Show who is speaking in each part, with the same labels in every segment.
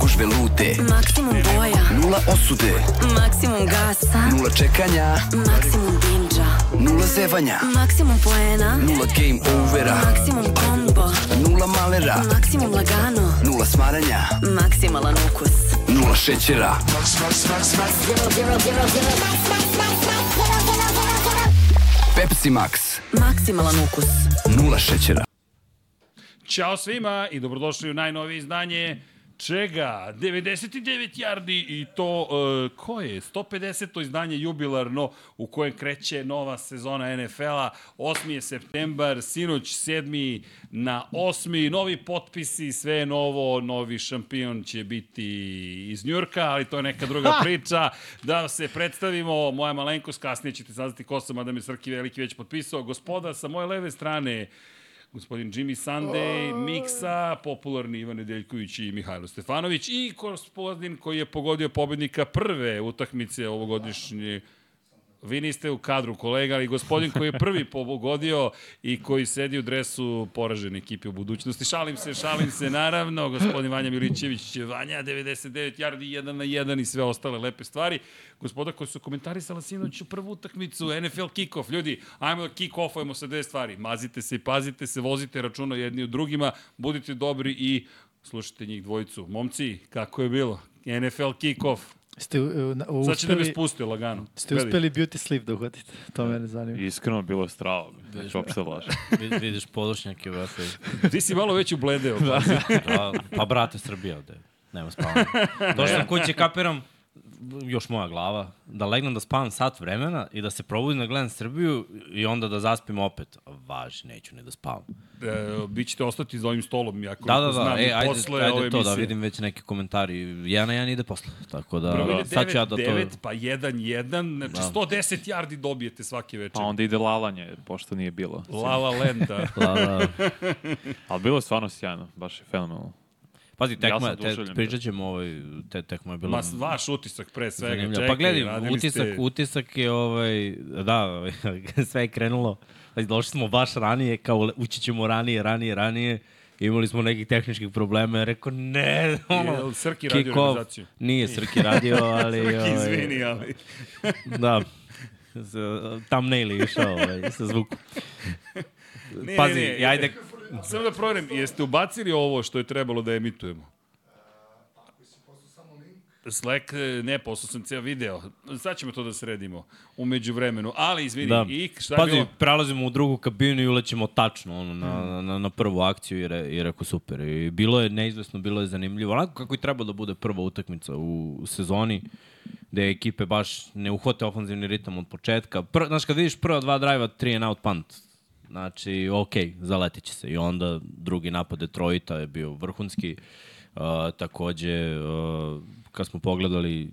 Speaker 1: gužve lute
Speaker 2: Maksimum boja,
Speaker 1: Nula osude
Speaker 2: maksimum gasa,
Speaker 1: Nula čekanja
Speaker 2: maksimum binđa,
Speaker 1: Nula zevanja
Speaker 2: maksimum poena,
Speaker 1: Nula game overa
Speaker 2: maksimum kombo,
Speaker 1: Nula malera
Speaker 2: maksimum lagano,
Speaker 1: Nula smaranja
Speaker 2: maksimalan ukus.
Speaker 1: Nula šećera Pepsi Max
Speaker 2: Maksimalan ukus.
Speaker 1: Nula šećera
Speaker 3: Ćao svima i dobrodošli u najnovije izdanje čega? 99 yardi i to e, koje? 150. izdanje jubilarno u kojem kreće nova sezona NFL-a. 8. septembar, sinoć 7. na 8. Novi potpisi, sve je novo, novi šampion će biti iz Njurka, ali to je neka druga priča. Da se predstavimo, moja malenkost, kasnije ćete saznati ko sam, a da me Srki Veliki već potpisao. Gospoda, sa moje leve strane, gospodin Jimmy Sunday, Miksa, popularni Ivan Nedeljković i Mihajlo Stefanović i gospodin koji je pogodio pobednika prve utakmice ovogodišnje Vi niste u kadru, kolega, ali gospodin koji je prvi pogodio i koji sedi u dresu poražene ekipe u budućnosti. Šalim se, šalim se, naravno. Gospodin Vanja Milićević, Vanja, 99 yardi, 1 na 1 i sve ostale lepe stvari. Gospoda koji su komentarisala sinoć u prvu utakmicu, NFL kick-off. Ljudi, ajmo da kick-offujemo sa dve stvari. Mazite se i pazite se, vozite računa jedni u drugima, budite dobri i slušajte njih dvojicu. Momci, kako je bilo? NFL kick-off.
Speaker 4: Ste u, e, na- u,
Speaker 3: Sad ćete me
Speaker 4: uspeli,
Speaker 3: spustiti lagano.
Speaker 4: ste
Speaker 3: Gledaj.
Speaker 4: uspeli beauty sleep da uhodite. To mene zanima.
Speaker 5: Iskreno bilo je strava. Već uopšte lažem.
Speaker 6: Vid- Vidiš polušnjake, brate.
Speaker 3: Ti si malo već ubledeo.
Speaker 6: Pa, pa brate, Srbija ovde. Nema spavanja. Došao sam kuće, kapiram, još moja glava, da legnem da spavam sat vremena i da se probudim da gledam Srbiju i onda da zaspim opet. Važi, neću ni da spavam.
Speaker 3: E, vi ćete ostati za ovim stolom, ja
Speaker 6: Da,
Speaker 3: koliko
Speaker 6: da, da,
Speaker 3: znam, i
Speaker 6: e, ajde,
Speaker 3: posle ove
Speaker 6: ajde to da
Speaker 3: emisije.
Speaker 6: vidim već neke komentari. Jedan na jedan ide posle, tako da...
Speaker 3: Prvo ide
Speaker 6: sad ću ja da
Speaker 3: 9,
Speaker 6: to... Da.
Speaker 3: pa 1, 1, znači 110 yardi dobijete svake
Speaker 5: Pa
Speaker 3: večer.
Speaker 5: onda ide lalanje, pošto nije bilo.
Speaker 3: La La Land, da.
Speaker 6: Da, da.
Speaker 5: Ali bilo je stvarno sjajno, baš je fenomenalno.
Speaker 6: Pazi,
Speaker 5: Ja
Speaker 6: tekma,
Speaker 5: sam
Speaker 6: ja te,
Speaker 5: oduševljen.
Speaker 6: pričat ćemo ovaj, te tekma je bila...
Speaker 3: Ma, vaš utisak pre svega.
Speaker 6: Zanimljivo.
Speaker 3: Čekaj,
Speaker 6: pa gledaj,
Speaker 3: radili
Speaker 6: utisak,
Speaker 3: ste...
Speaker 6: utisak je ovaj, da, ovaj, sve je krenulo, Pazi, došli smo baš ranije, kao le- ući ćemo ranije, ranije, ranije, imali smo nekih tehničkih problema, ja rekao ne, ono,
Speaker 3: Jel Srki radio
Speaker 6: kick-off.
Speaker 3: organizaciju?
Speaker 6: Nije Srki radio, ali...
Speaker 3: Srki,
Speaker 6: ovaj,
Speaker 3: izvini, ali...
Speaker 6: Da, Z- thumbnail je išao ovaj, sa zvukom.
Speaker 3: Ne,
Speaker 6: Pazi,
Speaker 3: ne, ne,
Speaker 6: ajde,
Speaker 3: Samo da proverim, jeste ubacili ovo što je trebalo da emitujemo? Slack, e, ne, poslao sam ceo video. Sad ćemo to da sredimo umeđu vremenu. Ali, izvini, da.
Speaker 6: Da.
Speaker 3: i šta je
Speaker 6: Pazi,
Speaker 3: bilo?
Speaker 6: prelazimo u drugu kabinu i ulećemo tačno ono,
Speaker 3: Mm.
Speaker 6: na, na, na prvu akciju i, re, i rekao super. I bilo je neizvesno, bilo je zanimljivo. Onako kako i treba da bude prva utakmica u sezoni, gde ekipe baš ne uhvate ofanzivni ritam od početka. Pr, znaš, kad vidiš prva dva drive-a, tri and out punt, znači, okej, zaletit će se. I onda drugi napad Detroita je bio vrhunski. Uh, takođe, uh, kad smo pogledali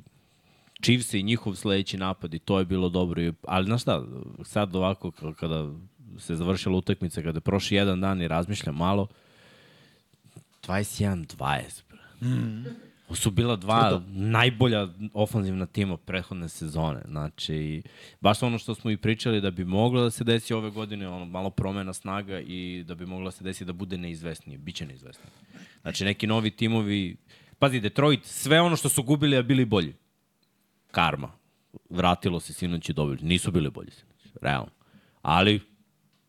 Speaker 6: Chiefs i njihov sledeći napad i to je bilo dobro. I- Ali znaš šta, sad ovako k- kada se završila utakmica, kada je prošli jedan dan i razmišljam malo, 21-20, bre. Ovo su bila dva najbolja ofanzivna tima prethodne sezone. Znači, baš ono što smo i pričali da bi moglo da se desi ove godine, ono, malo promena snaga i da bi moglo da se desi da bude neizvesnije. Biće neizvesnije. Znači, neki novi timovi... Pazi, Detroit, sve ono što su gubili, a bili bolji karma. Vratilo se sinoć i dobili. Nisu bili bolji sinoć, realno. Ali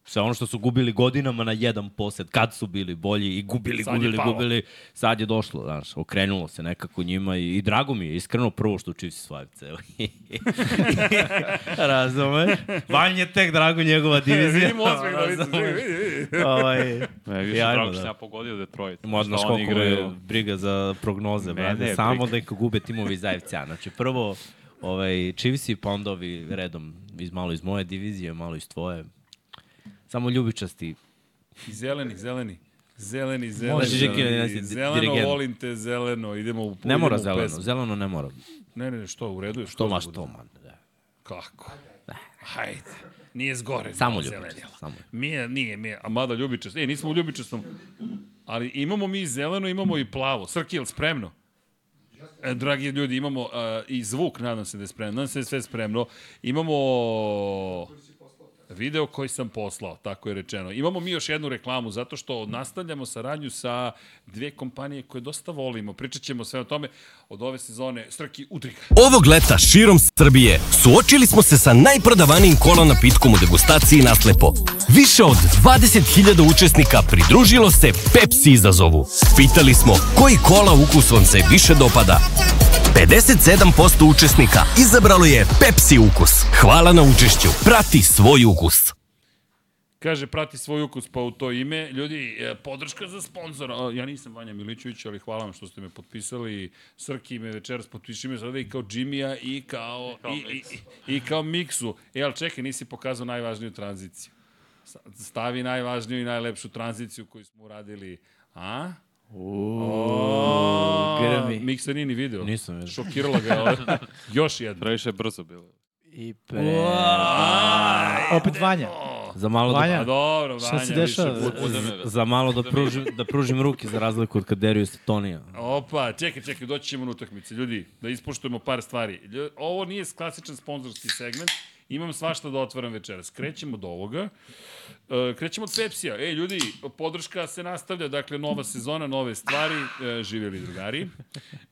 Speaker 6: sve ono što su gubili godinama na jedan posed, kad su bili bolji i gubili,
Speaker 3: Sad je
Speaker 6: gubili,
Speaker 3: palo.
Speaker 6: gubili, sad je došlo, znaš, okrenulo se nekako njima i, i drago mi je, iskreno prvo što Chiefs svaju ceo. Razumeš? Van je tek drago njegova divizija.
Speaker 3: Vidimo osmeh na licu.
Speaker 6: Razumeš?
Speaker 3: Vidi, vidi.
Speaker 6: ovaj,
Speaker 5: Me je više
Speaker 6: I ajmo,
Speaker 5: drago što
Speaker 6: da.
Speaker 5: sam ja pogodio Detroit.
Speaker 6: Možda
Speaker 5: što
Speaker 6: koliko
Speaker 5: oni
Speaker 6: igraju...
Speaker 5: igraju...
Speaker 6: me briga za prognoze,
Speaker 5: Mene
Speaker 6: brate.
Speaker 5: je
Speaker 6: Samo
Speaker 5: briga.
Speaker 6: da ih gube timovi iz AFC-a. Znači, prvo ovaj, Chiefs-i, pa onda ovi redom iz, malo iz moje divizije, malo iz tvoje. Samo ljubičasti.
Speaker 3: I zeleni, zeleni. Zeleni, zeleni.
Speaker 6: Može, Žiki, ne
Speaker 3: zeleni.
Speaker 6: znam,
Speaker 3: zeleno,
Speaker 6: dirigent.
Speaker 3: volim te, zeleno. Idemo u
Speaker 6: Ne mora
Speaker 3: idemo u
Speaker 6: zeleno,
Speaker 3: pesmu.
Speaker 6: zeleno ne mora.
Speaker 3: Ne, ne, ne, što, u redu je? Što,
Speaker 6: To
Speaker 3: da
Speaker 6: maš
Speaker 3: bude?
Speaker 6: to, man. Da.
Speaker 3: Kako? Hajde. Nije zgore.
Speaker 6: Samo
Speaker 3: nije
Speaker 6: ljubičast,
Speaker 3: zelenjela.
Speaker 6: samo.
Speaker 3: Mi je, nije, mi je. A mada ljubičast. E, nismo u ljubičastom. Ali imamo mi i zeleno, imamo i plavo. Srki, je li spremno? E, dragi ljudi, imamo uh, i zvuk, nadam se da je spremno. Nadam se da je sve spremno. Imamo... video koji sam poslao, tako je rečeno. Imamo mi još jednu reklamu, zato što nastavljamo saradnju sa dve kompanije koje dosta volimo. Pričat ćemo sve o tome od ove sezone. Strki Udriga.
Speaker 7: Ovog leta širom Srbije suočili smo se sa najprodavanijim kola napitkom u degustaciji Naslepo. Više od 20.000 učesnika pridružilo se Pepsi izazovu. Pitali smo koji kola ukus vam se više dopada. 57% učesnika izabralo je Pepsi ukus. Hvala na učešću. Prati svoj ukus.
Speaker 3: Kaže, prati svoj ukus pa u to ime. Ljudi, e, podrška za sponzora. O, Ja nisam Vanja Milićević, ali hvala vam što ste me potpisali. Srki me večeras potpiši me sada i kao Džimija i kao, i, i, i, i kao Miksu. E, ali čekaj, nisi pokazao najvažniju tranziciju. Sa- Stavi najvažniju i najlepšu tranziciju koju smo uradili. A? Uuu,
Speaker 4: grmi.
Speaker 3: Miksa nije ni video.
Speaker 6: Nisam vidio.
Speaker 3: Šokirala ga je. ovo. Još jedna.
Speaker 5: Previše je brzo bilo.
Speaker 4: I pre... Opet Vanja.
Speaker 6: Za malo
Speaker 4: Vanja,
Speaker 6: da,
Speaker 3: A Pa dobro, Vanja.
Speaker 4: Šta se
Speaker 3: više
Speaker 4: dešava?
Speaker 3: puta.
Speaker 6: za malo da pružim, da pružim ruke za razliku od Kaderiju Stetonija.
Speaker 3: Opa, čekaj, čekaj, doći ćemo na utakmice. Ljudi, da ispoštujemo par stvari. Lju- Ovo nije klasičan sponzorski segment. Imam svašta da otvaram večeras. Krećemo od ovoga. E, Krećemo od Pepsija. Ej, ljudi, podrška se nastavlja. Dakle, nova sezona, nove stvari. E, Živjeli drugari.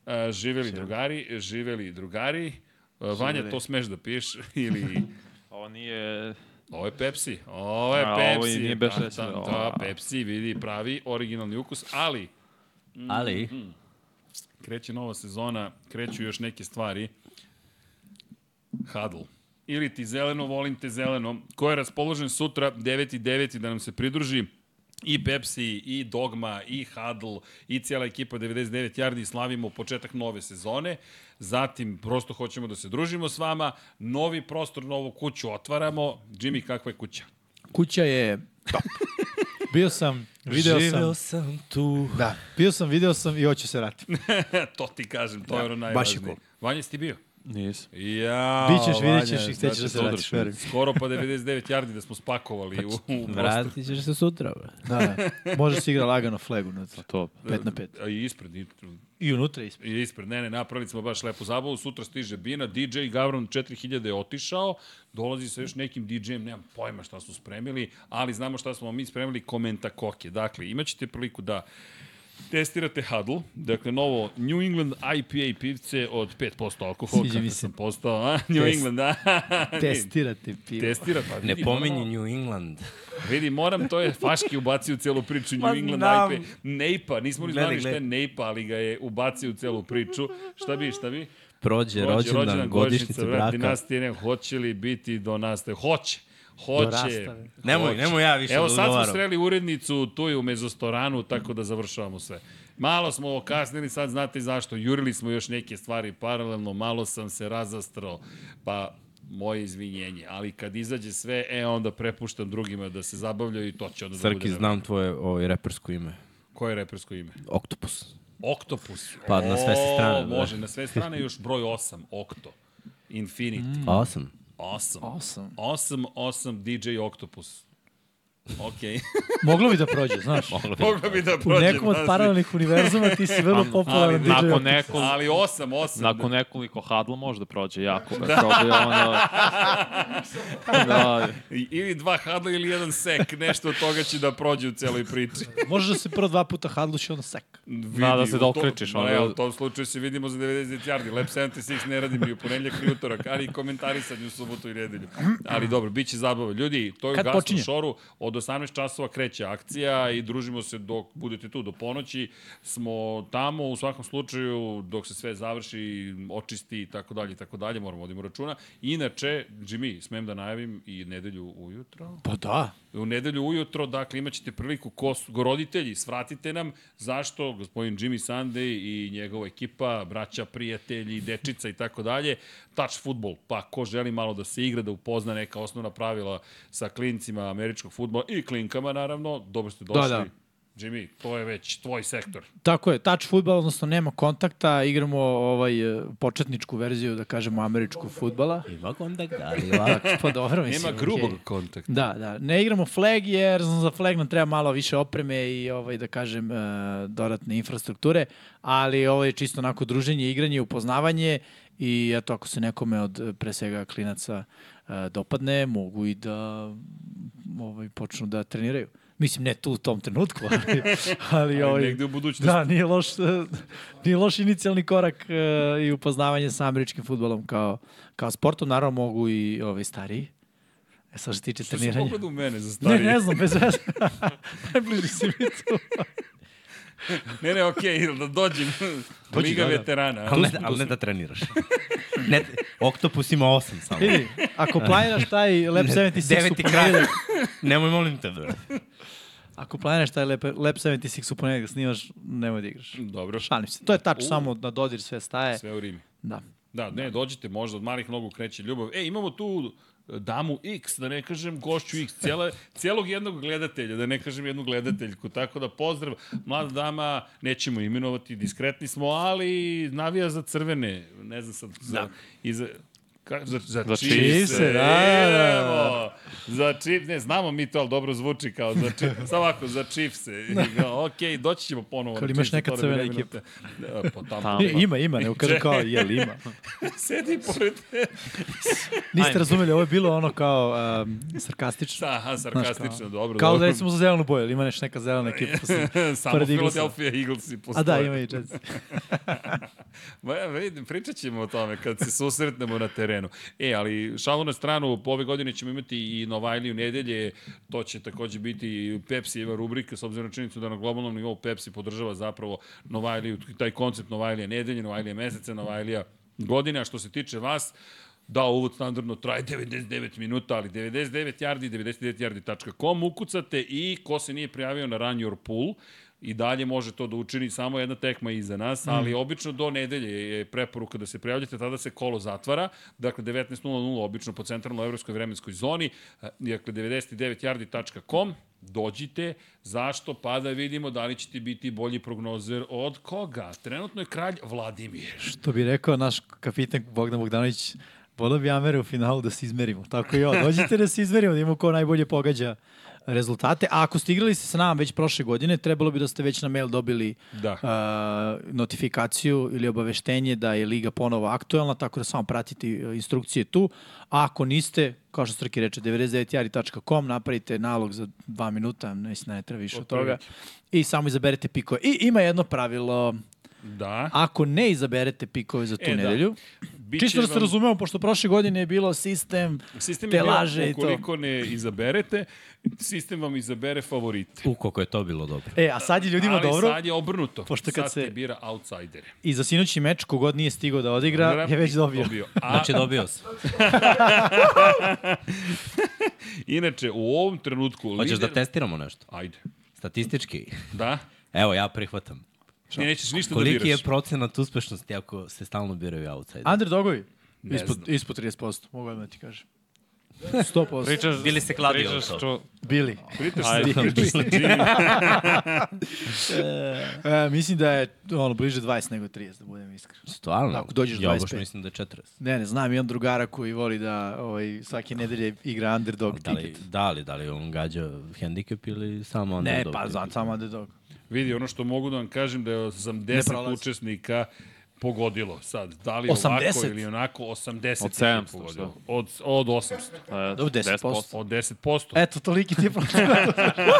Speaker 3: E, Živjeli drugari. Živjeli drugari. E, Vanja, to smeš da piješ. Ili...
Speaker 5: Ovo nije...
Speaker 3: Ovo je Pepsi. Ovo je
Speaker 5: A, ovo
Speaker 3: Pepsi.
Speaker 5: i nije baš
Speaker 3: Da,
Speaker 5: rečeno.
Speaker 3: da, da, Pepsi, vidi, pravi originalni ukus. Ali,
Speaker 6: Ali,
Speaker 3: kreće nova sezona, kreću još neke stvari. Huddle. Ili ti zeleno, volim te zeleno, ko je raspoložen sutra 9.9. da nam se pridruži i Pepsi, i Dogma, i Huddle, i cijela ekipa 99 Yardi slavimo početak nove sezone. Zatim, prosto hoćemo da se družimo s vama. Novi prostor, novu kuću otvaramo. Jimmy, kakva je kuća?
Speaker 4: Kuća je top. Bio sam, video sam.
Speaker 6: sam tu.
Speaker 4: Da, bio sam, video sam i hoću se vratiti.
Speaker 3: to ti kažem, to je ono
Speaker 4: Da, baš je
Speaker 3: najvažnije. Vanja, si ti bio?
Speaker 5: Nisam.
Speaker 3: Ja,
Speaker 4: Bićeš,
Speaker 3: Vanja,
Speaker 4: vidjet ćeš i
Speaker 3: znači,
Speaker 4: htećeš da se
Speaker 3: to
Speaker 4: vratiš, verujem.
Speaker 3: Skoro pa 99 yardi da smo spakovali
Speaker 4: Znači,
Speaker 3: u, u prostor.
Speaker 6: Vratit ćeš se sutra, bre.
Speaker 4: Da, da. Možeš igra lagano flagu unutra.
Speaker 3: Pa,
Speaker 5: Top.
Speaker 4: 5 na 5.
Speaker 3: A i ispred, i,
Speaker 4: I unutra ispred.
Speaker 3: i ispred. Ne, ne, napravili smo baš lepu zabavu. Sutra stiže Bina, DJ Gavron 4000 je otišao, dolazi sa još nekim DJ-em, nemam pojma šta su spremili, ali znamo šta smo mi spremili, komenta koke. Dakle, imaćete priliku da testirate Huddle, dakle novo New England IPA pivce od 5% alkohola,
Speaker 4: Sviđa mi
Speaker 3: kako
Speaker 4: se.
Speaker 3: sam postao, a? New
Speaker 4: Test-
Speaker 3: England, a?
Speaker 4: Testirate pivo.
Speaker 3: Testira, pa
Speaker 6: Ne
Speaker 3: vidi,
Speaker 6: pominji
Speaker 3: moramo-
Speaker 6: New England.
Speaker 3: Vidi, moram, to je Faški ubacio u celu priču New
Speaker 6: Ma,
Speaker 3: England
Speaker 6: znam.
Speaker 3: IPA. Neipa, nismo ni
Speaker 6: Gledaj,
Speaker 3: znali šta je
Speaker 6: gledaj.
Speaker 3: Neipa, ali ga je ubacio u celu priču. Šta bi, šta bi?
Speaker 6: Prođe, rođendan, godišnjica
Speaker 3: brat,
Speaker 6: braka.
Speaker 3: Dinastije, ne, hoće li biti do nastave? Hoće.
Speaker 4: Do
Speaker 3: Hoće.
Speaker 4: rastave.
Speaker 6: Nemoj,
Speaker 3: Hoće.
Speaker 6: nemoj ja više
Speaker 3: Evo
Speaker 6: da
Speaker 3: sad smo
Speaker 6: odgovaram.
Speaker 3: sreli urednicu tu je u mezostoranu, tako da završavamo sve. Malo smo okasnili, sad znate zašto. Jurili smo još neke stvari paralelno, malo sam se razastrao, pa moje izvinjenje. Ali kad izađe sve, e, onda prepuštam drugima da se zabavljaju i to će onda da
Speaker 6: Srki,
Speaker 3: bude.
Speaker 6: znam tvoje ovaj, repersko ime.
Speaker 3: Koje je repersko ime?
Speaker 6: Oktopus.
Speaker 3: Oktopus.
Speaker 6: Pa, na sve se strane,
Speaker 3: O,
Speaker 6: da.
Speaker 3: Može, na sve strane još broj 8, Okto. Infinity.
Speaker 6: Awesome.
Speaker 3: 8.
Speaker 4: Awesome.
Speaker 3: 8, 8, DJ Oktopus. Okej.
Speaker 4: Moglo bi da prođe, znaš.
Speaker 3: Moglo bi da
Speaker 4: U
Speaker 3: prođe.
Speaker 4: nekom od
Speaker 3: znaš,
Speaker 4: paralelnih univerzuma ti si vrlo popularan DJ.
Speaker 5: Nakon,
Speaker 4: -om.
Speaker 5: neko,
Speaker 3: Ali 8, 8.
Speaker 5: nakon nekoliko hadla može da prođe jako. Da. Probi, onda... da,
Speaker 3: Ili dva hadla ili jedan sek, nešto od toga će da prođe u celoj priči.
Speaker 4: Možeš da se prvo dva puta hadluš i ono sek.
Speaker 3: Vidi,
Speaker 5: da se
Speaker 3: u to-
Speaker 5: dokrečiš,
Speaker 3: Ma
Speaker 5: ono.
Speaker 3: Ne, u tom slučaju se vidimo za 90 yardi. Lab 76 ne radim i u ponedljak i utorak, ali i komentarisanju u subotu i nedelju. Ali dobro, bit će zabava. Ljudi, to je u
Speaker 4: Kad
Speaker 3: gasnom
Speaker 4: počinje?
Speaker 3: šoru. Od 18 časova kreće akcija i družimo se dok budete tu do ponoći. Smo tamo u svakom slučaju dok se sve završi, očisti i tako dalje i tako dalje. Moramo da vodimo računa. Inače, Jimmy, smem da najavim i nedelju ujutro.
Speaker 4: Pa da.
Speaker 3: U nedelju ujutro, dakle, imat ćete priliku ko su go roditelji, svratite nam zašto gospodin Jimmy Sunday i njegova ekipa, braća, prijatelji, dečica i tako dalje, touch futbol, pa ko želi malo da se igra, da upozna neka osnovna pravila sa klincima američkog futbola i klinkama, naravno, dobro ste došli.
Speaker 4: da.
Speaker 3: Jimmy, to je već tvoj sektor.
Speaker 4: Tako je, touch futbal, odnosno nema kontakta, igramo ovaj, e, početničku verziju, da kažemo, američkog futbala.
Speaker 6: Ima kontakt, ali ovako.
Speaker 4: Pa dobro, mislim.
Speaker 3: Nema grubog
Speaker 4: okej.
Speaker 3: kontakta.
Speaker 4: Da, da. Ne igramo flag jer za flag nam treba malo više opreme i ovaj da kažem e, dodatne infrastrukture, ali ovo je čisto onako druženje, igranje, upoznavanje i eto ako se nekome od e, pre svega klinaca e, dopadne, mogu i da m, ovaj počnu da treniraju. Mislim ne tu u tom trenutku, ali ali ovaj
Speaker 3: negde u budućnosti.
Speaker 4: Da, nije loš e, nije loš inicijalni korak e, i upoznavanje sa američkim fudbalom kao kao sportom, naravno mogu i ovaj stariji. E sad što se tiče
Speaker 3: Što si
Speaker 4: treniranja.
Speaker 3: pogledao u mene za
Speaker 4: Ne,
Speaker 3: starije?
Speaker 4: ne znam, bez veze. Najbliži si mi tu.
Speaker 3: ne, ne, okej, da dođem.
Speaker 6: Dođi,
Speaker 3: Liga
Speaker 6: da, da.
Speaker 3: veterana.
Speaker 6: Ali ne, ali ne da treniraš. Ne, Oktopus ima osam samo.
Speaker 4: Vidi, E, ako planiraš taj Lab 76
Speaker 6: Deveti
Speaker 4: u ponedjeljak,
Speaker 6: kraj. Nemoj molim te, bre.
Speaker 4: ako planiraš taj Lab, Lab 76 u ponedjeljak, snimaš, nemoj da igraš.
Speaker 3: Dobro,
Speaker 4: Šalim se. To je tač, samo na dodir sve staje.
Speaker 3: sve u Rimi.
Speaker 4: Da.
Speaker 3: Da, ne, dođite, možda od malih nogu kreće ljubav. E, imamo tu e, damu X, da ne kažem gošću X, cijela, cijelog jednog gledatelja, da ne kažem jednu gledateljku, tako da pozdrav, mlada dama, nećemo imenovati, diskretni smo, ali navija za crvene, ne znam sad, za, da. i za, Ka, za, za, za
Speaker 4: da,
Speaker 5: čipse,
Speaker 4: da, da.
Speaker 3: idemo. Za čip, ne, znamo mi to, ali dobro zvuči kao za čip, samo ovako, za čipse. Da. Okej, doći ćemo ponovo. na
Speaker 4: Kad imaš
Speaker 3: čipse,
Speaker 4: neka
Speaker 3: to da
Speaker 4: crvena
Speaker 3: vremena
Speaker 4: ekipa.
Speaker 3: te- Da, po tamo.
Speaker 5: Tamo.
Speaker 4: I, ima, ima, nego kaže kao, jel ima.
Speaker 3: Sedi pored te.
Speaker 4: Niste razumeli, ovo je bilo ono kao um, sarkastično.
Speaker 3: Da, Aha, sarkastično,
Speaker 4: kao-
Speaker 3: dobro.
Speaker 4: Kao da
Speaker 3: dobro.
Speaker 4: recimo za zelenu boju, ili ima neš neka zelena ekipa. Pa se,
Speaker 3: Samo
Speaker 4: pored Eaglesa.
Speaker 3: Philadelphia Eaglesi
Speaker 4: A
Speaker 3: postoje.
Speaker 4: da, ima i Jets.
Speaker 3: Ma, ja, vidim, pričat ćemo o tome kad se susretnemo na terenu. E, ali šalu na stranu, po ove godine ćemo imati i Novajliju nedelje, to će takođe biti i Pepsi ima rubrika, s obzirom na činjenicu da na globalnom nivou Pepsi podržava zapravo Novajliju, taj koncept Novajlije nedelje, Novajlije meseca, Novajlija godina. Što se tiče vas, Da, uvod standardno traje 99 minuta, ali 99 yardi, 99yardi.com ukucate i ko se nije prijavio na Run Your Pool, i dalje može to da učini samo jedna tekma iza nas,
Speaker 4: Mm.
Speaker 3: ali obično do nedelje je preporuka da se prijavljate, tada se kolo zatvara, dakle 19.00 obično po centralno evropskoj vremenskoj zoni, e, dakle 99yardi.com, dođite, zašto, pa da vidimo da li ćete biti bolji prognozer od koga. Trenutno je kralj Vladimir.
Speaker 4: Što bi rekao naš kapitan Bogdan Bogdanović, volio bi Amere u finalu da se izmerimo. Tako i ovo. Dođite da se izmerimo, da imamo ko najbolje pogađa rezultate. A ako ste igrali se sa nama već prošle godine, trebalo bi da ste već na mail dobili
Speaker 3: Da.
Speaker 4: a, notifikaciju ili obaveštenje da je Liga ponovo aktuelna, tako da samo pratite e, instrukcije tu. A ako niste, kao što Strki reče, 99jari.com, napravite nalog za dva minuta, ne, mislim da ne treba više od toga. I samo izaberete pikove. I ima jedno pravilo,
Speaker 3: Da.
Speaker 4: ako ne izaberete pikove za tu
Speaker 3: E,
Speaker 4: e,
Speaker 3: da.
Speaker 4: nedelju,
Speaker 3: Biće
Speaker 4: čisto da se
Speaker 3: vam-
Speaker 4: razumemo, pošto prošle godine je bilo sistem,
Speaker 3: Sistem
Speaker 4: te
Speaker 3: je bio,
Speaker 4: laže i to.
Speaker 3: ukoliko ne izaberete, sistem vam izabere favorite.
Speaker 6: U, koliko je to bilo dobro.
Speaker 4: E, a sad je ljudima
Speaker 3: Ali
Speaker 4: dobro
Speaker 3: sad je obrnuto.
Speaker 4: Pošto kad
Speaker 3: sad se...
Speaker 4: se-
Speaker 3: bira outsajdere.
Speaker 4: i za sinoćni meč kogod nije stigao da odigra je već dobio.
Speaker 3: A
Speaker 6: Znači, dobio sam.
Speaker 3: inače, u ovom trenutku...
Speaker 6: Hoćeš da
Speaker 3: lider-
Speaker 6: testiramo nešto?
Speaker 3: Ajde.
Speaker 6: Statistički?
Speaker 3: Da?
Speaker 6: Evo, ja prihvatam.
Speaker 3: Ti nećeš ništa da biraš.
Speaker 6: Koliki je procenat uspešnosti ako se stalno biraju outside?
Speaker 4: Underdogovi?
Speaker 3: Ne znam.
Speaker 4: Ispod, ispod 30%, mogu odmah da ti kažem. 100%.
Speaker 5: Pričaš,
Speaker 6: Bili se kladio
Speaker 5: pričaš
Speaker 6: to.
Speaker 5: ču-
Speaker 4: Bili.
Speaker 3: Pritaš
Speaker 5: Ajde.
Speaker 3: se. Jimmy.
Speaker 4: E, mislim da je ono, bliže 20 nego 30, da budem iskren.
Speaker 6: Stvarno?
Speaker 4: Ako dođeš
Speaker 6: ja
Speaker 4: 25.
Speaker 6: baš mislim da je 40.
Speaker 4: Ne, ne, znam, imam drugara koji voli da ovaj, svake nedelje igra underdog
Speaker 6: Da li,
Speaker 4: tiket.
Speaker 6: da li, da li on gađa handicap ili samo
Speaker 4: Ne,
Speaker 6: underdog?
Speaker 4: pa
Speaker 6: tiket?
Speaker 4: znam, samo underdog.
Speaker 3: Vidi, ono što mogu da vam kažem da je
Speaker 4: Ne
Speaker 3: 80
Speaker 4: prolazi.
Speaker 3: učesnika pogodilo sad. Da li
Speaker 4: 80?
Speaker 3: ovako ili onako, 80
Speaker 5: Od
Speaker 3: ih je
Speaker 5: 700,
Speaker 3: pogodilo. Od, od 800.
Speaker 5: e,
Speaker 4: Dobro, 10%.
Speaker 3: Od 10%.
Speaker 4: Eto, toliki ti je procenat.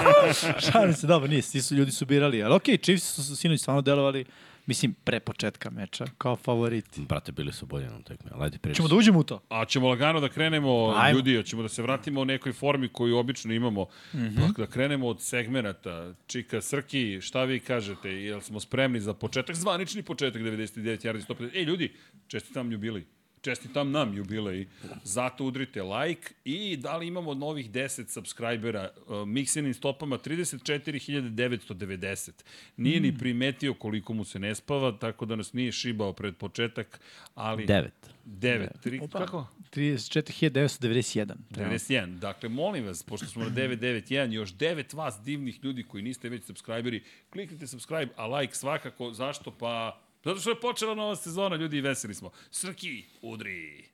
Speaker 4: Šalim se, dobro, nije, svi su ljudi su birali, ali okej, okay, Chiefs su sinoć stvarno delovali, mislim, pre početka meča, kao favoriti.
Speaker 6: Brate, bili su bolje na utakmi, ali ajde pričaj.
Speaker 4: Ćemo da uđemo u to.
Speaker 3: A ćemo lagano da krenemo, Ajmo.
Speaker 4: Ajmo.
Speaker 3: ljudi, hoćemo da se vratimo u nekoj formi koju obično imamo. Mm -hmm. Da krenemo od segmenata. Čika, Srki, šta vi kažete? Jel smo spremni za početak? Zvanični početak 99 Jardi 150. E, ljudi, čestitam jubilej. Čestitam nam jubilej. Zato udrite like i da li imamo novih 10 subscribera uh, miksenim stopama 34.990. Nije ni primetio koliko mu se ne spava, tako da nas nije šibao pred početak, ali...
Speaker 6: Devet.
Speaker 3: 9. 3, kako?
Speaker 4: 34.991.
Speaker 5: Da.
Speaker 4: Prema
Speaker 3: 91. Dakle, molim vas, pošto smo na 991, još 9 vas divnih ljudi koji niste već subscriberi, kliknite subscribe, a like svakako. Zašto? Pa, zato što je počela nova sezona, ljudi, i veseli smo. Srki, udri!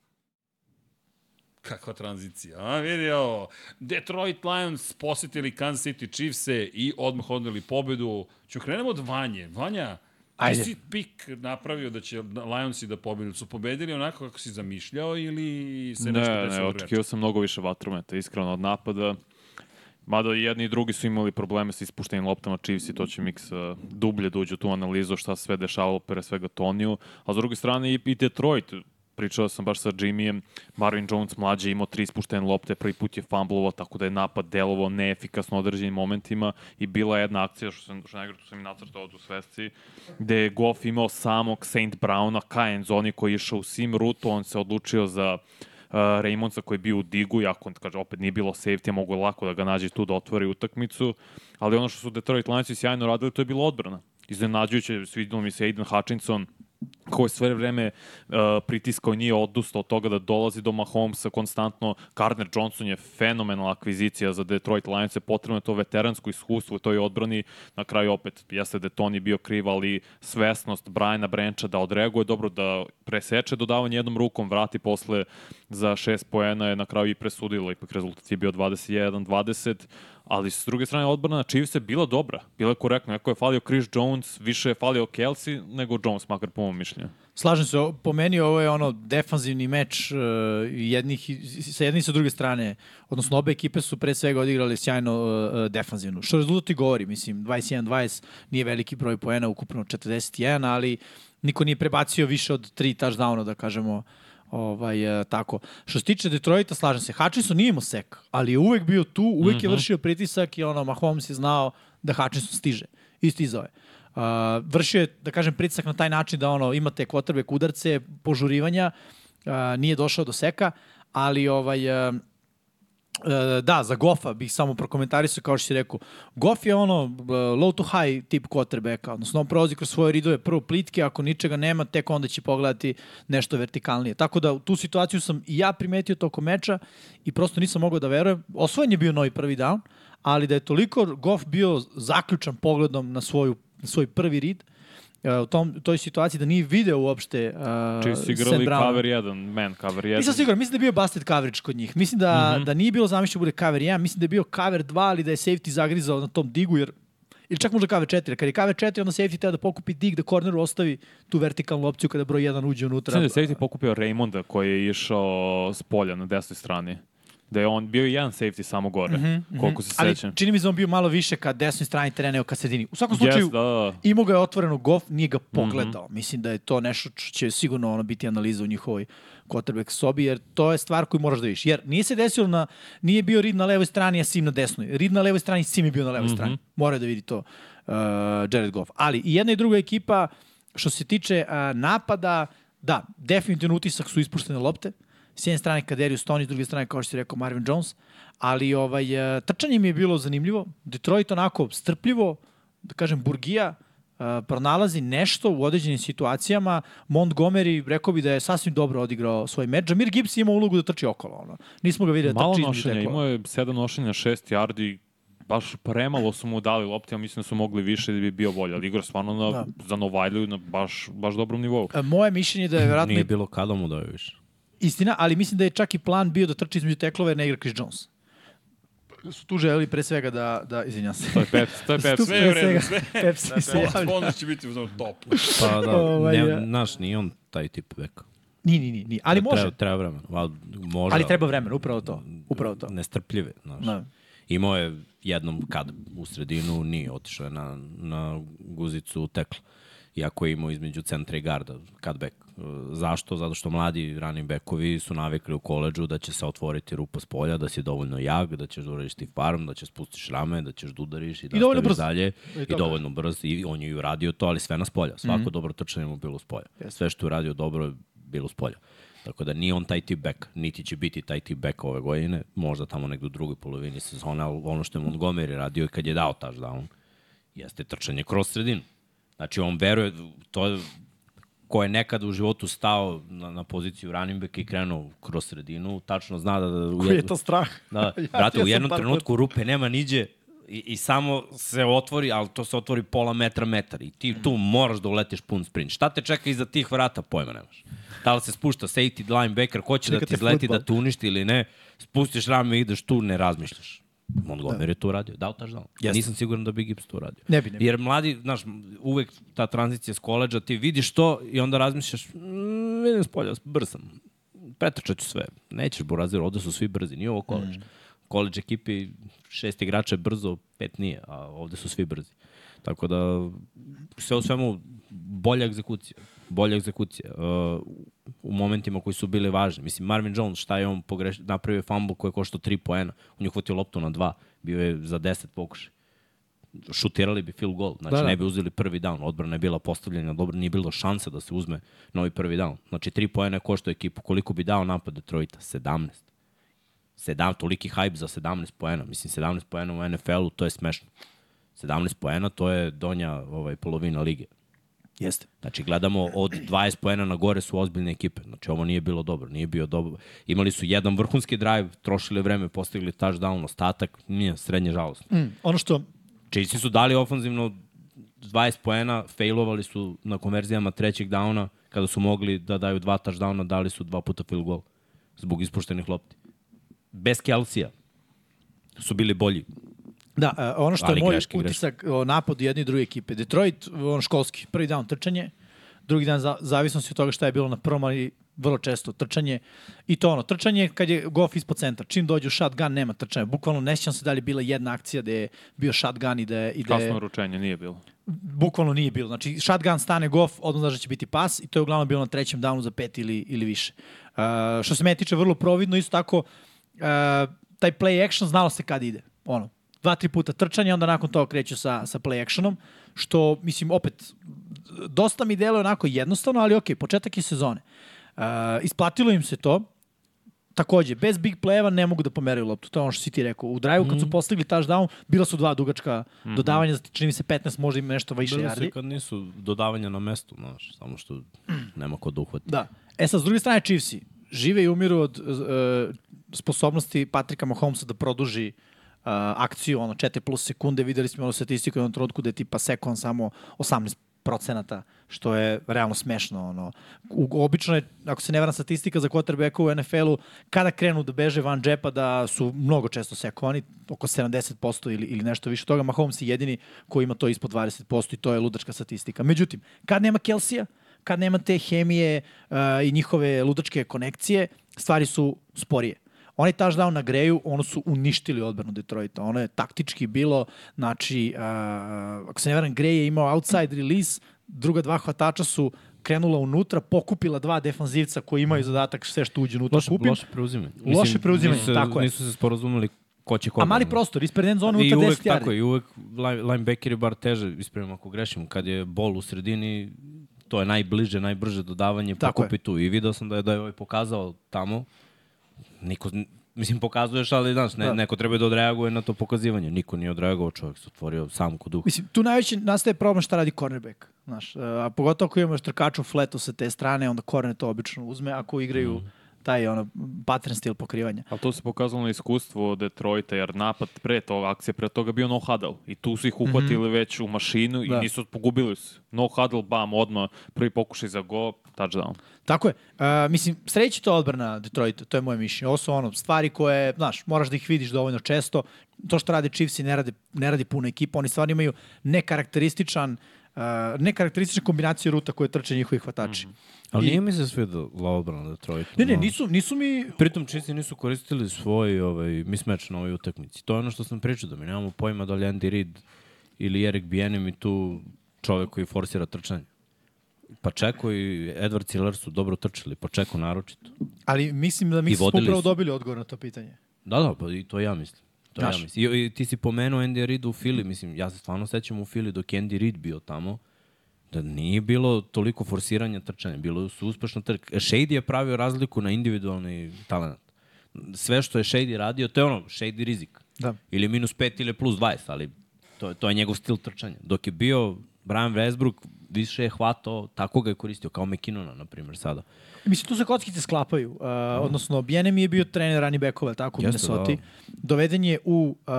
Speaker 3: Kakva tranzicija, a vidi ovo. Detroit Lions posetili Kansas City Chiefs-e i odmah odneli pobedu. Ću krenemo od Vanje. Vanja, Ajde.
Speaker 4: Ajde.
Speaker 3: ti si pik napravio da će Lionsi da pobedili. Su pobedili onako kako si zamišljao ili se nešto
Speaker 5: Ne, ne,
Speaker 3: desilo drugačije?
Speaker 5: očekio sam mnogo više vatrometa, iskreno, od napada. Mada i jedni i drugi su imali probleme sa ispuštenim loptama Chiefs i to će Mix uh, dublje da uđe u tu analizu šta se sve dešavalo, pre svega Toniju. A s druge strane i, i Detroit, pričao sam baš sa Jimmyem, Marvin Jones mlađi je imao tri ispuštene lopte, prvi put je fumblovao, tako da je napad delovao neefikasno u određenim momentima i bila je jedna akcija, što sam, što negre, tu sam i nacrtao od u svesci, gde je Goff imao samog St. Browna ka endzoni koji je išao u sim rutu, on se odlučio za uh, Raymonsa koji je bio u digu, iako kaže, opet nije bilo safety, mogu lako da ga nađe tu da otvori utakmicu, ali ono što su Detroit Lionsi sjajno radili, to je bila odbrana. Iznenađujuće, svidilo mi se Aiden Hutchinson, koji je sve vreme uh, pritiskao i nije odustao od toga da dolazi do Mahomesa konstantno. Gardner Johnson je fenomenalna akvizicija za Detroit Lions, je potrebno je to veteransko iskustvo u toj odbrani. Na kraju opet jeste da je Tony bio kriv, ali svesnost Briana Brenča da odreaguje dobro, da preseče dodavanje jednom rukom, vrati posle za šest poena je na kraju i presudilo. Ipak rezultat je bio 21-20, ali s druge strane odbrana Chiefs je bila dobra, bila je korektna. Neko je falio Chris Jones, više je falio Kelsey nego Jones, makar po mom mišljenju.
Speaker 4: Slažem se, o- po meni ovo je ono defanzivni meč uh, jednih, i- sa jedne i sa druge strane. Odnosno, obe ekipe su pre svega odigrale sjajno uh, uh, defanzivno. Što rezultat i govori, mislim, 21-20 nije veliki broj poena, ukupno 41, ali niko nije prebacio više od 3 touchdowna, da kažemo, ovaj, uh, tako. Što se tiče Detroita, slažem se, Hutchinson nije imao sek, ali je uvek bio tu, uvek mm -hmm. je vršio pritisak i ono, Mahomes je znao da Hutchinson stiže. I stizao je. Uh, vršio je, da kažem, pritisak na taj način da ono, imate kvotrbek udarce, požurivanja, uh, nije došao do seka, ali ovaj, uh, E, da, za Goffa bih samo prokomentarisao kao što si rekao. Goff je ono e, low to high tip quarterbacka, odnosno on prolazi kroz svoje ridove prvo plitke, ako ničega nema, tek onda će pogledati nešto vertikalnije. Tako da u tu situaciju sam i ja primetio toko meča i prosto nisam mogao da verujem. Osvojen je bio novi prvi down, ali da je toliko Goff bio zaključan pogledom na, svoju, na svoj prvi rid, e, u tom, u toj situaciji da nije video uopšte uh,
Speaker 5: Chiefs su igrali cover 1, man cover 1.
Speaker 4: Nisam siguran, mislim da je bio busted coverage kod njih. Mislim da, mm
Speaker 5: Mhm.
Speaker 4: -hmm. da nije bilo zamišljeno bude cover 1, mislim da je bio cover 2, ali da je safety zagrizao na tom digu, jer ili čak možda cover 4. Kad je cover 4, onda safety treba da pokupi dig, da corneru ostavi tu vertikalnu opciju kada broj 1 uđe unutra.
Speaker 5: Mislim da je safety pokupio Raymonda koji je išao s polja na desnoj strani. Da je on bio i jedan safety samo gore, mm -hmm, koliko se
Speaker 4: Mhm, Ali
Speaker 5: sećam.
Speaker 4: čini mi se da on bio malo više ka desnoj strani terena nego ka sredini. U svakom slučaju,
Speaker 5: Yes, da, da.
Speaker 4: imao ga je otvoreno Goff, nije ga pogledao. Mm -hmm. Mislim da je to nešto što će sigurno ono biti analiza u njihovoj quarterback sobi, jer to je stvar koju moraš da vidiš. Jer nije se desilo na, nije bio rid na levoj strani, a Sim na desnoj. Rid na levoj strani, Sim je bio na levoj mm -hmm. strani. Mora da vidi to uh, Jared Goff. Ali i jedna i druga ekipa, što se tiče uh, napada, da, definitivno utisak su ispuštene lopte. S jedne strane Kaderius Tony, s druge strane, kao što si rekao, Marvin Jones. Ali ovaj, e, trčanje mi je bilo zanimljivo. Detroit onako strpljivo, da kažem, Burgija, e, pronalazi nešto u određenim situacijama. Montgomery, rekao bi da je sasvim dobro odigrao svoj meč. Jamir Gibbs ima ulogu da trči okolo. Ono. Nismo ga videli da
Speaker 5: Malo
Speaker 4: trči između
Speaker 5: nošenja,
Speaker 4: tekova.
Speaker 5: imao je sedam nošenja, šest yardi, baš premalo su mu dali lopte, ja mislim da su mogli više da bi bio bolje, ali igra stvarno na, da.
Speaker 4: Da.
Speaker 5: za Novajlju na baš, baš dobrom nivou.
Speaker 4: E, Moje mišljenje je da je verovatno
Speaker 6: Nije
Speaker 4: i
Speaker 6: bilo kada mu doje više.
Speaker 4: Istina, ali mislim da je čak i plan bio da trči između teklova jer ne igra Chris Jones. Su tu želeli pre svega da, da izvinjam se.
Speaker 5: To je pet, to je pet.
Speaker 4: Tu
Speaker 3: sve
Speaker 4: pre
Speaker 3: je u redu,
Speaker 4: svega
Speaker 3: sve. da.
Speaker 4: Pepsi se javlja.
Speaker 3: Sponsor će biti uzmano toplo.
Speaker 6: Pa da,
Speaker 4: Ovaj,
Speaker 6: ne,
Speaker 4: ja.
Speaker 6: naš, nije on taj tip beka.
Speaker 4: Ni, ni, ni, ni. Ali može.
Speaker 6: Da, Treba, treba vremena. Val, može,
Speaker 4: Ali treba vremena, upravo to. Upravo to.
Speaker 6: Nestrpljive, znaš.
Speaker 4: Da.
Speaker 6: Imao je jednom kad u sredinu nije otišao je na, na guzicu u tekla. Iako je imao između centra i garda, kad back. E, Zašto? Zato što mladi running backovi su navikli u koleđu da će se otvoriti rupa s polja, da si dovoljno jak, da ćeš da uradiš ti farm, da ćeš spustiš rame, da ćeš da udariš i da
Speaker 4: I dovoljno
Speaker 6: ostaviš
Speaker 4: brz.
Speaker 6: dalje. I,
Speaker 4: to Mhm.
Speaker 6: dovoljno brz. I on je i uradio to, ali sve na spolja. Svako mm -hmm. dobro trčanje mu je bilo s polja. Sve što je uradio dobro je bilo s polja. Tako da nije on taj tip back, niti će biti taj tip back ove godine, možda tamo negdje u drugoj polovini sezone, ali ono što je Montgomery radio i kad je dao touchdown, jeste trčanje kroz sredinu. Znači on veruje, to je ko je nekada u životu stao na, na poziciju running backa i krenuo kroz sredinu, tačno zna da... da
Speaker 4: Koji je to strah?
Speaker 6: Da,
Speaker 4: Ja-
Speaker 6: brate,
Speaker 4: ja
Speaker 6: u
Speaker 4: sam
Speaker 6: jednom
Speaker 4: par
Speaker 6: trenutku rupe nema niđe i, i samo se otvori, ali to se otvori pola metra, metar i ti tu moraš da uletiš pun sprint. Šta te čeka iza tih vrata, pojma nemaš. Da li se spušta safety linebacker, ko će da
Speaker 4: Čeka
Speaker 6: ti
Speaker 4: te
Speaker 6: izleti
Speaker 4: fudbal.
Speaker 6: da te uništi ili ne, spustiš rame i ideš tu, ne razmišljaš. Montgomery da. je to uradio, dao taš dao. Yes. Nisam siguran da bi Gibbs to uradio.
Speaker 4: Ne bi, ne bi.
Speaker 6: Jer mladi, znaš, uvek ta tranzicija s koleđa, ti vidiš to i onda razmišljaš, "Mm, vidim s polja, brz sam, pretrčat ću sve. Nećeš Burazir, ovde su svi brzi, nije ovo koleđ. Mm. Koleđ ekipi šest igrača je brzo, pet nije, a ovde su svi brzi. Tako da, sve u svemu, bolja egzekucija. Bolja egzekucija. Uh, u momentima koji su bili važni. Mislim, Marvin Jones, šta je on pogreš, napravio je fumble koji je koštao 3 poena. On je uhvatio loptu na 2, bio je za 10 pokušaj šutirali bi field goal, znači
Speaker 4: Da,
Speaker 6: da,
Speaker 4: da.
Speaker 6: ne bi uzeli prvi down, odbrana je bila postavljena, dobro, nije bilo šanse da se uzme novi prvi down. Znači, tri pojene košta ekipu, koliko bi dao napad Detroita? 17. Sedam, toliki hype za 17 poena. Mislim, 17 poena u NFL-u, to je smešno. 17 poena, to je donja ovaj, polovina lige.
Speaker 4: Jeste.
Speaker 6: Znači, gledamo od 20 poena na gore su ozbiljne ekipe. Znači, ovo nije bilo dobro. Nije bio dobro. Imali su jedan vrhunski drive, trošili vreme, postigli touchdown, ostatak, nije, srednje žalostno.
Speaker 4: Mm, ono što,
Speaker 6: Chiefsi su dali ofanzivno 20 poena, failovali su na konverzijama trećeg downa, kada su mogli da daju dva touchdowna, dali su dva puta field goal zbog ispuštenih lopti. Bez Kelsija su bili bolji.
Speaker 4: da, e, ono što
Speaker 6: Ali
Speaker 4: je moj
Speaker 6: greške, greške.
Speaker 4: utisak e, o napadu jedne i druge ekipe. Detroit, on školski, prvi dan trčanje, drugi dan za, zavisnosti od toga šta je bilo na prvom, ali vrlo često trčanje. I to ono, trčanje kad je golf ispod centra. Čim dođe u shotgun, nema trčanja. Bukvalno ne sjećam se da li je bila jedna akcija da je bio shotgun i da je... I da je...
Speaker 5: Kasno ručenje nije bilo.
Speaker 4: bukvalno nije bilo. Znači, shotgun stane gof, odmah znaš da će biti pas i to je uglavnom bilo na trećem downu za pet ili, ili više. Uh, što se mene tiče, vrlo providno, isto tako, uh, taj play action znalo se kad ide. Ono, dva, tri puta trčanje, onda nakon toga kreću sa, sa play actionom, što, mislim, opet, dosta mi deluje onako jednostavno, ali okej, početak je sezone. Uh, isplatilo im se to, takođe, bez big play-eva ne mogu da pomeraju loptu. To je ono što si ti rekao. U drive-u kad su postigli touchdown, bila su dva dugačka mm -hmm. dodavanja, čini mi se 15, možda ima nešto više yardi.
Speaker 6: kad nisu dodavanja na mestu, znaš, samo što nema ko da uhvati.
Speaker 4: Da. E sad, s druge strane, Chiefsi žive i umiru od uh, sposobnosti Patrika Mahomesa da produži uh, akciju, ono, 4 plus sekunde, videli smo ono statistiku u jednom trenutku da je tipa sekon samo 18 procenata, što je realno smešno. Ono. U, obično je, ako se ne varam statistika za quarterbacka u NFL-u, kada krenu da beže van džepa, da su mnogo često sekovani, oko 70% ili, ili nešto više od toga. Mahomes je jedini koji ima to ispod 20% i to je ludačka statistika. Međutim, kad nema Kelsija, kad nema te hemije uh, i njihove ludačke konekcije, stvari su sporije. Oni touchdown na Greju, ono su uništili odbranu Detroita. Ono je taktički bilo, znači, uh, ako se ne varam, Grej je imao outside release, druga dva hvatača su krenula unutra, pokupila dva defanzivca koji imaju zadatak sve što uđe unutra
Speaker 6: Loše,
Speaker 4: kupim.
Speaker 6: loše preuzime.
Speaker 4: Loše preuzimanje,
Speaker 6: nisu, se-
Speaker 4: tako je.
Speaker 6: Nisu se sporazumeli ko će koga.
Speaker 4: A mali
Speaker 6: ono.
Speaker 4: prostor, ispred end zone,
Speaker 6: I
Speaker 4: unutar
Speaker 6: uvek
Speaker 4: 10
Speaker 6: tako
Speaker 4: yardi.
Speaker 6: je, i uvek line- linebackeri bar teže, ispravim ako grešim, kad je bol u sredini, to je najbliže, najbrže dodavanje,
Speaker 4: Tako
Speaker 6: pokupi tu. I video sam da je, da je ovaj pokazao tamo, niko, mislim pokazuješ, ali znaš, ne,
Speaker 4: Da.
Speaker 6: neko treba da odreaguje na to pokazivanje. Niko nije odreagovao, čovjek se otvorio sam kod duha.
Speaker 4: Mislim, tu najveći nastaje problem šta radi cornerback. Znaš, e, a pogotovo ako imamo štrkaču fletu sa te strane, onda corner to obično uzme, ako igraju
Speaker 6: Mhm.
Speaker 4: taj ono, pattern stil pokrivanja.
Speaker 5: Ali to se pokazalo na iskustvu Detroita, jer napad pre toga, akcija pre toga bio no huddle. I tu su ih uhvatili mm -hmm. već u mašinu da.
Speaker 4: Mhm. Da.
Speaker 5: i nisu pogubili su. No huddle, bam, odmah, prvi pokušaj za go, touchdown.
Speaker 4: Tako je. E, mislim, sreći to odbrana Detroita, to je moje mišljenje. Ovo su ono, stvari koje, znaš, moraš da ih vidiš dovoljno često. To što rade Chiefs i ne, rade, ne radi puno ekipa, oni stvarno imaju nekarakterističan Uh, nekarakteristične kombinacije ruta koje trče njihovi hvatači. Mm
Speaker 6: Mhm.
Speaker 4: -hmm.
Speaker 6: Ali nije mi se svidela odbrana da Detroita.
Speaker 4: Ne, ne,
Speaker 6: ono.
Speaker 4: nisu, nisu mi...
Speaker 6: Pritom čisti nisu koristili svoj ovaj, mismeč na ovoj utakmici. To je ono što sam pričao, da mi nemamo pojma da li Andy Reid ili Eric Bijenim i tu čovek koji forsira trčanje. Pa Čeko i Edward Ciller su dobro trčali, pa Čeko naročito.
Speaker 4: Ali mislim da mi
Speaker 6: I
Speaker 4: smo
Speaker 6: vodili
Speaker 4: upravo
Speaker 6: su.
Speaker 4: dobili odgovor na to pitanje.
Speaker 6: Da, da, pa i to ja mislim. To ja
Speaker 4: Znaš. Mhm.
Speaker 6: mislim. I, I, ti si pomenuo Andy Reid u Fili, mislim, ja se stvarno sećam u Fili dok je Andy Reid bio tamo, da nije bilo toliko forsiranja trčanja, bilo su uspešno trk. Shady je pravio razliku na individualni talent. Sve što je Shady radio, to je ono, Shady rizik.
Speaker 4: Da.
Speaker 6: Ili minus 5 ili plus 20, ali to, je- to je njegov stil trčanja. Dok je bio Brian Westbrook, više je hvatao, tako ga je koristio, kao McKinnona, na primjer, sada.
Speaker 4: Mislim, tu se kockice sklapaju. Uh, odnosno, Bjenem je bio trener running backova, jel tako, u
Speaker 6: Jeste,
Speaker 4: Minnesota. Doveden je u uh,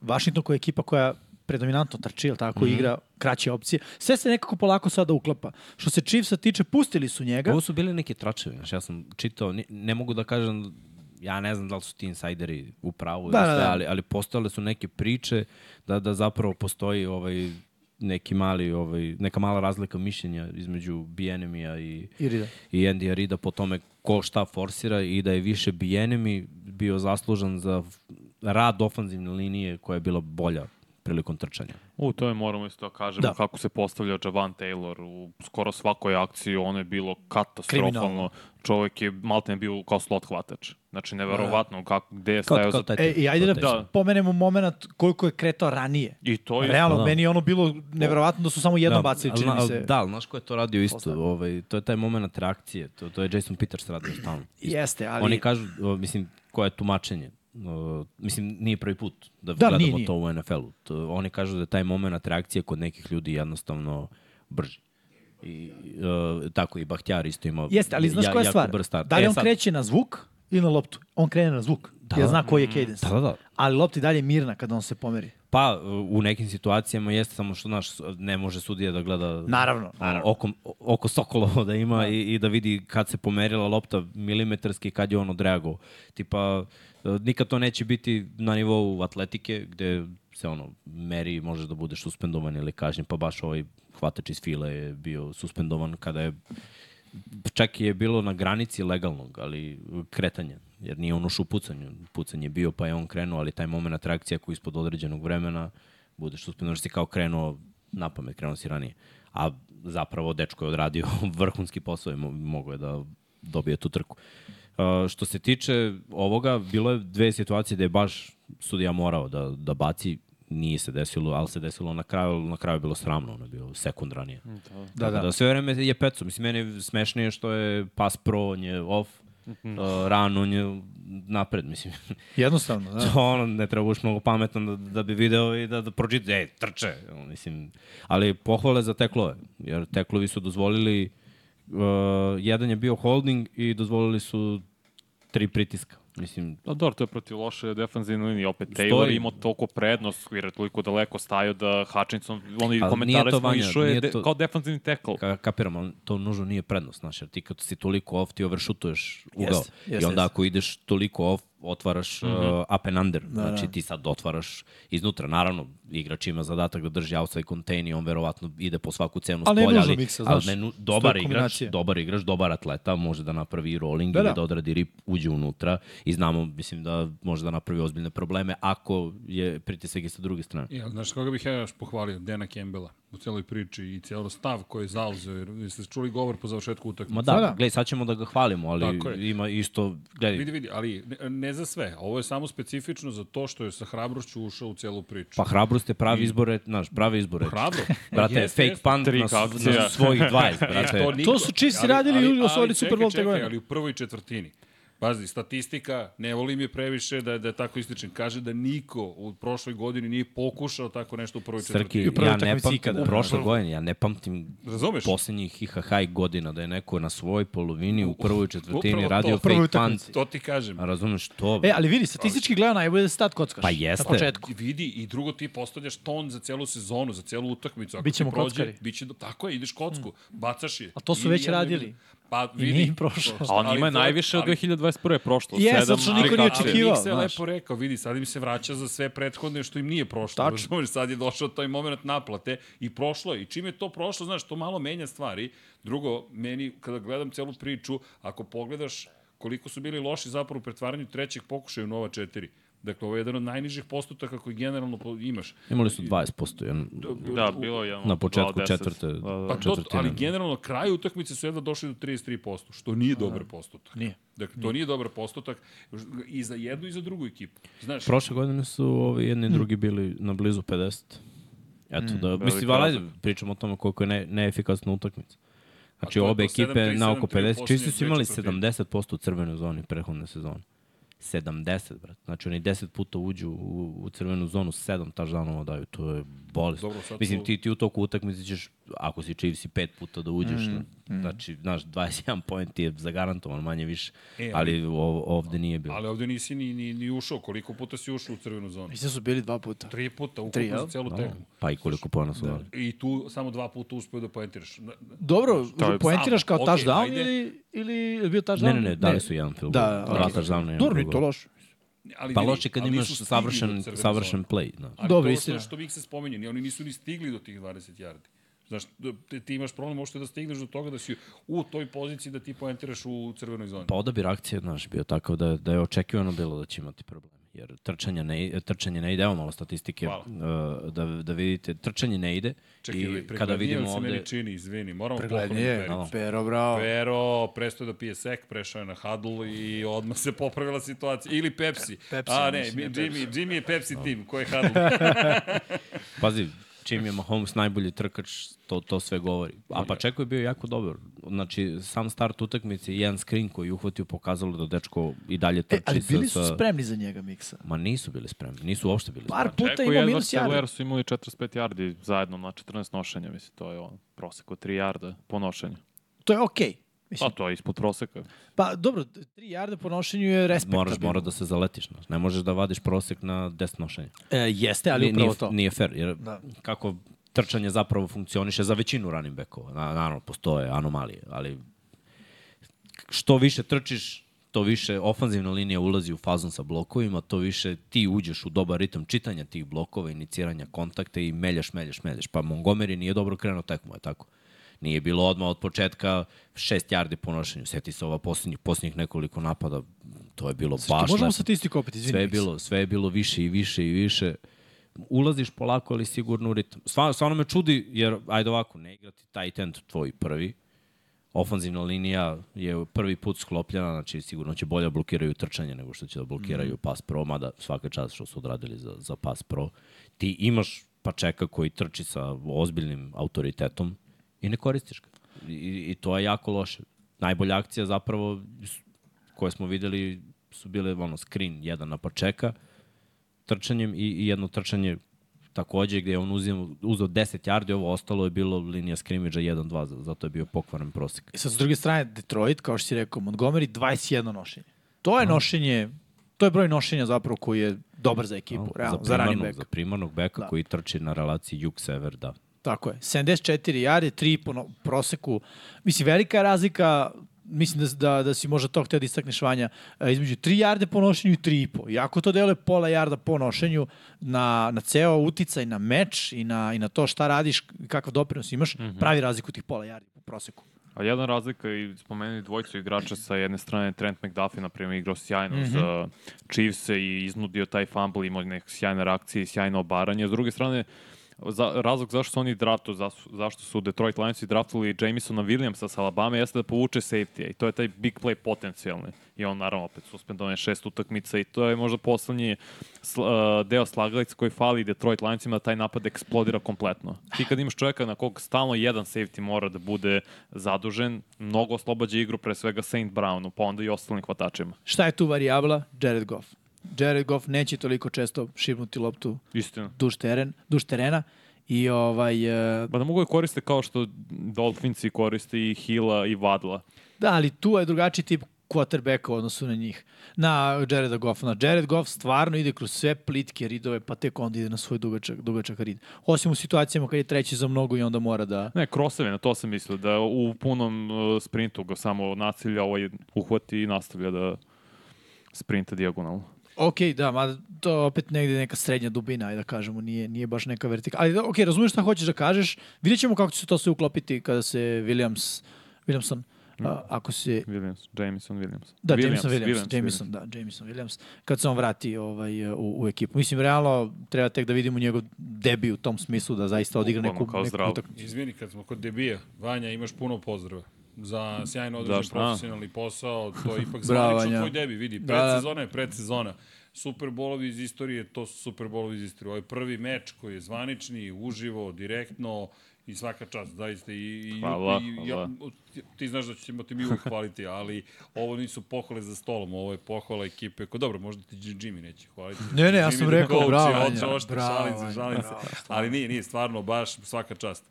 Speaker 4: Washington koja je ekipa koja predominantno trči, jel tako, igra kraće opcije. Sve se nekako polako sada uklapa. Što se Chiefsa tiče, pustili su njega.
Speaker 6: Ovo su bile neke tračevi, znaš, ja sam čitao, ne, ne mogu da kažem, ja ne znam da li su ti insajderi u pravu,
Speaker 4: Da,
Speaker 6: da,
Speaker 4: da,
Speaker 6: sve,
Speaker 4: da.
Speaker 6: ali, ali postojale su neke priče da, da zapravo postoji ovaj, neki mali, ovaj, neka mala razlika mišljenja između Bijenemija i,
Speaker 4: I Rida.
Speaker 6: i Andy Rida po tome ko šta forsira i da je više Bijenemi bio zaslužan za f- rad ofanzivne linije koja je bila bolja prilikom trčanja.
Speaker 5: U, to je moramo isto da kažemo
Speaker 4: Da.
Speaker 5: kako se postavlja Javan Taylor u skoro svakoj akciji, ono je bilo katastrofalno.
Speaker 4: Kriminalno.
Speaker 5: Čovjek je maltene bio kao slot hvatač. Znači, neverovatno kako, gde je
Speaker 6: Da, Kao,
Speaker 5: stajao
Speaker 6: kao
Speaker 5: Pa za...
Speaker 6: taj
Speaker 4: E,
Speaker 6: tip,
Speaker 4: I ajde
Speaker 6: kao
Speaker 4: da,
Speaker 6: taj
Speaker 5: Da.
Speaker 4: pomenemo moment koliko je kretao ranije.
Speaker 5: I to je...
Speaker 4: Realno,
Speaker 6: da.
Speaker 4: meni je ono bilo neverovatno da su samo jednom bacili,
Speaker 6: ali
Speaker 4: čini
Speaker 6: na-
Speaker 4: mi
Speaker 6: ali
Speaker 4: se.
Speaker 6: Da, ali znaš ko je to radio isto? Ovaj, to je taj moment reakcije. To, to je Jason Peters radio stalno. Isto.
Speaker 4: Jeste, ali...
Speaker 6: Oni kažu, o, mislim, koje je tumačenje. O, mislim, nije prvi put da,
Speaker 4: Da,
Speaker 6: gledamo
Speaker 4: nije, nije.
Speaker 6: to u NFL-u. To- Oni kažu da je taj moment reakcije kod nekih ljudi jednostavno brži. I, e, tako i Bahtjar isto ima
Speaker 4: Jeste, ali znaš koja je
Speaker 6: jako
Speaker 4: stvar?
Speaker 6: brz start.
Speaker 4: Da li
Speaker 6: E,
Speaker 4: on
Speaker 6: sad-
Speaker 4: kreće na zvuk ili na loptu? On krene na zvuk. Da, ja zna koji je cadence.
Speaker 6: Da, da, da.
Speaker 4: Ali lopta i dalje je mirna kada on se pomeri.
Speaker 6: Pa, u nekim situacijama jeste samo što, znaš, ne može sudija da gleda...
Speaker 4: Naravno.
Speaker 6: Ono, oko, oko Sokolovo da ima i, i da vidi kad se pomerila lopta milimetarski, kad je on odreagovao. Tipa, e, nikad to neće biti na nivou atletike, gde se ono, meri i možeš da budeš suspendovan ili kažnjen, pa baš ovaj hvatač iz file je bio suspendovan kada je čak je bilo na granici legalnog, ali uh, kretanja, jer nije on ušao u pucanju. Pucanje je bio, pa je on krenuo, ali taj moment atrakcije ako ispod određenog vremena budeš suspendovan, što si kao krenuo na pamet, krenuo si ranije. A zapravo dečko je odradio vrhunski posao i mo- mogao je da dobije tu trku. Uh, što se tiče ovoga, bilo je dve situacije da je baš sudija morao da, da baci, nije se desilo, ali se desilo na kraju, na kraju je bilo sramno, ono je bilo sekund ranije. Da, da. da sve vreme je peco. Mislim, meni je smešnije što je pas pro, on je off, uh, run, on je napred, mislim.
Speaker 4: Jednostavno, da.
Speaker 6: To ono, ne treba buš mnogo pametan da, da bi video i da, da pročita, ej, trče, ono, mislim. Ali pohvale za teklove, jer teklovi su dozvolili, uh, jedan je bio holding i dozvolili su tri pritiska. Mislim,
Speaker 5: Da, dobro, to je protiv loše defanzivne linije. Opet, Taylor je imao toliko prednost, jer je toliko daleko stajao da Hutchinson, oni
Speaker 6: Ali
Speaker 5: komentare
Speaker 6: nije to,
Speaker 5: smo
Speaker 6: Vanja,
Speaker 5: išao je
Speaker 6: nije
Speaker 5: de,
Speaker 6: to-
Speaker 5: kao defanzivni tackle.
Speaker 6: ka, kapiram, ali to nužno nije prednost, znaš, jer ti kad si toliko off, ti overšutuješ ugao.
Speaker 4: Jeste,
Speaker 6: I
Speaker 4: jeste, Mhm.
Speaker 6: onda
Speaker 4: jeste.
Speaker 6: ako ideš toliko off, otvaraš uh, up and under.
Speaker 4: Da,
Speaker 6: znači ti sad otvaraš iznutra. Naravno, igrač ima zadatak da drži outside contain i on verovatno ide po svaku cenu
Speaker 4: Ali ne
Speaker 6: s polja.
Speaker 4: nužno miksa, znaš,
Speaker 6: ne nu-
Speaker 4: to je
Speaker 6: dobar igrač,
Speaker 4: kombinacija.
Speaker 6: dobar igrač, dobar atleta, može da napravi i rolling
Speaker 4: Da,
Speaker 6: ili
Speaker 4: da.
Speaker 6: da odradi rip, uđe unutra i znamo, mislim da može da napravi ozbiljne probleme ako je pritisak i sa druge strane.
Speaker 3: Ja, znaš koga bih ja još pohvalio? Dena Campbella u celoj priči i celo stav koji je zauzeo. Jer jeste čuli govor po završetku utakmice?
Speaker 6: Ma da,
Speaker 4: Pa da.
Speaker 6: da. gledaj, sad ćemo da ga hvalimo, ali
Speaker 3: Tako je.
Speaker 6: ima isto, gledaj,
Speaker 3: Vidi, vidi, ali ne, ne za sve. Ovo je samo specifično za to što je sa hrabrošću ušao u celu priču.
Speaker 6: Pa hrabrost je pravi izbore, znaš, pravi izbore.
Speaker 3: Hrabro.
Speaker 6: Brate,
Speaker 3: Jeste,
Speaker 6: fake
Speaker 3: jeste.
Speaker 6: punt
Speaker 5: Tri
Speaker 6: na, s-
Speaker 5: akcija.
Speaker 6: na svojih 20, brate.
Speaker 3: niko-
Speaker 4: To su Chiefs
Speaker 3: ali-
Speaker 4: radili
Speaker 3: ali-
Speaker 4: i osvojili
Speaker 3: ali
Speaker 4: Super
Speaker 3: čekaj,
Speaker 4: Bowl te
Speaker 3: čekaj,
Speaker 4: godine.
Speaker 3: Ali u prvoj četvrtini. Pazi, statistika, ne volim je previše da, da je tako ističem. Kaže da niko u prošloj godini nije pokušao tako nešto u prvoj
Speaker 6: Srki,
Speaker 3: četvrtini.
Speaker 4: prvoj
Speaker 6: ja ne
Speaker 4: utakmici
Speaker 6: pamtim,
Speaker 4: ikada.
Speaker 6: u prošle godine, ja ne pamtim
Speaker 3: Razumeš?
Speaker 6: poslednjih IHH godina da je neko na svojoj polovini u prvoj četvrtini
Speaker 3: Upravo to,
Speaker 6: radio
Speaker 3: u
Speaker 4: prvoj
Speaker 6: fake punt.
Speaker 3: To ti kažem.
Speaker 6: A Razumeš to?
Speaker 4: E, ali vidi, statistički gledano, najbolje da stat kockaš.
Speaker 6: Pa jeste.
Speaker 4: Na početku.
Speaker 3: I vidi, i drugo ti postavljaš ton za celu sezonu, za celu utakmicu. Ako
Speaker 4: Bićemo
Speaker 3: ti prođe,
Speaker 4: kockari. Hmm.
Speaker 3: Biće, tako je, ideš kocku, bacaš je.
Speaker 4: A to su
Speaker 3: Ili
Speaker 4: već
Speaker 3: jedno, ili
Speaker 4: radili.
Speaker 3: drugo. Pa
Speaker 4: I
Speaker 3: vidi.
Speaker 4: nije im prošlo.
Speaker 3: to-
Speaker 5: A on ima
Speaker 3: to je-
Speaker 5: najviše od
Speaker 3: ali-
Speaker 5: 2021. prošlo.
Speaker 4: Jes,
Speaker 5: sedam
Speaker 4: zato
Speaker 6: znači,
Speaker 4: što niko nije
Speaker 5: trikača.
Speaker 4: očekivao.
Speaker 3: Ali Nik se
Speaker 4: znaš.
Speaker 3: lepo rekao, vidi, sad im se vraća za sve prethodne što im nije prošlo. Tačno. Sad je došao taj moment naplate i prošlo je. I čim je to prošlo, znaš, to malo menja stvari. Drugo, meni, kada gledam celu priču, ako pogledaš koliko su bili loši zapravo u pretvaranju trećeg pokušaja u Nova 4. Dakle, ovo je jedan od najnižih postotaka koji generalno po- imaš.
Speaker 6: Imali su 20%, jedan,
Speaker 5: Da, bilo je ono,
Speaker 6: na početku
Speaker 5: dva od deset.
Speaker 6: četvrte.
Speaker 5: Da, da.
Speaker 3: Pa to, ali
Speaker 6: četvrtine.
Speaker 3: generalno kraj utakmice su jedva došli do 33%, što nije dobar postotak.
Speaker 4: da. Nije.
Speaker 3: Dakle, to nije dobar postotak i za jednu i za drugu ekipu. Znaš,
Speaker 6: Prošle godine su ovi jedni i
Speaker 3: Hm.
Speaker 6: drugi bili na blizu 50. Eto, da, mislim,
Speaker 5: razlika.
Speaker 6: valajde, pričamo o tome koliko je ne, neefikasna utakmica. Znači,
Speaker 3: A to je
Speaker 6: obe
Speaker 3: to 7-3,
Speaker 6: ekipe na oko
Speaker 3: 7-3 u
Speaker 6: 50. Čisto su
Speaker 3: posljednje
Speaker 6: imali
Speaker 3: dve četvrtine.
Speaker 6: 70% u crvenoj zoni prethodne sezone. 70, brat. Znači, oni 10 puta uđu u, u crvenu zonu, 7 taždanova daju. To je bolest.
Speaker 3: Dobro, sad
Speaker 6: Mislim,
Speaker 3: su-
Speaker 6: ti, ti u toku utakmice ćeš ako si Chiefs i pet puta da uđeš,
Speaker 3: Hm,
Speaker 6: mm, mm. znači, znaš, 21 point je zagarantovan manje više,
Speaker 3: E,
Speaker 6: ali ov, ovde nije bilo.
Speaker 3: Ali ovde nisi ni, ni, ni ušao. Koliko puta si ušao u crvenu zonu?
Speaker 4: Mislim da su bili dva puta.
Speaker 3: Tri puta,
Speaker 4: Tri,
Speaker 3: ukupno
Speaker 4: jel?
Speaker 3: za celu tekmu.
Speaker 6: Pa i koliko pona
Speaker 3: Da.
Speaker 6: su dali.
Speaker 3: I tu samo dva puta uspeo da poentiraš. Na- na-
Speaker 4: Dobro, znači,
Speaker 5: je-
Speaker 4: poentiraš kao
Speaker 3: Okej,
Speaker 4: touchdown
Speaker 3: ajde.
Speaker 4: ili, ili je bio touchdown?
Speaker 6: Ne, ne, ne, dali su jedan field goal.
Speaker 4: Da,
Speaker 6: Dva touchdowna i jedan
Speaker 4: Dobro,
Speaker 6: field
Speaker 4: nije to
Speaker 6: goal.
Speaker 4: loše. E,
Speaker 3: Ali
Speaker 6: Pa
Speaker 3: vidi,
Speaker 6: loše kad
Speaker 3: ali
Speaker 6: imaš
Speaker 3: nisu stigli do
Speaker 6: savršen,
Speaker 3: crvene zone.
Speaker 6: savršen play. Da.
Speaker 3: Ali
Speaker 4: Dobro,
Speaker 3: to je
Speaker 4: istina.
Speaker 3: što Vik se spomenje, ni oni nisu ni stigli do tih 20 jardi. Znaš, ti, ti imaš problem uopšte da stigneš do toga da si u toj poziciji da ti poentiraš u crvenoj zoni.
Speaker 6: Pa odabir akcije, znaš, bio takav da, da je očekivano bilo da će imati problem. Jer trčanje ne, trčanje ne ide, evo malo statistike
Speaker 3: Hvala.
Speaker 6: uh, da, da vidite, trčanje ne ide.
Speaker 3: Čekaj, ovaj,
Speaker 6: I kada vidimo
Speaker 3: se
Speaker 6: ovde,
Speaker 3: meni čini, izvini, moramo pohvaliti
Speaker 4: Preglednije,
Speaker 3: Pericu.
Speaker 4: pero bravo.
Speaker 3: Pero prestao je da pije sek, prešao je na huddle i odmah se popravila situacija. Ili Pepsi.
Speaker 4: Pepsi,
Speaker 3: A ne,
Speaker 4: mislim,
Speaker 3: mi,
Speaker 4: je
Speaker 3: Jimmy, Jimmy je Pepsi tim, ko je huddle.
Speaker 6: pazi, čim je Mahomes najbolji trkač, to, to sve govori. A pa čeko je bio jako dobar. Znači, sam start utakmice i jedan screen koji je uhvatio pokazalo da dečko i dalje trči.
Speaker 4: E, ali bili
Speaker 6: sa,
Speaker 4: su
Speaker 6: sa-
Speaker 4: spremni za njega miksa.
Speaker 6: Ma nisu bili spremni, nisu uopšte bili
Speaker 4: Par
Speaker 6: spremni.
Speaker 4: puta
Speaker 5: Čeko i
Speaker 4: imao
Speaker 5: Edward
Speaker 4: minus
Speaker 5: Siller
Speaker 4: jada.
Speaker 5: su imali 45 yardi zajedno na 14 nošenja, mislim, to je on, prosek od 3 yarda po nošenju.
Speaker 4: To je okej. Mislim,
Speaker 5: Pa to je ispod proseka.
Speaker 4: pa dobro, 3 jarda po nošenju je respektabilno.
Speaker 6: Moraš, mora da se zaletiš. znaš. Ne možeš da vadiš prosek na desno nošenje.
Speaker 4: E, jeste, ali
Speaker 6: Nije-
Speaker 4: upravo
Speaker 6: nije,
Speaker 4: to.
Speaker 6: Nije fair, jer
Speaker 4: Da.
Speaker 6: da. kako trčanje zapravo funkcioniše za većinu running backova. Na, naravno, postoje anomalije, ali što više trčiš, to više ofanzivna linija ulazi u fazon sa blokovima, to više ti uđeš u dobar ritam čitanja tih blokova, iniciranja kontakta i meljaš, meljaš, meljaš. Pa Montgomery nije dobro krenuo tekmo, je tako? Nije bilo odmah od početka šest jardi po nošenju. Sjeti se ova posljednjih, posljednjih nekoliko napada, to je bilo baš
Speaker 4: Možemo
Speaker 6: lepo.
Speaker 4: statistiku opet, izvini.
Speaker 6: Sve je
Speaker 4: Miksa.
Speaker 6: bilo, sve je bilo više i više i više. Ulaziš polako, ali sigurno u ritam. Stvarno, stvarno me čudi, jer, ajde ovako, ne igrati tight end tvoj prvi. Ofanzivna linija je prvi put sklopljena, znači sigurno će bolje blokiraju trčanje nego što će da blokiraju pas pro, mada svaka čast što su odradili za, za pas pro. Ti imaš pačeka koji trči sa ozbiljnim autoritetom i ne koristiš ga. I, i to je jako loše. Najbolja akcija zapravo koje smo videli su bile ono screen jedan na Pačeka trčanjem i, i jedno trčanje takođe gde je on uzeo, uzeo 10 yardi, ovo ostalo je bilo linija skrimidža 1-2, za- zato je bio pokvaren prosek.
Speaker 4: E sad, s druge strane, Detroit, kao što si rekao, Montgomery, 21 nošenje. To je nošenje, to je broj nošenja zapravo koji je dobar za ekipu, realno, za, running back.
Speaker 6: primarnog, za primarnog beka
Speaker 4: Da.
Speaker 6: da. koji trči na relaciji jug-sever, da.
Speaker 4: Tako je. 74 jare, 3 po no- proseku. Mislim, velika je razlika, mislim da, da, da si možda to htio da istakneš Vanja, e, između 3 jarde po nošenju i 3 i po. Iako to deluje pola jarda po nošenju na, na ceo uticaj, na meč i na, i na to šta radiš, kakav doprinos imaš, mm -hmm. pravi razliku tih pola jardi po proseku.
Speaker 5: A jedan razlika i spomenuli dvojicu igrača sa jedne strane Trent McDuffie, na primjer, igrao sjajno mm
Speaker 4: Mhm.
Speaker 5: -hmm. za Chiefs i iznudio taj fumble, imao neke sjajne reakcije i sjajno obaranje. S druge strane, za, razlog zašto su oni draftu, zašto su Detroit Lionsi draftili Jamesona Williamsa sa Alabama jeste da povuče safety i to je taj big play potencijalni. I on naravno opet suspendovan je šest utakmica i to je možda poslednji sl, uh, deo slagalica koji fali Detroit Lionsima da taj napad eksplodira kompletno. Ti kad imaš čovjeka na kog stalno jedan safety mora da bude zadužen, mnogo oslobađa igru pre svega Saint Brownu, pa onda i ostalim hvatačima.
Speaker 4: Šta je tu varijabla? Jared Goff. Jared Goff neće toliko često šibnuti loptu
Speaker 5: Istina.
Speaker 4: duž, teren, duž terena i ovaj, e,
Speaker 5: Ba da mogu je koriste kao što Dolfinci koriste i Hila i Vadla.
Speaker 4: Da, ali tu je drugačiji tip quarterbacka u odnosu na njih. Na Jareda Goffa. Na Jared Goff stvarno ide kroz sve plitke ridove, pa tek onda ide na svoj dugačak, dugačak rid. Osim u situacijama kad je treći za mnogo i onda mora da...
Speaker 5: Ne, kroseve, na to sam mislio, da u punom uh, sprintu ga samo nacilja, ovaj uhvati i nastavlja da sprinta dijagonalno.
Speaker 4: Ok, da, mada to opet negde neka srednja dubina, ajde da kažemo, nije, nije baš neka vertika. Ali da, ok, razumeš šta hoćeš da kažeš, vidjet ćemo kako će se to sve uklopiti kada se Williams, Williamson, a, ako se
Speaker 5: Williams, Jameson Williams.
Speaker 4: Da, Jameson Williams, Jameson, da, Jameson Williams. Kad se on vrati ovaj, u, u ekipu. Mislim, realno treba tek da vidimo njegov debi u tom smislu da zaista odigra
Speaker 5: Bukvalno
Speaker 4: neku,
Speaker 5: kao
Speaker 4: neku
Speaker 5: zdrav.
Speaker 4: utakmicu.
Speaker 3: Izvini, kad smo kod debija, Vanja, imaš puno pozdrava za sjajno odrađen
Speaker 5: Zašto?
Speaker 3: profesionalni posao, to je ipak
Speaker 4: Da, Bravo,
Speaker 3: zvanično
Speaker 4: Vanja.
Speaker 3: tvoj debi, vidi,
Speaker 4: Da, da.
Speaker 3: predsezona je predsezona. Super bolovi iz istorije, to su super bolovi iz istorije. Ovo je prvi meč koji je zvanični, uživo, direktno i svaka čast, zaista. I, i,
Speaker 5: Hvala,
Speaker 3: i, i
Speaker 5: hvala.
Speaker 3: Ja, ti znaš da ćemo ti mi uvijek hvaliti, ali ovo nisu pohvale za stolom, ovo je pohvala ekipe. Ko, dobro, možda ti Jimmy neće hvaliti.
Speaker 4: Ne, ne, ja sam
Speaker 3: Jimmy the
Speaker 4: rekao,
Speaker 3: coach,
Speaker 4: bravo,
Speaker 3: ja
Speaker 4: Vanja,
Speaker 3: hoću oštro,
Speaker 4: bravo,
Speaker 3: šalim se, šalim
Speaker 4: Vanja,
Speaker 3: se. Ali nije, nije, stvarno, baš svaka čast.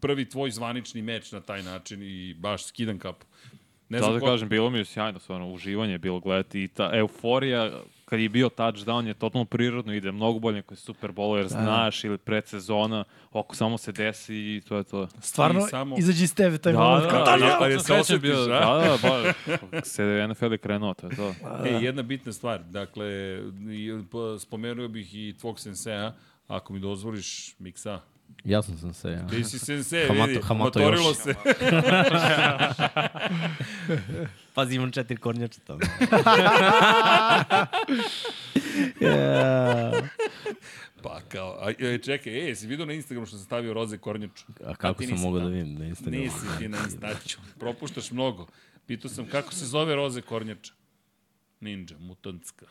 Speaker 3: prvi tvoj zvanični meč na taj način i baš skidam kapu. Ne
Speaker 5: Da, da
Speaker 3: ko-
Speaker 5: kažem, bilo mi je sjajno, stvarno, uživanje je bilo gledati i ta euforija kad je bio touchdown je totalno prirodno, ide mnogo bolje koji Super Bowl,
Speaker 4: Da.
Speaker 5: jer znaš ili predsezona, oko samo se desi i to je to.
Speaker 4: Stvarno,
Speaker 3: I samo-
Speaker 4: izađi iz tebe taj moment. kao,
Speaker 3: da,
Speaker 4: "Touchdown!"
Speaker 3: da,
Speaker 5: pa
Speaker 3: je
Speaker 5: je
Speaker 3: se
Speaker 5: se
Speaker 3: osjetiš,
Speaker 5: bio,
Speaker 3: a?
Speaker 5: da, da, baš, se NFL je krenuo, to je to.
Speaker 3: E, jedna bitna stvar, dakle, i, pa, spomenuo bih i tvog senseja, ako mi dozvoliš, miksa.
Speaker 6: Jasno sam se, ja.
Speaker 3: Ti si sensej,
Speaker 6: Hamato-
Speaker 3: vidi,
Speaker 6: Hamato
Speaker 3: maturilo
Speaker 6: još.
Speaker 3: se.
Speaker 6: Pazi, imam četiri kornjače tamo.
Speaker 3: Pa kao, a, e, čekaj, e, si vidio na Instagramu što sam stavio roze kornjaču?
Speaker 6: A kako
Speaker 3: ti
Speaker 6: sam
Speaker 3: nisi,
Speaker 6: mogao
Speaker 3: a?
Speaker 6: da vidim na Instagramu?
Speaker 3: Nisi ti na Instaću, propuštaš mnogo. Pitao sam kako se zove roze kornjača. Ninja, mutantska.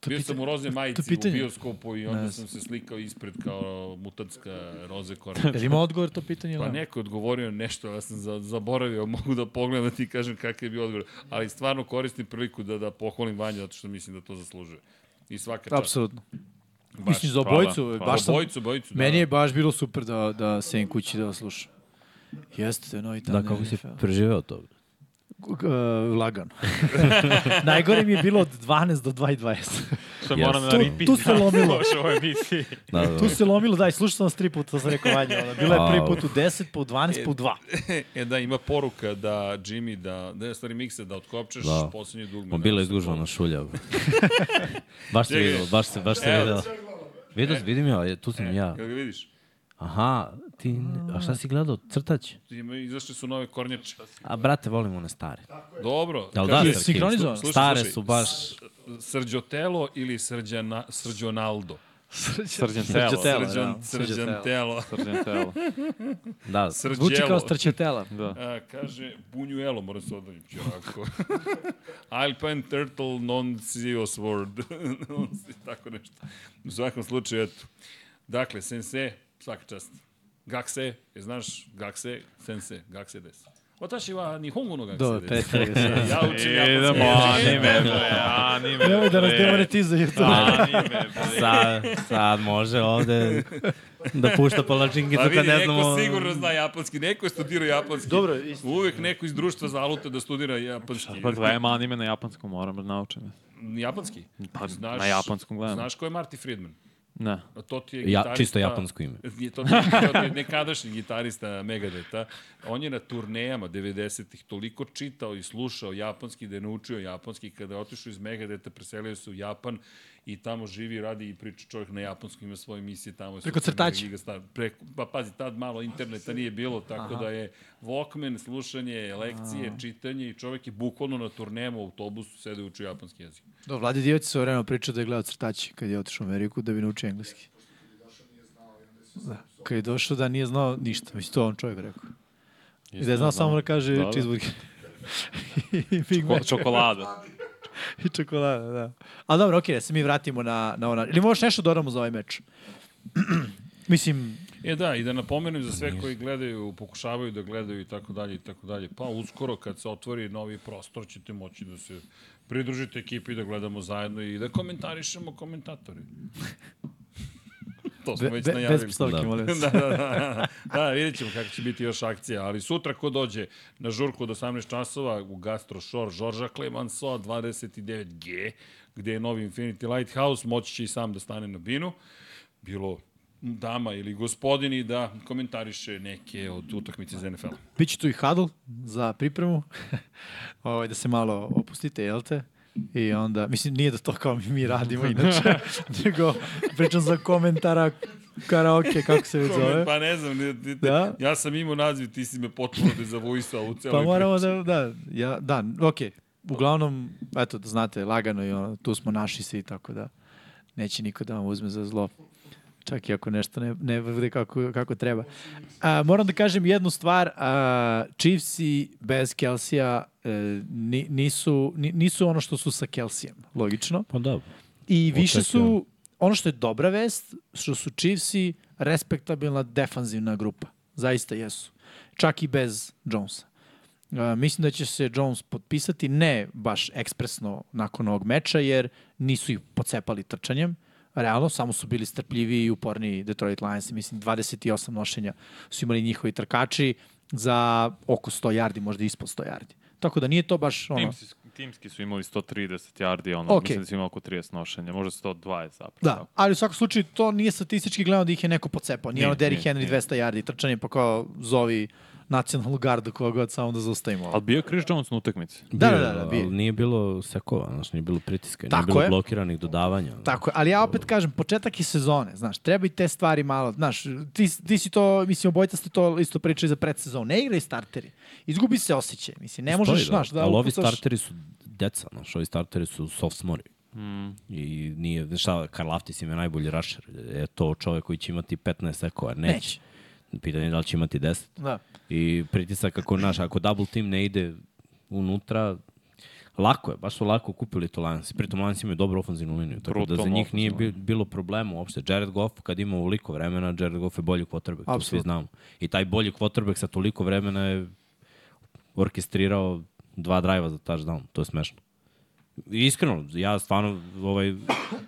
Speaker 4: To
Speaker 3: Bio
Speaker 4: pita-
Speaker 3: sam u roze
Speaker 4: to
Speaker 3: majici u
Speaker 4: pitanje.
Speaker 3: bioskopu i onda
Speaker 4: Ne
Speaker 3: sam se slikao ispred kao mutantska roze kornjača.
Speaker 4: Jel ima odgovor to pitanje? Da.
Speaker 3: Pa
Speaker 4: ili ne?
Speaker 3: neko je odgovorio nešto, ja sam za- zaboravio, mogu da pogledam da ti kažem kakav je bio odgovor. Ali stvarno koristim priliku da, da pohvalim Vanja, zato što mislim da to zaslužuje. I svaka čast. Pa
Speaker 4: Apsolutno.
Speaker 3: da. Baš,
Speaker 4: Mislim, za
Speaker 3: hvala.
Speaker 4: obojicu,
Speaker 3: Hvala.
Speaker 4: baš sam-
Speaker 3: Obojicu, obojicu,
Speaker 4: Meni je baš bilo super da, da sedim kući da vas slušam. Jeste, to je novi tamo.
Speaker 6: Da, kako si preživeo to?
Speaker 4: lagano. e, Najgore mi je bilo od 12 do 2.20.
Speaker 5: Što
Speaker 6: Yes.
Speaker 5: moram da
Speaker 4: Tu-
Speaker 5: repeat
Speaker 4: tu se lomilo.
Speaker 5: u ovoj emisiji.
Speaker 6: Da, da, da.
Speaker 4: Tu se lomilo, daj, slušao sam vas tri puta, to sam rekao vanje. Ono. Bilo je prvi
Speaker 6: Au.
Speaker 4: put u 10, pa u 12, pa u 2.
Speaker 3: E da, ima poruka da Jimmy, da, da je stari mikse, da otkopčeš da.
Speaker 6: Da.
Speaker 3: poslednju dugme.
Speaker 6: Ma bila
Speaker 3: Da,
Speaker 6: je izgužvana šulja. bro. baš se
Speaker 3: Čekaj.
Speaker 6: videlo, baš se, baš se
Speaker 3: Evo.
Speaker 6: videlo. Vidio, vidim ja, je, tu sam ja.
Speaker 3: Jel ga vidiš?
Speaker 6: Aha, ti, ne- a šta si gledao? Crtač?
Speaker 3: Ima- Izašli su nove kornjače.
Speaker 6: A brate, volim one stare.
Speaker 3: Dobro.
Speaker 6: Da li da,
Speaker 3: kaže,
Speaker 4: je
Speaker 6: Srki?
Speaker 4: sinhronizovano?
Speaker 3: Slušaj,
Speaker 6: Stare
Speaker 3: slušaj.
Speaker 6: su baš...
Speaker 3: Srđotelo ili srđana, Srđonaldo?
Speaker 5: Srđan telo.
Speaker 4: Srđan-
Speaker 3: Srđan,
Speaker 4: srđan
Speaker 3: srđantelo.
Speaker 5: Srđan telo.
Speaker 6: Da,
Speaker 3: Srđelo.
Speaker 4: Zvuči kao strčetela.
Speaker 5: Da.
Speaker 3: A, kaže, bunjuelo, moram se odaviti ovako. Alpine Turtle non serious word. Tako nešto. U svakom slučaju, eto. Dakle, sense, svaka čast. Gakse, je znaš, gakse, sense, gakse des. Watashi wa nihongo no gakse
Speaker 4: Dobro,
Speaker 3: desu.
Speaker 4: prestali ga se.
Speaker 3: Ja učim
Speaker 5: да,
Speaker 3: japanski.
Speaker 5: Idemo, anime, bre, anime.
Speaker 4: Nemoj da nas
Speaker 5: bre.
Speaker 4: demonetizuje.
Speaker 5: Anime, bre.
Speaker 6: sad, sad može ovde da pušta palačinke
Speaker 3: Pa
Speaker 6: dok
Speaker 3: vidi,
Speaker 6: ne
Speaker 3: neko
Speaker 6: znamo...
Speaker 3: sigurno zna japanski, neko je studirao japanski. Dobro, isto. Uvek neko iz društva zaluta da studira japanski.
Speaker 5: Pa gledam anime na japanskom, moram da naučim.
Speaker 3: Japanski?
Speaker 5: Pa, na japanskom gledam.
Speaker 3: Znaš ko je Marty Friedman?
Speaker 5: Ne.
Speaker 3: A To ti je
Speaker 6: Ja-
Speaker 3: gitarista...
Speaker 6: čisto japansko ime.
Speaker 3: Je, to ti je, to ti je nekadašnji gitarista Megadeta. On je na turnejama 90-ih toliko čitao i slušao japanski da je naučio japanski. Kada je otišao iz Megadeta, preselio se u Japan i tamo živi, radi i priča čovjek na japanskom, ima svoje misije tamo. je
Speaker 4: Preko
Speaker 3: super
Speaker 4: crtača.
Speaker 3: Liga Star- Preko, pa pazi, tad malo interneta nije bilo, tako da je Walkman, slušanje, lekcije, čitanje i čovjek je bukvalno na turnejama u autobusu sede i uči japanski jezik.
Speaker 4: Do, Vladi Divac se vremena pričao da je gledao crtači kad je otišao u Ameriku da bi naučio engleski. Da. Kad je došao da nije znao ništa, već to on čovjek rekao. I da je znao samo da kaže
Speaker 5: Da, da.
Speaker 4: cheeseburger. I Big
Speaker 5: Ko,
Speaker 4: Mac
Speaker 5: čokolada.
Speaker 4: i čokolada, da. A dobro, okej, da se mi vratimo na, na ona. Ili možeš nešto dodamo za ovaj meč? Mislim,
Speaker 3: E da, i da napomenem za sve koji gledaju, pokušavaju da gledaju i tako dalje i tako dalje. Pa uskoro kad se otvori novi prostor ćete moći da se pridružite ekipi da gledamo zajedno i da komentarišemo komentatori. To smo
Speaker 4: be,
Speaker 3: već
Speaker 4: be,
Speaker 3: najavili.
Speaker 4: bez psovke,
Speaker 6: Da.
Speaker 4: molim vas.
Speaker 3: da, da, da. da, vidjet ćemo kako će biti još akcija, ali sutra ko dođe na žurku od 18 časova u Gastro Shore Žorža Clemenceau 29G, gde je novi Infinity Lighthouse, moći će i sam da stane na binu, bilo dama ili gospodini da komentariše neke od utakmice iz NFL-a.
Speaker 4: Biće tu i hadl za pripremu, ovaj, da se malo opustite, jel te? I onda, mislim, nije da to kao mi, mi radimo inače, nego pričam za komentara karaoke, kako se već zove.
Speaker 3: Pa ne znam, ne, ne,
Speaker 4: Da.
Speaker 3: ja sam imao naziv, ti si me potpuno dezavuisao u
Speaker 4: Pa
Speaker 3: celoj
Speaker 4: moramo da, da, ja, da, okej. Uglavnom, eto, da znate, lagano je, ono, tu smo naši svi, tako da neće niko da vam uzme za zlo. Čak i ako nešto ne, ne bude kako, kako treba. A, moram da kažem jednu stvar, a, Chiefsi bez Kelsija e, ni, nisu, ni, nisu ono što su sa Kelsijem, logično.
Speaker 6: Pa da,
Speaker 4: I više
Speaker 6: Očekivano.
Speaker 4: su, ono što je dobra vest, što su Chiefsi respektabilna defanzivna grupa. Zaista jesu. Čak i bez Jonesa. Uh, mislim da će se Jones potpisati, ne baš ekspresno nakon ovog meča, jer nisu ih pocepali trčanjem, realno, samo su bili strpljiviji i uporniji Detroit Lions, mislim 28 nošenja su imali njihovi trkači za oko 100 yardi, možda ispod 100 yardi. Tako da nije to baš ono...
Speaker 5: Timski, timski su imali 130 yardi, ono,
Speaker 4: Ok.
Speaker 5: mislim da su imali oko 30 nošenja, možda 120 zapravo.
Speaker 4: Da,
Speaker 5: tako.
Speaker 4: ali u svakom slučaju to nije statistički gledano da ih je neko pocepao. Nije,
Speaker 5: Nije,
Speaker 4: ono Derrick
Speaker 5: nije,
Speaker 4: Henry
Speaker 5: nije.
Speaker 4: 200 yardi trčanje pa kao zovi nacionalnu gardu koga god samo da zaustavimo.
Speaker 5: Ali bio je Chris Jones na utakmici.
Speaker 4: Da,
Speaker 6: Bio
Speaker 4: da,
Speaker 6: je,
Speaker 4: da, da,
Speaker 6: ali
Speaker 4: bio.
Speaker 6: Nije bilo sekova, znaš, nije bilo pritiska,
Speaker 4: Tako
Speaker 6: nije bilo
Speaker 4: je.
Speaker 6: blokiranih dodavanja. znaš.
Speaker 4: Tako je, ali ja opet kažem, početak je sezone, znaš, treba i te stvari malo, znaš, ti, ti si to, mislim, obojta ste to isto pričali za predsezon, ne igraj starteri, izgubi se osjećaj, mislim, ne možeš,
Speaker 6: Stoji,
Speaker 4: znaš, da
Speaker 6: ali ovi
Speaker 4: upucaš-
Speaker 6: starteri su deca, znaš, ovi starteri su sophomori. Mm. I nije, znaš šta, Karl Aftis im je najbolji rusher. Je to čovek koji će imati 15 sekova, neće.
Speaker 4: Neće.
Speaker 6: Pitanje je da li će imati 10.
Speaker 4: Da.
Speaker 6: I pritisak ako, znaš, ako double team ne ide unutra, lako je, baš su lako kupili to Lions. Pritom Lions imaju dobru ofanzivnu liniju, tako da za
Speaker 5: Brutalno
Speaker 6: njih nije bi,
Speaker 5: ofanzivnu.
Speaker 6: bilo problema uopšte. Jared Goff, kad ima ovoliko vremena, Jared Goff je bolji quarterback, to svi
Speaker 4: Apsolutno.
Speaker 6: znamo. I taj bolji quarterback sa toliko vremena je orkestrirao dva drajva za touchdown, to je smešno. Iskreno, ja stvarno, ovaj,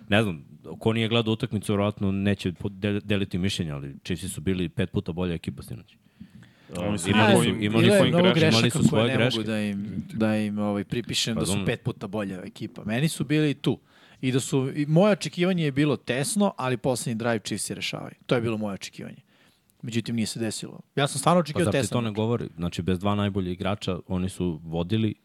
Speaker 6: ne znam, ko nije gledao utakmicu, vjerojatno neće pod- del- deliti mišljenja, ali Chiefs su bili pet puta bolja ekipa sinoć. Ovaj,
Speaker 5: Oni su
Speaker 6: imali
Speaker 5: imali,
Speaker 6: su-
Speaker 5: svojim-
Speaker 6: imali
Speaker 5: imali
Speaker 6: su
Speaker 5: svojim
Speaker 6: mnogo
Speaker 5: greškama.
Speaker 6: grešaka. Imali su svoje
Speaker 4: koje ne
Speaker 6: greške.
Speaker 4: mogu da im, da im ovaj, pripišem da su
Speaker 6: Razumem.
Speaker 4: pet puta bolja ekipa. Meni su bili tu. I da su, i moje očekivanje je bilo tesno, ali poslednji drive Chiefs je rešavaju. To je bilo moje očekivanje. Međutim, nije se desilo. Ja sam stvarno
Speaker 6: Pa
Speaker 4: očekio
Speaker 6: zar ti
Speaker 4: tesno.
Speaker 6: to ne govori? Znači, bez dva najbolje igrača oni su vodili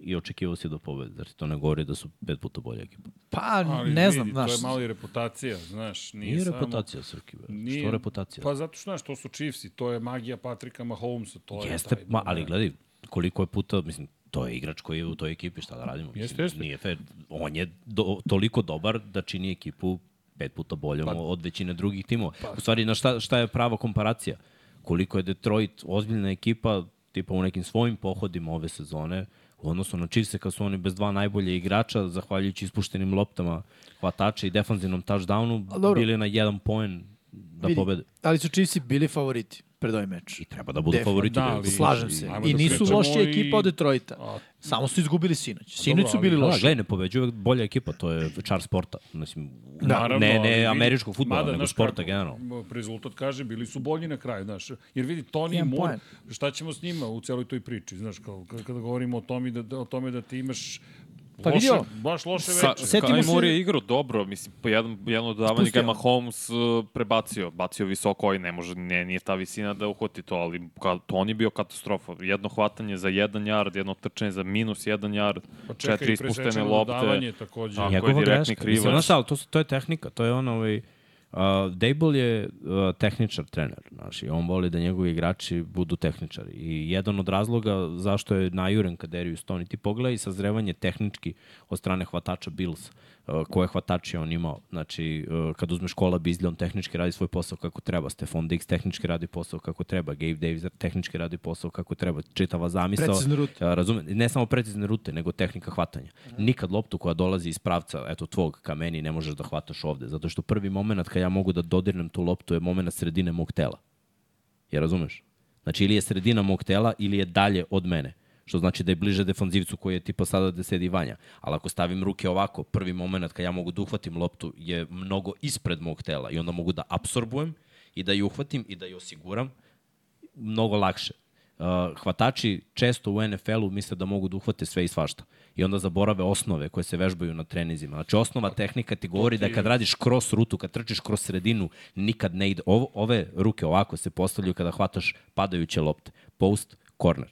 Speaker 6: i očekivao si da pobede. Zar ti to ne govori da su pet puta bolja ekipa?
Speaker 4: Pa,
Speaker 3: Ali
Speaker 4: ne znam,
Speaker 3: vidi,
Speaker 4: znaš.
Speaker 3: To je malo i reputacija, znaš. Nije,
Speaker 6: Nije,
Speaker 3: samo...
Speaker 6: reputacija, Srki. bre.
Speaker 3: Nije-
Speaker 6: Što reputacija?
Speaker 3: Pa zato što, znaš, to su Chiefs i to je magija Patrika Mahomesa. To
Speaker 6: Jeste,
Speaker 3: je taj,
Speaker 6: ma, ali gledaj, koliko je puta, mislim, to je igrač koji je u toj ekipi, šta da radimo? Mislim,
Speaker 3: Jeste, jeste.
Speaker 6: Nije fair. On je do, toliko dobar da čini ekipu pet puta boljom
Speaker 3: Pa.
Speaker 6: od većine drugih timova. u stvari, na šta, šta je prava komparacija? Koliko je Detroit ozbiljna ekipa, tipa u nekim svojim pohodima ove sezone, u odnosu na Chiefs-e kad su oni bez dva najbolje igrača, zahvaljujući ispuštenim loptama, hvatača i defanzivnom
Speaker 4: Ali
Speaker 6: touchdownu,
Speaker 4: dobro.
Speaker 6: bili na jedan poen da
Speaker 4: vidi,
Speaker 6: pobede.
Speaker 4: Ali su Chiefsi bili favoriti pred ovaj meč.
Speaker 6: I treba da budu
Speaker 4: Definitivno.
Speaker 6: favoriti.
Speaker 3: Da,
Speaker 6: bre.
Speaker 3: ali-
Speaker 4: Slažem se.
Speaker 3: Ajmo
Speaker 4: I
Speaker 3: da
Speaker 4: nisu
Speaker 3: pričamo
Speaker 4: loši
Speaker 3: i-
Speaker 4: ekipa od Detroita.
Speaker 3: A- Pa
Speaker 4: Samo su izgubili sinoć. Sinoć su
Speaker 3: ali-
Speaker 4: bili
Speaker 6: Da,
Speaker 4: loši.
Speaker 6: gledaj, ne pobeđuje uvek bolja ekipa, to je čar sporta. Mislim,
Speaker 3: Da,
Speaker 6: da, ne, ne američkog futbola, nego sporta generalno.
Speaker 3: Rezultat kaže, bili su bolji na kraju, znaš. Jer vidi, Tony
Speaker 4: Imam
Speaker 3: Moore,
Speaker 4: poen.
Speaker 3: šta ćemo s njima u celoj toj priči, znaš, kao, k- kada govorimo o tome da, da, o tome da ti imaš
Speaker 4: Pa
Speaker 3: loše,
Speaker 4: vidio,
Speaker 3: baš loše
Speaker 4: sa-
Speaker 3: večer.
Speaker 4: setimo
Speaker 5: Setimo
Speaker 4: se-
Speaker 5: se... Moore je igrao dobro, mislim, po jednom, jedno davanje
Speaker 4: Spustio.
Speaker 5: ga je Mahomes uh, prebacio, bacio visoko, i ne može, ne, nije ta visina da uhvati to, ali ka, to on je bio katastrofa. Jedno hvatanje za jedan yard, jedno trčanje za minus jedan yard,
Speaker 3: Pa čekaj,
Speaker 5: četiri ispuštene
Speaker 3: presečeno
Speaker 5: lopte.
Speaker 3: dodavanje takođe.
Speaker 5: Tako je,
Speaker 6: Njegova
Speaker 5: direktni
Speaker 6: greška.
Speaker 5: krivac.
Speaker 6: Mislim, znaš šta, ali to, su- to je tehnika, to je ono, ovaj, uh, Dable je uh, tehničar, trener, znaš, i on voli da njegovi igrači budu tehničari. I jedan od razloga zašto je najuren kad Darius Stone, ti pogledaj sazrevanje tehnički od strane hvatača Bills, uh, koje hvatače je on imao. Znači, uh, kad uzmeš kola Bizlja, on tehnički radi svoj posao kako treba, Stefan Diggs tehnički radi posao kako treba, Gabe Davis tehnički radi posao kako treba, čitava zamisao.
Speaker 4: Precizne rute.
Speaker 6: A, razumem, ne samo precizne rute, nego tehnika hvatanja. Nikad loptu koja dolazi iz pravca, eto tvog ka meni, ne možeš da hvataš ovde, zato što prvi moment kad ja mogu da dodirnem tu loptu je moment sredine mog tela. Ja razumeš? Znači ili je sredina mog tela ili je dalje od mene. Što znači da je bliže defanzivcu koji je tipa sada da sedi Vanja. Ali ako stavim ruke ovako, prvi moment kad ja mogu da uhvatim loptu je mnogo ispred mog tela i onda mogu da apsorbujem i da je uhvatim i da je osiguram mnogo lakše. Uh, hvatači često u NFL-u misle da mogu da uhvate sve i svašta. I onda zaborave osnove koje se vežbaju na trenizima. Znači, osnova tehnika ti govori da kad radiš cross rutu, kad trčiš kroz sredinu, nikad ne ide. Ovo, ove ruke ovako se postavljaju kada hvataš padajuće lopte. Post, corner.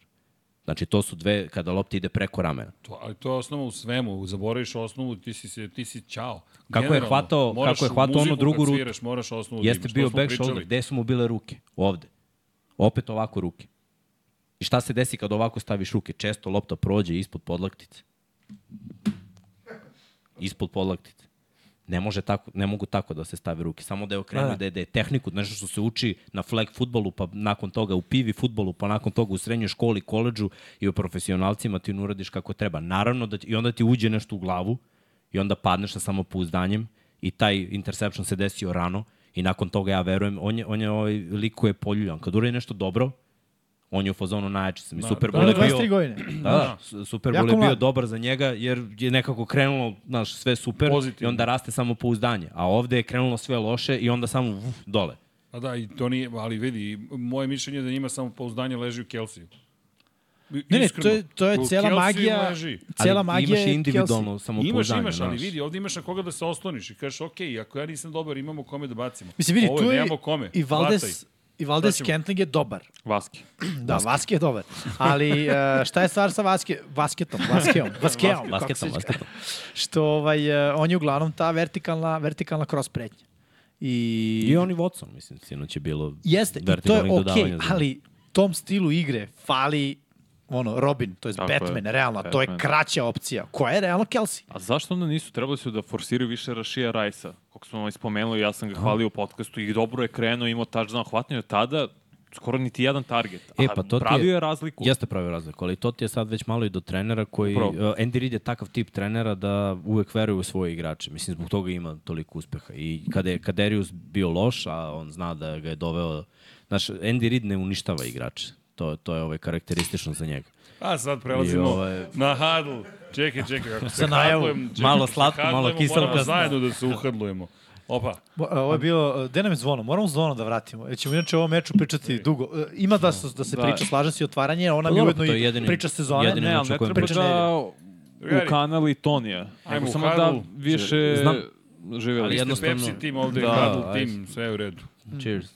Speaker 6: Znači, to su dve kada lopta ide preko ramena.
Speaker 3: To, ali to je osnova u svemu, zaboraviš osnovu, ti si, se, ti si čao.
Speaker 6: Kako je hvatao-
Speaker 3: moraš
Speaker 6: kako je hvatao onu
Speaker 3: muziku
Speaker 6: drugu
Speaker 3: kad
Speaker 6: rutu?
Speaker 3: Sviraš, moraš osnovu da
Speaker 6: Jeste
Speaker 3: imaš, to
Speaker 6: bio
Speaker 3: smo
Speaker 6: back shoulder.
Speaker 3: pričali.
Speaker 6: Gde su mu bile ruke? Ovde. Opet ovako ruke. I šta se desi kad ovako staviš ruke? Često lopta prođe ispod podlaktice. Ispod podlaktice. Ne, može tako, ne mogu tako da se stave ruke. Samo da je okrenu
Speaker 4: Da.
Speaker 6: da. da, je, da je tehniku, nešto što se uči na flag futbolu, pa nakon toga u pivi futbolu, pa nakon toga u srednjoj školi, koleđu i u profesionalcima ti ne uradiš kako treba. Naravno, da ti, i onda ti uđe nešto u glavu i onda padneš sa samopouzdanjem i taj interception se desio rano i nakon toga ja verujem, on je, on je ovaj, lik koji je poljuljan. Kad uradi nešto dobro, On je u fazonu najjači sam i
Speaker 3: Da,
Speaker 6: Super
Speaker 4: Da,
Speaker 6: Bowl je
Speaker 4: 23
Speaker 6: bio...
Speaker 4: godine.
Speaker 6: Da, da, S- Super
Speaker 4: Jako
Speaker 6: Bowl je bio
Speaker 4: mlad.
Speaker 6: dobar za njega jer je nekako krenulo, znaš, sve super
Speaker 3: Pozitivno.
Speaker 6: i onda raste samo pouzdanje. A ovde je krenulo sve loše i onda samo vuf, dole.
Speaker 3: A da, i to nije, ali vidi, moje mišljenje je da njima samo pouzdanje leži u Kelsiju. I-
Speaker 4: Ne, ne,
Speaker 3: iskreno,
Speaker 4: to je, to je
Speaker 3: u
Speaker 4: cela
Speaker 3: Kelsiju
Speaker 4: magija,
Speaker 3: leži.
Speaker 4: cela
Speaker 6: Ali
Speaker 4: magija
Speaker 6: imaš
Speaker 4: je
Speaker 6: i individualno
Speaker 4: Kelsey.
Speaker 6: samopouzdanje.
Speaker 3: Imaš, imaš, ali
Speaker 6: znaš.
Speaker 3: vidi, ovde imaš na koga da se osloniš i kažeš, ok, ako ja nisam dobar, imamo kome da bacimo.
Speaker 4: Mislim, vidi,
Speaker 3: Ovo
Speaker 4: tu je
Speaker 3: nemamo kome.
Speaker 4: i
Speaker 3: hvataj.
Speaker 4: Valdes, i Valdes
Speaker 3: Šta ćemo?
Speaker 4: Scantling je dobar.
Speaker 5: Vaski.
Speaker 4: Da, Vaske je dobar. Ali e, šta je stvar sa Vaske, Vasketom? Vaskeom? Vaskeom? kako se
Speaker 6: Basketom,
Speaker 4: kaže?
Speaker 6: basketom.
Speaker 4: Što ovaj, e, on je uglavnom ta vertikalna, vertikalna cross pretnja. I,
Speaker 6: I oni Watson, mislim, sinoć je bilo
Speaker 4: Jeste, i to je
Speaker 6: vertikalnih
Speaker 4: okej,
Speaker 6: dodavanja
Speaker 4: okay,
Speaker 6: za-
Speaker 4: ali tom stilu igre fali ono, Robin, to je
Speaker 5: Tako je,
Speaker 4: Batman, realno, a to je
Speaker 5: Batman.
Speaker 4: kraća opcija. Koja je realno Kelsey?
Speaker 5: A zašto onda nisu trebali su da forsiraju više Rašija Rajsa? Kako smo vam spomenuli, ja
Speaker 6: Da.
Speaker 5: sam ga hvalio u podcastu i dobro je krenuo, imao touchdown, hvatnio je tada skoro niti jedan target.
Speaker 6: E,
Speaker 5: A
Speaker 6: pa to ti
Speaker 5: pravio je razliku.
Speaker 6: Jeste pravio razliku, ali to ti je sad već malo i do trenera koji...
Speaker 5: Upravo.
Speaker 6: Uh, Andy Reid je takav tip trenera da uvek veruje u svoje igrače. Mislim, zbog toga ima toliko uspeha. I kada je Kaderius bio loš, a on zna da ga je doveo... Znaš, Andy Reid ne uništava igrače. To, to je ovaj karakteristično za njega.
Speaker 3: A sad prelazimo
Speaker 6: I ovaj-
Speaker 3: na hadl. Čekaj, čekaj, ako se
Speaker 6: Sa najavom.
Speaker 3: hadlujem, čekaj,
Speaker 6: Malo
Speaker 3: ako se
Speaker 6: slatko, malo
Speaker 3: hadlujemo,
Speaker 6: kiselo
Speaker 3: Moramo
Speaker 6: kasno.
Speaker 3: zajedno da se uhadlujemo. Opa,
Speaker 4: Bo- a, Ovo je bilo, e, gde nam je zvono? Moramo zvono da vratimo. Jer ćemo inače o ovom meču pričati dugo. E, Ima da, se- da se
Speaker 5: Da.
Speaker 4: priča, slažem se i otvaranje, ona mi
Speaker 6: dobro,
Speaker 4: ujedno
Speaker 6: to je
Speaker 4: i
Speaker 6: jedini-
Speaker 4: priča sezone.
Speaker 6: jedini
Speaker 5: Ne, ali ne
Speaker 6: očekujem.
Speaker 5: treba
Speaker 4: Priča
Speaker 5: da
Speaker 3: Drugari.
Speaker 5: u kanali Tonija.
Speaker 3: Ajmo
Speaker 5: Ajmo
Speaker 3: u
Speaker 5: samo
Speaker 3: Hadl.
Speaker 5: da više
Speaker 6: Znam.
Speaker 5: živeli.
Speaker 6: Ali
Speaker 5: Ali
Speaker 3: ste
Speaker 6: Jednostavno-
Speaker 3: Pepsi tim ovde, da,
Speaker 5: Da,
Speaker 3: hadl
Speaker 6: ajde.
Speaker 3: tim, sve je u redu.
Speaker 6: Cheers.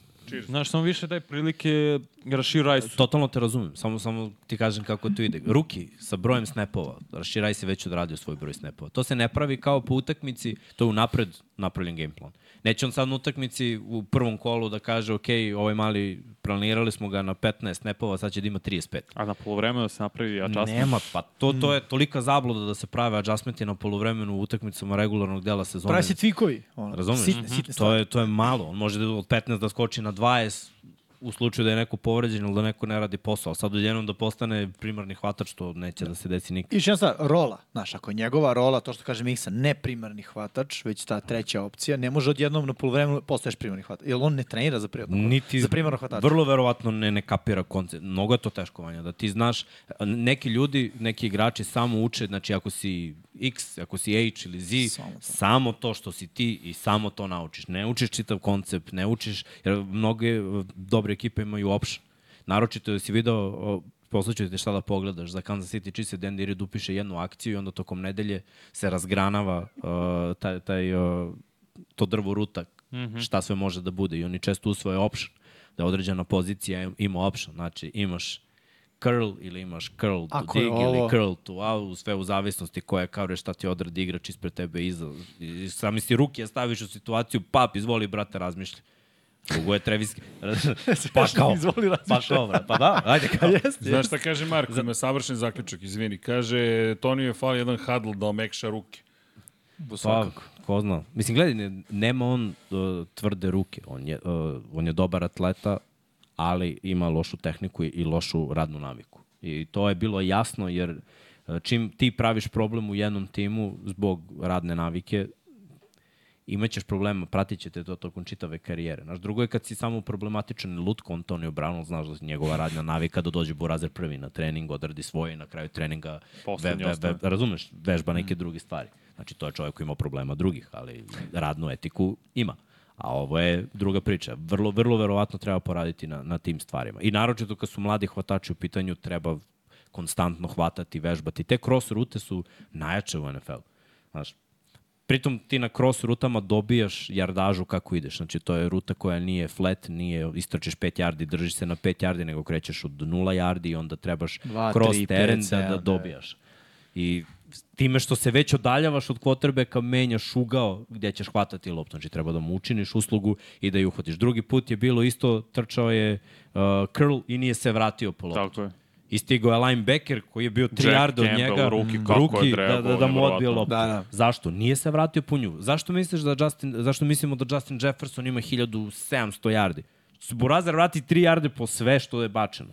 Speaker 5: Znaš, samo više daj prilike Rašiju Rajsu.
Speaker 6: Totalno te razumem, samo, samo ti kažem kako to ide. Ruki sa brojem snapova, Rashiraj se već odradio svoj broj snapova. To se ne pravi kao po utakmici, to je unapred napravljen game plan. Neće on sad na utakmici u prvom kolu da kaže, ok, ovaj mali, planirali smo ga na 15 snapova, sad će da ima 35.
Speaker 5: A na polovremenu da se napravi adjustment.
Speaker 6: Nema, pa to, to je tolika zabluda da se prave adjustmenti na polovremenu u utakmicama regularnog dela sezone.
Speaker 4: Pravi se tvikovi. Ono,
Speaker 6: Razumeš? Mhm.
Speaker 4: Sitne, sitne
Speaker 6: to,
Speaker 4: stvari.
Speaker 6: je, to je malo. On može da od 15 da skoči na 20 u slučaju da je neko povređen ili da neko ne radi posao. Ali Sad odjednom da postane primarni hvatač, to neće da se desi nikad.
Speaker 4: I još jedna stvar, rola. Znaš, ako je njegova rola, to što kaže Miksa, ne primarni hvatač, već ta treća opcija, ne može odjednom na polovremenu postaješ primarni hvatač. Jer on ne trenira za primarno
Speaker 6: Niti
Speaker 4: Za primarno hvatača.
Speaker 6: Vrlo verovatno ne, ne kapira koncept. Mnogo je to teško vanja. Da ti znaš, neki ljudi, neki igrači samo uče, znači ako si X, ako si H ili Z,
Speaker 4: Samo to.
Speaker 6: samo to, samo to što si ti i samo to naučiš. Ne učiš čitav koncept, ne učiš, jer mnoge e, dobre ekipe imaju option. Naročito da si video, o, posluću ti šta da pogledaš, za Kansas City Chiefs je Andy Reid upiše jednu akciju i onda tokom nedelje se razgranava uh, taj, taj uh, to drvo ruta, mm -hmm. šta sve može da bude. I oni često usvoje option, da određena pozicija im- ima option. Znači, imaš curl ili imaš curl to
Speaker 4: Ako je
Speaker 6: dig
Speaker 4: ovo-
Speaker 6: ili curl to out, sve u zavisnosti koja coverage, šta ti odredi igrač ispred tebe iza. I sami si ruke staviš u situaciju, pap, izvoli brate, razmišljaj. Drugo je Travis... pa kao,
Speaker 4: Izvoli,
Speaker 6: pa
Speaker 4: razmišljaj.
Speaker 6: kao, bre, pa da, ajde kao.
Speaker 3: Znaš šta kaže Marko, ima savršen zaključak, izvini. Kaže, Toniju je fali jedan hadl da omekša ruke.
Speaker 6: Pa, ko zna. Mislim, gledaj, ne, nema on uh, tvrde ruke. On je, uh, on je dobar atleta, ali ima lošu tehniku i, i lošu radnu naviku. I to je bilo jasno, jer uh, čim ti praviš problem u jednom timu zbog radne navike, imaćeš problema, pratit će te to tokom čitave karijere. Znaš, drugo je kad si samo problematičan lutko, Antonio Brown, ali znaš da je njegova radna navika da dođe Burazer prvi na trening, odradi svoje i na kraju treninga ve,
Speaker 5: Poslednji
Speaker 6: ve, ve,
Speaker 5: ostane.
Speaker 6: razumeš, vežba neke druge stvari. Znači, to je čovjek koji ima problema drugih, ali radnu etiku ima. A ovo je druga priča. Vrlo, vrlo verovatno treba poraditi na, na tim stvarima. I naročito kad su mladi hvatači u pitanju, treba konstantno hvatati, vežbati. Te cross rute su najjače u NFL. Znaš, Pritom ti na cross rutama dobijaš jardažu kako ideš. Znači to je ruta koja nije flat, nije istračiš 5 yardi, držiš se na 5 yardi, nego krećeš od 0 yardi i onda trebaš
Speaker 4: Dva,
Speaker 6: cross
Speaker 4: tri, pet,
Speaker 6: teren da,
Speaker 4: sedam,
Speaker 6: da
Speaker 4: devet.
Speaker 6: dobijaš. I time što se već odaljavaš od kvotrbeka, menjaš ugao gde ćeš hvatati loptu. Znači treba da mu učiniš uslugu i da ju uhvatiš. Drugi put je bilo isto, trčao je uh, curl i nije se vratio po loptu.
Speaker 5: Tako je.
Speaker 6: I stigao je linebacker koji je bio 3
Speaker 5: Jack
Speaker 6: yarda od
Speaker 5: Campbell,
Speaker 6: njega,
Speaker 5: rookie,
Speaker 6: Mm.
Speaker 5: kako je
Speaker 6: rookie, da, da,
Speaker 5: trebao,
Speaker 6: da mu odbije
Speaker 5: nevjerovatno.
Speaker 6: loptu.
Speaker 4: Da, da.
Speaker 6: Zašto? Nije se vratio po nju. Zašto misliš da Justin, zašto mislimo da Justin Jefferson ima 1700 yardi? Burazer vrati 3 yarde po sve što je bačeno.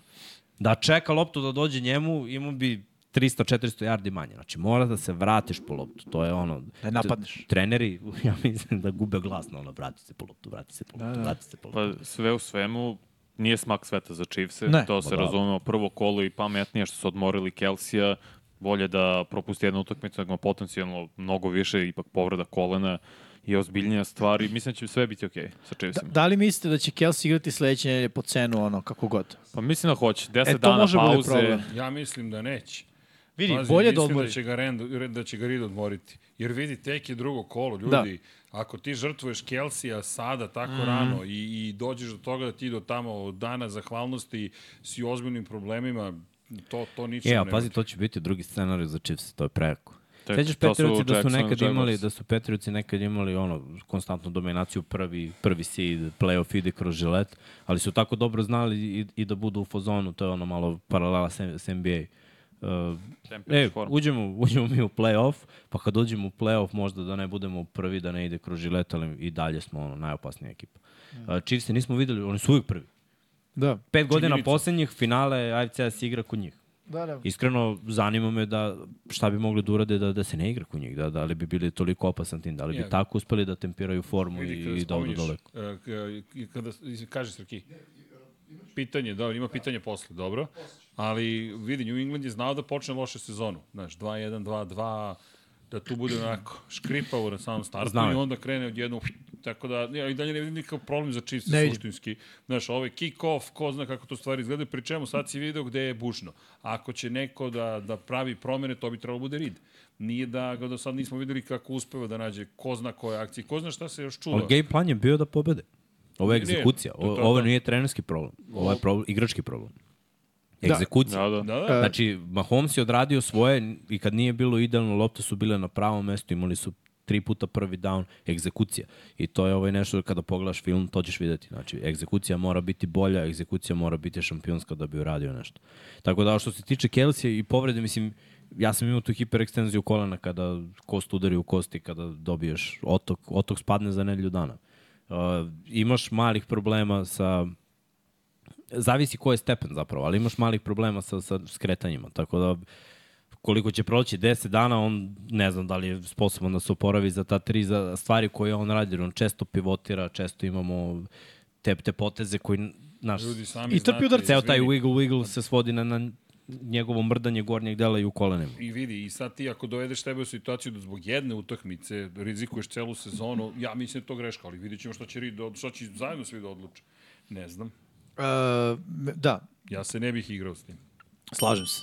Speaker 6: Da čeka loptu da dođe njemu, imao bi 300-400 yardi manje. Znači, mora da se vratiš po loptu. To je ono...
Speaker 4: Da je napadneš.
Speaker 6: Treneri,
Speaker 4: Da,
Speaker 6: ja mislim da gube glas na ono, vrati se po loptu, vrati se po loptu, vrati se po loptu.
Speaker 5: Pa sve u svemu, Nije smak sveta za Chiefs,
Speaker 4: Ne. Pa da.
Speaker 5: to se razumemo. Prvo kolo i pametnije što su odmorili Kelsija, bolje da propusti jednu utakmicu, nego potencijalno mnogo više, ipak povreda kolena je ozbiljnija stvar i mislim da će sve biti okej sa
Speaker 4: Da,
Speaker 5: Chiefsima.
Speaker 4: da li mislite da će Kelsey igrati sledeće nedelje po cenu ono kako god?
Speaker 5: Pa mislim da hoće, 10
Speaker 4: E, to
Speaker 5: dana
Speaker 4: može bude
Speaker 5: pauze,
Speaker 4: problem.
Speaker 3: Ja mislim da neće.
Speaker 4: Vidi, bolje da
Speaker 3: mislim
Speaker 4: odmori.
Speaker 3: Da će, ga Rand, da će ga Reed odmoriti. Jer vidi, tek je drugo kolo, ljudi. Da. Ako ti žrtvuješ Kelsija sada tako mm -hmm. rano i, i dođeš do toga da ti do tamo od dana zahvalnosti si u ozbiljnim problemima, to, to ničem
Speaker 6: E, a
Speaker 3: ne
Speaker 6: pazi,
Speaker 3: vodi.
Speaker 6: to će biti drugi scenarij za Chiefs, to je preko.
Speaker 5: To je-
Speaker 6: Sećaš
Speaker 5: to su
Speaker 6: Patriotsi da su
Speaker 5: Jackson,
Speaker 6: nekad
Speaker 5: Jaguars.
Speaker 6: imali, da su Patriotsi nekad imali ono, konstantnu dominaciju, prvi, prvi seed, playoff ide kroz žilet, ali su tako dobro znali i, i da budu u fazonu, to je ono malo paralela s, s NBA. Uh,
Speaker 5: Temperature
Speaker 6: e,
Speaker 5: form.
Speaker 6: uđemo, uđemo mi u playoff, pa kad uđemo u playoff možda da ne budemo prvi, da ne ide kroz žilet, ali i dalje smo ono, najopasnija ekipa. Uh, Chiefs nismo videli, oni su uvijek prvi.
Speaker 4: Da.
Speaker 6: Pet godina poslednjih finale AFC-a se igra kod njih.
Speaker 4: Da, da.
Speaker 6: Iskreno, zanima me da šta bi mogli da urade da, da se ne igra kod njih, da, da li bi bili toliko opasan tim, da li bi
Speaker 3: Ja.
Speaker 6: tako uspeli da temperaju formu
Speaker 3: Vidi,
Speaker 6: i, i da odu
Speaker 3: spominješ,
Speaker 6: dole.
Speaker 3: e, k- i Kada, i kaže Srki, pitanje, dobro, ima pitanje posle, dobro. Ali vidi, New England je znao da počne loše sezonu. Znaš, 2-1, 2-2, da tu bude onako škripavo na samom startu
Speaker 6: Znao
Speaker 3: i
Speaker 6: je.
Speaker 3: onda krene odjednom tako da ja i dalje ne vidim nikakav problem za Chiefs
Speaker 4: Ne vidim.
Speaker 3: suštinski. Znaš, ovaj kick-off, ko zna kako to stvari izgledaju, pri čemu sad si video gde je bušno. Ako će neko da, da pravi promene, to bi trebalo bude Reed. Nije da ga do sad nismo videli kako uspeva da nađe ko zna koje akcije, ko zna šta se još čuva.
Speaker 6: Ali game plan je bio da pobede. Ovo je
Speaker 3: Nije,
Speaker 6: egzekucija,
Speaker 3: to je
Speaker 6: o-
Speaker 3: to,
Speaker 6: ovo
Speaker 3: da.
Speaker 6: nije trenerski problem, ovo je problem, igrački problem. Egzekucija.
Speaker 5: Da, da.
Speaker 3: Da, da.
Speaker 6: Znači, Mahomes je odradio svoje i kad nije bilo idealno, lopte su bile na pravom mestu, imali su tri puta prvi down, egzekucija. I to je ovaj nešto kada pogledaš film, to ćeš videti. Znači, egzekucija mora biti bolja, egzekucija mora biti šampionska da bi uradio nešto. Tako da, što se tiče Kelsija i povrede, mislim, ja sam imao tu hiperekstenziju kolena kada kost udari u kosti, kada dobiješ otok, otok spadne za nedelju dana. Uh, imaš malih problema sa zavisi koji je stepen zapravo, ali imaš malih problema sa, sa skretanjima, tako da koliko će proći 10 dana, on ne znam da li je sposoban da se oporavi za ta tri za stvari koje on radi, jer on često pivotira, često imamo te, te poteze koji, naš,
Speaker 3: Ljudi sami
Speaker 4: I to
Speaker 3: znate,
Speaker 4: bi udar-
Speaker 6: ceo taj
Speaker 3: izvini.
Speaker 6: wiggle wiggle se svodi na, na njegovo mrdanje gornjeg dela i u kolenima.
Speaker 3: I vidi, i sad ti ako dovedeš tebe u situaciju da zbog jedne utakmice rizikuješ celu sezonu, ja mislim da je to greška, ali vidit ćemo šta će, Reed da od- šta će zajedno svi da odluče. Ne znam.
Speaker 4: E, da,
Speaker 3: Ja se ne bih igrao s tim.
Speaker 4: slažem se.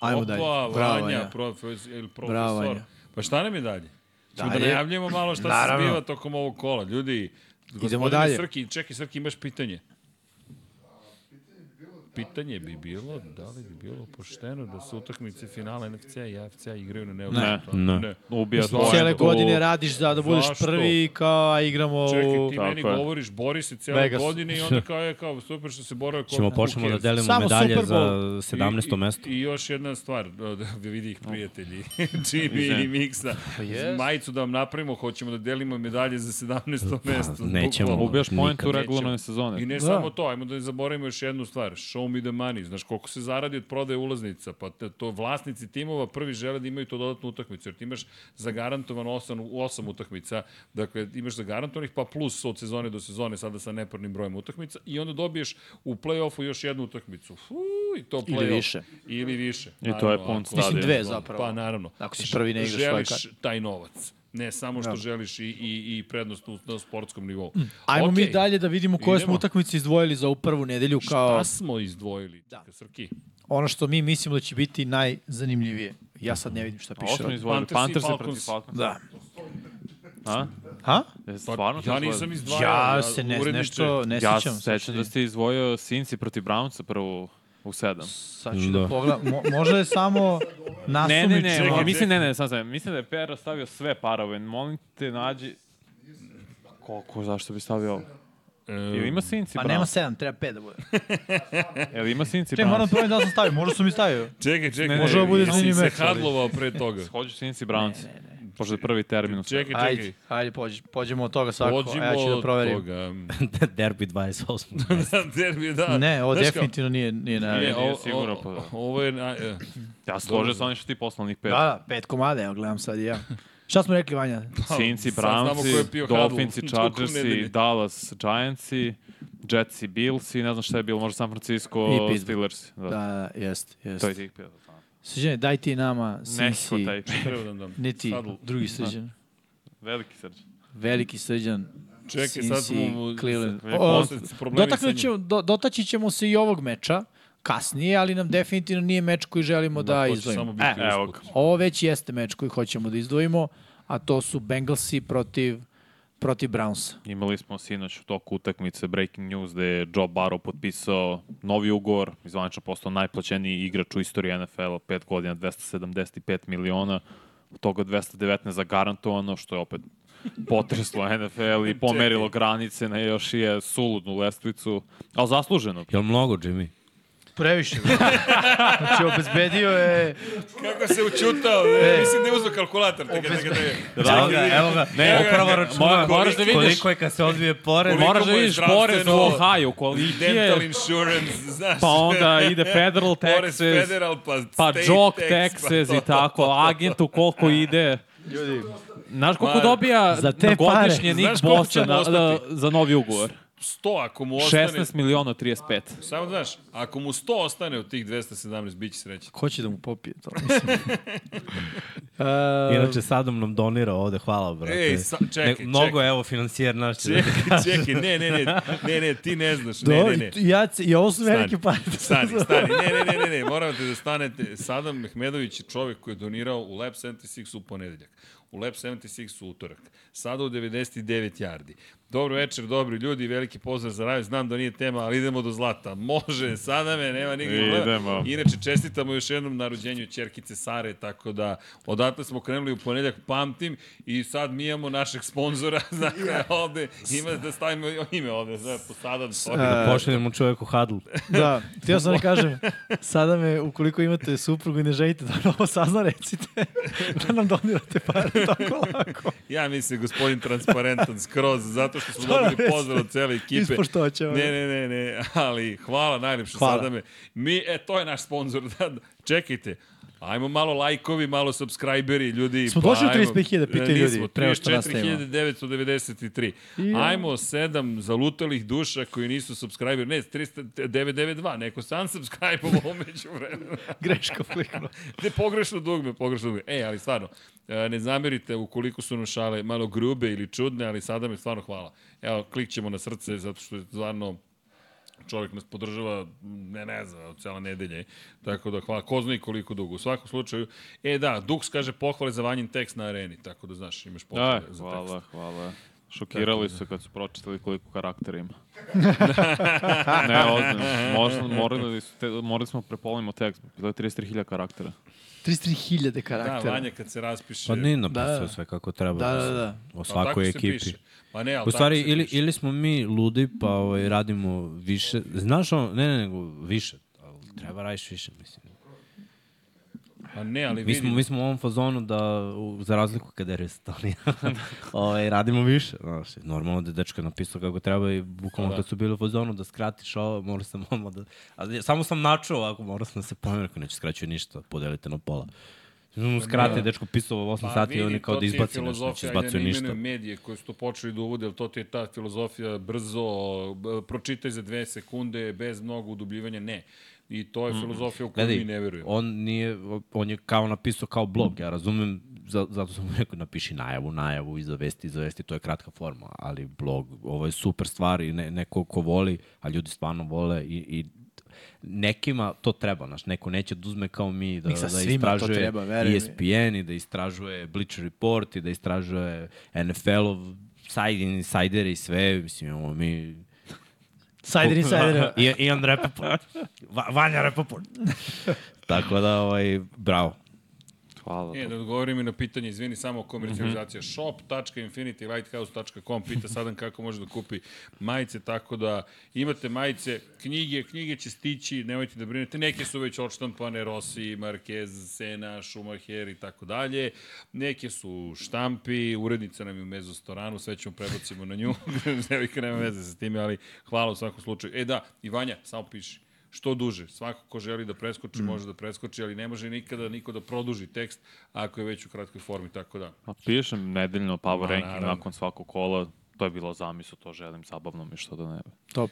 Speaker 4: Ajmo dalje.
Speaker 3: Opa,
Speaker 4: Bravo,
Speaker 3: Vanja,
Speaker 4: Vanja.
Speaker 3: profes, ili profesor.
Speaker 4: Bravo, Vanja.
Speaker 3: Pa šta nam je dalje? Ćemo da
Speaker 4: Dalje.
Speaker 3: najavljamo malo šta
Speaker 4: Naravno.
Speaker 3: se zbiva tokom ovog kola. Ljudi, gospodine
Speaker 4: dalje.
Speaker 3: Srki, čekaj Srki, imaš pitanje. Pitanje bi bilo da li bi bilo pošteno da se utakmice finala NFC-a i AFC-a igraju na neobično.
Speaker 6: Ne.
Speaker 5: Ubija
Speaker 4: Cijele
Speaker 5: poentu.
Speaker 4: godine radiš za da budeš
Speaker 3: Zašto?
Speaker 4: prvi, kao a igramo...
Speaker 3: Čekaj,
Speaker 4: u-
Speaker 3: ti
Speaker 5: Tako
Speaker 3: meni
Speaker 5: je.
Speaker 3: govoriš, bori se cijele
Speaker 4: Vegas.
Speaker 3: godine i onda kao je kao super što se borio kod
Speaker 6: Ćemo počnemo da delimo
Speaker 4: Samo
Speaker 6: medalje
Speaker 4: Super
Speaker 6: za
Speaker 4: Bowl.
Speaker 6: 17. mesto.
Speaker 3: I, I još jedna stvar, da da vidi ih prijatelji, Jimmy i Miksa.
Speaker 4: jest.
Speaker 3: Majicu da vam napravimo, hoćemo da delimo medalje za 17. mesto.
Speaker 6: Pa, nećemo.
Speaker 3: bukvalno.
Speaker 5: Ubijaš poentu
Speaker 6: Nikad
Speaker 5: u
Speaker 3: nećemo.
Speaker 5: regularnoj
Speaker 3: I
Speaker 5: sezoni.
Speaker 3: ne
Speaker 4: Da.
Speaker 3: samo to, ajmo da ne zaboravimo još jednu stvar. Show me the money. Znaš, koliko se zaradi od prodaje ulaznica, pa te- to vlasnici timova prvi žele da imaju to dodatnu utakmicu, jer ti imaš zagarantovan 8, 8 utakmica, dakle imaš zagarantovanih, pa plus od sezone do sezone sada sa neparnim brojem utakmica i onda dobiješ u play-offu još jednu utakmicu. Fu, i to play-off.
Speaker 4: Ili više.
Speaker 3: Ili više.
Speaker 5: I to je
Speaker 3: naravno,
Speaker 5: pun
Speaker 3: ako-
Speaker 5: stadion. Mislim,
Speaker 4: dve zapravo.
Speaker 3: Pa naravno.
Speaker 4: Ako si prvi, ne igraš svoje
Speaker 3: Želiš
Speaker 4: karte.
Speaker 3: taj novac. Ne samo što želiš i, i, i prednost u- na sportskom nivou.
Speaker 4: Ajmo mi
Speaker 3: Okej.
Speaker 4: dalje da vidimo koje smo
Speaker 3: Idemo.
Speaker 4: utakmice izdvojili za ovu prvu nedelju kao
Speaker 3: Šta smo izdvojili? Da. Srki.
Speaker 4: ono što mi mislimo da će biti najzanimljivije. Ja sad ne vidim šta
Speaker 5: Ovo
Speaker 4: piše.
Speaker 5: smo
Speaker 4: ovde.
Speaker 5: izvojili.
Speaker 3: Panthers i
Speaker 5: Panthers je protiv
Speaker 3: Falcons.
Speaker 5: Falcons.
Speaker 4: Da.
Speaker 5: A?
Speaker 4: Ha?
Speaker 5: E, Stvarno
Speaker 3: ja
Speaker 5: to
Speaker 3: nisam
Speaker 5: izvojio?
Speaker 3: izdvajao.
Speaker 4: Ja se Pa ne,
Speaker 3: uredniče,
Speaker 4: nešto ne
Speaker 5: Ja
Speaker 4: sjećam.
Speaker 5: se sećam da ste izdvojio Sinci protiv Brownsa prvo u sedam.
Speaker 4: Sad ću da,
Speaker 6: Da.
Speaker 4: pogledam. Mo, možda je samo
Speaker 5: Ne,
Speaker 4: nasumično.
Speaker 5: ne, ne,
Speaker 3: čekaj.
Speaker 5: ne, mislim, ne, ne, sad sam, mislim da je Pera stavio sve parove, molim te nađi... Koliko, zašto bi stavio ovo?
Speaker 3: E,
Speaker 5: Jel ima Sinci
Speaker 4: Pa
Speaker 5: Browns?
Speaker 4: nema sedam, treba pet da bude.
Speaker 5: Jel ima Sinci
Speaker 4: Čekaj, moram
Speaker 5: Browns?
Speaker 4: promijem da li sam stavio, možda sam i stavio.
Speaker 3: Čekaj, čekaj.
Speaker 4: Može ovo bude
Speaker 3: jesi
Speaker 4: zanimljiv meč,
Speaker 3: se
Speaker 4: ali-
Speaker 3: hadlovao pre toga.
Speaker 5: Hoću Sinci Browns, pošto je prvi termin. u
Speaker 3: Čekaj, čekaj.
Speaker 4: Ajde, ajde, pođi, pođemo od toga svako.
Speaker 3: Pođimo
Speaker 4: ja ću da
Speaker 3: od
Speaker 4: proverim.
Speaker 3: toga.
Speaker 6: Derby 28.
Speaker 3: Da, Derbi, da.
Speaker 4: Ne, ovo
Speaker 3: Znaš kao-
Speaker 4: definitivno nije, nije na...
Speaker 5: Ne,
Speaker 3: Ne,
Speaker 5: nije
Speaker 3: ovo,
Speaker 5: sigurno,
Speaker 3: ovo-
Speaker 5: pa da.
Speaker 3: ovo je... na- e,
Speaker 5: Ja se složio sa onim što ti poslao onih
Speaker 4: Da,
Speaker 5: pet.
Speaker 4: da, pet komada, evo, gledam sad i ja. Šta smo rekli, Vanja?
Speaker 5: Sinci,
Speaker 3: Pa, sad znamo ko je
Speaker 5: Brownsi,
Speaker 3: pio Hadlu
Speaker 5: Dolphinsi,
Speaker 3: tokom nedelje.
Speaker 5: Chargersi, Dallas, Giantsi, Jets i Bills i ne znam šta je bilo, možda San Francisco,
Speaker 4: I Pittsburgh.
Speaker 5: Steelers. Da, da.
Speaker 4: Da, jest, jest.
Speaker 5: To je tih pio.
Speaker 4: Srđane, daj ti nama
Speaker 5: Neko
Speaker 4: Sinsi,
Speaker 5: taj
Speaker 3: Treba da vam dam.
Speaker 4: ne ti,
Speaker 3: Sadl.
Speaker 4: drugi Srđan.
Speaker 5: Veliki srđan.
Speaker 4: Veliki Srđan,
Speaker 3: Čekaj,
Speaker 4: Sinsi,
Speaker 3: sad smo-
Speaker 4: Cleveland.
Speaker 5: sad-
Speaker 4: O,
Speaker 3: Osjec, problemi sa njim.
Speaker 4: Dotaknut ćemo, do, dotaći ćemo se i ovog meča kasnije, ali nam definitivno nije meč koji želimo da,
Speaker 3: to će samo
Speaker 4: izdvojimo.
Speaker 3: biti
Speaker 4: E,
Speaker 5: Evo ga.
Speaker 4: ovo već jeste meč koji hoćemo da izdvojimo, a to su Bengalsi protiv, protiv Brownsa.
Speaker 5: Imali smo sinoć u toku utakmice breaking news da je Joe Barrow potpisao novi ugovor, izvanično postao najplaćeniji igrač u istoriji NFL-a, 5 godina, 275 miliona, od toga 219 zagarantovano, što je opet potreslo NFL i pomerilo granice na još je suludnu lestvicu, ali zasluženo.
Speaker 6: Jel mnogo, Jimmy?
Speaker 8: Previše. bro. znači, obezbedio je...
Speaker 3: Kako se učutao,
Speaker 4: E.
Speaker 3: ne, mislim da je uzao kalkulator. Tega, tega, tega.
Speaker 6: Evo ga, evo ga.
Speaker 5: Ne,
Speaker 6: upravo računa.
Speaker 5: moraš da vidiš,
Speaker 6: Koliko je kad se odbije porez.
Speaker 3: Koliko
Speaker 5: moraš da
Speaker 3: mu je
Speaker 5: vidiš porez u
Speaker 3: zdravstveno-
Speaker 5: Ohio, koliki
Speaker 3: Dental
Speaker 5: je,
Speaker 3: insurance, znaš.
Speaker 5: pa onda ide federal
Speaker 3: Porez
Speaker 5: taxes,
Speaker 3: federal, pa state
Speaker 5: pa joke
Speaker 3: tax, pa
Speaker 5: taxes
Speaker 3: to.
Speaker 5: i tako, agentu koliko ide.
Speaker 8: Ljudi,
Speaker 5: Znaš koliko
Speaker 3: Ma,
Speaker 5: dobija
Speaker 4: za
Speaker 5: za
Speaker 4: te
Speaker 5: te godišnje
Speaker 3: pare.
Speaker 5: Nick
Speaker 3: Znaš koliko će
Speaker 5: Bosa na,
Speaker 3: mu
Speaker 5: da,
Speaker 3: ostati?
Speaker 5: za novi ugovor?
Speaker 3: 100 ako mu ostane,
Speaker 5: 16 miliona 35.
Speaker 3: samo znaš, ako mu 100 ostane od tih 217, bit će srećan.
Speaker 4: Ko će da mu popije to?
Speaker 6: Inače, Sadom nam donira ovde, hvala, brate.
Speaker 3: Ej, sa- čekaj, čekaj.
Speaker 6: Mnogo, evo, financijer naš.
Speaker 3: Čekaj, čekaj, ne, ne, ne, ne, ne, ti ne znaš, ne, ne, ne.
Speaker 4: Ja, I ovo su velike
Speaker 3: Stani,
Speaker 4: pare. da
Speaker 3: Stani, stani, ne, ne, ne, ne, ne, morate da stanete. Sadam Mehmedović je čovjek koji je donirao u Lab 76 u ponedeljak, u Lab 76 u utorak, sada u 99 jardi. Dobro večer, dobri ljudi, veliki pozdrav za raju, znam da nije tema, ali idemo do zlata. Može, sada me, nema nikakvog
Speaker 5: Idemo.
Speaker 3: problema. Inače, čestitamo još jednom na rođenju Čerkice Sare, tako da odatle smo krenuli u ponedeljak, pamtim, i sad mi imamo našeg sponzora, dakle, ovde, ima da stavimo ime ovde, za Sadam.
Speaker 4: E,
Speaker 6: Da Pošaljemo čoveku hadl.
Speaker 4: Da, htio sam da kažem, sada me, ukoliko imate suprugu i ne želite da ovo sazna, recite da nam donirate pare tako lako.
Speaker 3: Ja mislim gospodin transparentan skroz, zato što smo dobili
Speaker 4: jeste.
Speaker 3: pozdrav od cele ekipe.
Speaker 4: Ispoštovat ćemo.
Speaker 3: Ne, ne, ne, ne, ali hvala najljepše
Speaker 4: Hvala.
Speaker 3: sada me. Mi, e, to je naš sponsor. Da, da. Čekajte, ajmo malo lajkovi, malo subscriberi, ljudi. pa
Speaker 4: Smo došli u
Speaker 3: ajmo. E,
Speaker 4: 35.000, pitaj
Speaker 3: Nismo,
Speaker 4: ljudi, prema što nastavimo.
Speaker 3: 34.993. Ajmo sedam zalutalih duša koji nisu subscriberi. Ne, 392, neko sam subscribe-ovo umeđu vremena.
Speaker 4: Greško flikno.
Speaker 3: Ne, pogrešno dugme, pogrešno dugme. E, ali stvarno, e, ne zamerite ukoliko su nam šale malo grube ili čudne, ali sada mi stvarno hvala. Evo, klik ćemo na srce, zato što je stvarno čovjek nas podržava, ne, ne znam, od cela nedelje. Tako da hvala, ko zna i koliko dugo. U svakom slučaju, e da, Duks kaže pohvale za vanjin tekst na areni, tako da znaš, imaš
Speaker 5: Aj,
Speaker 3: pohvale za
Speaker 5: hvala,
Speaker 3: tekst.
Speaker 5: hvala. Šokirali su kad su pročitali koliko karaktera ima. ne, ozbiljno. Možda, morali, su te, morali smo prepolimo tekst. Bilo je 33.000 karaktera.
Speaker 4: 33.000
Speaker 3: Da,
Speaker 4: karaktera.
Speaker 3: Vanja kad se raspiše...
Speaker 6: Pa nije napisao
Speaker 4: Da.
Speaker 6: sve kako treba.
Speaker 4: Da, da, da.
Speaker 6: O
Speaker 3: ali tako
Speaker 6: svakoj
Speaker 3: se
Speaker 6: ekipi.
Speaker 3: piše. Pa ne, ali
Speaker 6: U stvari,
Speaker 3: tako se
Speaker 6: ili,
Speaker 3: piše.
Speaker 6: ili smo mi ludi, pa ovaj, radimo više. Znaš ono, ne, ne, nego više. Ali treba radiš više, mislim.
Speaker 3: Pa ne, ali
Speaker 6: Mi
Speaker 3: vidi,
Speaker 6: smo, mi smo u ovom fazonu da, u, za razliku kada je Restonija, ovaj, radimo više. Znaš, normalno da je dečka napisao kako treba i bukvalno
Speaker 3: Da.
Speaker 6: kad su bili u fazonu da skratiš ovo, morao sam odmah da... A, ne, samo sam načuo ovako, morao sam da se pomerim, ako neće skraćuju ništa, podelite na pola. Mu skrati, dečko pisao 8
Speaker 3: Da. Pa
Speaker 6: sati i
Speaker 3: vidi,
Speaker 6: on je kao
Speaker 3: to
Speaker 6: da
Speaker 3: ti je
Speaker 6: izbaci nešto, neće
Speaker 3: filozofija,
Speaker 6: izbacio
Speaker 3: ajde ne
Speaker 6: ništa.
Speaker 3: imenujem medije koji su to počeli da uvode, ali to ti je ta filozofija brzo, b- pročitaj za dve sekunde, bez mnogo udubljivanja, ne. I to je filozofija u koju mi ne verujemo.
Speaker 6: on nije, on je kao napisao kao blog, ja razumem, za, zato sam mu rekao napiši najavu, najavu, iza vesti, iza vesti, to je kratka forma, ali blog, ovo je super stvar i ne, neko ko voli, a ljudi stvarno vole i, i nekima to treba, znaš, neko neće da uzme kao mi da,
Speaker 4: Nik sa
Speaker 6: da
Speaker 4: svima to
Speaker 6: istražuje
Speaker 4: treba, veruj mi.
Speaker 6: ESPN i da istražuje Bleacher Report i da istražuje NFL-ov side insider i sve, mislim, imamo mi...
Speaker 4: Sajder insider.
Speaker 6: I, Ian Repaport. Va, Vanja Repaport. Tako da, ovaj, bravo.
Speaker 5: Hvala.
Speaker 3: E, da odgovorim i na pitanje, izvini, samo komercijalizacija. Mm -hmm. shop.infinitylighthouse.com pita sadan kako može da kupi majice, tako da imate majice, knjige, knjige će stići, nemojte da brinete, neke su već odštampane, Rossi, Marquez, Sena, Schumacher i tako dalje, neke su u štampi, urednica nam je u mezostoranu, sve ćemo prebacimo na nju, nevika nema veze sa time, ali hvala u svakom slučaju. E da, i Vanja, samo piši što duže. Svako ko želi da preskoči, mm. može da preskoči, ali ne može nikada niko da produži tekst ako je već u kratkoj formi, tako da.
Speaker 5: Ma, pišem nedeljno power ranking
Speaker 3: naravno.
Speaker 5: nakon svakog kola. To je bilo zamisao, to želim, zabavno mi što da ne.
Speaker 4: Top,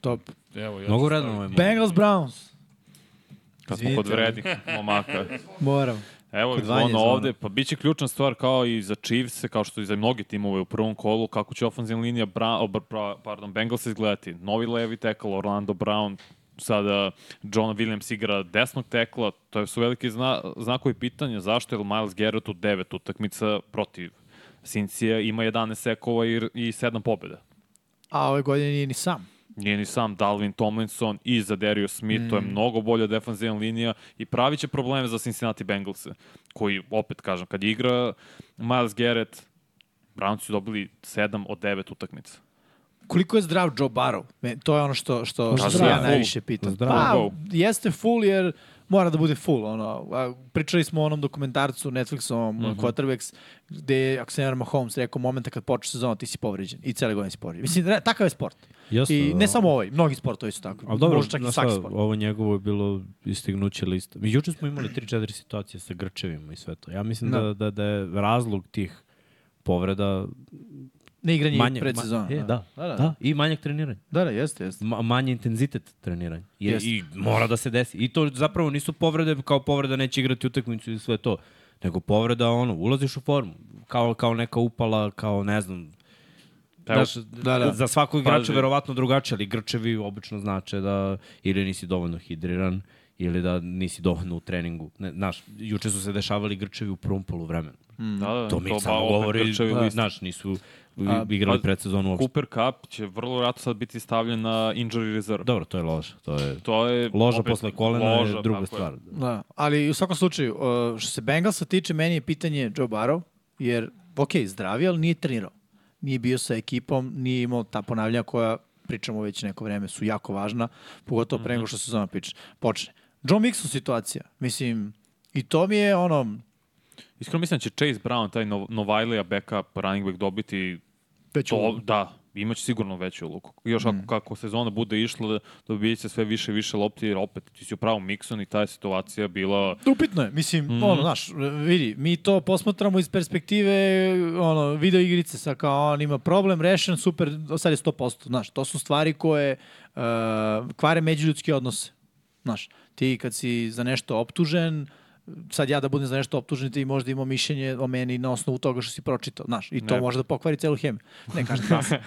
Speaker 4: top.
Speaker 3: Evo, ja
Speaker 6: Mnogo vredno ovaj moment.
Speaker 4: Bengals Browns.
Speaker 5: Kad smo kod
Speaker 4: Izvinite, ali-
Speaker 5: vrednih momaka.
Speaker 4: Moram.
Speaker 5: Evo je
Speaker 4: Kod Vanje
Speaker 5: zvono
Speaker 4: zvono.
Speaker 5: ovde, pa bit će ključna stvar kao i za Chiefs, kao što i za mnogi timove u prvom kolu, kako će ofenzivna linija Bra, o, Br- pra, pardon, Bengals izgledati. Novi levi tekl, Orlando Brown, sada John Williams igra desnog tekla, to su veliki zna, znakovi pitanja zašto je Miles Garrett u devet utakmica protiv Cincija ima 11 sekova i, i 7 pobjeda.
Speaker 4: A ove godine nije ni sam.
Speaker 5: Nije ni sam Dalvin Tomlinson i za Dario Smith,
Speaker 6: Mm.
Speaker 5: to je mnogo bolja defanzivna linija i pravi će probleme za Cincinnati Bengals, koji, opet kažem, kad igra Miles Garrett, Browns su dobili 7 od 9 utakmica.
Speaker 4: Koliko je zdrav Joe Barrow? Me- To je ono što,
Speaker 6: Pa
Speaker 4: što, što se
Speaker 5: zdrav.
Speaker 4: ja najviše pitam.
Speaker 6: Zdrav.
Speaker 4: Pa,
Speaker 5: Go.
Speaker 4: jeste full jer mora da bude full. Ono. A, Pričali smo o onom dokumentarcu Netflixovom
Speaker 6: Mhm.
Speaker 4: mm Quarterbacks gde je, ako se ne varam, Mahomes rekao momenta kad počne sezona ti si povređen i cele godine si povređen. Mislim, re- takav je sport.
Speaker 6: Jeste,
Speaker 4: I ne
Speaker 6: da.
Speaker 4: samo ovaj, mnogi sportovi su tako.
Speaker 6: Ali dobro,
Speaker 4: Možda čak i
Speaker 6: znaš
Speaker 4: svaki
Speaker 6: šta,
Speaker 4: sport.
Speaker 6: ovo njegovo je bilo istignuće lista. Mi Juče smo imali 3-4 situacije sa grčevima i sve to. Ja mislim da, da, da je razlog tih povreda
Speaker 4: Ne igranje
Speaker 6: manje,
Speaker 4: pred sezona.
Speaker 6: Ma, e, da,
Speaker 4: Da,
Speaker 6: da,
Speaker 4: da.
Speaker 6: da. i manjak treniranja.
Speaker 4: Da, da, jeste, jeste.
Speaker 6: Ma, manji intenzitet treniranja. Je,
Speaker 4: Jeste.
Speaker 6: I mora da se desi. I to zapravo nisu povrede kao povreda neće igrati utakmicu i sve to. Nego povreda ono, ulaziš u formu. Kao, kao neka upala, kao ne znam,
Speaker 5: Pa Evo,
Speaker 6: Znaš,
Speaker 4: da, da.
Speaker 6: za svakog
Speaker 5: Pazi.
Speaker 6: igrača verovatno drugačije, ali grčevi obično znače da ili nisi dovoljno hidriran, ili da nisi dovoljno u treningu. Ne, znaš, juče su se dešavali grčevi u prvom polu vremenu.
Speaker 5: da, da,
Speaker 6: mm, To mi
Speaker 5: ba-
Speaker 6: samo
Speaker 5: opet
Speaker 6: govori,
Speaker 5: Grčevi
Speaker 6: da.
Speaker 5: list.
Speaker 6: znaš, nisu igrali
Speaker 5: pa-
Speaker 6: predsezonu uopšte.
Speaker 5: Cooper Cup će vrlo vratno sad biti stavljen na injury reserve.
Speaker 6: Dobro, to je lože. To je,
Speaker 5: To je
Speaker 6: Da. loža
Speaker 5: opet
Speaker 6: posle kolena
Speaker 5: loža,
Speaker 6: je druga
Speaker 5: tako
Speaker 6: stvar.
Speaker 4: Da, ali u svakom slučaju, uh, što se Bengalsa tiče, meni je pitanje Joe Barrow, jer, ok, zdrav je, ali nije trenirao. Nije bio sa ekipom, nije imao ta ponavljanja koja, pričamo već neko vreme, su jako važna, pogotovo pre nego što sezona piče, počne. Joe Mixon situacija, mislim, i to mi je ono,
Speaker 5: Iskreno mislim da će Chase Brown, taj nov, Novajlija backup running back dobiti
Speaker 4: Veću
Speaker 5: to,
Speaker 4: ulogu. Mhm.
Speaker 5: Da, imaće sigurno veću ulogu. Još ako, kako sezona bude išla, dobijat će sve više i više lopti, jer opet ti si u pravom Mixon i ta je situacija bila...
Speaker 4: Upitno je, mislim, ono, znaš, vidi, mi to posmatramo iz perspektive, ono, video igrice, sa kao on ima problem, rešen, super, do sad je 100%, znaš, to su stvari koje uh, kvare međuljudske odnose, znaš, ti kad si za nešto optužen, sad ja da budem za nešto optužen, ti možda imao mišljenje o meni na osnovu toga što si pročitao, znaš, i to
Speaker 5: Ne.
Speaker 4: može da pokvari celu hemiju. Ne kažem da sam.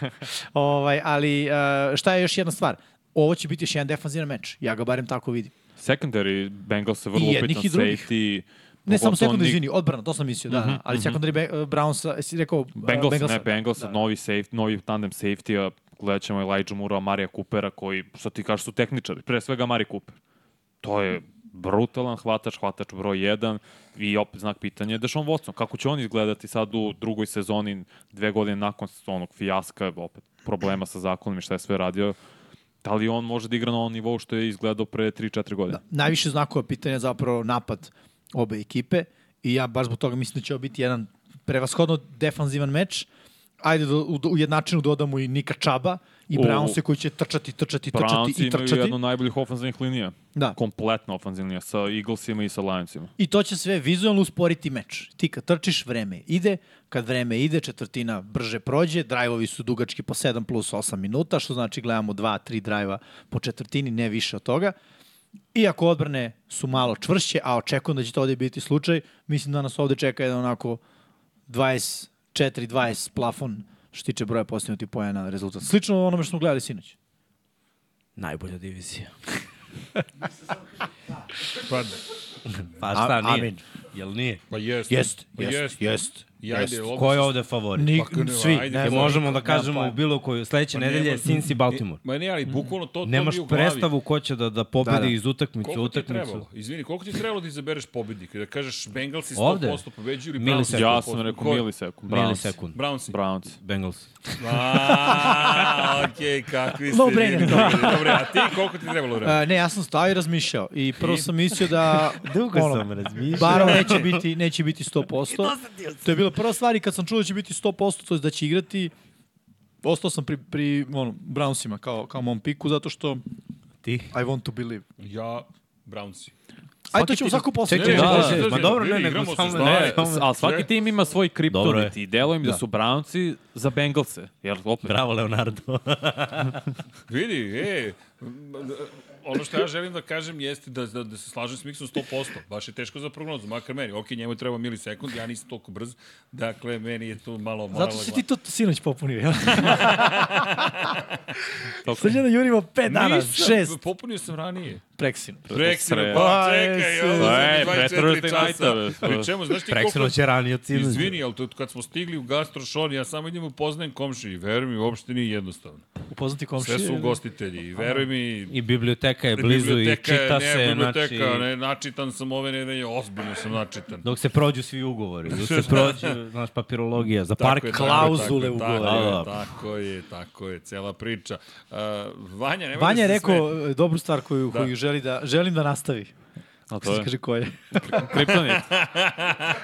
Speaker 4: ovaj, ali uh, šta je još jedna stvar? Ovo će biti još jedan defanzivan meč, ja ga barem tako vidim.
Speaker 5: Secondary Bengals se vrlo
Speaker 4: I jednih
Speaker 5: upitan
Speaker 4: i drugih.
Speaker 5: safety.
Speaker 4: Ne samo
Speaker 5: pogotovo
Speaker 4: sekundar,
Speaker 5: Nick-
Speaker 4: izvini, odbrana, to sam mislio, da, da. Ali sekundari Be- Browns, si rekao Da. uh,
Speaker 5: Bengals, ne,
Speaker 4: Bengalsa.
Speaker 5: Bengals, novi, safe, novi tandem safety, a gledat ćemo Elijah Mura, Marija Coopera, koji, što ti kažeš, su tehničari. Pre svega Mari Cooper. To je brutalan hvatač, hvatač broj 1 i opet znak pitanja je Deshaun Watson. Kako će on izgledati sad u drugoj sezoni, dve godine nakon onog fijaska, opet problema sa zakonom i šta je sve radio, da li on može da igra na onom nivou što je izgledao pre 3-4 godine?
Speaker 4: Najviše znakova pitanja je zapravo napad obe ekipe i ja baš zbog toga mislim da će ovo biti jedan prevashodno defanzivan meč. Ajde, do, u, u jednačinu dodamo i Nika Čaba i
Speaker 5: U-
Speaker 4: Brownse koji će trčati, trčati, trčati
Speaker 5: Browns
Speaker 4: i
Speaker 5: imaju
Speaker 4: trčati.
Speaker 5: jednu od najboljih ofenzivnih linija.
Speaker 4: Da.
Speaker 5: Kompletna ofenzivna linija sa Eaglesima i sa Lionsima.
Speaker 4: I to će sve vizualno usporiti meč. Ti kad trčiš, vreme ide, kad vreme ide, četvrtina brže prođe, drajvovi su dugački po 7 plus 8 minuta, što znači gledamo 2-3 drajva po četvrtini, ne više od toga. Iako odbrane su malo čvršće, a očekujem da će to ovde biti slučaj, mislim da nas ovde čeka jedan onako 24-20 plafon što se tiče broja postignutih pojena rezultat. Slično onome što smo gledali sinoć.
Speaker 6: Najbolja divizija.
Speaker 3: Pa,
Speaker 6: Pa
Speaker 4: A-
Speaker 6: šta, nije?
Speaker 4: amin.
Speaker 6: Jel nije?
Speaker 3: pa jest.
Speaker 4: Jest,
Speaker 3: pa
Speaker 4: jest,
Speaker 3: jest.
Speaker 4: jest.
Speaker 3: I ajde,
Speaker 6: Jest.
Speaker 3: ovde
Speaker 6: Ko je
Speaker 3: su-
Speaker 6: ovde favorit?
Speaker 4: Ni,
Speaker 3: kako ne,
Speaker 4: svi,
Speaker 3: ajde,
Speaker 4: ne
Speaker 6: Jer
Speaker 3: Evo,
Speaker 4: znam.
Speaker 6: možemo da
Speaker 4: nemam pojma.
Speaker 6: kažemo u bilo koju,
Speaker 3: Pa
Speaker 6: sledeće nedelje je Sinci Baltimore.
Speaker 3: Ma ne, ali bukvalno to, to
Speaker 6: Nemaš
Speaker 3: mi je u glavi.
Speaker 6: predstavu ko će da, da pobedi
Speaker 4: Da, da.
Speaker 6: iz utakmice u
Speaker 3: Koliko ti je
Speaker 6: utakmicu.
Speaker 3: trebalo? Izvini, koliko ti je trebalo da izabereš pobednika? Da kažeš Bengalsi 100%
Speaker 6: Ovde?
Speaker 3: pobeđuju ili
Speaker 6: Milisekund.
Speaker 3: Brownsi?
Speaker 5: Ja sam rekao
Speaker 3: Ko-
Speaker 5: milisekund. Browns.
Speaker 6: Milisekund.
Speaker 3: Brownsi.
Speaker 5: Browns.
Speaker 6: Bengals.
Speaker 3: Aaa, okej, kakvi ste.
Speaker 4: No brainer.
Speaker 3: ljudi. Dobro, Dobre, a ti koliko ti je trebalo vremena?
Speaker 4: E, ne, ja sam stao i razmišljao i prvo sam mislio da
Speaker 6: Dugo
Speaker 4: ono,
Speaker 6: sam razmišljao.
Speaker 4: Barov neće biti, neće biti 100%. to je bila prva stvar i kad sam čuo da će biti 100%, to je da će igrati ostao sam pri, pri ono, Brownsima kao, kao mom piku zato što
Speaker 6: Ti?
Speaker 4: I want to believe.
Speaker 3: Ja, Brownsi.
Speaker 4: Ajde, to ćemo svaku posle.
Speaker 6: Čekaj,
Speaker 4: Ne,
Speaker 6: da,
Speaker 4: ne,
Speaker 6: da,
Speaker 4: ne,
Speaker 6: da,
Speaker 4: ne.
Speaker 6: ma dobro, ne,
Speaker 3: Vidi,
Speaker 6: nego
Speaker 3: igramo se,
Speaker 6: samo
Speaker 3: šta
Speaker 6: ne.
Speaker 3: je?
Speaker 6: samo-
Speaker 5: Ali svaki tim ima svoj
Speaker 6: Dobro je.
Speaker 5: kriptonit i delo im da. su Brownci za Bengalse. Jer opet,
Speaker 6: Bravo, Leonardo.
Speaker 3: Vidi, e, ono što ja želim da kažem jeste da, da, da se slažem s Miksom 100%. Baš je teško za prognozu, makar meni. Ok, njemu treba milisekund, ja nisam toliko brz. Dakle, meni je tu malo moralna
Speaker 9: Zato si ti to sinoć popunio, jel?
Speaker 5: Toliko-
Speaker 9: Srđana jurimo pet dana,
Speaker 3: Nisam,
Speaker 9: šest.
Speaker 3: Popunio sam ranije.
Speaker 9: Preksinu.
Speaker 3: Preksino,
Speaker 5: Sre-
Speaker 3: pa
Speaker 9: Aj,
Speaker 3: čekaj,
Speaker 9: sre-
Speaker 3: ovo
Speaker 5: E,
Speaker 3: je
Speaker 5: pre
Speaker 3: 24
Speaker 5: Thursday
Speaker 3: časa.
Speaker 5: nighta,
Speaker 3: Pri
Speaker 5: već.
Speaker 3: čemu, znaš ti koliko...
Speaker 6: Preksino će ranije od sinoć.
Speaker 3: Izvini, ali to, kad smo stigli u gastrošon, ja samo idem upoznajem komši i veruj mi, uopšte nije jednostavno.
Speaker 9: Upoznati komšije.
Speaker 3: Sve su ugostitelji i veruj mi,
Speaker 6: I biblioteka je blizu i
Speaker 3: biblioteka je-
Speaker 6: čita
Speaker 3: ne,
Speaker 6: se, znači...
Speaker 3: biblioteka, ne, načitan sam ove nedelje, ozbiljno sam načitan.
Speaker 6: Dok se prođu svi ugovori, dok se prođu, znaš, papirologija za
Speaker 3: Tako
Speaker 6: park
Speaker 3: je, tako je,
Speaker 6: klauzule
Speaker 3: tako je,
Speaker 6: ugovora. Da, da.
Speaker 3: Tako je, tako je, cela priča. Uh, Vanja, nemoj
Speaker 9: Vanja je
Speaker 3: da se
Speaker 9: rekao
Speaker 3: sme.
Speaker 9: e, dobru stvar koju,
Speaker 3: Da.
Speaker 9: koju želi da, želim da nastavi.
Speaker 5: A to
Speaker 9: Sad
Speaker 5: je
Speaker 9: kaže ko je.
Speaker 5: kriptonit.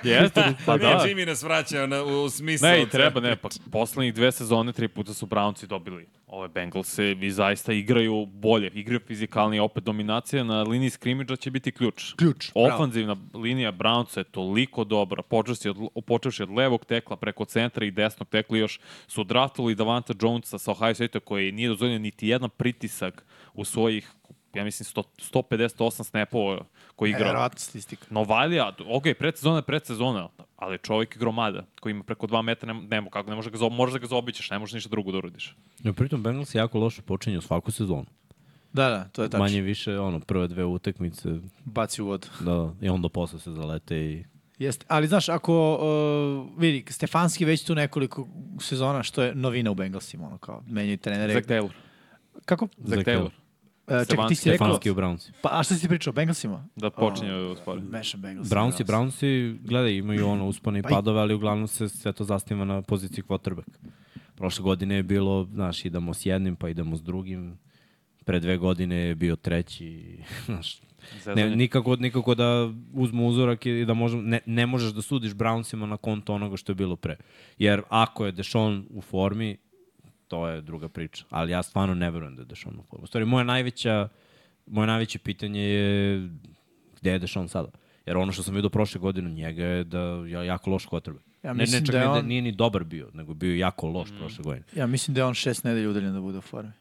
Speaker 5: Jeste,
Speaker 3: Ne,
Speaker 5: pa da.
Speaker 3: Jimmy nas vraća na, u, u smislu.
Speaker 5: Ne, i treba, ne, pa poslednjih dve sezone tri puta su Brownci dobili ove Bengalse i zaista igraju bolje, igraju fizikalnije, opet dominacija na liniji skrimidža će biti ključ. Ključ, Ofanzivna linija Brownca je toliko dobra, počevši od, počevši od levog tekla preko centra i desnog tekla još su draftali Davanta Jonesa sa Ohio State koji nije dozvoljio niti jedan pritisak u svojih ja mislim 100, 158 snapova koji igra.
Speaker 4: E, Verovatno statistika.
Speaker 5: Novalija, ok, predsezona je predsezona, ali čovjek je gromada koji ima preko 2 metra, ne, ne, kako, ne može ga, zo- možeš da ga zaobićeš, ne možeš ništa drugo da uradiš.
Speaker 6: No, pritom Bengals jako loše počinju svaku sezonu.
Speaker 4: Da, da, to je tačno.
Speaker 6: Manje više, ono, prve dve utakmice,
Speaker 4: Baci u vodu.
Speaker 6: da, i onda posle se zalete i...
Speaker 4: Jeste, ali znaš, ako uh, vidi, Stefanski već tu nekoliko sezona, što je novina u Bengalsima, ono kao, menjaju trenere.
Speaker 5: Zach Taylor.
Speaker 4: Kako?
Speaker 5: Zach Taylor.
Speaker 4: E, čekaj, ti si
Speaker 5: Stefanski.
Speaker 4: rekao,
Speaker 6: Fanski u Brownsi.
Speaker 4: pa a šta si ti pričao, o Bengalsima?
Speaker 5: Da počinje od stvari.
Speaker 4: Mešam Bengals.
Speaker 6: Brownsi, Brownsi, gledaj, imaju ono uspone i
Speaker 4: i-
Speaker 6: padove, ali uglavnom se sve to zasniva na poziciji quarterback. Prošle godine je bilo, znaš, idemo s jednim, pa idemo s drugim. Pre dve godine je bio treći, znaš, ne,
Speaker 5: Zezanje.
Speaker 6: nikako, nikako da uzmu uzorak i da možem, ne, ne možeš da sudiš Brownsima na konto onoga što je bilo pre. Jer ako je Dešon u formi, to je druga priča. Ali ja stvarno ne verujem da je Dešon u formi. U stvari, moja najveća, moje najveće pitanje je gde je Dešon sada? Jer ono što sam vidio prošle godine od njega je da je jako loš quarterback.
Speaker 4: Ja
Speaker 6: ne, ne,
Speaker 4: mislim
Speaker 6: čak
Speaker 4: da je
Speaker 6: ne,
Speaker 4: on-
Speaker 6: nije ni dobar bio, nego bio je jako loš mm. prošle godine.
Speaker 4: Ja mislim da je on šest nedelja udaljen da bude u formi.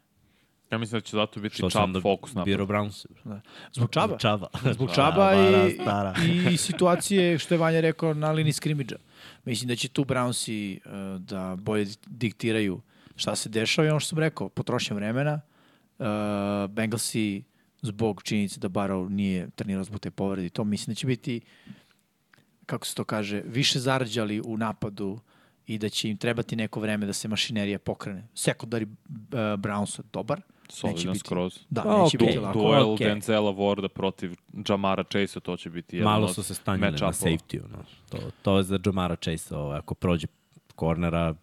Speaker 5: Ja mislim da će zato biti
Speaker 6: Što
Speaker 5: čap
Speaker 6: sam da
Speaker 5: fokus na
Speaker 6: birao Browns.
Speaker 4: Da. Zbog Čaba.
Speaker 6: Čaba.
Speaker 4: Zbog Čaba i,
Speaker 6: Stara.
Speaker 4: i situacije, što je Vanja rekao, na liniji skrimidža. Mislim da će tu Brownsi uh, da bolje diktiraju šta se dešava i ono što sam rekao, potrošnja vremena. Uh, Bengalsi zbog činjenice da Barrow nije trenirao zbog te povrede i to mislim da će biti kako se to kaže, više zarđali u napadu i da će im trebati neko vreme da se mašinerija pokrene. Sekundari uh, Brownsa dobar. neće
Speaker 5: solidan
Speaker 4: biti-
Speaker 5: skroz.
Speaker 4: Da,
Speaker 6: A,
Speaker 4: neće
Speaker 6: okej.
Speaker 4: biti
Speaker 5: Du-
Speaker 4: lako.
Speaker 5: Duel
Speaker 6: okej.
Speaker 5: Denzela Warda protiv Jamara Chase-a, to će biti jedan
Speaker 6: Malo
Speaker 5: od
Speaker 6: su se stanjali na
Speaker 5: match-upova.
Speaker 6: safety-u. No. To, to je za Jamara Chase, ovaj, ako prođe kornera,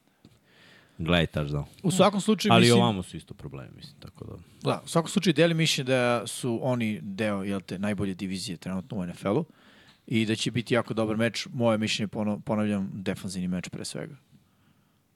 Speaker 6: gledaj taš da.
Speaker 4: U svakom slučaju,
Speaker 6: Ali i
Speaker 4: mislim,
Speaker 6: ovamo su isto problemi, mislim, tako da.
Speaker 4: Da, u svakom slučaju deli mišljenje da su oni deo jel te, najbolje divizije trenutno u NFL-u i da će biti jako dobar meč. Moje mišljenje, pono- ponavljam, defanzivni meč pre svega.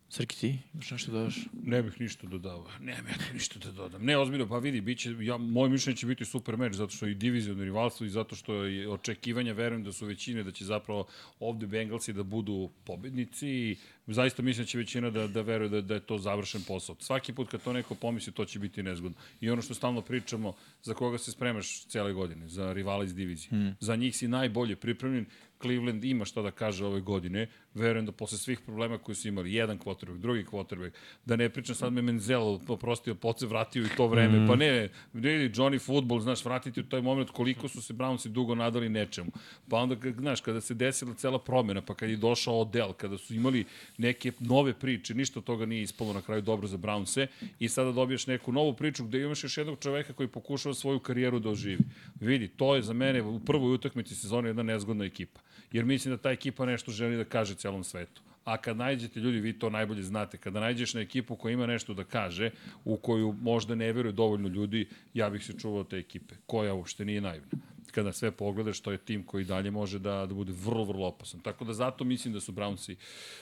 Speaker 4: Srki, ti imaš nešto da daš?
Speaker 3: Ne bih ništa dodao. Ne bih ništa da dodam. Ne, ozbiljno, pa vidi, biće, ja, moje mišljenje će biti super meč, zato što je i divizionno rivalstvo i zato što je očekivanja, verujem da su većine, da će zapravo ovde Bengalsi da budu pobednici i zaista mislim da će većina da, da veruje da, da je to završen posao. Svaki put kad to neko pomisli, to će biti nezgodno. I ono što stalno pričamo, za koga se spremaš cijele godine, za rivala iz divizije. Mm. Za njih si najbolje pripremljen, Cleveland ima šta da kaže ove godine. Verujem da posle svih problema koji su imali, jedan quarterback, drugi quarterback, da ne pričam sad me Menzel oprostio, poce vratio i to vreme. Mm. Pa ne, vidi Johnny Football, znaš, vratiti u taj moment koliko su se Brownsi dugo nadali nečemu. Pa onda, k- znaš, kada se desila cela promjena, pa kad je došao Odell, kada su imali neke nove priče, ništa od toga nije ispalo na kraju dobro za Brownse i sada dobiješ neku novu priču gde imaš još jednog čoveka koji pokušava svoju karijeru da oživi. Vidi, to je za mene u prvoj utakmici sezone jedna nezgodna ekipa. Jer mislim da ta ekipa nešto želi da kaže celom svetu. A kad najđete, ljudi, vi to najbolje znate, kada najđeš na ekipu koja ima nešto da kaže, u koju možda ne veruje dovoljno ljudi, ja bih se čuvao te ekipe, koja uopšte nije naivna kada sve pogledaš, to je tim koji dalje može da, da bude vrlo, vrlo opasan. Tako da zato mislim da su Brownsi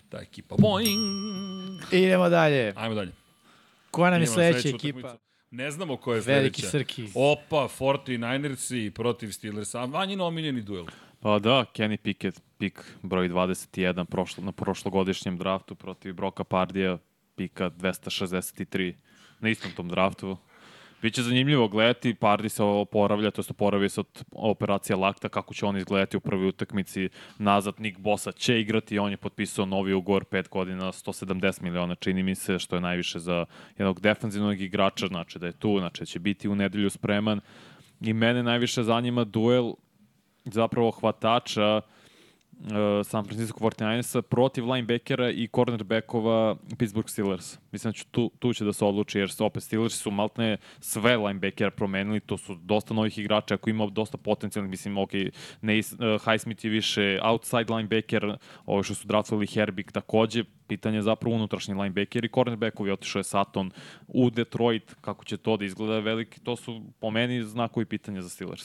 Speaker 3: ta ekipa. Boing!
Speaker 4: Idemo dalje.
Speaker 3: Ajmo dalje.
Speaker 4: Koja nam je
Speaker 3: Idemo na
Speaker 4: sledeća
Speaker 3: sledeću
Speaker 4: ekipa?
Speaker 3: utakmicu. Ne znamo ko je
Speaker 4: Veliki
Speaker 3: sledeća.
Speaker 4: Srki.
Speaker 3: Opa, 49ersi protiv Steelersa. Vanjin omiljeni duel.
Speaker 5: Pa da, Kenny Pickett, pik broj 21 prošlo, na prošlogodišnjem draftu protiv Broka Pardija, pika 263 na istom tom draftu. Biće zanimljivo gledati, Pardi se oporavlja, to jest oporavio se od operacije Lakta, kako će on izgledati u prvoj utakmici nazad. Nick Bosa će igrati, on je potpisao novi ugovor 5 godina, 170 miliona, čini mi se, što je najviše za jednog defanzivnog igrača, znači da je tu, znači da će biti u nedelju spreman. I mene najviše zanima duel zapravo hvatača uh, San Francisco 49ersa protiv linebackera i cornerbackova Pittsburgh Steelers. Mislim da ću tu, tu će da se odluči, jer se opet Steelers su maltne sve linebackera promenili, to su dosta novih igrača, ako ima dosta potencijalnih, mislim, ok, ne, uh, Highsmith je više outside linebacker, ovo što su draftovali Herbig takođe, pitanje je zapravo unutrašnji linebacker i cornerbackovi, otišao je Saton u Detroit, kako će to da izgleda veliki, to su po meni znakovi pitanja za Steelers.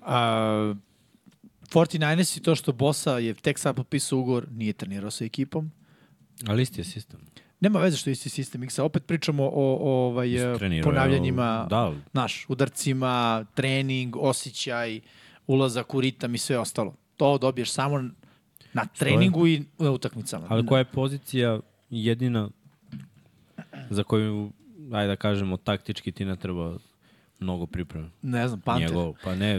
Speaker 4: A, 49ers i to što Bosa je tek sad popisao ugovor, nije trenirao sa ekipom.
Speaker 6: Ali isti je sistem.
Speaker 4: Nema veze što je isti sistem X-a. Opet pričamo o, o ovaj, e,
Speaker 6: Trenirao je,
Speaker 4: ponavljanjima,
Speaker 6: da.
Speaker 4: naš, udarcima, trening, osjećaj, ulazak u ritam i sve ostalo. To dobiješ samo na treningu i na utakmicama.
Speaker 6: Ali koja je pozicija jedina za koju, ajde da kažemo, taktički ti ne treba mnogo pripreme?
Speaker 4: Ne znam, Panter.
Speaker 6: Njegov, pa ne,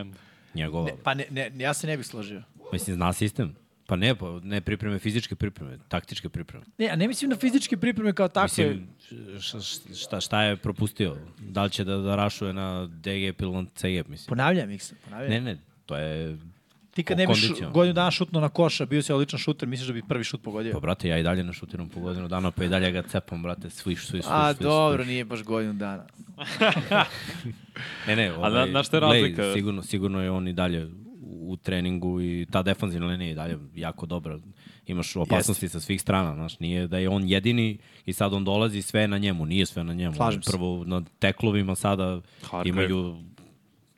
Speaker 5: And,
Speaker 6: njegova.
Speaker 4: Ne, pa ne, ne, ja se ne bih složio.
Speaker 6: Mislim, zna sistem. Pa ne, pa ne pripreme, fizičke pripreme, taktičke pripreme.
Speaker 4: Ne, a ne mislim na fizičke pripreme kao takve.
Speaker 6: Mislim, š- š- šta, šta je propustio? Da li će da, da rašuje na DGP ili na CGP, mislim?
Speaker 4: Ponavljam ih se, ponavljam.
Speaker 6: Ne, ne, to je...
Speaker 4: Ti kad
Speaker 6: o
Speaker 4: ne biš
Speaker 6: kondicijama.
Speaker 4: godinu dana šutno na koša, bio si odličan šuter, misliš da bi prvi šut
Speaker 6: Pa,
Speaker 4: pogodio?
Speaker 6: brate, ja i dalje našutiram po godinu dana, pa i dalje ga cepam, brate, sviš, sviš, sviš.
Speaker 4: A
Speaker 6: sviš,
Speaker 4: dobro, nije baš godinu dana.
Speaker 6: Ne, ne, ovaj,
Speaker 5: na- znaš šta je razlika?
Speaker 6: Glej, sigurno, sigurno je on i dalje u treningu i ta defanzivna linija je i dalje jako dobra. Imaš opasnosti sa svih strana, znaš, nije da je on jedini i sad on dolazi i sve je na njemu, nije sve na njemu.
Speaker 4: Slažem
Speaker 6: On
Speaker 4: se.
Speaker 6: Prvo na teklovima sada
Speaker 5: Hargrave.
Speaker 6: imaju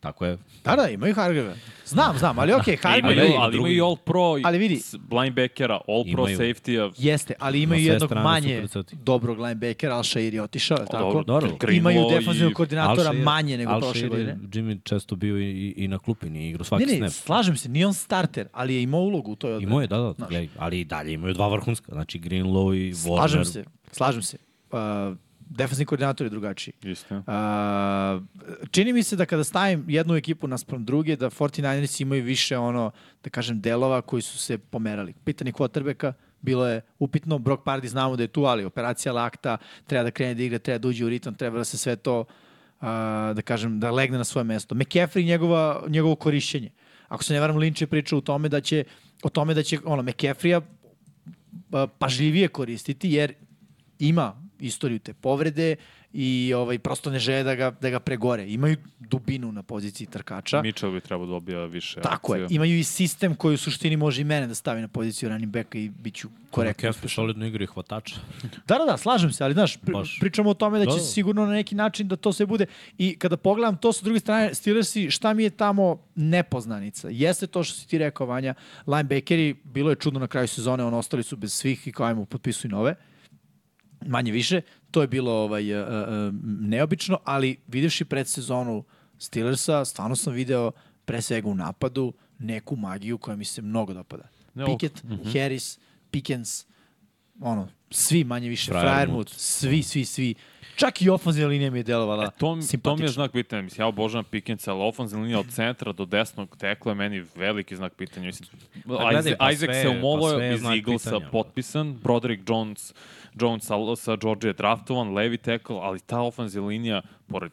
Speaker 6: tako je.
Speaker 4: Da, da, imaju Hargrave. Znam, znam, ali okej, okay,
Speaker 5: imaju,
Speaker 4: Hargrave
Speaker 5: ali,
Speaker 6: i
Speaker 5: ali
Speaker 6: drugi.
Speaker 5: imaju i all pro i
Speaker 4: Ali vidi-
Speaker 5: s- linebackera, all pro
Speaker 6: Imaju.
Speaker 5: safety-a.
Speaker 4: jeste, ali
Speaker 6: Na
Speaker 4: imaju
Speaker 6: sve
Speaker 4: jednog
Speaker 6: strane
Speaker 4: manje
Speaker 6: super crti.
Speaker 4: dobrog linebackera, Al Shair je otišao, je li tako?
Speaker 5: dobro,
Speaker 6: dobro.
Speaker 5: Greenlaw
Speaker 4: Imaju
Speaker 5: i-
Speaker 4: defensivnog koordinatora
Speaker 6: Al Shearer-
Speaker 4: manje nego
Speaker 6: Al
Speaker 4: prošle
Speaker 6: Shearer je
Speaker 4: godine.
Speaker 6: Jimmy često bio i, i, i na klupi, nije igrao svaki
Speaker 4: Ne, ne,
Speaker 6: snap.
Speaker 4: slažem se, nije on starter, ali je imao ulogu u toj odbrani.
Speaker 6: Imao je, da, da, gledaj, ali i dalje imaju dva vrhunska, znači Greenlow i Warner.
Speaker 4: Slažem se, slažem se. Uh, defensivni koordinator je drugačiji.
Speaker 5: Isto.
Speaker 4: Uh, čini mi se da kada stavim jednu ekipu naspram druge, da 49ers imaju više ono, da kažem, delova koji su se pomerali. Pitanje quarterbacka bilo je upitno, Brock Pardy znamo da je tu, ali operacija lakta, treba da krene da igra, treba da uđe u ritam, treba da se sve to, uh, da kažem, da legne na svoje mesto. McCaffrey i njegova, njegovo korišćenje. Ako se ne varam, Lynch je pričao u tome da će, o tome da će ono, McCaffrey-a pa- pažljivije koristiti jer ima istoriju te povrede i ovaj prosto ne žele da ga da ga pregore. Imaju dubinu na poziciji trkača.
Speaker 5: Mitchell bi trebao da dobija više
Speaker 4: Tako je.
Speaker 5: akcija.
Speaker 4: Imaju i sistem koji u suštini može i mene da stavi na poziciju running backa i biću korektan.
Speaker 6: Kefe solidno igra i hvatača.
Speaker 4: Da, da, da, slažem se, ali znaš, pri,
Speaker 6: Baš.
Speaker 4: pričamo o tome da će
Speaker 6: Da, da.
Speaker 4: sigurno na neki način da to sve bude. I kada pogledam to sa druge strane, Steelersi, šta mi je tamo nepoznanica? Jeste to što si ti rekao, Vanja, linebackeri, bilo je čudno na kraju sezone, ono, ostali su bez svih i kao ajmo, potpisuj nove. Manje više, to je bilo ovaj, uh, uh, neobično, ali videvši predsezonu Steelersa, stvarno sam video pre svega u napadu neku magiju koja mi se mnogo dopada.
Speaker 5: Ne, ovo-
Speaker 4: Pickett,
Speaker 6: Mhm.
Speaker 4: Harris, Pickens, ono, svi manje više,
Speaker 6: Frajermut.
Speaker 4: Frajermut, svi, svi, svi. Čak i ofenzivna linija mi je delovala e,
Speaker 5: To, to mi
Speaker 4: simpatično.
Speaker 5: je znak pitanja. Mislim, ja obožavam Pickensa, ali ofenzivna linija od centra do desnog tekla je meni veliki znak pitanja. Mislim,
Speaker 6: gledaj,
Speaker 5: Isaac,
Speaker 6: pa
Speaker 5: Isaac
Speaker 6: sve-
Speaker 5: se umolo
Speaker 6: pa sve je
Speaker 5: iz
Speaker 6: znak
Speaker 5: Eaglesa
Speaker 6: pitanja.
Speaker 5: potpisan, Broderick Jones, Jones sa, sa Georgia je draftovan, levi tekl, ali ta ofenzivna linija, pored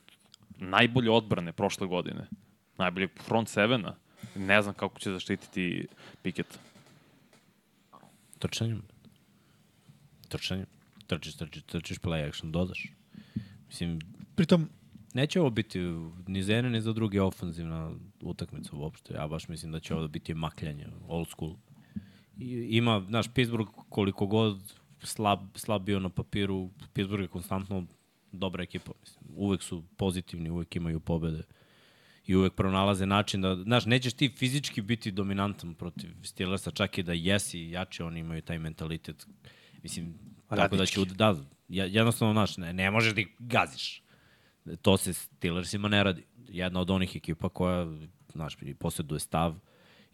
Speaker 5: najbolje odbrane prošle godine, najbolje front sevena, ne znam kako će zaštititi Pickett.
Speaker 6: Trčanjem. Trčanjem. Trčiš, trčiš, trčiš, play action, dodaš. Mislim,
Speaker 4: Pritom,
Speaker 6: neće ovo biti ni za jedne, ni za druge ofenzivna utakmica uopšte. Ja baš mislim da će ovo biti makljanje, old school. I, ima, znaš, Pittsburgh koliko god slab, slab bio na papiru, Pittsburgh je konstantno dobra ekipa. Mislim. Uvek su pozitivni, uvek imaju pobede. I uvek pronalaze način da, znaš, nećeš ti fizički biti dominantan protiv Steelersa, čak i da jesi jači, oni imaju taj mentalitet. Mislim, tako da će, ud- da, ja- jednostavno, znaš, ne, ne možeš da ih gaziš. To se Steelersima ne radi. Jedna od onih ekipa koja, znaš, i posjeduje stav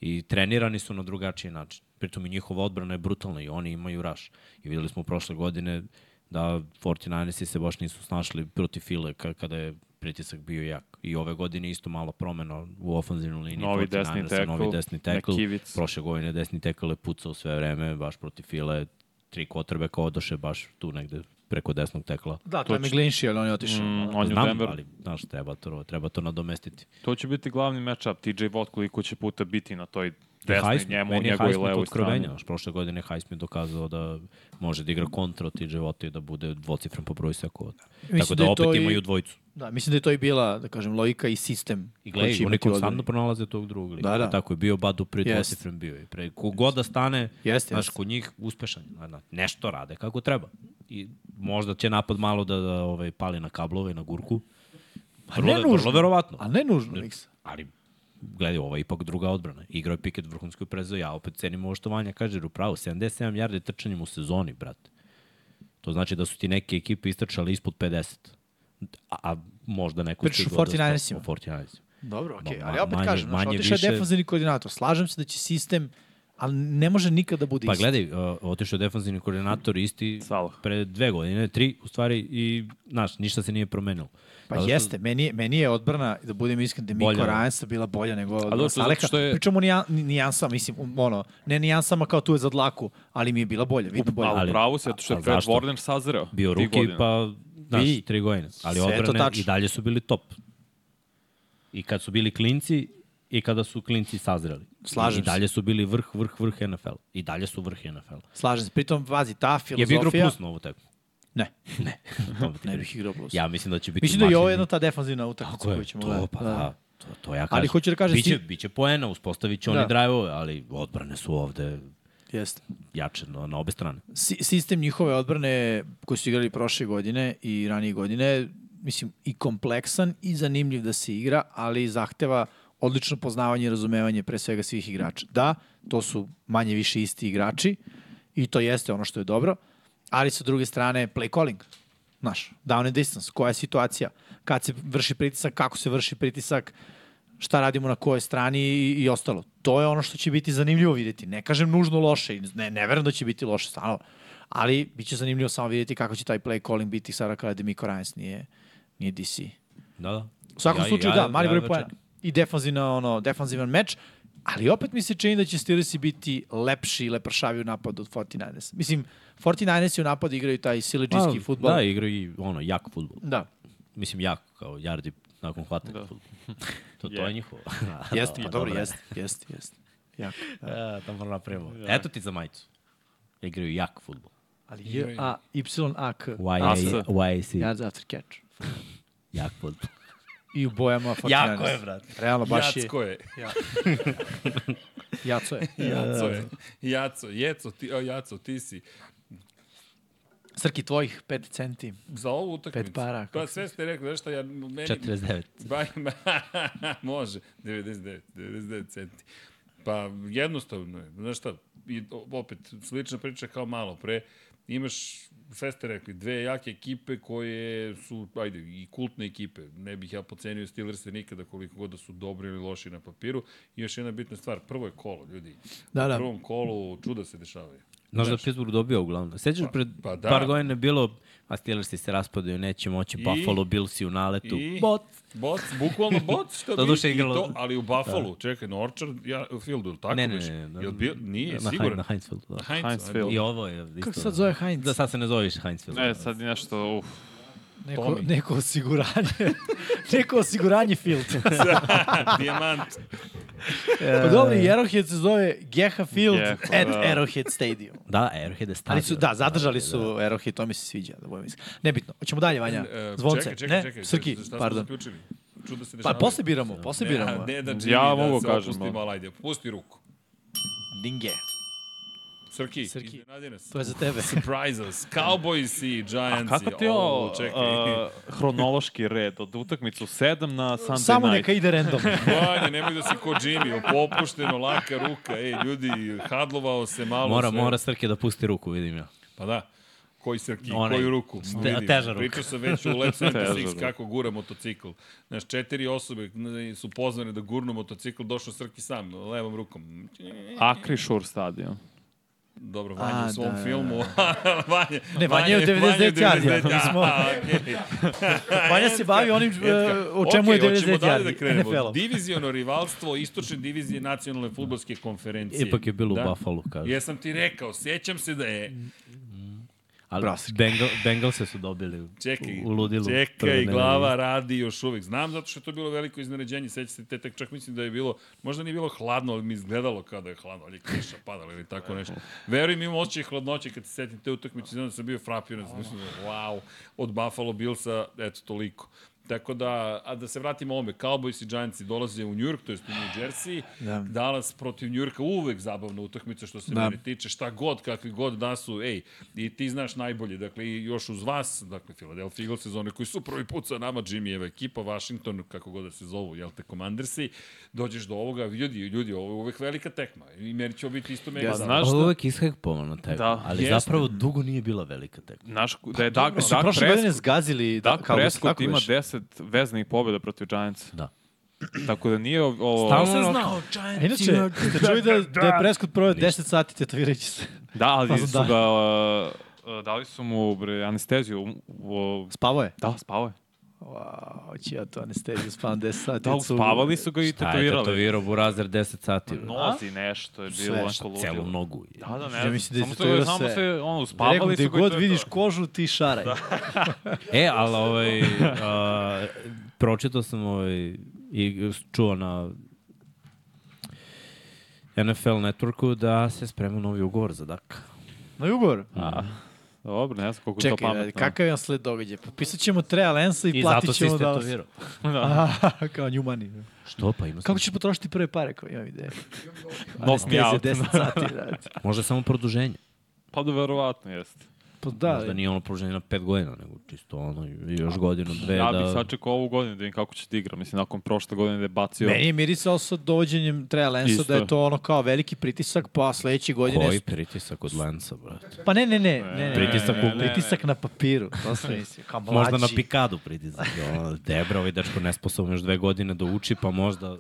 Speaker 6: i trenirani su na drugačiji način. Pritom i njihova odbrana je brutalna i oni imaju raš. I videli smo prošle godine da 49ersi se baš nisu snašli protiv File ka- kada je pritisak bio jak. I ove godine isto malo promena u ofanzivnoj liniji.
Speaker 5: Novi desni
Speaker 6: 49ersa, Novi
Speaker 5: tackle,
Speaker 6: desni tackle.
Speaker 5: Nekivic.
Speaker 6: Prošle godine desni tackle je pucao sve vreme, baš protiv File. Tri kotrbeka odoše baš tu negde preko desnog tekla.
Speaker 4: Da, to je McGlinchey, ali on je otišao.
Speaker 5: Mm, on je u
Speaker 6: Znam,
Speaker 5: Denveru.
Speaker 6: ali znaš, treba to, treba to nadomestiti.
Speaker 5: To će biti glavni matchup. TJ Watt koliko će puta biti na toj desnoj
Speaker 6: Highsmith,
Speaker 5: njemu,
Speaker 6: meni je
Speaker 5: njegovoj
Speaker 6: Highsmith
Speaker 5: levoj strani.
Speaker 6: otkrovenje. Znaš, prošle godine Highsmith dokazao da može da igra kontra od TJ Watt i da bude dvocifren po broju sekova. Tako da,
Speaker 4: da je to
Speaker 6: opet
Speaker 4: i-
Speaker 6: imaju dvojicu.
Speaker 4: Da, mislim da je to i bila, da kažem, logika i sistem. koji će
Speaker 6: I gledaj, oni
Speaker 4: imati u odbrani.
Speaker 6: konstantno pronalaze tog drugog lika.
Speaker 4: Da, da.
Speaker 6: Tako je bio Badu prije
Speaker 4: Jest.
Speaker 6: dvocifren bio. I pre, kogoda stane,
Speaker 4: Jeste,
Speaker 6: znaš,
Speaker 4: jeste.
Speaker 6: kod njih uspešan. je. Znaš, Nešto rade kako treba. I možda će napad malo da, da ovaj, pali na kablove i na gurku.
Speaker 4: Pa
Speaker 6: Vrlo, vrlo verovatno.
Speaker 4: A ne nužno, Miksa.
Speaker 6: ali gledaj, ovo je ipak druga odbrana. Igrao je Piket vrhunskoj prezo, ja opet cenim ovo što Vanja kaže, jer upravo, 77 jarde trčanjem u sezoni, brate. To znači da su ti neke ekipe istrčale ispod 50. A, a možda neko
Speaker 4: Pričaš o 49ersima?
Speaker 6: O 49ersima.
Speaker 4: Dobro, okej,
Speaker 6: Ma-
Speaker 4: ali ja opet
Speaker 6: manje-
Speaker 4: kažem, znaš,
Speaker 6: manje
Speaker 4: otišao
Speaker 6: više-
Speaker 4: je defanzivni koordinator. Slažem se da će sistem, ali ne može nikada da bude
Speaker 6: Pa
Speaker 4: isti.
Speaker 6: gledaj, uh, otišao je defanzivni koordinator isti
Speaker 5: Salah.
Speaker 6: pre dve godine, tri u stvari i, znaš, ništa se nije promenilo.
Speaker 4: Pa
Speaker 6: Zato što-
Speaker 4: jeste, meni, je- meni je odbrana, da budem iskren, da Miko
Speaker 6: Bolja.
Speaker 4: Ryansa bila bolja nego
Speaker 5: dobro,
Speaker 4: odbrana
Speaker 5: zato
Speaker 4: Saleka.
Speaker 5: što je-
Speaker 4: Pričamo o nija- ni- nijansama, mislim, um, ono, ne nijansama kao tu je za dlaku, ali mi je bila bolja, vidno bolja.
Speaker 5: Ali,
Speaker 6: Ali-
Speaker 5: pravo se, zato što je
Speaker 6: a- a
Speaker 5: Fred
Speaker 6: zašto?
Speaker 5: Warner sazreo.
Speaker 6: bio
Speaker 5: tih
Speaker 6: ruki,
Speaker 5: godina.
Speaker 6: pa znaš,
Speaker 4: Vi.
Speaker 6: tri godine. Ali
Speaker 4: Sve je to
Speaker 6: odbrane
Speaker 4: tačno.
Speaker 6: i dalje su bili top. I kad su bili klinci i kada su klinci sazreli.
Speaker 4: Slažem
Speaker 6: I dalje su bili vrh, vrh, vrh NFL. I dalje su vrh NFL.
Speaker 4: Slažem se, pritom, vazi, ta
Speaker 6: Je bi
Speaker 4: filozofija...
Speaker 6: igrao plus na ovu tekmu.
Speaker 4: Ne,
Speaker 6: To bi ti
Speaker 4: ne
Speaker 6: rekao.
Speaker 4: bih igrao plus.
Speaker 6: Ja mislim da će biti
Speaker 4: Mislim da je ovo
Speaker 6: mašin-
Speaker 4: jedna ta defanzivna utakmica
Speaker 6: Tako je,
Speaker 4: koju ćemo
Speaker 6: to,
Speaker 4: gledati.
Speaker 6: pa da. To, to ja kažem.
Speaker 4: Ali hoću da kažem,
Speaker 6: Biće,
Speaker 4: si-
Speaker 6: biće poena, uspostavit će oni
Speaker 4: Da.
Speaker 6: da. drive ali odbrane su ovde
Speaker 4: Jeste.
Speaker 6: jače na, na obe strane.
Speaker 4: Si, sistem njihove odbrane koji su igrali prošle godine i ranije godine, mislim, i kompleksan i zanimljiv da se igra, ali zahteva odlično poznavanje i razumevanje pre svega svih igrača. Da, to su manje više isti igrači i to jeste ono što je dobro, ali sa druge strane play calling, znaš, down and distance, koja je situacija, kad se vrši pritisak, kako se vrši pritisak, šta radimo na kojoj strani i, i ostalo. To je ono što će biti zanimljivo vidjeti. Ne kažem nužno loše, i ne, ne verujem da će biti loše, stvarno. Ali bit će zanimljivo samo vidjeti kako će taj play calling biti sada kada Demiko Ryans nije, nije DC.
Speaker 6: Da, da.
Speaker 4: U svakom
Speaker 6: Ja-
Speaker 4: slučaju,
Speaker 6: ja-
Speaker 4: da, mali
Speaker 6: ja znači-
Speaker 4: broj
Speaker 6: ga
Speaker 4: poena.
Speaker 6: čekam.
Speaker 4: I defanzivna, ono, defanzivan meč, ali opet mi se čini da će Steelersi biti lepši i lepršavi u napadu od 49ers. Mislim, 49ersi u napadu igraju taj sileđijski
Speaker 6: Pa,
Speaker 4: futbol.
Speaker 6: Da, igraju i ono, jak futbol.
Speaker 4: da.
Speaker 6: mislim jak, kao jardi nakon hvatanja. Da. To, to je njihovo.
Speaker 4: Jeste, pa dobro, jeste, jeste, jeste. Jako.
Speaker 6: E, tamo moram napravimo. Eto ti za majicu. Igraju jak futbol.
Speaker 4: Ali J, A, Y, A, K.
Speaker 5: Asa.
Speaker 6: YAC.
Speaker 4: Yards after catch.
Speaker 6: Jak futbol.
Speaker 4: I u bojama 49ers.
Speaker 6: Jako je, brate.
Speaker 4: Realno, baš je.
Speaker 3: Jacko je.
Speaker 4: Jaco je.
Speaker 3: Jaco je. Jaco, jeco, ti, o, jaco, ti si.
Speaker 4: Srki tvojih 5 centi.
Speaker 3: Za ovu utakmicu.
Speaker 4: Pet para,
Speaker 3: Pa
Speaker 4: kako
Speaker 3: sve ste rekli, znaš šta, ja, meni...
Speaker 6: 49.
Speaker 3: Ba, može, 99, 99 centi. Pa jednostavno je, znaš šta, i o- opet slična priča kao malo pre, imaš, sve ste rekli, dve jake ekipe koje su, ajde, i kultne ekipe, ne bih ja pocenio Steelers nikada koliko god da su dobri ili loši na papiru, i još jedna bitna stvar, prvo je kolo, ljudi,
Speaker 4: Da,
Speaker 3: u
Speaker 4: da.
Speaker 3: prvom kolu čuda se dešavaju.
Speaker 6: Znaš da je Pittsburgh dobio uglavnom. Sećaš pred
Speaker 3: pa da.
Speaker 6: par godina je bilo, a Steelersi se raspadaju, neće moći,
Speaker 3: I-
Speaker 6: Buffalo Bills i u naletu.
Speaker 3: i-
Speaker 6: Bot.
Speaker 3: Boc, bukvalno boc, što bi
Speaker 6: Doduše
Speaker 3: i
Speaker 6: igralo-
Speaker 3: to, ali u Buffalo, da. čekaj, na Orchard ja, Fieldu, ili tako
Speaker 6: Ne, ne,
Speaker 3: biš?
Speaker 6: ne, ne,
Speaker 3: Jel bio, nije,
Speaker 6: na,
Speaker 3: siguran.
Speaker 6: Na Heinzfeldu, da.
Speaker 3: Heinz,
Speaker 5: Heinzfield.
Speaker 6: I ovo je isto.
Speaker 4: Kako se sad zove Heinz?
Speaker 6: Da, sad se ne zove više Heinzfeld.
Speaker 5: E, sad je nešto, uf,
Speaker 4: Neko,
Speaker 3: Tommy.
Speaker 4: neko osiguranje. neko osiguranje field.
Speaker 3: Dijamant.
Speaker 4: pa dobro, i Arrowhead se zove Geha Field
Speaker 5: Geha,
Speaker 4: at
Speaker 5: da.
Speaker 4: Arrowhead Stadium.
Speaker 6: Da, Airhead je stadion.
Speaker 4: Ali su, da, zadržali su Arrowhead, to mi se sviđa, da budem iskren. Nebitno. Hoćemo dalje, Vanja.
Speaker 3: E,
Speaker 4: Zvonce,
Speaker 3: čekaj, čekaj,
Speaker 4: ne?
Speaker 3: čekaj,
Speaker 4: Srki,
Speaker 3: šta smo
Speaker 4: pardon.
Speaker 3: zaključili? Čuda se
Speaker 4: Pa
Speaker 3: dešavaju.
Speaker 4: posle biramo, posle
Speaker 3: ne,
Speaker 4: biramo.
Speaker 3: a ne da Jimmy
Speaker 5: Ja
Speaker 3: da
Speaker 5: mogu
Speaker 3: se
Speaker 5: kažem,
Speaker 3: opusti
Speaker 5: ali.
Speaker 3: malo, ajde, pusti ruku.
Speaker 4: Dinge.
Speaker 3: Srki,
Speaker 4: Srki.
Speaker 3: iznenadi nas.
Speaker 4: To je za tebe.
Speaker 3: Surprise us, Cowboys i Giants.
Speaker 5: Kako ti
Speaker 3: ovo?
Speaker 5: ovo,
Speaker 3: Čekaj.
Speaker 5: uh, hronološki red od utakmicu 7 na Sunday
Speaker 4: Samo
Speaker 5: night?
Speaker 4: neka ide random.
Speaker 3: Vanja, nemoj da si ko Jimmy, popušteno, laka ruka, ej, ljudi, hadlovao se malo.
Speaker 6: Mora,
Speaker 3: sve.
Speaker 6: mora Srke da pusti ruku, vidim ja.
Speaker 3: Pa da. koji srki,
Speaker 6: Onaj,
Speaker 3: koju ruku.
Speaker 6: ste-
Speaker 3: Vidim.
Speaker 6: teža ruka.
Speaker 3: Pričao sam već u Lab 76
Speaker 5: ruka.
Speaker 3: kako gura motocikl. Znaš, četiri osobe n- su pozvane da gurnu motocikl, došao Srki sam, levom rukom.
Speaker 5: Akri Shore stadion.
Speaker 3: Dobro, Vanja
Speaker 4: A,
Speaker 3: u svom
Speaker 4: da, da,
Speaker 3: filmu. Vanja,
Speaker 4: Ne, Vanja je u 99 yardi, ako
Speaker 3: Da,
Speaker 4: bismo- Vanja se bavi onim e, o
Speaker 3: okay,
Speaker 4: čemu je 90
Speaker 3: yardi. Da
Speaker 4: yardi.
Speaker 3: krenemo.
Speaker 4: NFL-om.
Speaker 3: Diviziono rivalstvo istočne divizije nacionalne futbolske konferencije.
Speaker 6: Ipak je bilo da. u Buffalo, kažu. Yes.
Speaker 3: Jesam ti rekao, sjećam se da je...
Speaker 6: Ali Bengal, Bengalse su dobili
Speaker 3: Čekaj,
Speaker 6: u ludilu. prve
Speaker 3: čekaj,
Speaker 6: nedelje.
Speaker 3: glava radi još uvek. Znam zato što je to bilo veliko iznenađenje, sećate se te, tek čak mislim da je bilo, možda nije bilo hladno, ali mi izgledalo kao da je hladno, ali je kiša padala ili
Speaker 6: Da.
Speaker 3: tako nešto. Verujem, imam oči hladnoće kad se setim te utakmice, znam da sam bio frapiran, sam mislim da, wow, od Buffalo Billsa, eto, toliko. Tako da, a da se vratimo ovome, Cowboys i Giantsi dolaze u New York, to jest u New Jersey, da. Dallas protiv New Yorka, uvek zabavna utakmica što se da. mene tiče, šta god, kakvi god da su, ej, i ti znaš najbolje, dakle, i još uz vas, dakle, Philadelphia Eagles sezone koji su prvi put sa nama, Jimmyjeva ekipa, Washington, kako god da se zovu, jel te, Commandersi, dođeš do ovoga, ljudi, ljudi, ovo je uvek velika tekma, i meni će ovo biti isto mega
Speaker 5: Pa
Speaker 3: zabavno.
Speaker 5: znaš
Speaker 6: Ovo je
Speaker 5: da,
Speaker 6: uvek ishajpovano tekma,
Speaker 5: Da.
Speaker 6: da, ali
Speaker 3: Jeste.
Speaker 6: jeste. zapravo dugo nije bila velika tekma.
Speaker 5: naš, da je Dak,
Speaker 4: Su
Speaker 5: Dak,
Speaker 4: prošle godine
Speaker 5: Pres,
Speaker 4: zgazili da,
Speaker 5: Dak
Speaker 4: kao
Speaker 5: Prescott
Speaker 4: tako
Speaker 5: ima
Speaker 4: već.
Speaker 5: 10 veznih pobjeda protiv Giants.
Speaker 6: Da.
Speaker 5: Tako da nije ov- ovo...
Speaker 6: se
Speaker 4: znao. Inače, ste čuli Znači, da, da je Prescott proveo 10 sati tetovirajući se.
Speaker 5: Da, ali
Speaker 4: Fazon
Speaker 5: su
Speaker 4: da.
Speaker 5: ga... Da. dali su mu bre, anesteziju. u- u-
Speaker 4: Spavo je.
Speaker 5: da, spavao je.
Speaker 4: Hoće ja to anesteziju, spavam 10 sati.
Speaker 5: Da,
Speaker 4: od subu.
Speaker 5: spavali su ga i
Speaker 6: Šta je
Speaker 5: tetovirali.
Speaker 6: tetovirao Burazer 10 sati? No,
Speaker 5: Nozi nešto je bilo,
Speaker 4: Sve,
Speaker 5: nešto
Speaker 6: celu
Speaker 5: ludilo.
Speaker 6: nogu.
Speaker 5: Da, da, ne
Speaker 4: Ja
Speaker 5: znam.
Speaker 4: mislim da je
Speaker 5: samo,
Speaker 4: tetovirao
Speaker 5: se, samo
Speaker 4: sve.
Speaker 5: se, ono,
Speaker 4: Rekao,
Speaker 5: spavali
Speaker 4: Da, gde
Speaker 5: su ga i
Speaker 4: god
Speaker 5: to je
Speaker 4: vidiš
Speaker 5: to. Da.
Speaker 4: kožu, ti šaraj.
Speaker 6: E, ali ovaj, a, pročitao sam ovaj, i čuo na NFL networku da se sprema novi ugovor za Daka.
Speaker 4: Na ugovor.
Speaker 5: Dobro, ne znam koliko je to da.
Speaker 4: Čekaj,
Speaker 5: pametno.
Speaker 4: ajde, kakav je on sled događaja? Popisat ćemo Trea Lensa i,
Speaker 6: I zato
Speaker 4: platit
Speaker 6: si
Speaker 4: ćemo da...
Speaker 6: istetovirao.
Speaker 4: Kao new money.
Speaker 6: Što pa ima
Speaker 4: Kako
Speaker 6: Kako
Speaker 4: ćeš potrošiti prve pare koje imam ideje?
Speaker 5: Knock me out.
Speaker 4: 10 sati, brate.
Speaker 6: Možda samo produženje.
Speaker 5: Pa da, verovatno jeste.
Speaker 4: Pa da,
Speaker 6: Možda nije ono produženje na pet godina, nego čisto ono još godinu, dve.
Speaker 5: Ja bih
Speaker 6: da...
Speaker 5: sačekao ovu godinu da vidim kako će da igra. Mislim, nakon prošle godine da je bacio...
Speaker 4: Meni je mirisao sa dovođenjem Treja Lensa
Speaker 5: Isto.
Speaker 4: da je to ono kao veliki pritisak, pa sledeće godine...
Speaker 6: Koji pritisak od Lensa, brate?
Speaker 4: Pa ne, ne, ne. ne, ne, ne
Speaker 6: Pritisak
Speaker 4: ne,
Speaker 6: u-
Speaker 4: ne, ne, pritisak na papiru. To sam mislio. Kao mlađi.
Speaker 6: Možda na pikadu pritisak. Ono, debra, ovaj dečko nesposoban još dve godine da uči, pa možda...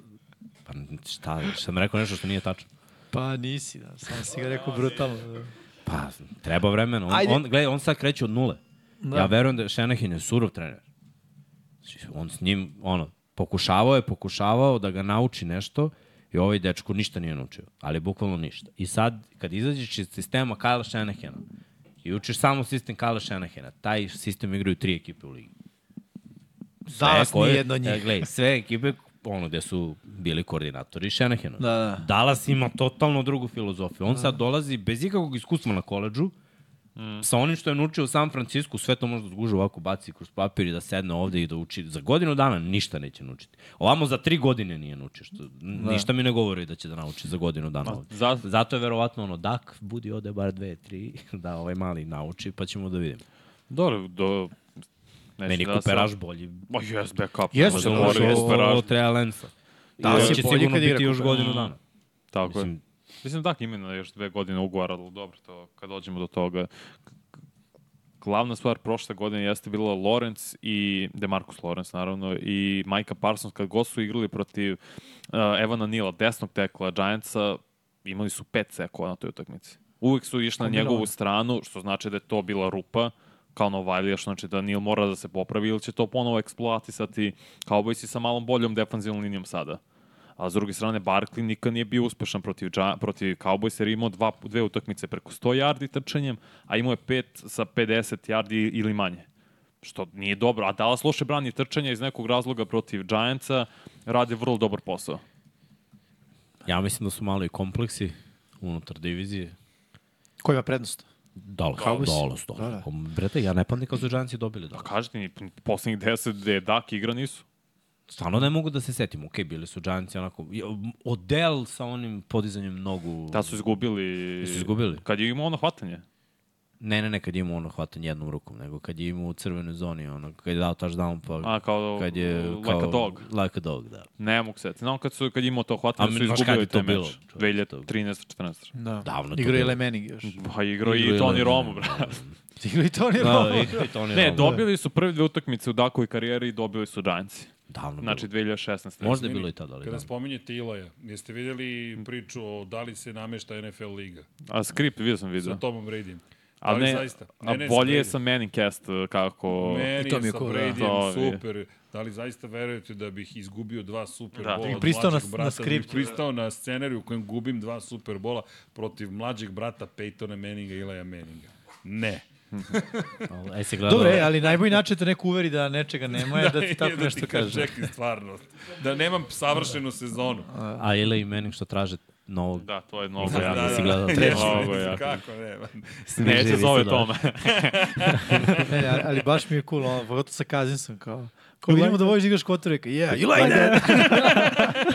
Speaker 6: Pa šta, šta sam rekao nešto što nije tačno.
Speaker 4: Pa nisi, da. Samo si ga rekao brutalno. Da.
Speaker 6: Pa, treba vremena. On,
Speaker 4: Ajde.
Speaker 6: on, gledaj, on sad kreće od nule. Da. Ja verujem da Šenahin je surov trener. Znači, On s njim, ono, pokušavao je, pokušavao da ga nauči nešto i ovaj dečko ništa nije naučio. Ali bukvalno ništa. I sad, kad izađeš iz sistema Kyle Šenahina i učiš samo sistem Kyle Šenahina, taj sistem igraju tri ekipe u ligi.
Speaker 4: Danas
Speaker 6: koje-
Speaker 4: nije jedno od
Speaker 6: E,
Speaker 4: njih.
Speaker 6: Gledaj, sve ekipe ono gde su bili koordinatori Šenahena.
Speaker 4: Da, da.
Speaker 6: Dallas ima totalno drugu filozofiju. On sad dolazi bez ikakvog iskustva na koleđu,
Speaker 4: Mm.
Speaker 6: sa onim što je naučio u San Francisku, sve to možda zguže ovako, baci kroz papir i da sedne ovde i da uči. Za godinu dana ništa neće naučiti. Ovamo za tri godine nije naučio. Što, da. Ništa mi ne govori da će da nauči za godinu dana ovde.
Speaker 5: za-
Speaker 6: Zato je verovatno ono, dak, budi ode bar dve, tri, da ovaj mali nauči, pa ćemo da vidimo.
Speaker 5: Dobro, do... Neću
Speaker 6: Meni
Speaker 5: da
Speaker 6: Kuperaš
Speaker 5: sam-
Speaker 6: bolji.
Speaker 5: Ma jes, backup.
Speaker 4: Jeste,
Speaker 5: Možda
Speaker 4: da,
Speaker 5: mora
Speaker 4: da,
Speaker 5: i
Speaker 4: da,
Speaker 5: Kuperaš.
Speaker 6: Ovo treba Lensa.
Speaker 4: on
Speaker 6: Da,
Speaker 4: je
Speaker 6: će
Speaker 4: bolji
Speaker 6: sigurno
Speaker 4: kad igra
Speaker 6: biti još
Speaker 4: Kupera.
Speaker 6: godinu dana.
Speaker 5: Tako je.
Speaker 6: Mislim-
Speaker 5: Pa, Mislim, da, ima na još dve godine ugovara, ali dobro, to, kad dođemo do toga. Glavna stvar prošle godine jeste bila Lawrence i Demarcus Lawrence, naravno, i Majka Parsons, kad god su igrali protiv uh, Evana Nila, desnog tekla Giantsa, imali su pet sekova na toj utakmici. Uvek su išli na njegovu stranu, što znači da je to bila rupa, kao Novalija, što znači da Nil mora da se popravi ili će to ponovo eksploatisati Cowboysi sa malom boljom defanzivnom linijom sada. A s druge strane, Barkley nikad nije bio uspešan protiv, Gia- protiv Cowboys, jer je imao dva, dve utakmice preko 100 yardi trčanjem, a imao je pet sa 50 yardi ili manje. Što nije dobro. A Dallas loše brani trčanja iz nekog razloga protiv Giantsa, rade vrlo dobar posao.
Speaker 6: Ja mislim da su malo i kompleksi unutar divizije.
Speaker 4: Ko ima prednost?
Speaker 6: Dallas,
Speaker 4: Cowboys.
Speaker 6: Dallas,
Speaker 4: Da,
Speaker 6: Dallas.
Speaker 4: da.
Speaker 6: Brete, ja ne pamtim kad su Giantsi dobili Da, Dallas.
Speaker 5: Pa Kažete mi, poslednjih deset gde je Dak igra nisu.
Speaker 6: Stvarno ne mogu da se setim. Okej, bili su Giantsi onako... i- um, Odel sa onim podizanjem nogu...
Speaker 5: Da su izgubili...
Speaker 6: Jesu izgubili?
Speaker 5: Kad je imao ono hvatanje.
Speaker 6: Ne, ne, ne, kad je imao ono hvatanje jednom rukom, nego kad je imao u crvenoj zoni, ono, kad je dao touchdown, pa
Speaker 5: A, kao,
Speaker 6: kad je...
Speaker 5: like a dog.
Speaker 6: Like a dog, da.
Speaker 5: Ne mogu se. Znam kad, su, kad je imao to
Speaker 6: A
Speaker 5: hvatanje, su
Speaker 6: mi- znaš kad
Speaker 5: izgubili
Speaker 6: je to
Speaker 5: taj
Speaker 6: bilo?
Speaker 5: meč. 2013-14.
Speaker 4: Da.
Speaker 6: Davno to
Speaker 4: Igro je
Speaker 6: bilo.
Speaker 4: Lemenig još.
Speaker 5: Pa igrao i
Speaker 6: Igrao je
Speaker 5: Toni
Speaker 6: Lemenig.
Speaker 5: Romo, brate.
Speaker 4: Igro i Tony
Speaker 6: Da,
Speaker 4: Romo.
Speaker 6: i, i to ne,
Speaker 5: Ne, dobili su prve dve utakmice u Dakovoj karijeri i dobili su Giantsi.
Speaker 6: Davno
Speaker 5: Znači
Speaker 6: znači,
Speaker 5: 2016.
Speaker 6: bilo. Možda je bilo i tada, ali
Speaker 3: Kada
Speaker 6: da.
Speaker 3: spominjete Ilaja, jeste vidjeli priču o da li se namešta NFL liga
Speaker 5: A skript vidio sam
Speaker 3: sa
Speaker 5: video.
Speaker 3: Tomom Bradyem?
Speaker 5: Da. Ali
Speaker 3: ali
Speaker 5: ne,
Speaker 3: Da zaista.
Speaker 5: a
Speaker 3: Ne, ne,
Speaker 5: bolje je
Speaker 3: sa
Speaker 5: sa Manningcast uh, kako...
Speaker 3: Meni
Speaker 4: I to mi je
Speaker 3: sa
Speaker 4: cool, da.
Speaker 3: Bradyem
Speaker 5: To mi je.
Speaker 3: super. Da li zaista verujete da bih izgubio dva Super
Speaker 5: Da.
Speaker 3: bola
Speaker 5: I
Speaker 3: od
Speaker 9: pristao
Speaker 3: mlađeg
Speaker 9: na- na
Speaker 3: brata,
Speaker 9: skript.
Speaker 3: Da bih pristao na scenariju u kojem gubim dva Super bola protiv mlađeg brata Peytona Manninga i Ilaja Manninga. Ne.
Speaker 6: Ali, Aj se gledalo...
Speaker 4: Dobre, e, ali najbolji način je da neko uveri da nečega nema je da ti tako
Speaker 3: da
Speaker 4: nešto
Speaker 3: ti
Speaker 4: kaže.
Speaker 3: Čekaj stvarnost. Da nemam savršenu sezonu.
Speaker 6: A Ila i Manning što traže novog...
Speaker 5: Da, to je mnogo
Speaker 6: Da,
Speaker 5: jako.
Speaker 6: da, si gledao
Speaker 3: Ne,
Speaker 6: treći?
Speaker 5: Ovo je jako.
Speaker 3: Kako nema.
Speaker 5: Neće zove
Speaker 6: da.
Speaker 5: Tome.
Speaker 4: Ne, ne, E, ali baš mi je cool, ono, pogotovo sa Kazinsom, kao... Ko vidimo da voliš da igraš Kotoreka, yeah, you like that!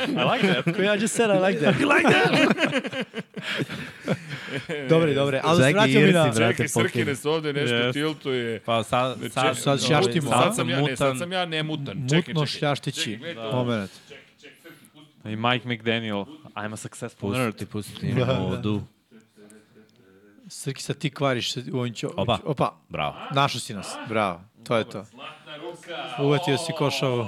Speaker 5: I like that.
Speaker 4: Ko ja just said I like that. You like that! dobre, dobre, ali se
Speaker 6: Zagi
Speaker 4: vratimo mi na...
Speaker 6: Irsi, brate.
Speaker 3: Čekaj, Srkine se ovde nešto
Speaker 5: Yes.
Speaker 3: tiltuje.
Speaker 6: Pa sad, sad,
Speaker 4: sad šaštimo, a?
Speaker 3: Sad sam ja, ne, sad sam ja nemutan. Čekaj, čekaj.
Speaker 4: Mutno šljaštići
Speaker 3: Čekaj, gledaj ovo.
Speaker 4: moment.
Speaker 5: I Mike McDaniel, Pa, I'm a successful nerd.
Speaker 6: Pusti, pusti
Speaker 4: Da,
Speaker 6: vodu.
Speaker 4: Srki, sad ti kvariš se u ovim ćo...
Speaker 6: Opa.
Speaker 4: Opa,
Speaker 6: Bravo.
Speaker 4: našao si nas, bravo, to je to. Uvatio si košavu.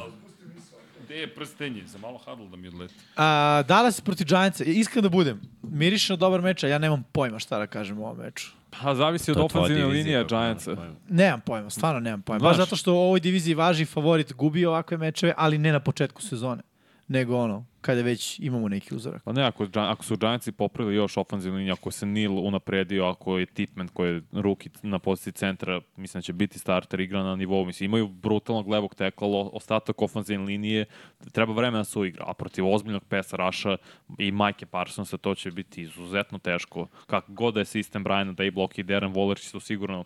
Speaker 3: Gde je prstenje? Za malo hadl da mi odleti.
Speaker 4: A, Dallas protiv Giantsa, iskren da budem, miriše na dobar meč, a ja nemam pojma šta da kažem o ovom meču.
Speaker 5: Pa zavisi od
Speaker 6: To je tvoja
Speaker 5: ofenzivne
Speaker 6: divizija, pa
Speaker 5: linije
Speaker 6: kako nemaš
Speaker 5: Giantsa.
Speaker 6: pojma.
Speaker 4: Nemam pojma, stvarno nemam pojma. Baš
Speaker 5: Znaš-
Speaker 4: zato što u ovoj diviziji važi favorit gubi ovakve mečeve, ali ne na početku sezone, nego ono, kada već imamo neki uzorak.
Speaker 5: Pa ne, ako, Gi- ako su Giantsi popravili još ofenzivnu liniju, ako se Neal unapredio, ako je Tipman koji je ruki na poziciji centra, mislim da će biti starter igra na nivou. Mislim, imaju brutalnog levog tekla, lo- ostatak ofenzivne linije, treba vremena da se uigra. A protiv ozbiljnog pesa Raša i Mike Parsonsa to će biti izuzetno teško. Kako god da je sistem Briana da i blok i Darren Waller će to sigurno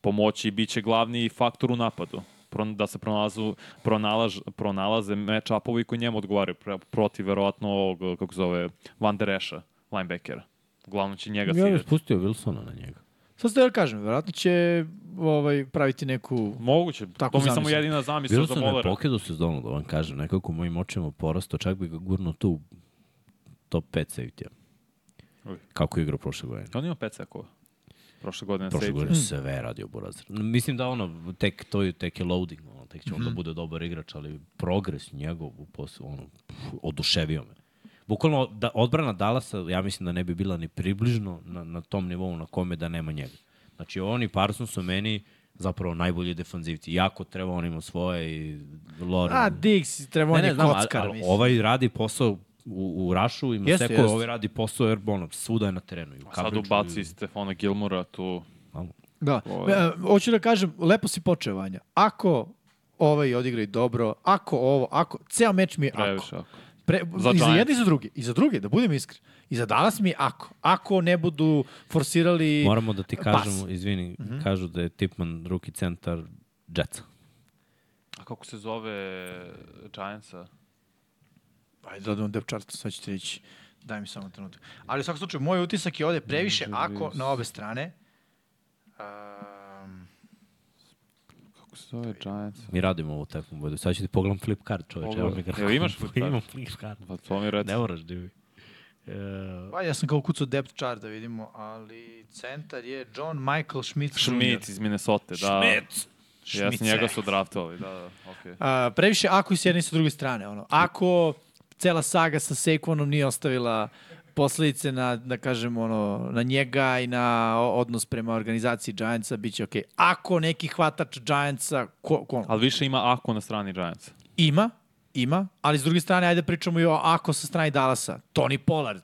Speaker 5: pomoći i bit će glavni faktor u napadu Pro- da se pronalazu, pronalaž, pronalaze match-upovi koji njemu odgovaraju pre- protiv verovatno ovog, kako se zove, Van Der Eša, linebackera. Uglavnom će njega
Speaker 6: Ja bih
Speaker 5: sirati.
Speaker 6: spustio Wilsona na njega.
Speaker 4: Sad ste da kažem, verovatno će ovaj, praviti neku...
Speaker 5: Moguće,
Speaker 4: Tako
Speaker 5: to mi je samo
Speaker 4: zamislim.
Speaker 5: jedina zamisla za
Speaker 6: Wilson je
Speaker 5: Molera.
Speaker 6: pokidao sezonu, da vam kažem, nekako mojim očima porasto, čak bi ga gurno tu u top 5 safety-a.
Speaker 5: Oj.
Speaker 6: Kako je igrao prošle godine?
Speaker 5: On ima pet sekova. Prošle godine
Speaker 6: Prošle
Speaker 5: safety.
Speaker 6: godine
Speaker 4: Mm.
Speaker 6: sve radio Burazir. Mislim da ono, tek, to je, tek je loading, ono, tek će on da bude dobar igrač, ali progres njegov u poslu, ono, pff, oduševio me. Bukvalno, da, odbrana Dalasa, ja mislim da ne bi bila ni približno na, na tom nivou na kome da nema njega. Znači, on i Parson su meni zapravo najbolji defanzivci. Jako treba, on ima svoje i Loren.
Speaker 4: A, Diggs, treba on
Speaker 6: Ne, ne,
Speaker 4: je
Speaker 6: znam, ali,
Speaker 4: kockar,
Speaker 6: ali
Speaker 4: mislim.
Speaker 6: ovaj radi posao u, u Rašu, ima
Speaker 4: Jeste,
Speaker 6: jeste, seko,
Speaker 4: jeste.
Speaker 6: ovaj radi posao, jer ono, svuda je na terenu. I u
Speaker 5: Sad
Speaker 6: coverageu i-
Speaker 5: ubaci Stefana Gilmora tu.
Speaker 4: Da. E, hoću da kažem, lepo si počeo, Vanja. Ako ovaj odigra i dobro, ako ovo, ako... Ceo meč mi je ako.
Speaker 5: Previše ako.
Speaker 4: Pre,
Speaker 5: Za
Speaker 4: za I za
Speaker 5: Giants.
Speaker 4: jedne i za druge. I za druge, da budem iskren. I za danas mi je ako. Ako ne budu forsirali...
Speaker 6: Moramo da ti
Speaker 4: pas.
Speaker 6: kažemo, izvini, kažu da je Tipman ruki centar Jetsa.
Speaker 5: A kako se zove Giantsa?
Speaker 4: Ajde, da odem depčartu, sad ću ti reći. Daj mi samo trenutak. Ali u svakom slučaju, moj utisak je ovde previše ako na obe strane. Um,
Speaker 5: Kako se zove Giantsa?
Speaker 6: Mi radimo ovo tekmu vodu. Sad ću ti pogledam flip card, čoveče. Evo mi ga.
Speaker 5: Jel imaš flip card?
Speaker 6: Imam flip card.
Speaker 5: Pa to mi reci.
Speaker 6: Ne moraš divi. E,
Speaker 4: pa ja sam kao kucao depth chart da vidimo, ali centar je John Michael Schmidt.
Speaker 5: Schmidt iz Minnesota, da. Schmidt! Ja sam
Speaker 4: Schmitze.
Speaker 5: njega su draftovali, da, da, okej.
Speaker 4: A, previše ako i s jedne i sa druge strane. Ono. Ako cela saga sa Saquonom nije ostavila posledice na, da kažem, ono, na njega i na o- odnos prema organizaciji Giantsa, bit će okej. Ako neki hvatač Giantsa ko, ko,
Speaker 5: Ali više ima ako na strani Giantsa.
Speaker 4: ima, ima, ali s druge strane, ajde pričamo i o ako sa strane Dallasa. Tony Pollard,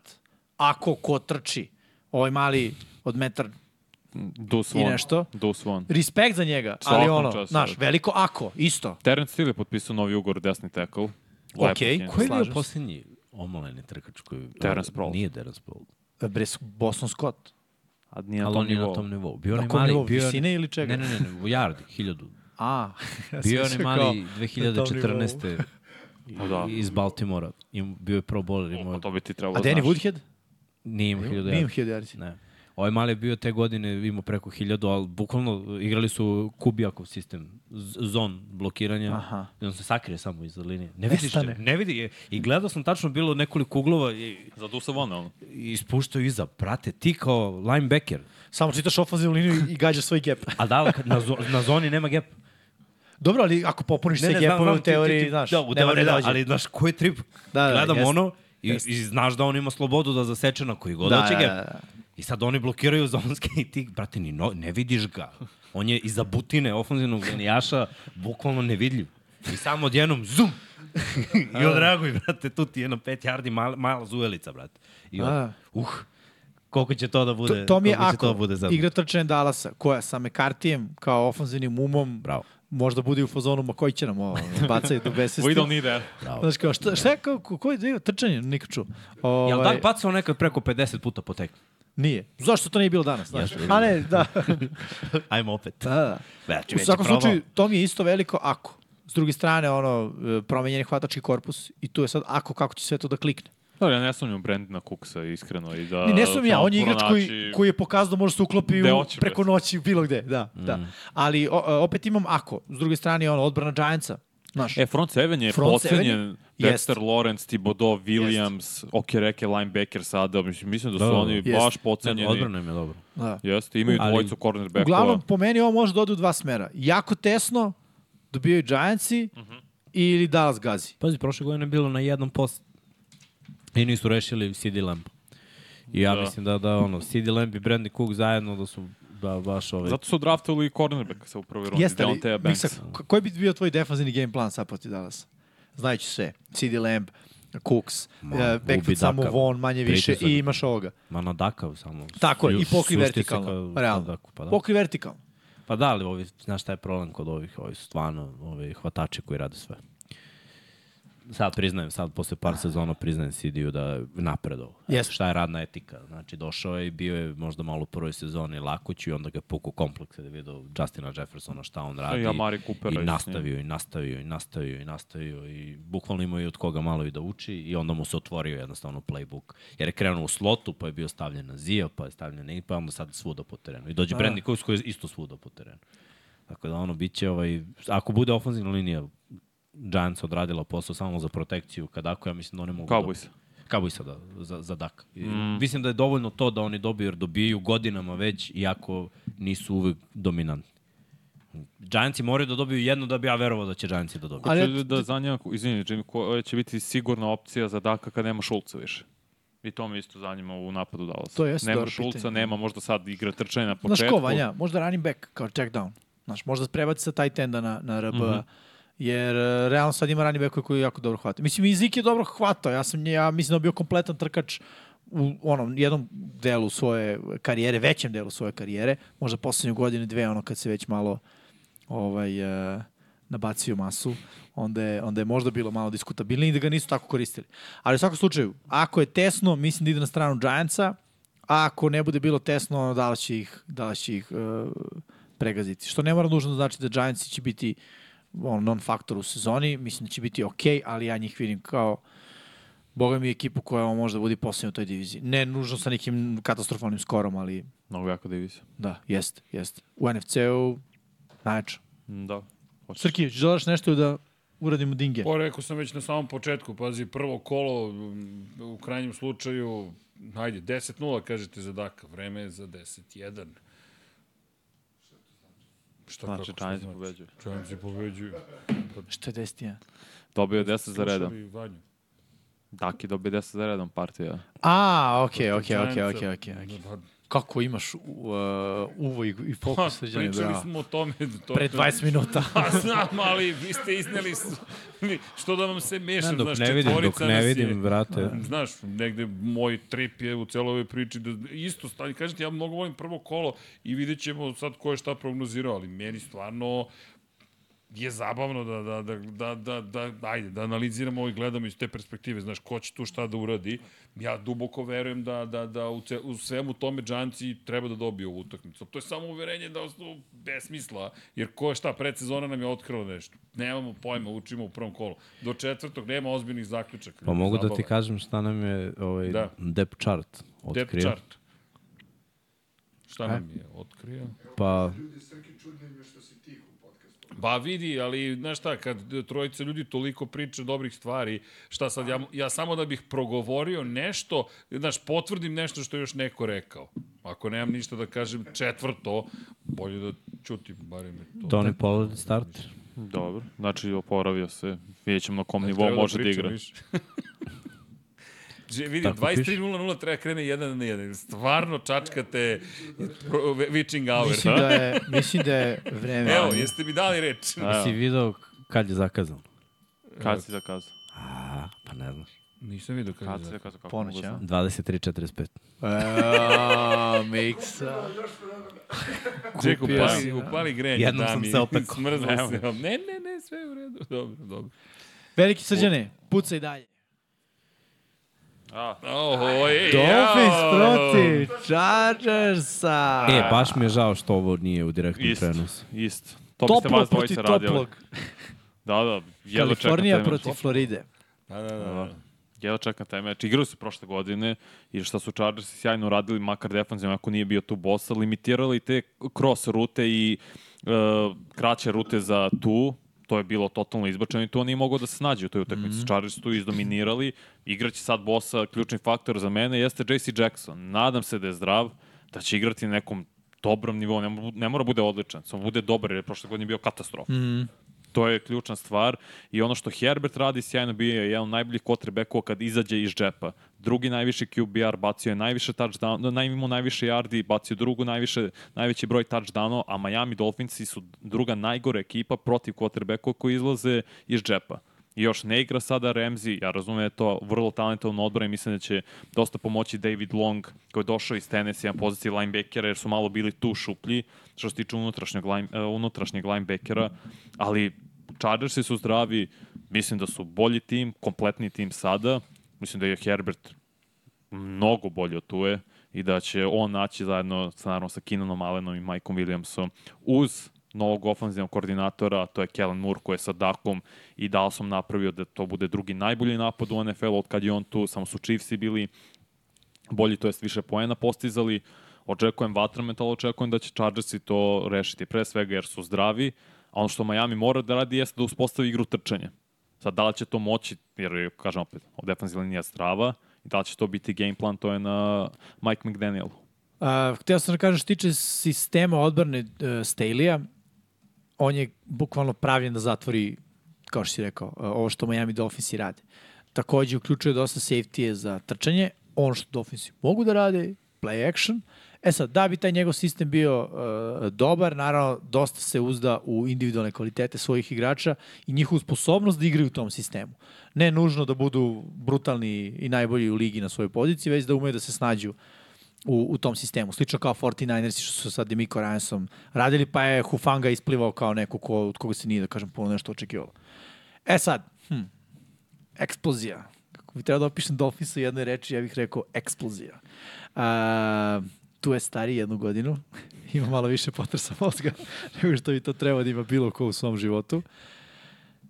Speaker 4: ako ko trči, ovaj mali od metar
Speaker 5: Dus
Speaker 4: I
Speaker 5: Von.
Speaker 4: nešto?
Speaker 5: Dus Von.
Speaker 4: respekt za njega, ali
Speaker 5: Svakom
Speaker 4: ono,
Speaker 5: času. da.
Speaker 4: znaš, veliko ako, isto.
Speaker 5: Terence Steele je potpisao novi ugovor desni tackle.
Speaker 4: Okej,
Speaker 5: Lepo je.
Speaker 6: Koji je bio
Speaker 4: slažem se.
Speaker 6: posljednji omoleni trkač koji...
Speaker 5: Terence Prohl.
Speaker 6: Nije Terence Prohl.
Speaker 4: Bres Boston Scott.
Speaker 5: A nije
Speaker 6: Ali
Speaker 5: tom
Speaker 6: on je na
Speaker 5: nivou.
Speaker 6: tom nivou. Bio
Speaker 4: Na
Speaker 6: onaj
Speaker 4: kom
Speaker 6: mali...
Speaker 4: nivou?
Speaker 6: bio je-
Speaker 4: Visine ili čega?
Speaker 6: Ne, ne, ne, ne, u Jardi, hiljadu.
Speaker 4: A, ja sam
Speaker 6: Bio je onaj
Speaker 4: mislio
Speaker 6: mali
Speaker 4: kao- na tom
Speaker 6: 2014.
Speaker 5: Pa da.
Speaker 6: iz Baltimora. Im- Bio je pro bowler,
Speaker 5: Pa
Speaker 6: imao...
Speaker 5: to bi ti trebalo
Speaker 4: A
Speaker 5: da
Speaker 4: Danny
Speaker 5: znaš.
Speaker 4: Woodhead?
Speaker 6: Nije imao hiljadu
Speaker 4: Nije
Speaker 6: jardi.
Speaker 4: im 1000 yardi.
Speaker 6: Ne. Ovaj mali je bio te godine, imao preko hiljadu, ali bukvalno igrali su Kubijakov sistem, z- zon blokiranja. Aha. I on se sakrije samo iza linije. Ne vidiš, ne, ne vidi. je. I gledao sam tačno bilo nekoliko uglova i,
Speaker 5: Zato sam ono, ono.
Speaker 6: i ispuštao iza. Prate, ti kao linebacker.
Speaker 9: Samo čitaš ofanzivnu liniju i gađaš svoj gap.
Speaker 6: A da, ali kad na, zo, na zoni nema gap.
Speaker 9: Dobro, ali ako popuniš sve gapove u teoriji, znaš,
Speaker 6: da, u
Speaker 9: nema ne
Speaker 6: teoriji, da,
Speaker 9: dođe.
Speaker 6: ali znaš, ko je trip?
Speaker 9: Da, da,
Speaker 6: Gledam
Speaker 9: jest,
Speaker 6: ono i, i znaš da on ima slobodu da zaseče na koji god
Speaker 9: Da,
Speaker 6: hoće
Speaker 9: da,
Speaker 6: gap.
Speaker 9: da, da.
Speaker 6: I sad oni blokiraju zonske i ti, brate, ni no, ne vidiš ga. On je iza butine ofenzivnog genijaša, bukvalno nevidljiv. I samo odjednom, zum! I odreaguj, brate, tu ti je na pet yardi mala, mala zujelica, brate. I od,
Speaker 4: Da.
Speaker 6: uh, koliko će to da
Speaker 4: To,
Speaker 6: bude,
Speaker 4: to mi je
Speaker 6: koliko će to da
Speaker 4: ako
Speaker 6: bude za...
Speaker 4: igra trčanja Dalasa, koja sa Mekartijem kao ofanzivnim umom
Speaker 6: Bravo.
Speaker 4: možda bude i u fazonu, ma koji će nam ovo bacaju do besvesti.
Speaker 5: We don't need that.
Speaker 4: Znaš kao, šta, šta je kao, ko, ko je dio trčanje? Nikad čuo.
Speaker 6: Jel
Speaker 4: Ovaj,
Speaker 6: Dak bacao nekad preko 50 puta po tekmi?
Speaker 4: Nije. Zašto to nije bilo danas? Znaš?
Speaker 6: Jeste, vidim.
Speaker 4: A ne, da.
Speaker 6: Ajmo opet.
Speaker 4: da, da.
Speaker 6: Znači,
Speaker 4: U svakom slučaju, to mi je isto veliko ako. S druge strane, ono, e, promenjen je hvatački korpus i tu je sad ako, kako će sve to da klikne.
Speaker 5: Dobro, ja ne sumnjam Brandona Cooksa, iskreno. I da,
Speaker 4: Ne, ne sam ja,
Speaker 5: samo
Speaker 4: on je igrač koji,
Speaker 5: pronaći-
Speaker 4: koji je pokazao da može se uklopi
Speaker 5: Gde
Speaker 4: u,
Speaker 5: hoće, Mm.
Speaker 4: preko noći bilo gde, da, da. Ali o, o, opet imam ako, s druge strane ono, odbrana Giantsa, znaš.
Speaker 5: E, front seven je
Speaker 4: Front seven
Speaker 5: pocenjen.
Speaker 4: je-
Speaker 5: Dexter Lawrence, Thibodeau, Williams, Okereke, linebacker sada. Mislim, mislim da su
Speaker 6: Da, da,
Speaker 5: oni
Speaker 4: da.
Speaker 5: baš
Speaker 6: Ne,
Speaker 5: pocenjeni.
Speaker 6: odbrana im je dobro.
Speaker 4: da.
Speaker 5: Jeste, imaju
Speaker 6: Ali-
Speaker 5: dvojicu cornerbackova.
Speaker 4: Uglavnom, po meni ovo može da ode u dva smera. Jako tesno, dobijaju Giantsi
Speaker 5: Mhm.
Speaker 4: ili Dallas gazi.
Speaker 6: Pazi, prošle godine je bilo na jednom post. I nisu rešili CD Lamb. I ja
Speaker 5: Da.
Speaker 6: da. mislim da, da ono, CD Lamb i Brandy Cook zajedno da su da, baš ove...
Speaker 5: Zato su draftovali cornerbacka sa u prvoj rundi,
Speaker 4: Jeste li,
Speaker 5: Deontea
Speaker 4: Miksa,
Speaker 5: Banksa.
Speaker 4: k- koji bi bio tvoj defanzivni game plan sad protiv Dallas? Znajući sve, CD Lamb, Cooks, Ma,
Speaker 6: ubi
Speaker 4: backfield samo
Speaker 6: Daka.
Speaker 4: von, manje više,
Speaker 6: Pritisak.
Speaker 4: i imaš ovoga.
Speaker 6: Ma na Dakav samo.
Speaker 4: Tako je,
Speaker 6: Ju-
Speaker 4: i pokri
Speaker 6: sušti se
Speaker 4: vertikalno,
Speaker 6: kao-
Speaker 4: realno.
Speaker 6: kao Dakav, Pa da.
Speaker 4: Pokri vertikalno.
Speaker 6: pa da, ali ovi, znaš šta je problem kod ovih, ovi su stvarno ovi hvatači koji rade sve. Sad priznajem, sad posle par sezona priznajem CD-u da je napredovo.
Speaker 4: Jeste.
Speaker 6: Šta je radna etika? Znači, došao je i bio je možda malo u prvoj sezoni lakuću i onda ga je puku komplekse da je vidio Justina Jeffersona šta on radi.
Speaker 5: I Amari Coopera
Speaker 6: I
Speaker 5: i s
Speaker 6: nastavio, i nastavio, i nastavio, i nastavio. I bukvalno imao i od koga malo i da uči i onda mu se otvorio jednostavno playbook. Jer je krenuo u slotu, pa je bio stavljen na zio, pa je stavljen na pa je onda sad svuda po terenu. I
Speaker 5: Da.
Speaker 6: dođe Brandon Cooks koji je isto svuda po terenu. Tako da ono, bit će ovaj, ako bude ofenzivna linija Giants odradila posao samo za protekciju kad ako, ja mislim da oni mogu...
Speaker 5: Cowboys.
Speaker 6: Da, Cowboysa, da, za, za Dak. I, Mislim da je dovoljno to da oni dobiju, jer dobijaju godinama već, iako nisu uvek dominantni. Giantsi moraju da dobiju jednu da bi ja verovao da će Giantsi da dobiju.
Speaker 5: Ko će
Speaker 4: Ali-
Speaker 5: da zanima, izvini, Jimmy, koja će biti sigurna opcija za Daka kad nema Šulca više? I to me isto zanima u napadu Dallasa.
Speaker 4: To jeste
Speaker 5: nema
Speaker 4: dobro
Speaker 5: Šulca,
Speaker 4: pitanje. da.
Speaker 5: nema možda sad igra trčanja na početku.
Speaker 4: Znaš ko, Vanja, možda running back kao check down. Znaš, možda prebaci sa tight enda na, na RB. Jer e, realno sad ima running back koji jako dobro hvata. Mislim, i Zik je dobro hvatao. Ja, sam, nje- ja mislim da je bio kompletan trkač u onom jednom delu svoje karijere, većem delu svoje karijere, možda poslednju godinu, dve, ono kad se već malo ovaj, e, nabacio masu, onda je, onda je možda bilo malo diskutabilnije i da ga nisu tako koristili. Ali u svakom slučaju, ako je tesno, mislim da ide na stranu Giantsa, a ako ne bude bilo tesno, ono, da li će ih, da li će ih e, pregaziti. Što ne mora nužno da znači da Giantsi će biti ono, non-faktor u sezoni, mislim da će biti ok, ali ja njih vidim kao Boga mi ekipu koja možda budi posljednja u toj diviziji. Ne nužno sa nekim katastrofalnim skorom, ali
Speaker 5: Mnogo jako divizija.
Speaker 4: da, jeste, jeste. U NFC-u najjača.
Speaker 5: Mm, Da. Hoćeš.
Speaker 4: Srki, želiš nešto da uradimo dinge?
Speaker 3: Pa rekao sam već na samom početku, pazi, prvo kolo, m, u krajnjem slučaju, hajde, 10-0 kažete za Daka, vreme je za 10-1. Šta
Speaker 5: Znači,
Speaker 3: kako, šta
Speaker 5: Giants pobeđuju.
Speaker 3: Giants pobeđuju.
Speaker 4: Što je 10
Speaker 5: Dobio je 10 za redom.
Speaker 3: Slušali Vanju.
Speaker 5: Daki dobio 10 za redom partija.
Speaker 4: A, okej, okej, okej,
Speaker 3: Giantsa-
Speaker 4: okej, okej. okej.
Speaker 3: Pa,
Speaker 4: Kako imaš u- uh, uvo i, i
Speaker 3: Pa,
Speaker 4: fokus srđane,
Speaker 3: pričali
Speaker 4: bravo.
Speaker 3: smo o tome. da To,
Speaker 4: Pre 20 minuta.
Speaker 3: Pa znam, ali vi ste izneli, s- što da vam se mešam,
Speaker 6: dok
Speaker 3: znaš,
Speaker 6: ne vidim, dok
Speaker 3: četvorica
Speaker 6: ne
Speaker 3: nas je. Da.
Speaker 6: vidim, brate.
Speaker 3: Znaš, negde moj trip je u celoj ovoj priči da isto stanje, kažem ti, ja mnogo volim prvo kolo i vidjet ćemo sad ko je šta prognozirao, ali meni stvarno je zabavno da, da, da, da, da, da, ajde, da analiziramo ovo i gledamo iz te perspektive, znaš, ko će tu šta da uradi. Ja duboko verujem da, da, da u, ce, u svemu tome Giantsi treba da dobiju ovu utakmicu. To je samo uverenje da osnovu besmisla, jer ko je šta, predsezona nam je otkrila nešto. Nemamo pojma, učimo u prvom kolu. Do četvrtog nema ozbiljnih zaključaka.
Speaker 6: Pa mogu da ti
Speaker 3: Zabava.
Speaker 6: kažem šta nam je ovaj
Speaker 3: Da.
Speaker 6: da. depth chart otkrio.
Speaker 3: Depth chart. Šta nam je otkrio?
Speaker 6: Pa,
Speaker 3: Ba vidi, ali znaš šta, kad trojica ljudi toliko priča dobrih stvari, šta sad, ja, ja samo da bih progovorio nešto, znaš, potvrdim nešto što je još neko rekao. Ako nemam ništa da kažem četvrto, bolje da ćutim, barem je to.
Speaker 6: Tony Pollard starter.
Speaker 5: Dobro, znači oporavio se. Vidjet ćemo na kom nivou
Speaker 3: Treba
Speaker 5: može da,
Speaker 3: pričam
Speaker 5: igra.
Speaker 3: više. Že, vidi,
Speaker 6: Tako
Speaker 3: 23.00 treba krene jedan na jedan. Stvarno čačkate pro- witching
Speaker 4: Mislim
Speaker 3: hour.
Speaker 4: da je, mislim da je vreme.
Speaker 3: Evo, jeste mi dali reč?
Speaker 5: Evo,
Speaker 6: Si video kad je zakazano?
Speaker 5: kad si zakazao?
Speaker 6: A, pa ne znaš.
Speaker 3: Nisam vidio kada
Speaker 5: Kad si
Speaker 3: je.
Speaker 5: zakazao? Kako
Speaker 4: Ponoć,
Speaker 5: mogu
Speaker 4: a?
Speaker 5: da znam?
Speaker 6: 23.45.
Speaker 4: Eee, miksa.
Speaker 3: Čekaj,
Speaker 4: Kupio
Speaker 3: upali,
Speaker 4: si,
Speaker 3: upali grenje.
Speaker 6: Jednom sam
Speaker 3: dami.
Speaker 6: se opekao.
Speaker 3: Smrzao se. Ne, ne, ne, sve je u redu. Dobro, dobro.
Speaker 4: Veliki srđane, pucaj dalje.
Speaker 5: A,
Speaker 3: Oho, ej,
Speaker 4: Dolphins
Speaker 3: jao.
Speaker 4: protiv Chargersa.
Speaker 6: E, baš mi je žao što ovo nije u direktnom
Speaker 5: Isto,
Speaker 6: prenosu.
Speaker 5: isto. To biste
Speaker 4: Toplo
Speaker 5: vas
Speaker 4: protiv
Speaker 5: dvojica radili.
Speaker 4: toplog.
Speaker 5: Da, da, jedva čekam taj
Speaker 4: Kalifornija
Speaker 5: meč.
Speaker 4: protiv Floride.
Speaker 3: Da, da, da. da.
Speaker 5: Jedva čekam taj meč. Igrao se Znači, prošle godine i šta su Chargersi sjajno radili, makar defensivno, ako nije bio tu bosa, limitirali te cross rute i e, kraće rute za tu, to je bilo totalno izbačeno i to nije mogao da se snađe u toj utakmici. Mm. Chargers su tu izdominirali. Igraće sad bosa, ključni faktor za mene jeste JC Jackson. Nadam se da je zdrav, da će igrati na nekom dobrom nivou, ne, mo- ne mora bude odličan, samo bude dobar jer je prošle godine bio katastrofa. Mm. To je ključna stvar i ono što Herbert radi sjajno bio je jedan od najboljih quarterbackova kad izađe iz džepa. Drugi najviši QBR bacio je najviše touchdown, naj, imao najviše yardi, bacio drugu najviše, najveći broj touchdownova, a Miami Dolphinsi su druga najgore ekipa protiv quarterbackova koji izlaze iz džepa. I još ne igra sada Ramsey, ja razumem da je to vrlo talentovan odbran i mislim da će dosta pomoći David Long koji je došao iz Tennessee na poziciji linebackera jer su malo bili tu šuplji što se tiče unutrašnjeg, line, eh, unutrašnjeg linebackera, ali Chargersi su zdravi, mislim da su bolji tim, kompletni tim sada, mislim da je Herbert mnogo bolje od Tue i da će on naći zajedno sa, naravno, sa Kinanom Allenom i Mikeom Williamsom uz novog ofenzivnog koordinatora, a to je Kellen Moore koji je sa Dakom i Dallasom napravio da to bude drugi najbolji napad u NFL-u od kad je on tu, samo su Chiefsi bili bolji, to jest više poena postizali. Očekujem vatrament, ali očekujem da će Chargersi to rešiti. Pre svega jer su zdravi, a ono što Miami mora da radi jeste da uspostavi igru trčanja. Sad, da li će to moći, jer, je, kažem opet, defensivna linija je strava, i da li će to biti game plan, to je na Mike McDanielu.
Speaker 4: Uh, hteo sam da kažem što se tiče sistema odbrane uh, Staley-a, on je bukvalno pravljen da zatvori, kao što si rekao, uh, ovo što Miami Dolphinsi rade. Takođe, uključuje dosta safety za trčanje, ono što Dolphinsi mogu da rade, play action. E sad, da bi taj njegov sistem bio uh, dobar, naravno, dosta se uzda u individualne kvalitete svojih igrača i njihovu sposobnost da igraju u tom sistemu. Ne nužno da budu brutalni i najbolji u ligi na svojoj poziciji, već da umeju da se snađu u, u tom sistemu. Slično kao 49ersi što su sa Demiko Ryansom radili, pa je Hufanga isplivao kao neko ko, od koga se nije, da kažem, puno nešto očekivalo. E sad, hm, eksplozija. Kako bi trebao da opišem Dolphins u jednoj reči, ja bih rekao eksplozija. A, tu je stari jednu godinu, ima malo više potresa mozga nego što bi to trebao da ima bilo ko u svom životu.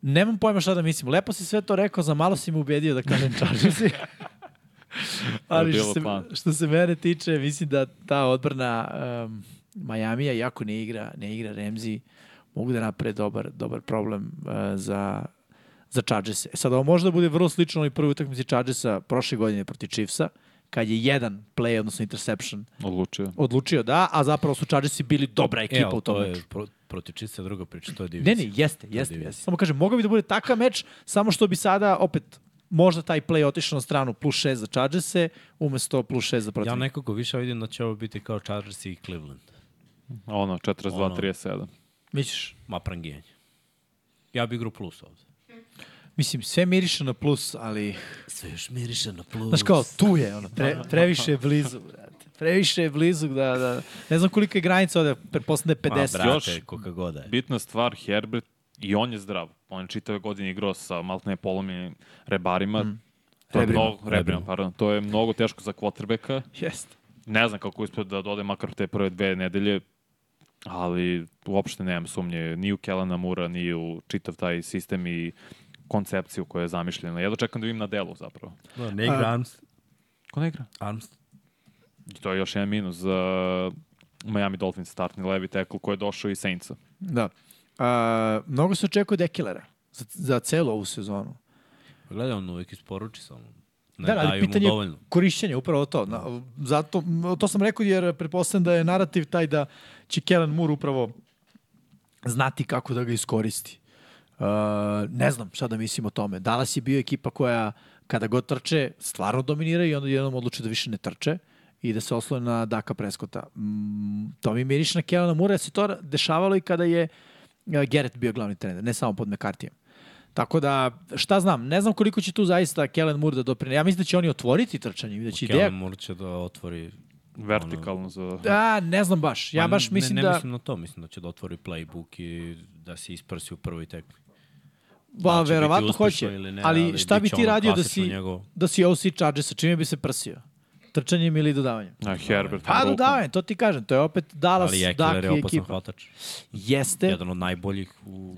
Speaker 4: Nemam pojma šta da mislim. Lepo si sve to rekao, za malo si me ubedio da kažem Chargersi. Ali
Speaker 5: bilo
Speaker 4: što se,
Speaker 5: plan.
Speaker 4: što se mene tiče, mislim da ta odbrana um, Majamija, jako ne igra, ne igra Remzi, mogu da napre dobar, dobar problem uh, za, za Chargers. E sad, ovo može da bude vrlo slično onoj prvoj utakmici Chargersa prošle godine protiv Chiefsa, kad je jedan play, odnosno interception,
Speaker 5: Odlučio.
Speaker 4: odlučio da, a zapravo su Chargersi bili dobra ekipa
Speaker 6: Evo,
Speaker 4: u tom
Speaker 6: to je
Speaker 4: meču.
Speaker 6: pro, protiv čista druga priča, to je
Speaker 4: Ne,
Speaker 6: divizija.
Speaker 4: ne, jeste, jeste,
Speaker 6: divizija.
Speaker 4: jeste. Samo kažem, mogao bi da bude takav meč, samo što bi sada opet možda taj play otišao na stranu plus 6 za Chargerse, umesto plus 6 za
Speaker 6: Ja
Speaker 4: protivnika.
Speaker 6: nekako više vidim da će ovo biti kao Chargers i Cleveland.
Speaker 5: Ono,
Speaker 6: Ono.
Speaker 5: 42-37.
Speaker 4: Misliš?
Speaker 6: Ma prangijanje. Ja bi igru plus ovde.
Speaker 4: Mislim, sve miriše na plus, ali...
Speaker 6: Sve još miriše na plus.
Speaker 4: Znaš kao, tu je, ono, pre, previše je blizu, brate. Previše je blizu, da, da. Ne znam kolika je granica ovde, pretpostavljam da je 50.
Speaker 6: Ma, brate,
Speaker 5: Još-
Speaker 6: koga god da je.
Speaker 5: Bitna stvar, Herbert, i on je zdrav. On je čitave godine igrao sa maltene polomljenim rebarima. Mm. To je
Speaker 4: Rebrima.
Speaker 5: mnogo, rebrima, pardon. To je mnogo teško za quarterbacka.
Speaker 4: Jeste.
Speaker 5: ne znam kako uspio da dode makar u te prve dve nedelje, ali uopšte nemam sumnje ni u Kelana Mura, ni u čitav taj sistem i koncepciju koja je zamišljena. Ja dočekam da vidim na delu zapravo.
Speaker 6: No, ne igra Armst.
Speaker 5: Ko ne igra?
Speaker 6: Armst.
Speaker 5: I to je još jedan minus za uh, Miami Dolphins startni levi tackle koji je došao iz Saintsa.
Speaker 4: Da. A, mnogo se očekuje Dekilera za, za celu ovu sezonu.
Speaker 6: Pa Gledaj, on uvijek isporuči samo. Ne
Speaker 4: da,
Speaker 6: da,
Speaker 4: ali
Speaker 6: daju mu
Speaker 4: pitanje
Speaker 6: dovoljno.
Speaker 4: korišćenja, upravo to. Na, zato, m, to sam rekao jer pretpostavljam da je narativ taj da će Kellen Moore upravo znati kako da ga iskoristi. Uh, ne znam šta da mislim o tome. Dallas je bio ekipa koja kada god trče stvarno dominira i onda jednom odluče da više ne trče i da se oslone na Daka Preskota. Mm, to mi miriš na Kellena Moore, jer se to ra- dešavalo i kada je uh, Garrett bio glavni trener, ne samo pod McCartijem. Tako da, šta znam, ne znam koliko će tu zaista Kellen Moore da doprine. Ja mislim da će oni otvoriti trčanje, i da će ideja...
Speaker 6: Kellen Moore će da otvori...
Speaker 5: Vertikalno za...
Speaker 4: Da, ne znam baš. Ja
Speaker 6: Ma,
Speaker 4: baš mislim
Speaker 6: ne, ne
Speaker 4: da...
Speaker 6: mislim na to, mislim da će da otvori playbook i da se isprsi u prvoj tekmi.
Speaker 4: Ba,
Speaker 6: Da li će biti
Speaker 4: Pa, verovatno
Speaker 6: uspešno
Speaker 4: hoće,
Speaker 6: ili ne,
Speaker 4: ali
Speaker 6: ali
Speaker 4: šta bi
Speaker 6: bit će
Speaker 4: ti
Speaker 6: ono
Speaker 4: radio da si,
Speaker 6: klasično njegovo.
Speaker 4: da si OC Chargersa, čime bi se prsio? Trčanjem ili dodavanjem?
Speaker 5: Na Herbert.
Speaker 4: Pa dodavanjem, to ti kažem, to je opet Dallas,
Speaker 6: Ali Eckler
Speaker 4: Dak
Speaker 6: je
Speaker 4: i
Speaker 6: opasan
Speaker 4: ekipa.
Speaker 6: hvatač.
Speaker 4: Jeste,
Speaker 6: Jedan od najboljih u...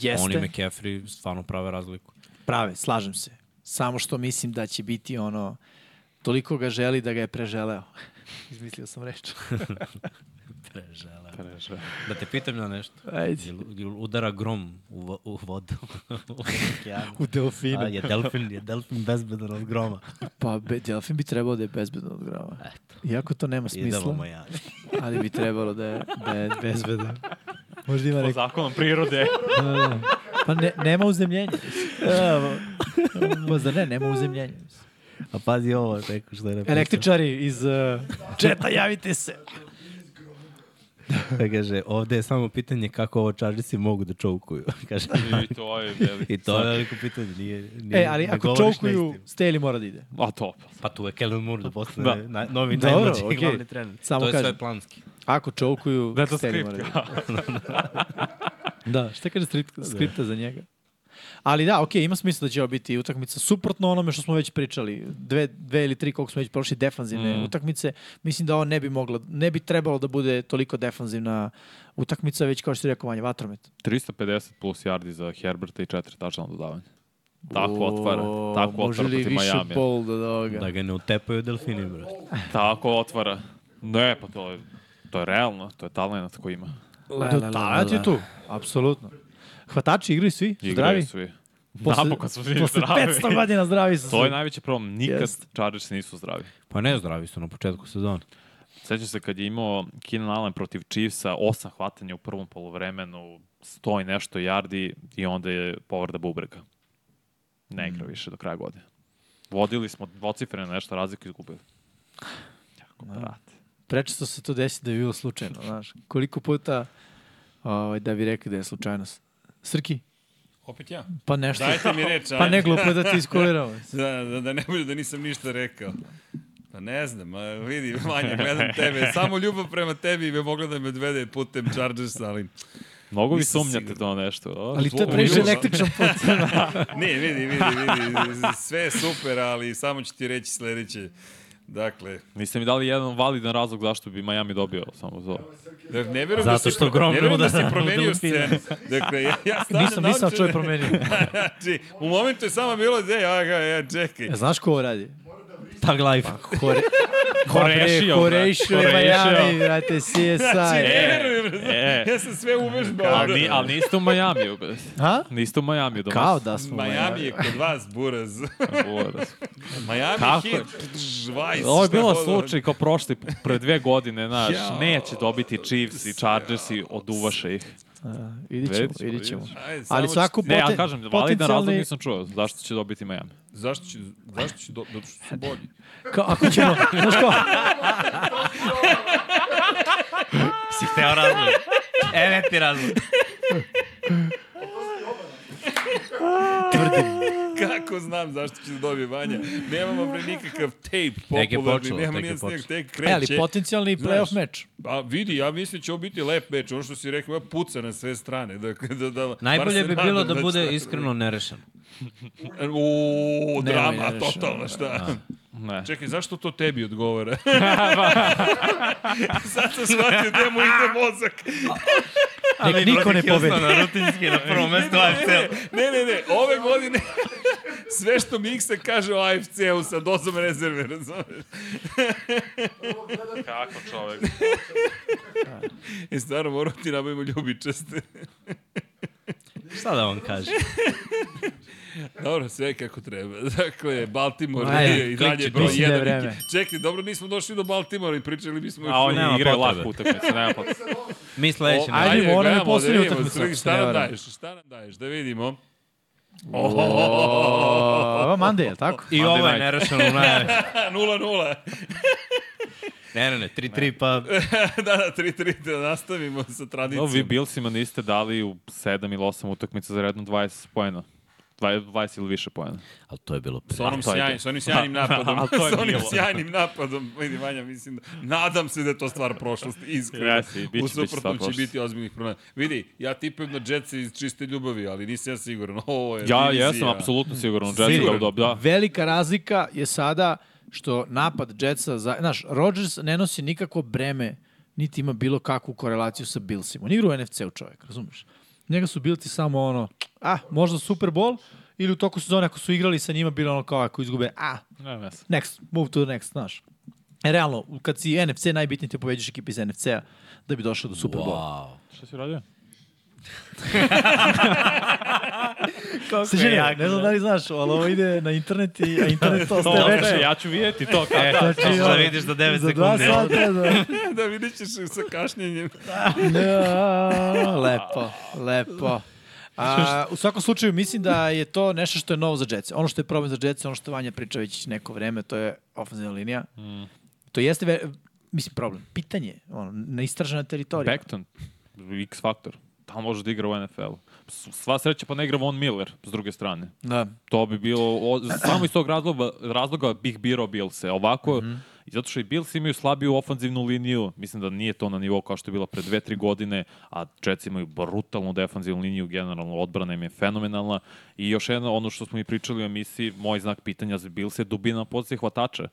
Speaker 4: jeste,
Speaker 6: Oni McCaffrey stvarno prave razliku.
Speaker 4: prave, slažem se. Samo što mislim da će biti ono, toliko ga želi da ga je preželeo. Izmislio sam reč.
Speaker 6: Prežele. Da te pitam na nešto.
Speaker 4: Ajde.
Speaker 6: Jel, jel udara grom u, vo- u vodu? u okeanu?
Speaker 4: U delfinu.
Speaker 6: A, je delfin, je delfin bezbedan od groma.
Speaker 4: Pa, be, delfin bi trebao da je bezbedno od grava.
Speaker 6: Eto.
Speaker 4: Iako to nema
Speaker 6: Idemo
Speaker 4: smisla,
Speaker 6: moja.
Speaker 4: ali bi trebalo da je, da je bezbedno. Možda ima
Speaker 5: Po
Speaker 4: neko
Speaker 5: zakonom prirode.
Speaker 4: Pa ne, nema uzemljenja. Pa zar ne, nema uzemljenja.
Speaker 6: A pazi ovo, neko što je napisao.
Speaker 4: Električari iz uh, četa, javite se.
Speaker 6: Da kaže, ovde je samo pitanje kako ovo čarđisi mogu da čovkuju. kaže,
Speaker 5: I to je veliki.
Speaker 6: I to je veliko pitanje. Nije, nije,
Speaker 4: E, ali
Speaker 6: ne
Speaker 4: ako
Speaker 6: govoriš
Speaker 4: čovkuju,
Speaker 6: neistinu.
Speaker 4: Staley mora da ide.
Speaker 5: A to.
Speaker 6: Pa tu je Kellen Moore da postane da. Na, novi
Speaker 4: Dobro,
Speaker 6: najmlađi
Speaker 4: okej.
Speaker 6: glavni trener.
Speaker 4: Samo
Speaker 6: to je
Speaker 4: kažem.
Speaker 6: sve planski.
Speaker 4: Ako čovkuju,
Speaker 5: Da je to
Speaker 4: Staley mora da
Speaker 5: skriptka.
Speaker 4: ide. Da, šta kaže strip, skripta za njega? Ali da, okej, ima smisla da će ovo biti utakmica suprotno onome što smo već pričali. Dve, dve ili tri, koliko smo već prošli, defanzivne mm. utakmice. Mislim da ovo ne bi moglo, ne bi trebalo da bude toliko defanzivna utakmica, već kao što je rekao Vanja, vatromet.
Speaker 5: 350 plus yardi za Herberta i 4 tačna dodavanja. Tako otvara.
Speaker 4: O,
Speaker 5: Tako
Speaker 4: može
Speaker 5: otvara
Speaker 4: li
Speaker 5: protiv
Speaker 4: više
Speaker 5: Miami.
Speaker 4: bol do toga?
Speaker 6: Da ga ne utepaju delfini, bro.
Speaker 5: Tako otvara. Ne, pa to je, to je realno. To je talent koji ima.
Speaker 4: Da, talent je tu, apsolutno. Hvatači igraju svi,
Speaker 5: Igraju
Speaker 4: zdravi.
Speaker 5: svi.
Speaker 4: Posle-
Speaker 5: Napokon su Da, pa svi
Speaker 4: Posle
Speaker 5: zdravi.
Speaker 4: 500 godina zdravi su
Speaker 5: To je
Speaker 4: svi.
Speaker 5: najveći problem. Nikad
Speaker 4: Jest.
Speaker 5: Chargers nisu zdravi.
Speaker 6: Pa ne zdravi su na početku sezona.
Speaker 5: Sećam se kad je imao Keenan Allen protiv Chiefsa, osam hvatanja u prvom polovremenu, sto i nešto yardi i onda je povrda bubrega. Ne
Speaker 4: Mm.
Speaker 5: igra više do kraja godine. Vodili smo dvocifrene nešto razliku i izgubili. Jako, brate.
Speaker 4: Prečesto se to desi da je bilo slučajno, znaš. Koliko puta ovaj, da bi rekli da je slučajnost. Srki,
Speaker 3: Opet ja.
Speaker 4: pa nešto.
Speaker 3: Dajte mi reč,
Speaker 4: Pa
Speaker 3: ajde.
Speaker 4: ne glupo je da ti iskuliramo.
Speaker 3: Da, da, da ne bude da nisam ništa rekao. Pa ne znam, a, vidi, manje, gledam tebe. Samo ljubav prema tebi me mogla da me odvede putem Chargersa, ali...
Speaker 5: Mnogo vi
Speaker 3: Nisam
Speaker 5: sumnjate
Speaker 3: siguran.
Speaker 5: to nešto. O,
Speaker 4: Ali to je
Speaker 5: zvuči-
Speaker 4: previše
Speaker 3: ljubav.
Speaker 4: električan put.
Speaker 3: Ne, vidi, vidi, vidi, sve je super, ali samo ću ti reći sledeće. Dakle,
Speaker 5: Niste mi dali jedan validan razlog zašto bi Miami dobio samo za ovo.
Speaker 3: da, ne verujem
Speaker 6: Zato
Speaker 3: da si,
Speaker 6: što
Speaker 3: pro-
Speaker 6: Grom
Speaker 3: ne verujem da
Speaker 6: luda-
Speaker 3: si promenio
Speaker 6: luda
Speaker 3: scenu. Dakle, ja, ja
Speaker 5: Da,
Speaker 3: stavljam
Speaker 4: Nisam, nisam
Speaker 6: da
Speaker 3: naočare.
Speaker 4: čovjek promenio.
Speaker 3: Znači, u momentu je samo bilo, ej, aj, ga, ja, čekaj.
Speaker 4: E, Znaš ko ovo radi? Pa
Speaker 6: Tag life.
Speaker 4: Kore...
Speaker 5: Korešio, Pa brate,
Speaker 4: Korešio je
Speaker 5: korešio.
Speaker 4: Miami, brate,
Speaker 3: Znači,
Speaker 4: CSI.
Speaker 3: ne verujem,
Speaker 5: E,
Speaker 3: ja sam sve uvežbao.
Speaker 5: ali, ni- ali niste u Miami. bre.
Speaker 4: Ha?
Speaker 5: Niste u Miami. do
Speaker 4: Kao
Speaker 5: nas.
Speaker 4: da smo u
Speaker 3: Miami je kod vas, buraz.
Speaker 5: Boras.
Speaker 3: Miami
Speaker 5: Kako?
Speaker 3: hit, Vajs.
Speaker 5: Ovo je
Speaker 3: šta
Speaker 5: bilo
Speaker 3: god.
Speaker 5: slučaj kao prošli, pre dve godine, znaš,
Speaker 3: Jao.
Speaker 5: neće dobiti Chiefs i Chargers i oduvaše ih.
Speaker 4: Vidit ćemo,
Speaker 5: Vidjet ćemo,
Speaker 4: vidit ćemo.
Speaker 3: Ajde, samo
Speaker 4: Ali
Speaker 3: ću-
Speaker 4: svako
Speaker 5: Ne, ja
Speaker 4: poten-
Speaker 5: kažem, validan razlog
Speaker 4: potencijalni...
Speaker 5: nisam čuo, zašto će dobiti Miami.
Speaker 3: Zašto ću, zašto ću, do, do, su bolji.
Speaker 4: Ka, ako ćemo, znaš ko?
Speaker 6: Si hteo razlog. Evo ti razlog.
Speaker 3: Kako znam zašto ću da dobije Vanja? Nemamo pre nikakav tape
Speaker 6: Tek je
Speaker 3: popularni,
Speaker 6: počelo,
Speaker 3: nema
Speaker 6: tek je
Speaker 3: nijedan snijeg,
Speaker 6: počelo.
Speaker 3: tek
Speaker 4: E,
Speaker 3: kreće.
Speaker 4: ali potencijalni
Speaker 3: Znaš,
Speaker 4: playoff meč.
Speaker 3: A vidi, ja mislim da će ovo biti lep meč, ono što si rekao, ja puca na sve strane. Da, da, da, bar
Speaker 6: Najbolje
Speaker 3: se
Speaker 6: bi
Speaker 3: nadam
Speaker 6: bilo da
Speaker 3: će-
Speaker 6: bude iskreno nerešen.
Speaker 3: Uuu,
Speaker 4: Nemoj
Speaker 3: drama,
Speaker 4: nerešeno, Da,
Speaker 3: totalno, šta?
Speaker 5: Ne. Pa.
Speaker 3: Čekaj, zašto to tebi odgovara? Sad sam shvatio gde mu ide mozak.
Speaker 4: Nek niko ne pobedi.
Speaker 6: da, Na rutinski, na prvom mestu AFC.
Speaker 3: Ne, ne, ne, ove godine sve što Miksa kaže o AFC-u sa dozom rezerve, razumeš?
Speaker 5: Kako čovek?
Speaker 3: I E, stvarno moramo ti da nabavimo ljubičaste.
Speaker 6: Šta da vam kažem?
Speaker 3: Dobro, sve kako treba. Dakle, Baltimore
Speaker 4: Ajde,
Speaker 3: je i dalje
Speaker 6: klikću,
Speaker 3: broj
Speaker 4: mislim da je
Speaker 3: jedan.
Speaker 4: vreme.
Speaker 3: Čekaj, dobro, nismo došli do Baltimora i pričali bismo
Speaker 5: A on
Speaker 6: Nema
Speaker 5: je igra
Speaker 6: potrebe.
Speaker 5: laku utakmicu, nema potrebe.
Speaker 6: Mi sledeći.
Speaker 3: O,
Speaker 4: Ajde, moramo
Speaker 3: gledamo da
Speaker 4: i poslednju
Speaker 3: vidimo,
Speaker 4: utakmicu,
Speaker 3: Srgi,
Speaker 4: ako se
Speaker 3: Šta
Speaker 4: ne
Speaker 3: nam
Speaker 4: varam.
Speaker 3: daješ? Šta nam daješ? Da vidimo.
Speaker 4: Ovo Mande, je li tako?
Speaker 6: I
Speaker 5: Monday
Speaker 6: ovo je
Speaker 5: night.
Speaker 6: nerešeno u najavi.
Speaker 3: Ha, 0-0.
Speaker 6: Ne, ne, ne, 3-3 pa...
Speaker 3: da, da, 3-3, da nastavimo sa
Speaker 5: No,
Speaker 3: tradicijom.
Speaker 5: vi Billsima niste dali u 7 ili 8 utakmica za redno 20 pojena. 20, 20 ili više pojena.
Speaker 6: Ali to je bilo
Speaker 3: Sa onom
Speaker 5: A, to je
Speaker 3: sjajnim,
Speaker 5: to.
Speaker 3: sa onim sjajnim napadom.
Speaker 5: ali to je
Speaker 3: sa onim
Speaker 5: bilo.
Speaker 3: sjajnim napadom. Vidi, Vanja, mislim da... Nadam se da je to stvar prošlosti, iskreno.
Speaker 5: Jesi, biće-
Speaker 3: U
Speaker 5: biće stvar
Speaker 3: suprotnom će
Speaker 5: prošlosti.
Speaker 3: biti ozbiljnih problema. Vidi, ja tipujem na Jetsa iz čiste ljubavi, ali nisam ja siguran. Ovo je
Speaker 5: Ja
Speaker 3: divizija.
Speaker 5: jesam apsolutno siguran u Jetsu da
Speaker 3: Siguran.
Speaker 5: udob, da.
Speaker 4: Velika razlika je sada što napad Jetsa, za, znaš, Rodgers ne nosi nikako breme, niti ima bilo kakvu korelaciju sa Billsima. On igra u NFC-u čovjek, razumeš? Njega su Billsi samo ono, ah, možda Super Bowl, ili u toku sezone ako su igrali sa njima bilo ono kao ako izgube, ah,
Speaker 5: Ne, ne znam.
Speaker 4: next, move to the next, znaš. E, realno, kad si NFC najbitnije da te pobeđaš ekipi iz NFC-a da bi došao do Super Bowl.
Speaker 6: Wow.
Speaker 5: Šta si radio?
Speaker 4: Sežine, ne znam da li znaš, ali ovo ide na internet, i, a internet to ostaje
Speaker 5: To,
Speaker 4: večer.
Speaker 5: kaže, ja ću vidjeti to kao.
Speaker 6: E,
Speaker 4: Znači,
Speaker 6: to ćeš da
Speaker 4: ono,
Speaker 6: vidiš za 9
Speaker 4: Za dva
Speaker 6: sekundi.
Speaker 4: sata, da.
Speaker 3: da, vidit ćeš sa kašnjenjem.
Speaker 4: Ja, lepo, lepo. A, Da. u svakom slučaju mislim da je to nešto što je novo za Jetsa. Ono što je problem za Jetsa, ono što Vanja priča već neko vreme, to je ofenzivna linija. To jeste, ve, mislim, problem. Pitanje, ono, neistražena teritorija.
Speaker 5: Becton, X faktor. Tamo može da igra u NFL. S- Sva sreća pa ne igra Von Miller, s druge strane.
Speaker 4: Da.
Speaker 5: To bi bilo, o, samo iz tog razloga, razloga bih birao Bilse. Ovako, mm -hmm. zato što i Bills imaju slabiju ofanzivnu liniju, mislim da nije to na nivou kao što je bila pre dve, tri godine, a Jets imaju brutalnu defanzivnu liniju, generalno odbrana im je fenomenalna. I još jedno, ono što smo i pričali u emisiji, moj znak pitanja za Bills je dubina pozicije hvatača.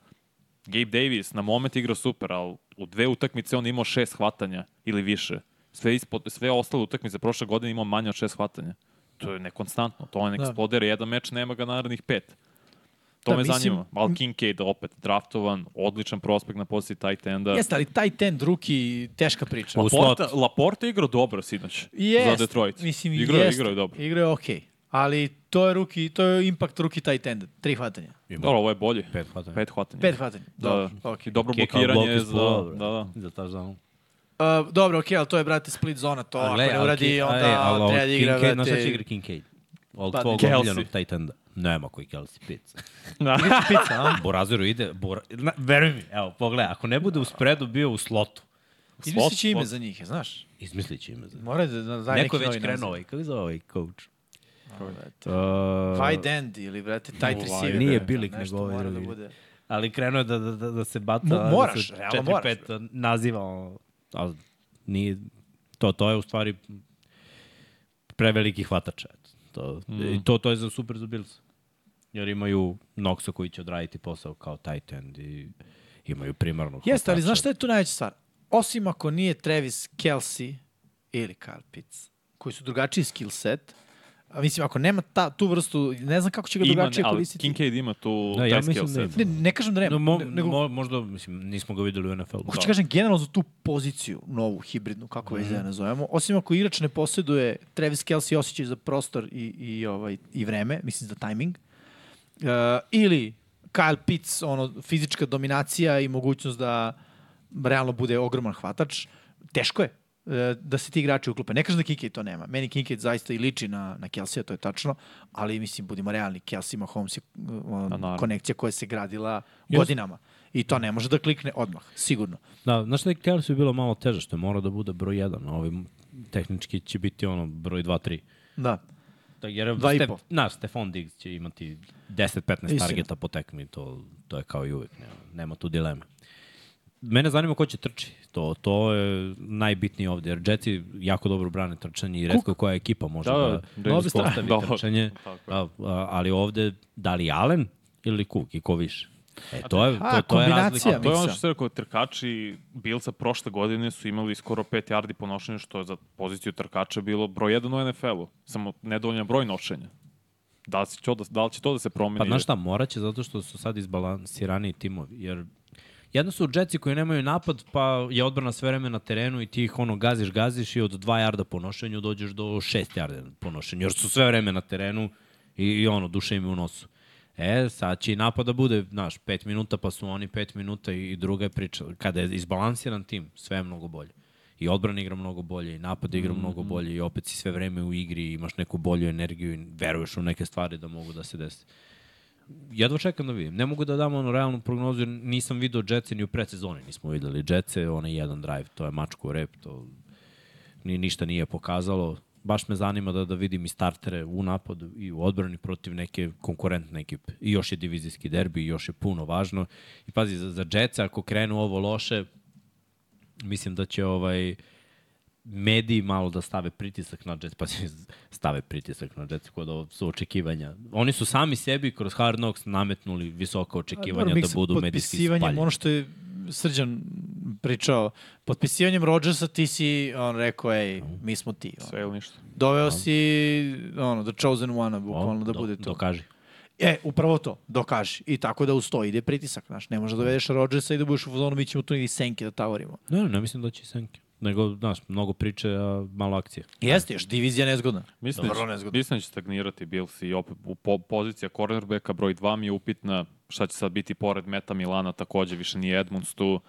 Speaker 5: Gabe Davis na moment igra super, ali u dve utakmice on je imao šest hvatanja ili više. Sve, ispod, sve ostale utakmice prošle godine je imao manje od šest hvatanja. To je nekonstantno. To on eksplodira jedan meč, nema ga narednih pet. To
Speaker 4: Da,
Speaker 5: me
Speaker 4: mislim-
Speaker 5: zanima. Al Kincaid opet draftovan, odličan prospekt na poziciji tight enda.
Speaker 4: Jeste, ali taj ten drugi, teška priča.
Speaker 5: Laporta, Laporta je igrao dobro sinoć
Speaker 4: Jest,
Speaker 5: za Detroit.
Speaker 4: Mislim,
Speaker 5: igrao, je-
Speaker 4: jest,
Speaker 5: igrao je dobro.
Speaker 4: Igrao je okej. Ali to je, ruki, to je impact ruki taj tenda. Tri hvatanja.
Speaker 5: Dobro, ovo je bolje.
Speaker 6: Pet hvatanja.
Speaker 5: Pet hvatanja.
Speaker 4: Pet hvatanja.
Speaker 5: Da,
Speaker 4: Dobro,
Speaker 5: da.
Speaker 4: okej.
Speaker 5: I dobro
Speaker 6: Kick out blok
Speaker 5: blokiranje
Speaker 6: iz
Speaker 5: za...
Speaker 6: pola, bre.
Speaker 5: Da, da.
Speaker 6: Za ta zonu.
Speaker 4: Uh, dobro, okej, ali to je, brate, split zona, to
Speaker 6: A
Speaker 4: ako
Speaker 6: gle,
Speaker 4: ne
Speaker 6: ali
Speaker 4: uradi,
Speaker 6: Ki-
Speaker 4: onda
Speaker 6: ej, ali ovo
Speaker 4: treba da igra,
Speaker 6: Kincaid, znaš šta će
Speaker 4: brate,
Speaker 6: igra Kincaid? Od
Speaker 4: Pa,
Speaker 6: tvog
Speaker 5: Kelsey.
Speaker 6: omiljenog tight enda. Nema koji Kelsey Pitts.
Speaker 4: Da. pizza, a?
Speaker 6: Boraziru ide, Bora... Na, veruj mi, evo, pogledaj, ako ne bude u spredu, bio u slotu.
Speaker 4: Izmislit da će ime za njih, znaš.
Speaker 6: Izmislit će ime za
Speaker 4: Mora da da daje
Speaker 6: Neko
Speaker 4: neki
Speaker 6: je
Speaker 4: novi
Speaker 6: već krenuo
Speaker 4: naziv.
Speaker 6: ovaj, kako je zove ovaj coach? Uh,
Speaker 4: Tight end ili, brate, tight receiver.
Speaker 6: nije
Speaker 4: brate,
Speaker 6: Billick,
Speaker 4: nešto
Speaker 6: nego ovaj
Speaker 4: mora da
Speaker 6: drugi.
Speaker 4: bude.
Speaker 6: ali krenuo je da, da, da, da se bata...
Speaker 4: Mo- moraš,
Speaker 6: da se
Speaker 4: realno
Speaker 6: četiri,
Speaker 4: moraš,
Speaker 6: pet naziva, ono, ali nije... To, to je u stvari preveliki hvatač. eto. To,
Speaker 4: Mhm.
Speaker 6: mm. to, to je za super za Bills. Jer imaju Noxa koji će odraditi posao kao tight end i imaju primarnog
Speaker 4: Jeste, ali
Speaker 6: hvatača.
Speaker 4: znaš šta je tu najveća stvar? Osim ako nije Travis Kelsey ili Kyle Pitts, koji su drugačiji skill set, a mislim, ako nema ta, tu vrstu, ne znam kako će ga
Speaker 5: Ima,
Speaker 4: drugačije
Speaker 5: ali
Speaker 4: koristiti.
Speaker 5: Kincaid ima tu
Speaker 6: Da,
Speaker 5: da,
Speaker 6: ja
Speaker 5: taj
Speaker 6: mislim
Speaker 5: skill
Speaker 6: da
Speaker 5: set.
Speaker 6: ima.
Speaker 4: Ne, ne kažem da nema,
Speaker 6: No, mo,
Speaker 4: ne- nego
Speaker 6: mo, da. možda, mislim, nismo ga videli u NFL-u.
Speaker 4: Hoće kažem generalno za tu poziciju novu, hibridnu, kako već da je nazovemo. Osim ako igrač ne posjeduje Travis Kelsey osjećaj za prostor i, i, ovaj, i vreme, mislim za timing, uh, ili Kyle Pitts, ono, fizička dominacija i mogućnost da realno bude ogroman hvatač, teško je e, da se ti igrači uklope. Ne kažem da Kincaid to nema. Meni Kincaid zaista i liči na, na Kelsey, to je tačno, ali mislim, budimo realni, Kelsey Mahomes je e, ono,
Speaker 6: Pa
Speaker 5: naravno.
Speaker 4: konekcija koja se gradila godinama. I to ne može da klikne odmah, sigurno.
Speaker 6: Da, znaš šta je Kelsu bilo malo teže, što je morao da bude broj 1, a ovi m- tehnički će biti ono broj 2, 3.
Speaker 4: Da.
Speaker 6: Da, jer
Speaker 4: Dva i
Speaker 6: Ste,
Speaker 4: po.
Speaker 6: na, Stefan Diggs će imati 10-15
Speaker 4: Istina.
Speaker 6: targeta po tekmi, to, to je kao i uvek, nema, nema tu dileme. Mene zanima ko će trči. To, to je najbitnije ovde, jer Jetsi jako dobro brane trčanje i redko koja ekipa može
Speaker 5: Da,
Speaker 6: da,
Speaker 5: da
Speaker 6: da,
Speaker 5: im
Speaker 6: da
Speaker 5: uspostavi
Speaker 6: ispostavi
Speaker 5: dobro.
Speaker 6: trčanje. A, a, ali ovde, da li Allen ili Cook i ko više? E, to je,
Speaker 4: A,
Speaker 6: to, to je
Speaker 4: kombinacija.
Speaker 6: razlika.
Speaker 5: To je ono što
Speaker 4: Mislim.
Speaker 5: se rekao, trkači Bilca prošle godine su imali skoro 5 yardi po nošenju, što je za poziciju trkača bilo broj 1 u NFL-u. Samo nedovoljan broj nošenja. Da li, će to da, da li će to da se promeni?
Speaker 6: Pa znaš šta, moraće zato što su sad izbalansiraniji timovi, jer jedno su džetci koji nemaju napad, pa je odbrana sve vreme na terenu i ti ih ono gaziš, gaziš i od 2 jarda po nošenju dođeš do 6 jarda po nošenju, jer su sve vreme na terenu i, i ono, duše im je u nosu. E, sad će i napad da bude, znaš, 5 minuta, pa su oni 5 minuta i, i druga je priča. Kada je izbalansiran tim, sve je mnogo bolje. I odbrana igra mnogo bolje, i napad igra mnogo bolje, i opet si sve vreme u igri, i imaš neku bolju energiju i veruješ u neke stvari da mogu da se desi jedva čekam da vidim. Ne mogu da dam ono realnu prognozu, jer nisam video Jetsi ni u predsezoni nismo videli. Jetsi, onaj jedan drive, to je mačku rep, to ni, ništa nije pokazalo. Baš me zanima da, da vidim i startere u napadu i u odbrani protiv neke konkurentne ekipe. I još je divizijski derbi, i još je puno važno. I pazi, za, za Jetsa, ako krenu ovo loše, mislim da će ovaj mediji malo da stave pritisak na Jets, pa stave pritisak na Jets kod ovo su očekivanja. Oni su sami sebi kroz Hard Knocks nametnuli
Speaker 4: Pa
Speaker 6: visoka očekivanja da budu medijski spaljeni.
Speaker 4: Ono što je Srđan pričao, potpisivanjem Rodgersa ti si, on rekao, ej, mi smo ti. Ono.
Speaker 5: Sve ili ništa.
Speaker 4: Doveo si, ono, the chosen one, bukvalno da
Speaker 6: do-
Speaker 4: bude to.
Speaker 6: Dokaži.
Speaker 4: E, upravo to, dokaži. I tako da uz to ide pritisak, znaš. Ne možeš da dovedeš Rodgersa i da budeš u fazonu, mi ćemo tu i senke da tavorimo.
Speaker 6: Ne, ne, ne mislim da će Senke. Nego, znaš, mnogo priče, a malo akcije.
Speaker 5: Da.
Speaker 4: Jeste, još divizija nezgodna.
Speaker 5: Mislim,
Speaker 4: Vrlo
Speaker 5: da će,
Speaker 4: nezgodno.
Speaker 5: mislim da će stagnirati Bills i opet u po, pozicija cornerbacka broj 2 mi je upitna šta će sad biti pored Meta Milana takođe, više nije Edmunds tu.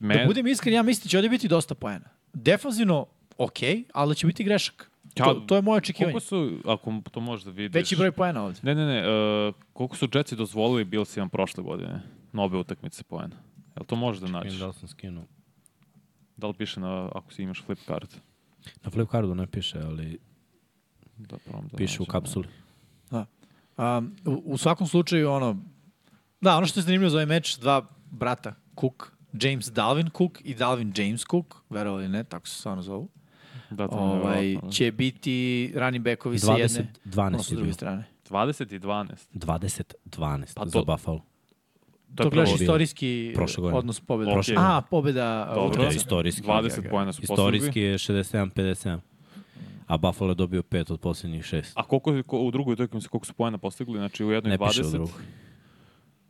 Speaker 5: Me,
Speaker 4: Da budem iskren, ja mislim da će ovdje biti dosta poena. Defanzivno, okej, ali će biti grešak.
Speaker 5: Ja-
Speaker 4: To, to je moje očekivanje.
Speaker 5: Koliko su, ako to možeš da vidiš...
Speaker 4: Veći broj poena ovdje.
Speaker 5: Ne, ne, ne, uh, koliko su Jetsi dozvolili Billsima prošle godine? Na obe utakmice poena. Jel to možeš da nađeš?
Speaker 6: Da li sam skinuo?
Speaker 5: Da li piše na, ako si imaš flip card?
Speaker 6: Na Flipkardu ne piše, ali
Speaker 5: Da, probam da
Speaker 6: piše u
Speaker 5: nađem.
Speaker 6: kapsuli.
Speaker 4: Um, u, u svakom slučaju, ono, da, ono što je zanimljivo za ovaj meč, dva brata Cook, James Dalvin Cook i Dalvin James Cook, verovali ili ne, tako se stvarno zovu,
Speaker 5: Da, to ovaj,
Speaker 4: ovaj, će biti running backovi sa jedne,
Speaker 6: 20,
Speaker 4: ono
Speaker 6: 12
Speaker 4: sa
Speaker 6: je
Speaker 4: druge
Speaker 6: bilo.
Speaker 4: strane.
Speaker 5: 20 i 12.
Speaker 6: 20, 12
Speaker 5: Pa
Speaker 6: za
Speaker 5: to-
Speaker 6: Buffalo.
Speaker 5: To
Speaker 4: To,
Speaker 5: je
Speaker 4: gledaš
Speaker 5: prvo bilo.
Speaker 4: istorijski
Speaker 6: Prošle godine.
Speaker 4: odnos pobjeda.
Speaker 5: Prošle godine.
Speaker 4: A, pobjeda uh,
Speaker 5: Dobro.
Speaker 4: utakmice.
Speaker 6: Da, istorijski.
Speaker 5: 20 poena su
Speaker 6: Istorijski
Speaker 5: postigli.
Speaker 6: je 67-57. A Buffalo je dobio pet od posljednjih šest.
Speaker 5: A koliko, ko, u drugoj utakmici koliko su poena postigli? Znači u jednoj
Speaker 6: Ne
Speaker 5: 20.
Speaker 6: piše u drugoj.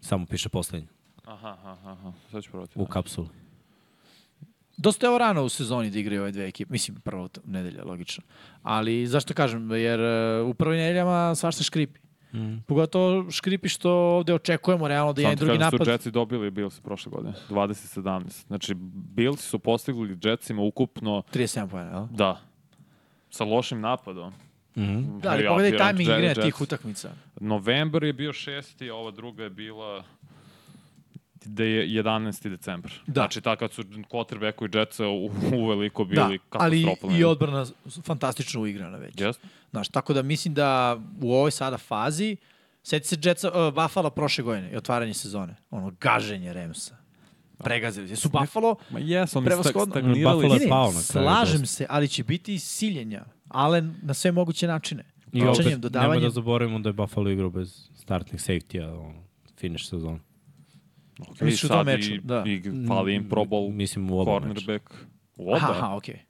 Speaker 6: Samo piše posljednji.
Speaker 5: Aha, aha, aha. Sad ću da. provati.
Speaker 6: U kapsuli.
Speaker 4: Dosta je ovo rano u sezoni da igraju ove dve ekipe. Mislim, prvo t- nedelja, logično. Ali zašto kažem? Jer e, u prvoj nedeljama svašta škripi. Pogotovo škripi što ovde očekujemo realno da je
Speaker 5: Samo
Speaker 4: jedan
Speaker 5: ti
Speaker 4: drugi
Speaker 5: kažem da
Speaker 4: napad.
Speaker 5: su Jetsi dobili Bills prošle godine. 20-17. Znači Bills su postigli Jetsima ukupno
Speaker 4: 37 pojena, jel?
Speaker 5: Da. Sa lošim napadom.
Speaker 4: Da, ali pogledaj timing igre na tih utakmica.
Speaker 5: Novembar je bio šesti, a ova druga je bila da je 11. decembar.
Speaker 4: Da.
Speaker 5: Znači, ta kad su quarterbacku i Jetsa u, uveliko
Speaker 4: Da,
Speaker 5: bili da,
Speaker 4: ali
Speaker 5: katastrofalni.
Speaker 4: i odbrana s- fantastično uigrana već.
Speaker 5: Jest?
Speaker 4: Znaš, tako da mislim da u ovoj sada fazi, seti se Jetsa, uh, Buffalo prošle godine i otvaranje sezone. Ono, gaženje Remsa. Pregazili su. Su Buffalo,
Speaker 5: Ma jes,
Speaker 4: oni Prevashodno. stag-
Speaker 6: stagnirali
Speaker 4: Ne,
Speaker 6: Pa
Speaker 4: ne,
Speaker 6: je pao na kraju
Speaker 4: slažem
Speaker 6: dosta.
Speaker 4: se, ali će biti siljenja. Ale na sve moguće načine.
Speaker 6: I opet,
Speaker 4: Trčanjem,
Speaker 6: nemoj
Speaker 4: dodavanjem.
Speaker 6: da zaboravimo da je Buffalo igrao bez startnih safety-a, ono, finish sezon.
Speaker 5: Okay,
Speaker 4: Misliš u tom meču, da.
Speaker 5: I fali im Pro Bowl,
Speaker 6: Mislim, u oba
Speaker 5: cornerback. U oba?
Speaker 4: Aha, aha, okej.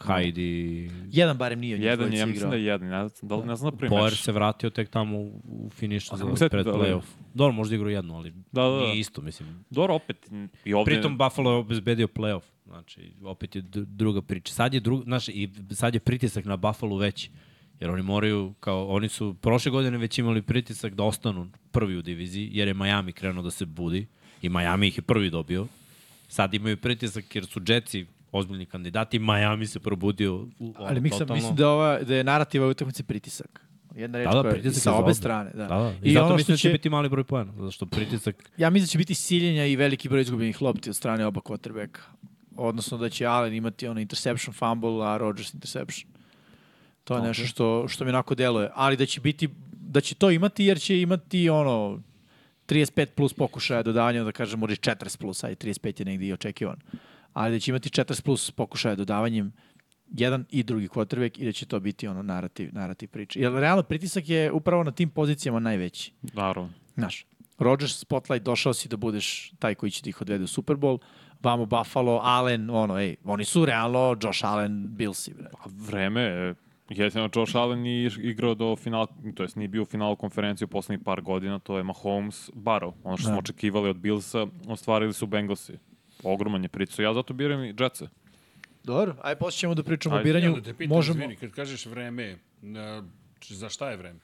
Speaker 6: Heidi...
Speaker 4: Jedan barem nije od njih
Speaker 5: Jedan, je, ja
Speaker 4: dvojice
Speaker 5: mislim
Speaker 4: igrao.
Speaker 5: da je jedan. Ne znam da, li- ne znam da prvi
Speaker 6: Poer
Speaker 5: meč.
Speaker 6: se vratio tek tamo u, u finišu
Speaker 5: mogu
Speaker 6: za
Speaker 5: setiti
Speaker 6: pred
Speaker 5: da li je.
Speaker 6: playoff. Dobro, možda igrao jedno, ali
Speaker 5: Da, da, da.
Speaker 6: nije isto, mislim.
Speaker 5: Dobro, opet. I ovde,
Speaker 6: Pritom Buffalo je obezbedio playoff. Znači, opet je dru- druga priča. Sad je, dru, znaš, i sad je pritisak na Buffalo veći. Jer oni moraju, kao, oni su prošle godine već imali pritisak da ostanu prvi u diviziji, jer je Miami krenuo da se budi. I Miami ih je prvi dobio. Sad imaju pritisak jer su Jetsi ozbiljni kandidati. Miami se probudio. U, ono,
Speaker 4: Ali mislim,
Speaker 6: totalno.
Speaker 4: mislim da, ova, da je narativa u utakmici pritisak. Jedna reč
Speaker 6: Da, da,
Speaker 4: koja je
Speaker 6: pritisak
Speaker 4: sa
Speaker 6: je za
Speaker 4: obe
Speaker 6: obe.
Speaker 4: strane. Da.
Speaker 6: Da, da. I,
Speaker 4: I,
Speaker 6: zato
Speaker 4: ono
Speaker 6: mislim
Speaker 4: što
Speaker 6: da će
Speaker 4: će,
Speaker 6: biti mali broj poena, zato što pritisak
Speaker 4: ja mislim da će biti siljenja i veliki broj izgubljenih lopti od strane oba quarterbacka. Odnosno da će Allen imati ono interception, fumble, a Rodgers interception. To je nešto što, što mi onako deluje. Ali da će, biti, da će to imati jer će imati ono 35 plus pokušaja dodavanja, da kažem, možda i 40 plus, ajde 35 je negdje i očekivan. Ali da će imati 40 plus pokušaja dodavanjem jedan i drugi quarterback i da će to biti ono narativ, narativ priče. Jer realno pritisak je upravo na tim pozicijama najveći.
Speaker 5: naravno.
Speaker 4: Znaš, Rodgers Spotlight, došao si da budeš taj koji će da ih odvede u Super Bowl, vamo Buffalo, Allen, ono, ej, oni su realno Josh Allen, Billsi, bre.
Speaker 5: A Pa, vreme je. Jedino Josh Allen nije iš- igrao do finala, to jest nije bio u finalu konferencije u poslednjih par godina, to je Mahomes Barrow. Ono što smo očekivali od Billsa, ostvarili su Bengalsi. Ogroman je pricu. Ja zato biram i Jetsa.
Speaker 4: Dobro, aj posle ćemo da pričamo o
Speaker 5: Ajde.
Speaker 4: biranju.
Speaker 3: Ja da te pitam,
Speaker 4: Možemo...
Speaker 3: možemo... izvini, kad kažeš vreme, na, č- za šta je vreme?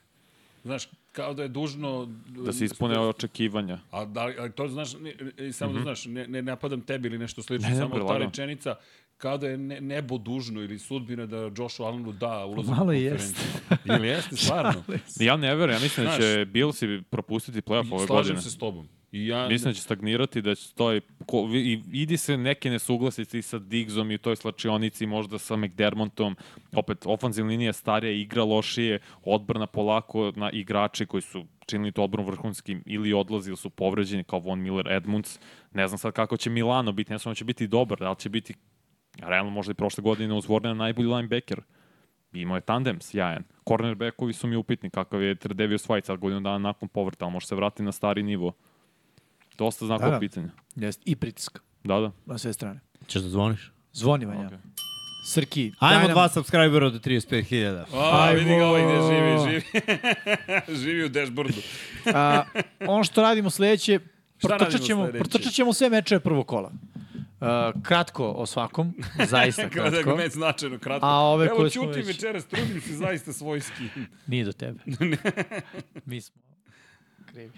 Speaker 3: Znaš, kao da je dužno...
Speaker 5: Da se ispune očekivanja.
Speaker 3: A da, li- ali to znaš, ne, ne, samo
Speaker 4: Mhm.
Speaker 3: da znaš, ne, ne napadam tebi ili nešto slično,
Speaker 5: Ne, ne,
Speaker 3: samo ta
Speaker 5: prelagano.
Speaker 3: rečenica kao da je ne, nebo dužno ili sudbina da Joshu Allenu da ulazak
Speaker 4: Malo
Speaker 3: u
Speaker 4: i
Speaker 3: konferenciju. Ili jeste, stvarno.
Speaker 5: Ja ne verujem, ja mislim da
Speaker 3: Znaš-
Speaker 5: će Billsi propustiti playoff ove
Speaker 3: Slažem
Speaker 5: godine.
Speaker 3: se s tobom. I ja,
Speaker 5: Mislim da će stagnirati, da će to je, ko, vi- i, idi se neke nesuglasice i sa Digzom i u toj slačionici, možda sa McDermottom, opet ofanzivna linija je starija, igra lošije, odbrana polako na igrači koji su činili tu odbranu vrhunskim ili odlazi ili su povređeni kao Von Miller, Edmunds. Ne znam sad kako će Milano biti, ne znam da će biti dobar, da li će biti, realno možda i prošle godine uz Warnera najbolji linebacker. Imao je tandem, sjajan. Cornerbackovi su mi upitni kakav je Tredevius White sad godinu dana nakon povrta, ali može se vratiti na stari nivo. Dosta znakova
Speaker 4: Da,
Speaker 5: da,
Speaker 4: da.
Speaker 5: pitanja.
Speaker 4: Jeste, I pritiska
Speaker 5: Da, da.
Speaker 4: na sve strane.
Speaker 6: Češ da zvoniš?
Speaker 4: Zvoni Vanja. Okay. Srki, daj
Speaker 6: Ajmo
Speaker 4: nam-
Speaker 6: dva subscribera do 35.000.
Speaker 3: A, vidi ga ovaj gde
Speaker 4: Ajmo.
Speaker 3: živi, živi. živi u dashboardu.
Speaker 4: A, ono što radimo sledeće,
Speaker 3: radimo
Speaker 4: protrčat ćemo,
Speaker 3: sledeće?
Speaker 4: protrčat ćemo sve mečeve prvog kola. A, kratko o svakom, zaista
Speaker 3: Kada je
Speaker 4: kratko.
Speaker 3: argument značajno kratko.
Speaker 4: A ove
Speaker 3: Evo,
Speaker 4: koje smo
Speaker 3: ćutim
Speaker 4: već-
Speaker 3: večeras, trudim se zaista svojski.
Speaker 4: Nije do tebe. Mi smo krivi.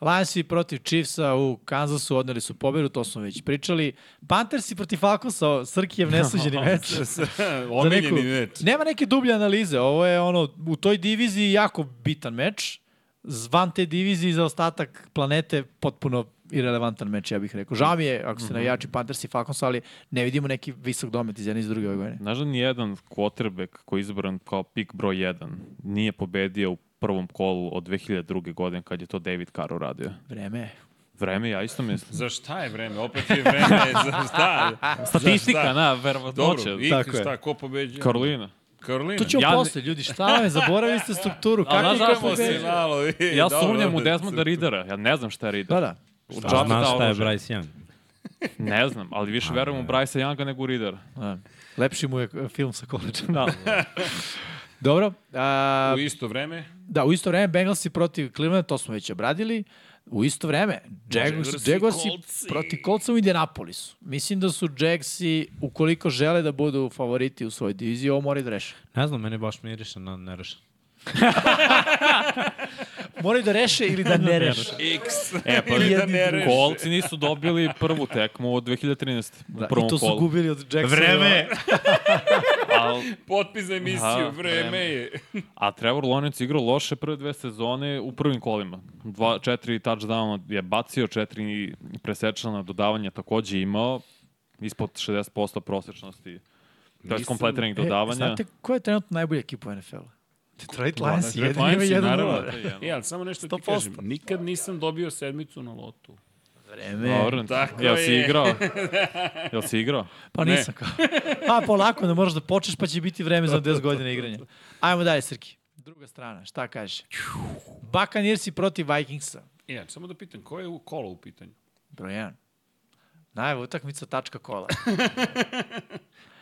Speaker 4: Lionsi protiv Chiefsa u Kansasu odneli su pobedu, to smo već pričali. Panthersi protiv Falconsa, Srkijev nesuđeni meč. Za neku-
Speaker 3: Omiljeni meč.
Speaker 4: Nema neke dublje analize, ovo je ono, u toj diviziji jako bitan meč, zvan te divizije za ostatak planete potpuno irelevantan meč, ja bih rekao. Žao mi je, ako se
Speaker 3: Mhm.
Speaker 4: navijači Panthers i Falcons, ali ne vidimo neki visok domet iz jedne i iz druge ove godine.
Speaker 5: Znaš da nijedan quarterback koji je izbran kao pik broj 1 nije pobedio u prvom kolu od 2002. godine kad je to David Carr uradio.
Speaker 4: Vreme je.
Speaker 5: Vreme, ja isto mislim.
Speaker 3: Za šta je vreme? Opet je vreme. Za šta?
Speaker 5: Statistika,
Speaker 4: da.
Speaker 3: šta?
Speaker 5: na, verovatnoća.
Speaker 3: Dobro, i
Speaker 4: Tako je.
Speaker 3: šta, ko pobeđuje?
Speaker 5: Karolina.
Speaker 3: Karolina.
Speaker 4: To ćemo
Speaker 5: Ja ne-
Speaker 4: posle, ljudi, šta vam je, zaboravili ste strukturu,
Speaker 5: A,
Speaker 4: kako
Speaker 5: znaš
Speaker 4: je
Speaker 5: zašto
Speaker 4: kako
Speaker 5: si
Speaker 4: je
Speaker 5: na-
Speaker 3: malo. vidi,
Speaker 5: Ja
Speaker 3: dobro,
Speaker 5: sumnjam u da
Speaker 3: dobro.
Speaker 5: Desmonda Ridera. Ja ne znam šta je Rider.
Speaker 4: Da, da.
Speaker 5: U
Speaker 6: A
Speaker 5: džabe
Speaker 6: znaš
Speaker 5: dao
Speaker 6: šta je
Speaker 5: oružje.
Speaker 6: Bryce Young?
Speaker 5: Pa Ne znam, ali više verujem u Bryce Younga nego u Ridera.
Speaker 4: Da. Lepši mu je e, film sa koleđa.
Speaker 5: Da.
Speaker 4: Dobro. A,
Speaker 3: U isto vreme.
Speaker 4: da, u isto vreme Bengalsi protiv Cleveland, to smo već obradili. U isto vreme, Jaguars,
Speaker 5: da
Speaker 3: Jaguarsi,
Speaker 4: Jaguarsi
Speaker 3: Coltsi.
Speaker 4: protiv Coltsa u Indianapolisu. Mislim da su Jagsi, ukoliko žele da budu favoriti u svojoj diviziji, ovo moraju da reše.
Speaker 6: Ne znam, mene baš miriše na nerešan.
Speaker 4: Moraju da reše ili da ne reše.
Speaker 3: X.
Speaker 5: E, pa
Speaker 3: Ili da ne reše.
Speaker 5: kolci nisu dobili prvu tekmu od 2013.
Speaker 4: Da,
Speaker 5: u
Speaker 4: I
Speaker 5: prvom
Speaker 4: to su
Speaker 5: kolu.
Speaker 4: gubili od Jacksona.
Speaker 8: Vreme!
Speaker 5: Ali
Speaker 3: Potpis za emisiju,
Speaker 5: Aha,
Speaker 3: vreme
Speaker 5: vreme.
Speaker 3: je.
Speaker 5: A Trevor Lawrence igrao loše prve dve sezone u prvim kolima. Dva, četiri touchdowna je bacio, četiri presečana dodavanja takođe imao, ispod 60% prosečnosti. To je
Speaker 3: Nisam-
Speaker 5: kompletinih
Speaker 4: E,
Speaker 5: dodavanja.
Speaker 4: znate koja je trenutno najbolja ekipa u NFL-u? Detroit Lions,
Speaker 5: Detroit
Speaker 4: jedini ima
Speaker 5: Lions,
Speaker 4: jedan
Speaker 5: naravno.
Speaker 4: nula.
Speaker 5: to Znači, je jedno.
Speaker 3: E, ali samo nešto ti kažem. Nikad nisam dobio sedmicu na lotu.
Speaker 4: Vreme.
Speaker 5: Dobro,
Speaker 3: tako
Speaker 5: jel si
Speaker 3: je.
Speaker 5: igrao? Jel si igrao?
Speaker 4: Pa
Speaker 3: Ne.
Speaker 4: nisam kao. A polako, ne moraš da počneš pa će biti vreme za 10 godina igranja. Ajmo dalje, Srki. Druga strana, šta kaže? Buccaneersi protiv Vikingsa.
Speaker 3: E, samo da pitam, ko je u kolo u pitanju?
Speaker 4: Broj 1. Najva utakmica tačka kola.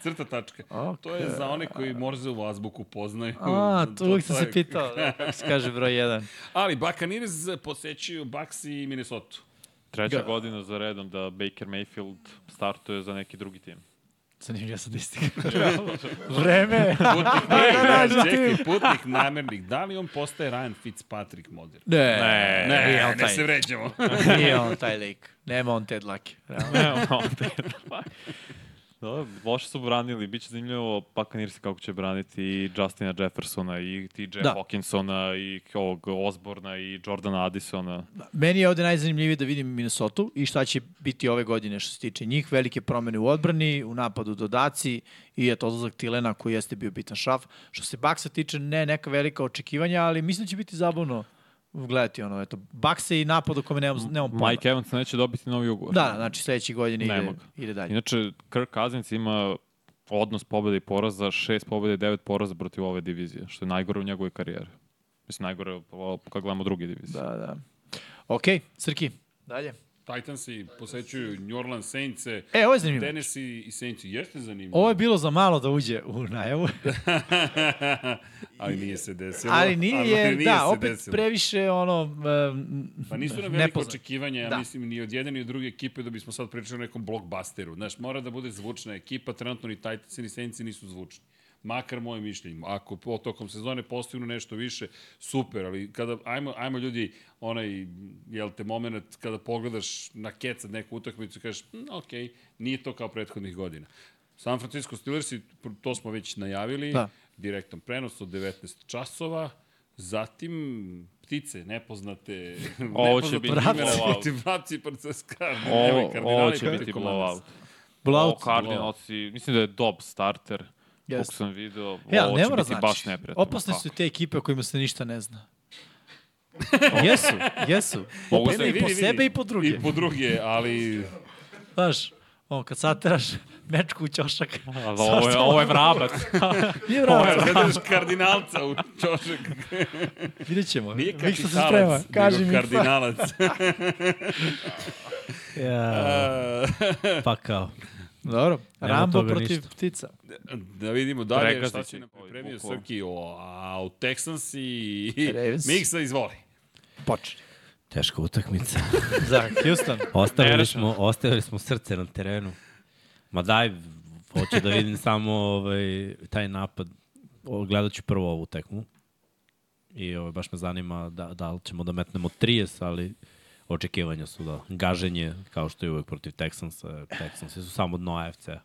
Speaker 3: Crta tačka.
Speaker 4: Ok.
Speaker 3: To je za one koji morze u azbuku poznaju.
Speaker 4: A, to uvijek sam
Speaker 3: To
Speaker 4: se
Speaker 3: je-
Speaker 4: pitao. Da, kako se kaže broj 1.
Speaker 3: Ali Buccaneers posećuju Bucks i Minnesota.
Speaker 5: Treća godina za redom da Baker Mayfield startuje za neki drugi tim.
Speaker 4: Zanimljiva statistika. vreme.
Speaker 3: Putnik, ne,
Speaker 4: da, da,
Speaker 3: čekaj, putnik namernik. Da li on postaje Ryan Fitzpatrick model?
Speaker 4: Ne, ne,
Speaker 3: Ne,
Speaker 4: nije
Speaker 3: ne,
Speaker 4: on
Speaker 3: ne
Speaker 4: taj,
Speaker 3: se vređamo.
Speaker 4: nije on taj lik. Nema on Ted Lucky. realno.
Speaker 5: Evo, ovde. Da, loše su branili, biće zanimljivo Pakanirsi kako će braniti i Justina Jeffersona i TJ
Speaker 4: Da.
Speaker 5: da. Hawkinsona i ovog Osborna i Jordana Addisona.
Speaker 4: Meni je ovde najzanimljivije da vidim Minnesota i šta će biti ove godine što se tiče njih. Velike promene u odbrani, u napadu dodaci i eto odlazak Tilena koji jeste bio bitan šaf. Što se Baksa tiče, ne neka velika očekivanja, ali mislim da će biti zabavno gledati ono, eto, Baksa i napad o kome nemam, nemam pojma.
Speaker 5: Mike Evans neće dobiti novi ugovor.
Speaker 4: Da, da, znači sledeće godine
Speaker 5: Nema
Speaker 4: ide,
Speaker 5: ga.
Speaker 4: ide dalje.
Speaker 5: Inače, Kirk Cousins ima odnos pobjede i poraza, šest pobjede i devet poraza protiv ove divizije, što je najgore u njegovoj karijeri. Mislim, najgore ovo, kad gledamo druge divizije. Da.
Speaker 4: Da, da. Ok, Srki, dalje.
Speaker 3: Titansi posećuju New Orleans Saints,
Speaker 4: E, ovo je zanimljivo.
Speaker 3: Tennessee i Saints. Jeste zanimljivo.
Speaker 4: Ovo je bilo za malo da uđe u najavu,
Speaker 3: ali nije se desilo.
Speaker 4: ali nije,
Speaker 3: ali
Speaker 4: da,
Speaker 3: se
Speaker 4: opet
Speaker 3: desilo.
Speaker 4: previše ono... Um,
Speaker 3: Pa nisu nam velike
Speaker 4: nepoznat.
Speaker 3: očekivanja, ja
Speaker 4: Da.
Speaker 3: mislim, ni od jedne ni od druge ekipe da bismo sad pričali o nekom blockbusteru. Znaš, mora da bude zvučna ekipa, trenutno ni Titans ni Saints nisu zvučni. Makar moje mišljenje. Ako po tokom sezone postignu nešto više, super, ali kada, ajmo, ajmo ljudi, onaj, jel te, moment kada pogledaš na keca neku utakmicu i kažeš, mm, ok, nije to kao prethodnih godina. San Francisco Steelers, to smo već najavili,
Speaker 4: Da.
Speaker 3: direktan prenos od 19 časova, zatim ptice nepoznate
Speaker 5: Ovo će biti blowout.
Speaker 3: protiv vraci Parcaskar
Speaker 5: Ovo, ovo će biti blowout. Ovo
Speaker 4: Blowout.
Speaker 5: Cardinalsi, mislim da je Dob starter. Yes. Koliko
Speaker 4: Jeste.
Speaker 5: sam video,
Speaker 4: Ja,
Speaker 5: ovo
Speaker 4: ne
Speaker 5: će
Speaker 4: mora
Speaker 5: biti
Speaker 4: znači.
Speaker 5: baš neprijatno. pa.
Speaker 4: Opasne su i te ekipe o kojima se ništa ne zna. jesu, jesu.
Speaker 5: Mogu
Speaker 4: Opasne
Speaker 5: se-
Speaker 4: i po
Speaker 3: vidi,
Speaker 4: sebe
Speaker 3: vidi.
Speaker 4: i po druge.
Speaker 3: I po druge, ali
Speaker 4: Znaš, ono, kad sateraš mečku u ćošak.
Speaker 5: Ali Ovo je, ovo je vrabac.
Speaker 4: Nije vrata,
Speaker 3: gledaš kardinalca u čošak.
Speaker 4: vidjet ćemo.
Speaker 3: Nije
Speaker 4: Miksa se sprema,
Speaker 3: kapitalac,
Speaker 4: kaži
Speaker 3: nego
Speaker 4: mi.
Speaker 3: kardinalac.
Speaker 6: Ja, pa kao.
Speaker 4: Dobro,
Speaker 6: Nema
Speaker 4: Rambo
Speaker 6: toga
Speaker 4: protiv
Speaker 6: ništa.
Speaker 4: ptica.
Speaker 3: da vidimo dalje
Speaker 5: Pregazi
Speaker 3: šta
Speaker 5: će
Speaker 3: si nam
Speaker 5: ih, ovaj,
Speaker 3: pripremio
Speaker 5: bukvalno.
Speaker 3: Srki o, a, o Texans i
Speaker 4: Ravens.
Speaker 3: Miksa izvoli.
Speaker 4: Počni.
Speaker 6: Teška utakmica.
Speaker 4: Za Houston.
Speaker 6: Ostavili
Speaker 5: Nerešeno.
Speaker 6: smo, ostavili smo srce na terenu. Ma daj, hoću da vidim samo ovaj, taj napad. O, Gledat ću prvo ovu tekmu. I ovaj, baš me zanima da, da li ćemo da metnemo 30, ali očekivanja su da gaženje, kao što je uvek protiv Texansa. Texansi su samo dno AFC-a.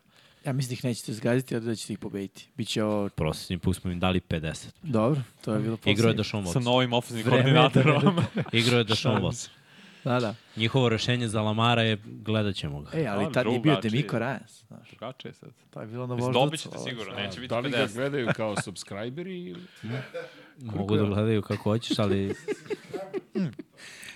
Speaker 4: Ja mislim da ih nećete zgaziti, ali da ćete ih pobediti. Biće ovo...
Speaker 6: Prosjećni put smo im dali 50.
Speaker 4: Dobro, to je bilo poslednje.
Speaker 6: Igro je Deshaun
Speaker 5: Sa
Speaker 6: Watson.
Speaker 5: novim ofenzivnim
Speaker 4: Vreme je da
Speaker 5: koordinatorom.
Speaker 6: Igro je Deshaun Watson.
Speaker 4: Da, da.
Speaker 6: Njihovo rešenje za Lamara je gledat ćemo ga.
Speaker 4: Ej, ali
Speaker 5: Dobro,
Speaker 4: tad je bio
Speaker 5: drugačije.
Speaker 4: Demiko da. Rajas. Znaš,
Speaker 5: Drugačije sad.
Speaker 4: to je bilo na
Speaker 5: Mislim,
Speaker 4: voždacu.
Speaker 5: Dobit ćete sigurno, neće biti
Speaker 3: Da li ga
Speaker 5: 50.
Speaker 3: gledaju kao subscriberi? ili-
Speaker 6: Mogu da gledaju kako hoćeš, ali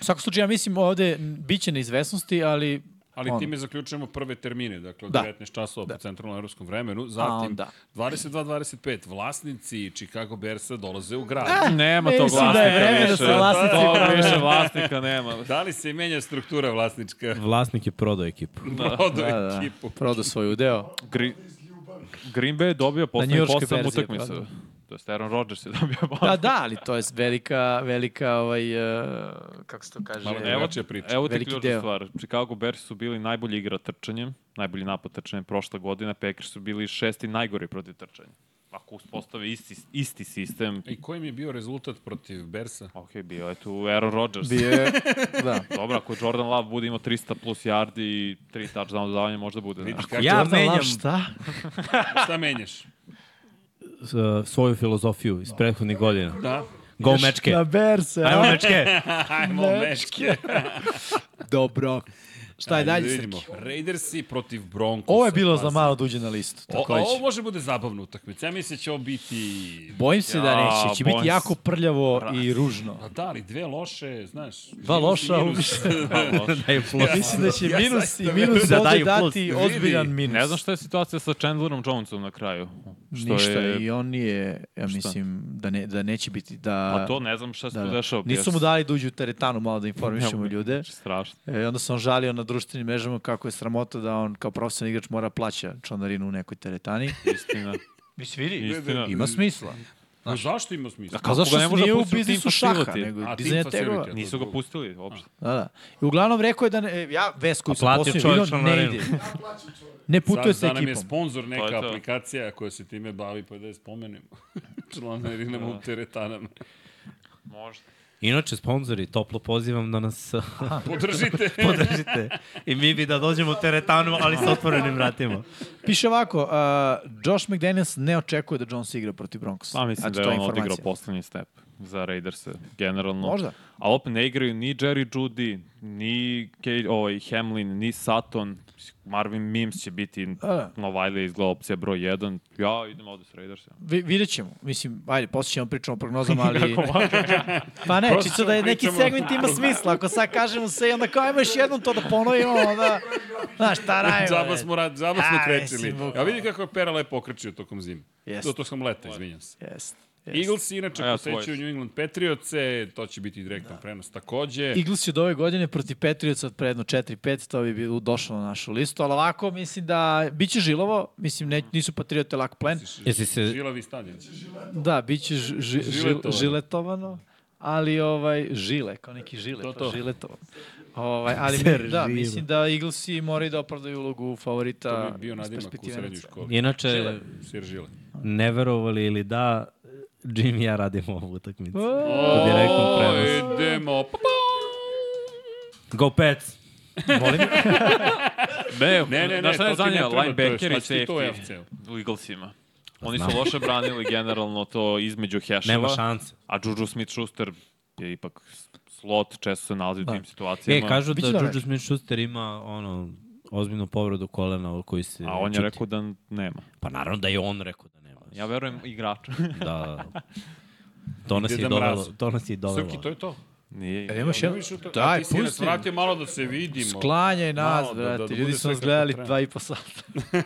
Speaker 4: U svakom slučaju, ja mislim ovde m, bit će neizvesnosti, ali...
Speaker 3: Ali
Speaker 4: Ono.
Speaker 3: time zaključujemo prve termine, dakle od
Speaker 4: Da.
Speaker 3: 19 časova po centralnom evropskom vremenu, zatim
Speaker 4: onda?
Speaker 3: 22-25 vlasnici Chicago Bearsa dolaze u grad.
Speaker 4: E,
Speaker 5: Nema tog
Speaker 4: Mislim da je vreme da se
Speaker 5: vlasnika više.
Speaker 4: vlasnici
Speaker 5: Tog
Speaker 4: promene.
Speaker 5: više vlasnika nema.
Speaker 3: Da li se menja struktura vlasnička?
Speaker 6: vlasnik je prodao ekipu.
Speaker 3: Prodo
Speaker 4: Da, da,
Speaker 3: ekipu.
Speaker 4: prodao svoj udeo.
Speaker 5: Gri... Green Bay je dobio poslednjih
Speaker 4: njujorškoj
Speaker 5: 8
Speaker 4: verziji je
Speaker 5: utakmica.
Speaker 4: prodao.
Speaker 5: To je Aaron Rodgers je dobio bal.
Speaker 4: Pa da, ali to je velika, velika, ovaj, uh, kako se to kaže...
Speaker 3: Malo
Speaker 5: Evo,
Speaker 3: drugačija priča.
Speaker 5: evo ti
Speaker 4: Znači, Veliki
Speaker 5: ključna
Speaker 4: deo.
Speaker 5: stvar. Chicago Bears su bili najbolji igra trčanjem, najbolji napad trčanjem prošle godine, Packers su bili šesti najgori protiv trčanja. Ako uspostave isti, isti sistem,
Speaker 3: I koji mi je bio rezultat protiv Bersa?
Speaker 5: ok, bio je tu Aaron Rodgers.
Speaker 4: Bio je, da.
Speaker 5: Dobro, ako Jordan Love bude imao 300 plus yardi i 3 touchdown dodavanja, možda bude. Ne?
Speaker 3: Kako,
Speaker 6: Ja
Speaker 4: Jordan Love,
Speaker 6: menjam
Speaker 4: Šta?
Speaker 3: Šta menjaš?
Speaker 6: s- uh, svoju filozofiju iz prethodnih godina.
Speaker 3: Da?
Speaker 6: Go mečke.
Speaker 4: Na Berse.
Speaker 6: Ajmo mečke.
Speaker 3: Ajmo mečke.
Speaker 4: Dobro. Šta je dalje,
Speaker 3: Da
Speaker 4: Srki?
Speaker 3: vidimo. Raidersi protiv Broncosa.
Speaker 4: Ovo je bilo za
Speaker 3: Pazi.
Speaker 4: malo duđe na listu,
Speaker 3: O, a
Speaker 4: takođe.
Speaker 3: ovo može bude zabavna utakmica. Ja mislim da će ovo biti...
Speaker 4: Bojim se da neće, će
Speaker 5: bojim
Speaker 4: biti
Speaker 5: se.
Speaker 4: jako prljavo i ružno.
Speaker 3: Pa da, ali dve loše, znaš...
Speaker 4: Dva loša,
Speaker 3: minus i minus.
Speaker 6: Da, Daju plus.
Speaker 4: Da, Mislim da će
Speaker 3: Ja
Speaker 4: minus i
Speaker 3: zaista
Speaker 4: minus
Speaker 6: Da
Speaker 4: da ovde
Speaker 6: daju plus.
Speaker 4: dati
Speaker 3: Vidi.
Speaker 4: ozbiljan minus.
Speaker 5: ne znam šta je situacija sa Chandlerom Jonesom na kraju. Što
Speaker 4: Ništa,
Speaker 5: je,
Speaker 4: i on je, ja mislim, da, ne, da neće biti da...
Speaker 5: Pa to ne znam šta se
Speaker 4: da,
Speaker 5: tu
Speaker 4: da.
Speaker 5: dešava.
Speaker 4: Nisu mu dali da uđu u teretanu malo da informišemo
Speaker 5: Ne,
Speaker 4: ljude.
Speaker 5: Strašno.
Speaker 4: E, onda se on žalio na društvenim mrežama kako je sramota da on kao profesionalni igrač mora plaća članarinu u nekoj teretani.
Speaker 5: Istina.
Speaker 4: Mislim, vidi,
Speaker 5: Istina.
Speaker 4: ima smisla.
Speaker 3: A zašto ima smisla?
Speaker 4: Kao zašto
Speaker 5: ga ne
Speaker 4: se
Speaker 5: može
Speaker 4: nije
Speaker 5: da
Speaker 4: u
Speaker 5: pusti u
Speaker 4: biznisu
Speaker 5: tim
Speaker 4: šaha,
Speaker 5: facility?
Speaker 4: nego
Speaker 3: A,
Speaker 4: u
Speaker 3: tim
Speaker 4: dizanja
Speaker 3: facility.
Speaker 4: tegova.
Speaker 5: Nisu ga pustili uopšte.
Speaker 4: Da, da. I uglavnom rekao je da ne, ja ves koju sam
Speaker 6: platio
Speaker 4: posljednju
Speaker 6: čovjek
Speaker 4: vidio ne
Speaker 6: članarinu.
Speaker 4: ide. Ne putuje
Speaker 3: Sad
Speaker 4: sa
Speaker 3: da nam je
Speaker 4: ekipom. Pa
Speaker 3: sponsor neka
Speaker 5: To je to.
Speaker 3: aplikacija koja se time bavi, pa da je spomenemo.
Speaker 4: Da.
Speaker 3: Članarinama u teretanama.
Speaker 5: Možda.
Speaker 6: Inače, sponzori, toplo pozivam da nas
Speaker 3: Podržite.
Speaker 6: podržite. I mi bi da dođemo u teretanu, ali sa otvorenim vratima.
Speaker 4: Piše ovako, uh, Josh McDaniels ne očekuje da Jones igra protiv Broncosa.
Speaker 5: Pa mislim
Speaker 3: Znači,
Speaker 4: Eto,
Speaker 5: da je
Speaker 4: to
Speaker 5: on odigrao
Speaker 4: informacija.
Speaker 5: poslednji step za Raiders generalno.
Speaker 4: Možda.
Speaker 5: A opet ne igraju ni Jerry Judy, ni Kay, ovaj, Hamlin, ni Sutton. Marvin Mims će biti
Speaker 3: E.
Speaker 4: da.
Speaker 5: Novajlija izgleda opcija broj 1. Ja idem ovde sa Raidersima.
Speaker 4: Vi, vidjet ćemo. Mislim, ajde, posle ćemo pričamo o prognozama, ali... pa ne, čisto da je neki
Speaker 3: pričamo.
Speaker 4: segment ima smisla. Ako sad kažemo sve, i onda kao, ajmo još jednom to da ponovimo, onda... Znaš, šta radimo?
Speaker 3: Džaba
Speaker 4: bre?
Speaker 3: smo, rad, džaba smo
Speaker 4: A,
Speaker 3: krečili.
Speaker 4: mislim, bukvalno.
Speaker 3: A vidi kako je pera lepo okrečio tokom zime.
Speaker 4: Jest.
Speaker 3: Yes. To, to sam leta, izvinjam se.
Speaker 4: Jest.
Speaker 3: Eagles inače
Speaker 5: A ja
Speaker 3: posećuju
Speaker 5: svoje.
Speaker 3: New England Patriotse, to će biti direktan da. prenos takođe.
Speaker 4: Eagles će do ove godine protiv Patriotsa od predno 4-5, to bi bilo došlo na našu listu, ali ovako mislim da biće žilovo, mislim ne, nisu Patriote lak plen,
Speaker 6: Jesi se...
Speaker 3: Žilavi stadion.
Speaker 4: da, biće ž, ž, žil,
Speaker 3: Žiletovano.
Speaker 4: žiletovano, ali ovaj, žile, kao neki žile, to,
Speaker 3: to.
Speaker 4: to. žiletovano. Ovaj, ali mi, da, mislim da Eaglesi moraju da opravdaju ulogu favorita
Speaker 3: Da, bio
Speaker 4: iz
Speaker 3: nadimak u
Speaker 4: perspektive
Speaker 3: srednjoj
Speaker 4: NFC.
Speaker 3: školi.
Speaker 6: Inače,
Speaker 3: Sir Žile.
Speaker 6: ne verovali ili da, Jim i ja radimo ovu utakmicu.
Speaker 4: Oh.
Speaker 3: O,
Speaker 6: direktnom prenosu.
Speaker 3: idemo. Pa,
Speaker 6: Go Pets!
Speaker 5: Ne,
Speaker 3: ne, ne,
Speaker 5: znaš šta
Speaker 3: to ti
Speaker 5: je
Speaker 3: ne
Speaker 5: zadnja?
Speaker 3: treba,
Speaker 5: Linebackeri
Speaker 3: to
Speaker 5: i
Speaker 3: je- šta će ti to u
Speaker 5: safety u Eaglesima. Oni su
Speaker 6: Znam.
Speaker 5: loše branili generalno to između heševa.
Speaker 6: Nema šanse.
Speaker 5: A Juju Smith-Schuster je ipak slot, često se nalazi u tim
Speaker 6: E,
Speaker 5: situacijama.
Speaker 6: kažu da
Speaker 4: Biće dobro.
Speaker 6: Juju Smith-Schuster ima ono, ozbiljnu povredu kolena o kojoj se
Speaker 5: A on je
Speaker 6: čuti.
Speaker 5: rekao da nema.
Speaker 6: Pa naravno da je on rekao da nema.
Speaker 5: Ja verujem igraču.
Speaker 6: Da. To nas
Speaker 3: Deda
Speaker 6: je dovelo.
Speaker 3: Mraz.
Speaker 6: To nas je dovelo.
Speaker 3: Srki, to je to.
Speaker 5: Nije
Speaker 6: E,
Speaker 4: Jel
Speaker 5: igra.
Speaker 4: imaš jedan?
Speaker 3: Daj,
Speaker 4: Daj,
Speaker 3: ti si nas
Speaker 4: pusti.
Speaker 3: vratio malo da se vidimo.
Speaker 4: Sklanjaj nas,
Speaker 3: Malo da- da-
Speaker 4: brate.
Speaker 3: da bude
Speaker 4: Ljudi su
Speaker 3: sve
Speaker 4: nas
Speaker 3: kako
Speaker 4: gledali
Speaker 3: treba.
Speaker 4: dva i po sata.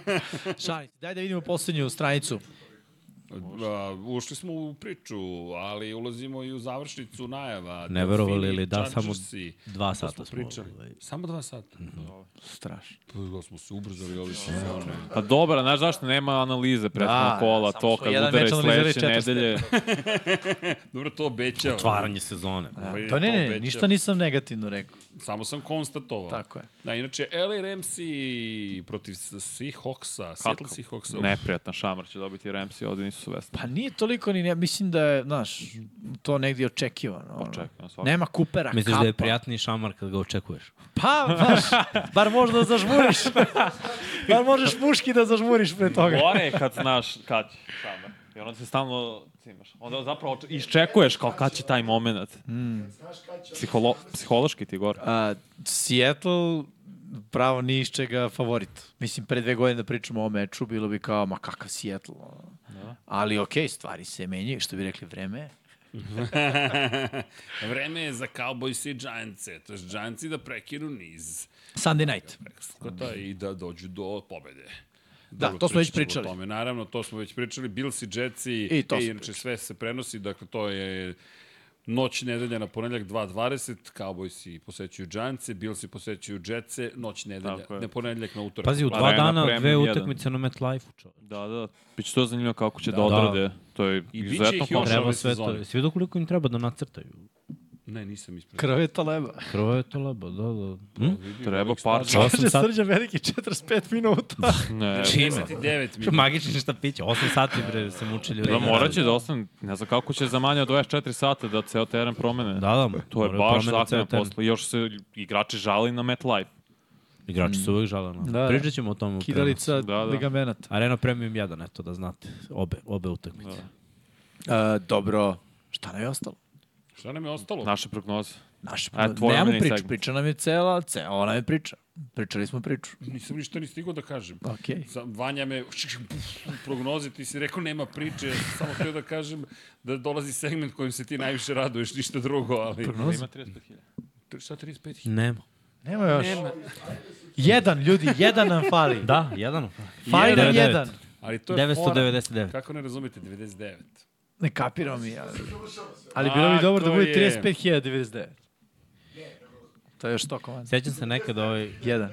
Speaker 4: Šalim se. Daj da vidimo poslednju stranicu.
Speaker 3: A, ušli smo u priču, ali ulazimo i u završnicu najava.
Speaker 6: Ne verovali li da, samo
Speaker 3: si.
Speaker 6: dva
Speaker 3: To
Speaker 6: sata
Speaker 3: smo
Speaker 6: smo.
Speaker 3: pričali.
Speaker 6: ovaj,
Speaker 3: Samo dva sata.
Speaker 4: Strašno.
Speaker 3: Pa Mhm. da smo se ubrzali ove sezone.
Speaker 5: Pa dobra, znaš zašto nema analize prethodnog
Speaker 4: Da,
Speaker 5: kola,
Speaker 4: samo
Speaker 5: to
Speaker 4: što
Speaker 5: kad
Speaker 4: jedan
Speaker 5: udare
Speaker 4: meč analizirali
Speaker 5: sledeće
Speaker 4: četvrste.
Speaker 5: nedelje.
Speaker 3: Dobro, to obećava.
Speaker 6: Otvaranje sezone. Da.
Speaker 4: Pa ne, ne, ne, ništa nisam negativno rekao.
Speaker 3: Samo sam konstatovao.
Speaker 4: Tako je.
Speaker 3: Da, inače, LA Ramsey protiv S- Seahawksa, Seattle Seahawksa.
Speaker 5: Neprijatna šamar će dobiti Ramsey, ovde nisu svesni.
Speaker 4: Pa nije toliko ni ne, mislim da je, znaš, to negdje očekivano. ono.
Speaker 5: Očekivano, svakako.
Speaker 4: Nema kupera,
Speaker 6: Misliš
Speaker 4: kapa.
Speaker 6: da je prijatniji šamar kad ga očekuješ?
Speaker 4: Pa, baš, bar možda zažmuriš. bar možeš muški da zažmuriš pre toga.
Speaker 5: Gore je kad znaš kad će šamar. I onda se stalno cimaš. Onda zapravo oč- iščekuješ kao kad će taj moment. Mm. Psiholo, psihološki ti je gore.
Speaker 4: A, Seattle pravo ni iz čega favorit. Mislim, pre dve godine da pričamo o meču, bilo bi kao, ma kakav Seattle. ono. Ali okej, stvari se menjaju, što bi rekli vreme.
Speaker 3: Vreme je za Cowboys i Giants, to je Giants da prekinu niz
Speaker 4: Sunday night.
Speaker 3: skota i da dođu do pobede.
Speaker 4: Da,
Speaker 3: Dugo
Speaker 4: to smo već
Speaker 3: pričamo o
Speaker 4: pričali.
Speaker 3: Tome. Naravno, to smo već pričali. Bills i Jetsi,
Speaker 4: I to
Speaker 3: e,
Speaker 4: smo
Speaker 3: inače sve se prenosi, dakle to je noć nedelja na ponedljak 2.20, Cowboysi posećuju Giantse, Billsi posećuju Jetse, noć nedelja,
Speaker 5: Tako je.
Speaker 3: ne ponedljak na utorak.
Speaker 6: Pazi, u
Speaker 5: Pa
Speaker 6: dva
Speaker 5: da, na
Speaker 6: dana
Speaker 5: Premier
Speaker 6: dve
Speaker 5: jedan.
Speaker 6: utakmice na MetLife-u, čovječ.
Speaker 5: Da, da. Biće to zanimljivo kako će da, da odrade. To je
Speaker 3: I biće
Speaker 5: izuzetno
Speaker 3: ih još
Speaker 5: kompleksno.
Speaker 3: ove
Speaker 6: Treba sve
Speaker 3: sezone.
Speaker 6: to. Svi vidio koliko im treba da nacrtaju.
Speaker 3: Ne, nisam ispred.
Speaker 4: Krveta leba.
Speaker 6: Prvo je to lebo, da, da. Hm?
Speaker 5: Treba par
Speaker 4: Kaže
Speaker 6: 8 sati.
Speaker 4: Srđan veliki 45 minuta.
Speaker 5: Ne,
Speaker 6: Čime?
Speaker 3: 9 minuta.
Speaker 6: Magični šta piće. 8 sati bre se muče ljudi.
Speaker 5: da morat će da ostane, ne znam kako će za manje od 24 sata da ceo teren promene.
Speaker 6: Da, da.
Speaker 5: To je
Speaker 6: moraju
Speaker 5: baš
Speaker 6: promene ceo
Speaker 5: zahtevno
Speaker 6: teren.
Speaker 5: posla. Još se igrači žali na MetLife.
Speaker 6: Igrači su uvek žalena.
Speaker 4: Da, da.
Speaker 6: Pričat ćemo o tome. u prenosu.
Speaker 4: Kidalica
Speaker 5: Da, da.
Speaker 4: ligamenata.
Speaker 6: Arena Premium 1, eto da znate. Obe, obe utakmice.
Speaker 4: Da. E, dobro, šta nam je ostalo?
Speaker 3: Šta nam je ostalo?
Speaker 4: Da.
Speaker 5: Naše prognoze.
Speaker 4: Naš,
Speaker 5: A, tvoj
Speaker 4: nemamo
Speaker 5: omiljeni
Speaker 4: priču,
Speaker 5: segment.
Speaker 4: priča nam je cela, cela ona je priča. Pričali smo priču.
Speaker 3: Nisam ništa ni stigao da kažem.
Speaker 4: Okej.
Speaker 3: Sa- Vanja me u prognozi, ti si rekao nema priče, ja sam samo htio da kažem da dolazi segment kojim se ti najviše raduješ, ništa drugo, ali... Prognoza?
Speaker 5: Ima 35.000.
Speaker 3: Šta 35.000?
Speaker 6: Nema.
Speaker 4: Nema još. Jedan, ljudi, jedan nam fali.
Speaker 6: Da, jedan.
Speaker 4: Fali nam
Speaker 6: 99.
Speaker 4: jedan.
Speaker 3: Ali to je fora.
Speaker 6: 999.
Speaker 3: Kako ne razumete, 99.
Speaker 4: Ne kapiram i ja. Ali bilo bi
Speaker 3: A,
Speaker 4: dobro da
Speaker 3: to
Speaker 4: bude
Speaker 3: je.
Speaker 4: 35.099. To je još to komanda.
Speaker 6: Sjećam se nekad ovaj
Speaker 4: Jedan.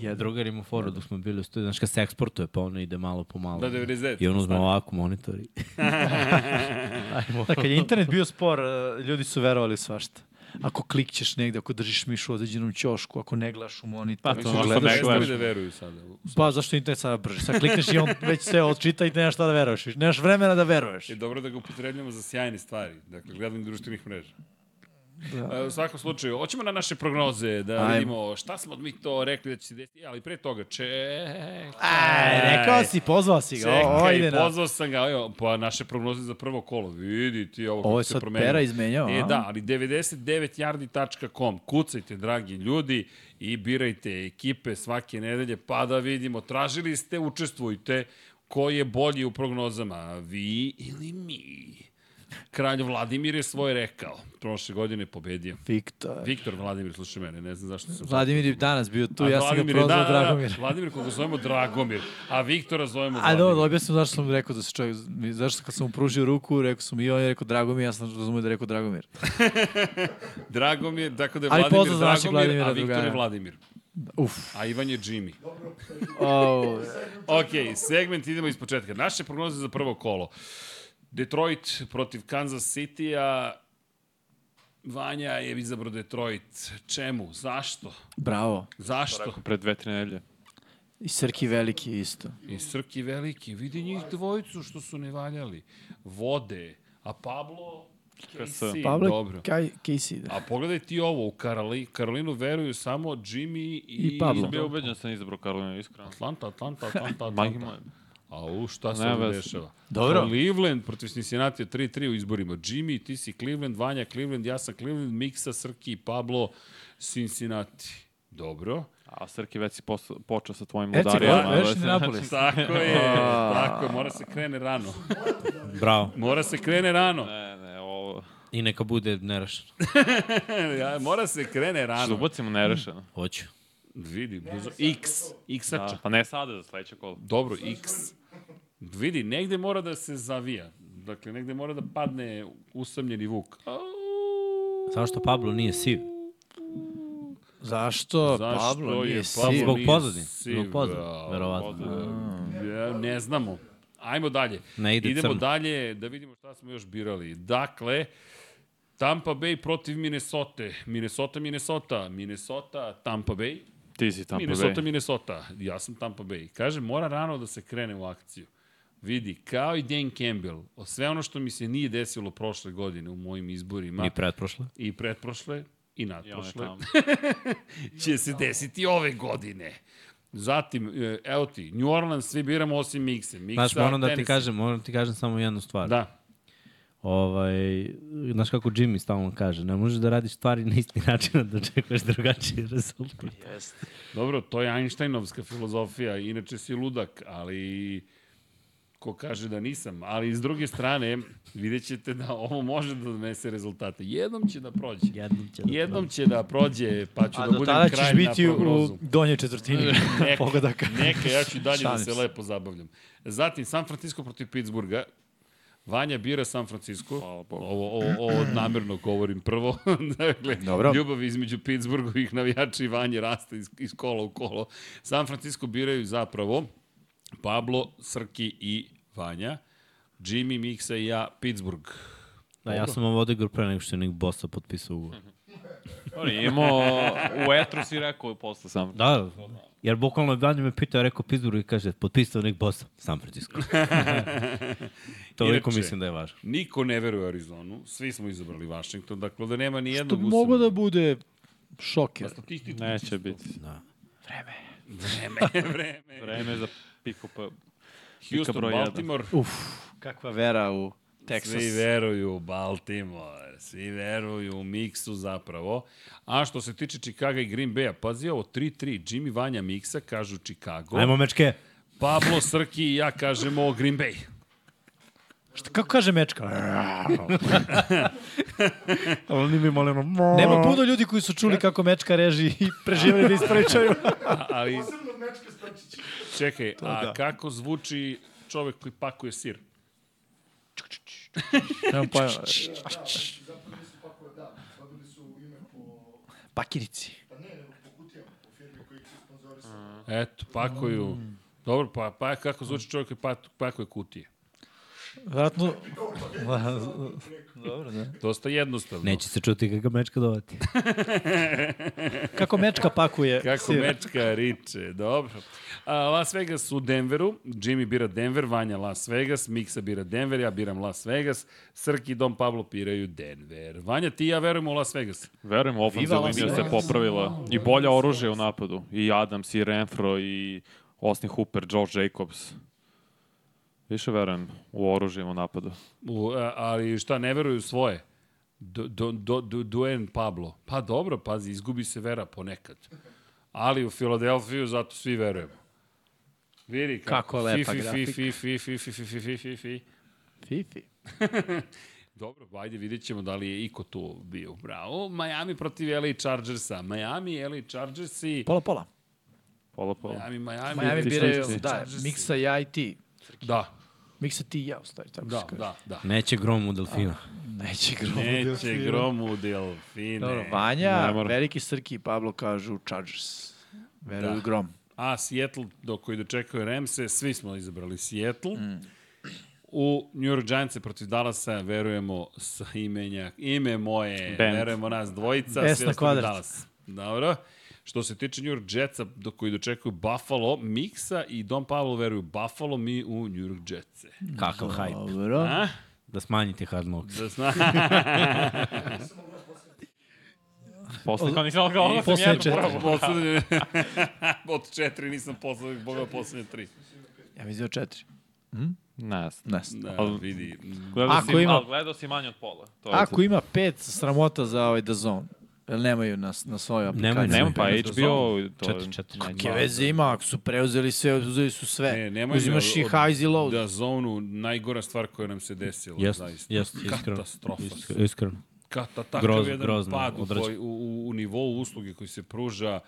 Speaker 6: Ja drugar ima foru dok smo bili u studiju, znaš kad se eksportuje, pa ono ide malo po malo.
Speaker 3: Da, 99.
Speaker 6: I on uzme ovako monitor i...
Speaker 4: Da, kad je internet bio spor, e, ljudi su verovali u svašta. Ako klikćeš negde, ako držiš miš u određenom ćošku, ako ne gledaš u monitor,
Speaker 5: Pa,
Speaker 4: pa,
Speaker 5: to
Speaker 4: to
Speaker 3: Mislim da su
Speaker 5: gledaš.
Speaker 4: gledaš.
Speaker 3: prestali da veruju sada.
Speaker 4: Pa zašto je internet sada brže? Sad klikneš i on već sve odčita i nemaš šta da veruješ. više. Nemaš vremena da veruješ.
Speaker 3: Je dobro da ga upotrebljamo za sjajne stvari, dakle, gledanje društvenih mreža. Da. U svakom slučaju, hoćemo na naše prognoze da
Speaker 4: Ajmo.
Speaker 3: vidimo šta smo mi to rekli da će se desiti, ali pre toga, čekaj.
Speaker 4: Aj, E, rekao si, pozvao si ga. O, o, ide
Speaker 3: Čekaj,
Speaker 4: na...
Speaker 3: pozvao sam ga, evo, pa naše prognoze za prvo kolo, vidi ti ovo
Speaker 4: Ovo
Speaker 3: kako
Speaker 4: je
Speaker 3: se
Speaker 4: sad
Speaker 3: promenilo.
Speaker 4: pera izmenjao,
Speaker 3: E,
Speaker 4: a?
Speaker 3: da, ali 99yardi.com, kucajte, dragi ljudi, i birajte ekipe svake nedelje, pa da vidimo, tražili ste, učestvujte, ko je bolji u prognozama, vi ili mi? Kralj Vladimir je svoje rekao. Prošle godine je pobedio.
Speaker 4: Viktor.
Speaker 3: Viktor Vladimir, slušaj mene, ne znam zašto sam...
Speaker 4: Vladimir je danas bio tu,
Speaker 3: A
Speaker 4: ja sam ga
Speaker 3: Vladimir je-
Speaker 4: prozvao
Speaker 3: da, da, da,
Speaker 4: Dragomir.
Speaker 3: Vladimir koga zovemo Dragomir, a Viktora zovemo
Speaker 4: A dobro,
Speaker 3: Vladimir.
Speaker 4: dobio sam zašto sam mu rekao da se čovjek, zašto kad sam mu pružio ruku, rekao sam i on je rekao Dragomir, ja sam razumio da je rekao Dragomir.
Speaker 3: Dragomir, tako da je
Speaker 4: Ali
Speaker 3: Vladimir
Speaker 4: pozdrav za našeg
Speaker 3: Dragomir, a
Speaker 4: Vladimira
Speaker 3: Viktor je
Speaker 4: Drugara.
Speaker 3: Vladimir.
Speaker 4: Uf.
Speaker 3: A Ivan je Jimmy.
Speaker 4: Oh.
Speaker 3: Ok, segment idemo iz početka. Naše prognoze za prvo kolo. Detroit protiv Kansas City-a. Vanja je izabrao Detroit. Čemu? Zašto?
Speaker 4: Bravo.
Speaker 3: Zašto?
Speaker 5: Pre dve, tri nedelje.
Speaker 4: I Srki veliki isto.
Speaker 3: I Srki veliki. Vidi njih dvojicu što su ne valjali. Vode. A Pablo... Casey,
Speaker 4: Pablo
Speaker 3: dobro.
Speaker 4: Kaj, Casey. Da.
Speaker 3: A pogledaj ti ovo, u Karoli, Karolinu veruju samo Jimmy i,
Speaker 4: I Pablo.
Speaker 5: Bio ubeđen da sam izabrao Karolina, iskreno.
Speaker 3: Atlanta, Atlanta, Atlanta,
Speaker 5: Majke
Speaker 3: Atlanta.
Speaker 5: moje.
Speaker 3: Au, šta se
Speaker 5: Nema
Speaker 3: ovdje
Speaker 5: veze.
Speaker 3: dešava?
Speaker 4: Dobro.
Speaker 3: Cleveland protiv Cincinnati je 3-3 u izborima. Jimmy, ti si Cleveland, Vanja Cleveland, ja sam Cleveland, Miksa, Srki i Pablo, Cincinnati. Dobro.
Speaker 5: A Srki već si posla- počeo sa tvojim
Speaker 4: Herceg,
Speaker 5: udarima.
Speaker 3: pa,
Speaker 4: veš
Speaker 5: ali-
Speaker 4: Indianapolis.
Speaker 3: Tako je, tako je, mora se krene rano.
Speaker 6: Bravo.
Speaker 3: Mora se krene rano.
Speaker 5: Ne, ne, ovo...
Speaker 6: I neka bude nerešeno.
Speaker 3: Ja, Mora se krene
Speaker 5: Što
Speaker 3: rano.
Speaker 5: Da ubacimo nerešeno.
Speaker 6: Hoću.
Speaker 3: Vidi, blizu, X, X
Speaker 5: Da, pa ne sada, za sledeće kolo.
Speaker 3: Dobro, X. Vidi, negde mora da se zavija. Dakle, negde mora da padne usamljeni vuk.
Speaker 6: Samo što Pablo nije siv.
Speaker 4: Zašto?
Speaker 3: Zašto
Speaker 4: Pablo
Speaker 3: je
Speaker 4: Pa,
Speaker 3: Pablo
Speaker 4: nije siv.
Speaker 6: Zbog
Speaker 3: nije
Speaker 6: pozadine.
Speaker 3: siv,
Speaker 6: Zbog pozadine,
Speaker 3: bravo,
Speaker 6: verovatno.
Speaker 3: pozadine. Ja, ne znamo. Ajmo dalje.
Speaker 6: Ne ide
Speaker 3: Idemo
Speaker 6: crno.
Speaker 3: dalje da vidimo šta smo još birali. Dakle, Tampa Bay protiv Minnesota. Minnesota, Minnesota. Minnesota, Tampa Bay.
Speaker 5: Ti si Tampa
Speaker 3: Minnesota,
Speaker 5: Bay.
Speaker 3: Minnesota. Ja sam Tampa Bay. Kaže, mora rano da se krene u akciju. Vidi, kao i Dan Campbell, o sve ono što mi se nije desilo prošle godine u mojim
Speaker 4: Da.
Speaker 3: izborima,
Speaker 6: Ni pretprošle.
Speaker 3: i pretprošle, i
Speaker 5: I on je
Speaker 3: nadprošle,
Speaker 5: tamo.
Speaker 3: će se desiti ove godine. Zatim, e, evo ti, New Orleans svi biramo osim Mikse. Miksa,
Speaker 6: Znaš, moram da ti
Speaker 3: Tennessee.
Speaker 6: kažem, moram ti kažem samo jednu stvar.
Speaker 3: Da.
Speaker 6: Ovaj, znaš kako Jimmy stalno kaže, ne možeš da radiš stvari na isti način, a da očekuješ drugačiji rezultat.
Speaker 3: Dobro, to je Einsteinovska filozofija, inače si ludak, ali ko kaže da nisam. Ali s druge strane, vidjet ćete da ovo može da donese rezultate. Jednom će da prođe.
Speaker 6: Jednom će da
Speaker 3: Jednom će da prođe, pa ću
Speaker 4: A
Speaker 3: da
Speaker 4: do tada
Speaker 3: budem
Speaker 4: ćeš
Speaker 3: kraj
Speaker 4: biti
Speaker 3: na
Speaker 4: u
Speaker 3: prognozu.
Speaker 4: donjoj četvrtini
Speaker 3: Neka,
Speaker 4: pogodaka.
Speaker 3: Neka, ja ću i dalje da
Speaker 4: Šalim
Speaker 3: se
Speaker 4: se.
Speaker 3: lepo zabavljam. Zatim, San Francisco protiv Pittsburgha. Vanja bira San Francisco. Hvala Bogu. Ovo, ovo, ovo namerno govorim prvo. dakle,
Speaker 4: Dobro.
Speaker 3: ljubav između Pittsburghovih navijača i Vanje raste iz, iz kola u kolo. San Francisco biraju zapravo Pablo, Srki i Vanja. Jimmy, Miksa i ja, Pittsburgh.
Speaker 6: Da, ja sam ovo odigrao pre nego što je Nick Bossa potpisao ugovor.
Speaker 3: Mhm.
Speaker 5: On je imao... U etru si rekao posle sam.
Speaker 6: Da, da. Jer bukvalno Danje me pitao, rekao Pittsburgh i kaže, potpisao Nick Bossa, San Francisco. Toliko
Speaker 3: Inače,
Speaker 6: mislim da je važno.
Speaker 3: Niko ne veruje u Arizonu, svi smo izabrali Washington, dakle da nema ni
Speaker 4: To
Speaker 3: jednog
Speaker 4: bi moglo da bude šoker.
Speaker 3: Statistički
Speaker 5: Neće biti.
Speaker 3: vreme, vreme.
Speaker 5: Vreme za piku pa...
Speaker 3: Houston,
Speaker 5: broj jedan.
Speaker 3: Baltimore,
Speaker 4: Uf, kakva vera u Texas.
Speaker 3: Svi veruju u Baltimore, svi veruju u Miksu zapravo. A što se tiče Chicago i Green Bay-a, pazi ovo 3-3, Jimmy Vanja Miksa kažu Chicago,
Speaker 6: Ajmo, mečke.
Speaker 3: Pablo Srki i ja kažemo Green Bay.
Speaker 4: Šta, kako kaže mečka?
Speaker 6: Oni mi molim,
Speaker 4: Nema puno ljudi koji su čuli kako mečka reži i preživali da ispričaju.
Speaker 3: A, ali... Čekaj, a
Speaker 6: da.
Speaker 3: kako zvuči čovek koji pakuje sir?
Speaker 4: Nemam pojma. Pakirici.
Speaker 3: Eto, pakuju. Dobro, pa, pa kako zvuči čovek koji pat- pakuje kutije?
Speaker 4: Vratno... Dobro, da.
Speaker 3: Dosta jednostavno.
Speaker 6: Neće se čuti kako mečka dovati.
Speaker 4: Kako mečka pakuje.
Speaker 3: Kako
Speaker 4: sir.
Speaker 3: mečka riče, dobro. A, Las Vegas u Denveru, Jimmy bira Denver, Vanja Las Vegas, Miksa bira Denver, ja biram Las Vegas, Srki i Dom Pablo biraju Denver. Vanja, ti i ja verujemo u Las Vegas.
Speaker 5: Verujem,
Speaker 4: Viva
Speaker 5: ofenziva
Speaker 4: Las
Speaker 5: linija se
Speaker 4: Vegas.
Speaker 5: popravila. I bolje oružje u napadu. I Adams, i Renfro, i Austin Hooper, Josh Jacobs. Više verujem u oružje u napadu.
Speaker 3: U, a, ali šta, ne veruju u svoje? Do, do, do, do, Duen Pablo. Pa dobro, pazi, izgubi se vera ponekad. Ali u Filadelfiju zato svi verujemo. Vidi kako.
Speaker 4: Kako lepa
Speaker 3: fi, fi,
Speaker 4: grafika.
Speaker 3: Fi, fi, fi, fi, fi, fi, fi, fi, fi, fi.
Speaker 4: Fifi.
Speaker 3: Dobro, ajde vidjet ćemo da li je Iko tu bio u bravu. Miami protiv LA Chargersa. Miami, LA Chargersi,
Speaker 4: Pola, pola.
Speaker 5: Pola, pola.
Speaker 3: Miami, Miami,
Speaker 4: Miami
Speaker 5: Ti
Speaker 4: biraju,
Speaker 5: šta misliš?
Speaker 4: da, Miksa, ja i ti.
Speaker 3: Da,
Speaker 4: Miksa, ti i ja, u stvari, tako
Speaker 3: da,
Speaker 4: se kaže.
Speaker 3: da, da.
Speaker 6: Neće grom u delfina.
Speaker 4: Neće grobo.
Speaker 3: Neće gromu delfine.
Speaker 4: Dobro, Vanja,
Speaker 5: Ne mora.
Speaker 4: Veliki Srki i Pablo kažu Chargers. Veruju
Speaker 3: Da.
Speaker 4: da. Grom.
Speaker 3: A Seattle, do koji dočekuje Remse, svi smo izabrali Seattle. U New York Giants protiv Dallasa verujemo sa imenja, ime moje,
Speaker 5: Band.
Speaker 3: verujemo nas dvojica,
Speaker 4: Besna
Speaker 3: svi ostali
Speaker 4: kvadrat.
Speaker 3: Dallas. Dobro. Što se tiče New York Jetsa, do koji dočekuju Buffalo, Miksa i Don Pablo veruju Buffalo, mi u New York Jetse.
Speaker 6: Kakav hype.
Speaker 4: Dobro.
Speaker 3: A?
Speaker 6: Da smanjite hard knocks.
Speaker 3: Da zna...
Speaker 5: Posle, kao nisam da kao ovo sam
Speaker 4: Posle
Speaker 5: jedno,
Speaker 4: četiri.
Speaker 5: bravo.
Speaker 3: Poslednje... Od četiri nisam poslednjih, boga poslednje tri.
Speaker 4: Ja mi izveo četiri.
Speaker 5: Ne,
Speaker 4: Ne.
Speaker 3: Da,
Speaker 5: Al-
Speaker 3: vidi.
Speaker 5: Gledao
Speaker 4: Ako
Speaker 5: si,
Speaker 4: ima-
Speaker 5: ima... gledao si manje od pola. To je to.
Speaker 4: Ako ima pet, sramota za ovaj DAZN. Jel nemaju na, na svoju aplikaciju?
Speaker 6: Nemaju,
Speaker 5: Nema, pa
Speaker 6: Nema
Speaker 5: HBO... to je-
Speaker 6: Četiri, četiri.
Speaker 5: Najmanje.
Speaker 4: Kakve veze ima, ako su preuzeli sve, uzeli su sve.
Speaker 3: Ne, nemoj
Speaker 4: nemaju, Uzimaš
Speaker 3: mi
Speaker 4: i
Speaker 3: od-
Speaker 4: highs i lows.
Speaker 3: Da, zonu, najgora stvar koja nam se desila,
Speaker 6: Jeste,
Speaker 3: zaista.
Speaker 6: jeste, iskreno.
Speaker 3: Katastrofa.
Speaker 6: Iskre- Iskreno.
Speaker 3: Kata, takav
Speaker 6: Grozno,
Speaker 3: jedan
Speaker 6: grozno,
Speaker 3: pad u,
Speaker 6: odrađen.
Speaker 3: koji, u, u, u nivou usluge koji se pruža,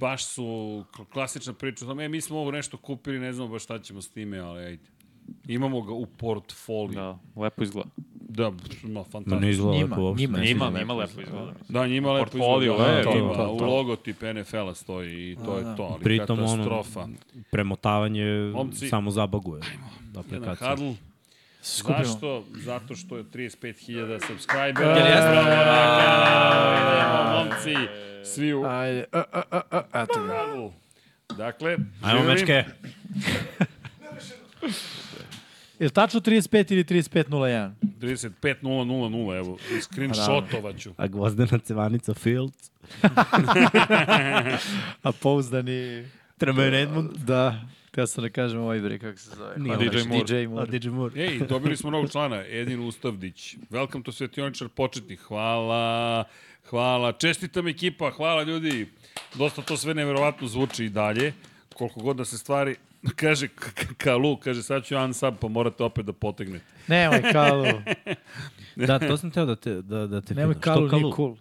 Speaker 3: baš su kl- klasična priča o tome, e, mi smo ovo nešto kupili, ne znamo baš šta ćemo s time, ali ajde. Imamo ga u portfoliju. Da,
Speaker 5: Da, lepo izgleda.
Speaker 3: da pf, ma,
Speaker 6: Ma ne
Speaker 3: fantastično.
Speaker 6: izgleda
Speaker 4: Njima,
Speaker 6: lepo uopšte.
Speaker 4: njima.
Speaker 6: ne
Speaker 5: Njima,
Speaker 6: izgleda
Speaker 5: njima
Speaker 6: lepo.
Speaker 5: lepo izgleda. mislim.
Speaker 3: Da, njima lepo
Speaker 5: Portfolio,
Speaker 3: izgleda.
Speaker 5: e,
Speaker 3: Da,
Speaker 5: to,
Speaker 3: ima,
Speaker 5: to,
Speaker 3: u
Speaker 5: to.
Speaker 3: logotip NFL-a stoji i
Speaker 4: da.
Speaker 3: to je to, ali
Speaker 6: Pritom, ono,
Speaker 3: katastrofa.
Speaker 6: Premotavanje
Speaker 3: Momci.
Speaker 6: samo zabaguje.
Speaker 3: Jedan
Speaker 6: Aplikacija.
Speaker 3: hadl.
Speaker 4: Skupimo.
Speaker 3: Zašto? Zato što je 35.000 subscribera.
Speaker 4: E,
Speaker 3: Jer ja spravo momci, svi u
Speaker 4: Ajde, E, a, a, a, a, eto ga.
Speaker 3: hadlu. Dakle,
Speaker 6: Ajmo,
Speaker 3: živeli.
Speaker 6: mečke.
Speaker 4: Je li tačno 35 ili 35.01?
Speaker 3: 35.000, evo, screenshotovaću.
Speaker 6: A gvozdena cevanica Fields.
Speaker 4: A pouzdani...
Speaker 6: Tremaine Edmund.
Speaker 4: Da, ja sam da kažem ovaj bre, kako se zove.
Speaker 6: Nije
Speaker 4: Hvala,
Speaker 5: DJ
Speaker 4: već,
Speaker 5: Moore.
Speaker 4: DJ Moore.
Speaker 6: DJ Moore.
Speaker 3: Ej, dobili smo novog člana, Edin Ustavdić. Welcome to Svetioničar početnih. Hvala, hvala. Čestitam ekipa, hvala ljudi. Dosta to sve neverovatno zvuči i dalje. Koliko god da se stvari... Kaže K- K- Kalu, kaže sad ću unsub, pa morate opet da potegnete.
Speaker 4: Nemoj, Kalu.
Speaker 6: Da, to sam teo da te, da, da te
Speaker 4: Nemoj,
Speaker 6: pitam.
Speaker 4: Kalu,
Speaker 6: Što
Speaker 4: nije cool.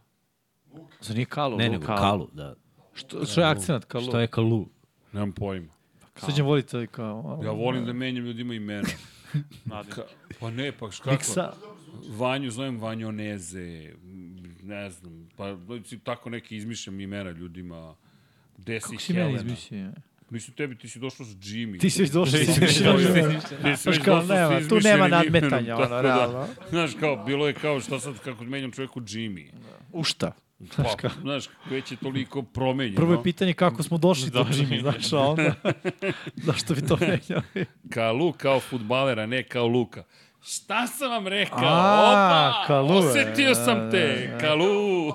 Speaker 4: Za nije Kalu.
Speaker 6: Ne,
Speaker 4: Lu.
Speaker 6: nego Kalu, da.
Speaker 4: Što, što je akcent Kalu?
Speaker 6: Što je Kalu?
Speaker 3: Nemam pojma.
Speaker 4: Srđan voli to i kao...
Speaker 3: Ja volim da menjam ljudima imena. Ka, pa ne, pa š- kako?
Speaker 4: Miksa.
Speaker 3: Vanju zovem Vanjoneze, m, ne znam, pa si tako neki izmišljam imena ljudima. Desi
Speaker 4: Kako si
Speaker 3: Helena.
Speaker 4: mene izmislio?
Speaker 3: da. Mislim, tebi ti si došao s Jimmy. Da,
Speaker 4: Ti si već došao
Speaker 3: Ti
Speaker 4: s
Speaker 3: si već
Speaker 4: izmišljenim
Speaker 3: došao s-
Speaker 4: imenom.
Speaker 3: ti si
Speaker 4: Znaš
Speaker 3: već
Speaker 4: kao,
Speaker 3: došao sa
Speaker 4: nema, tu
Speaker 3: izmišljenim
Speaker 4: nema
Speaker 3: imenom,
Speaker 4: nadmetanja, ono,
Speaker 3: tako da.
Speaker 4: realno.
Speaker 3: Znaš, kao, bilo je kao šta sad kako menjam čoveku Jimmy.
Speaker 4: U šta?
Speaker 3: Pa, znaš, već je toliko promenjeno.
Speaker 4: Prvo je pitanje kako smo došli
Speaker 3: Da,
Speaker 4: do Jimmy, znaš, a onda zašto bi to menjali?
Speaker 3: Kalu kao futbalera, ne kao Luka. Šta sam vam rekao?
Speaker 4: A,
Speaker 3: Opa!
Speaker 4: Kalu, da, e,
Speaker 3: Osetio sam te! Kalu!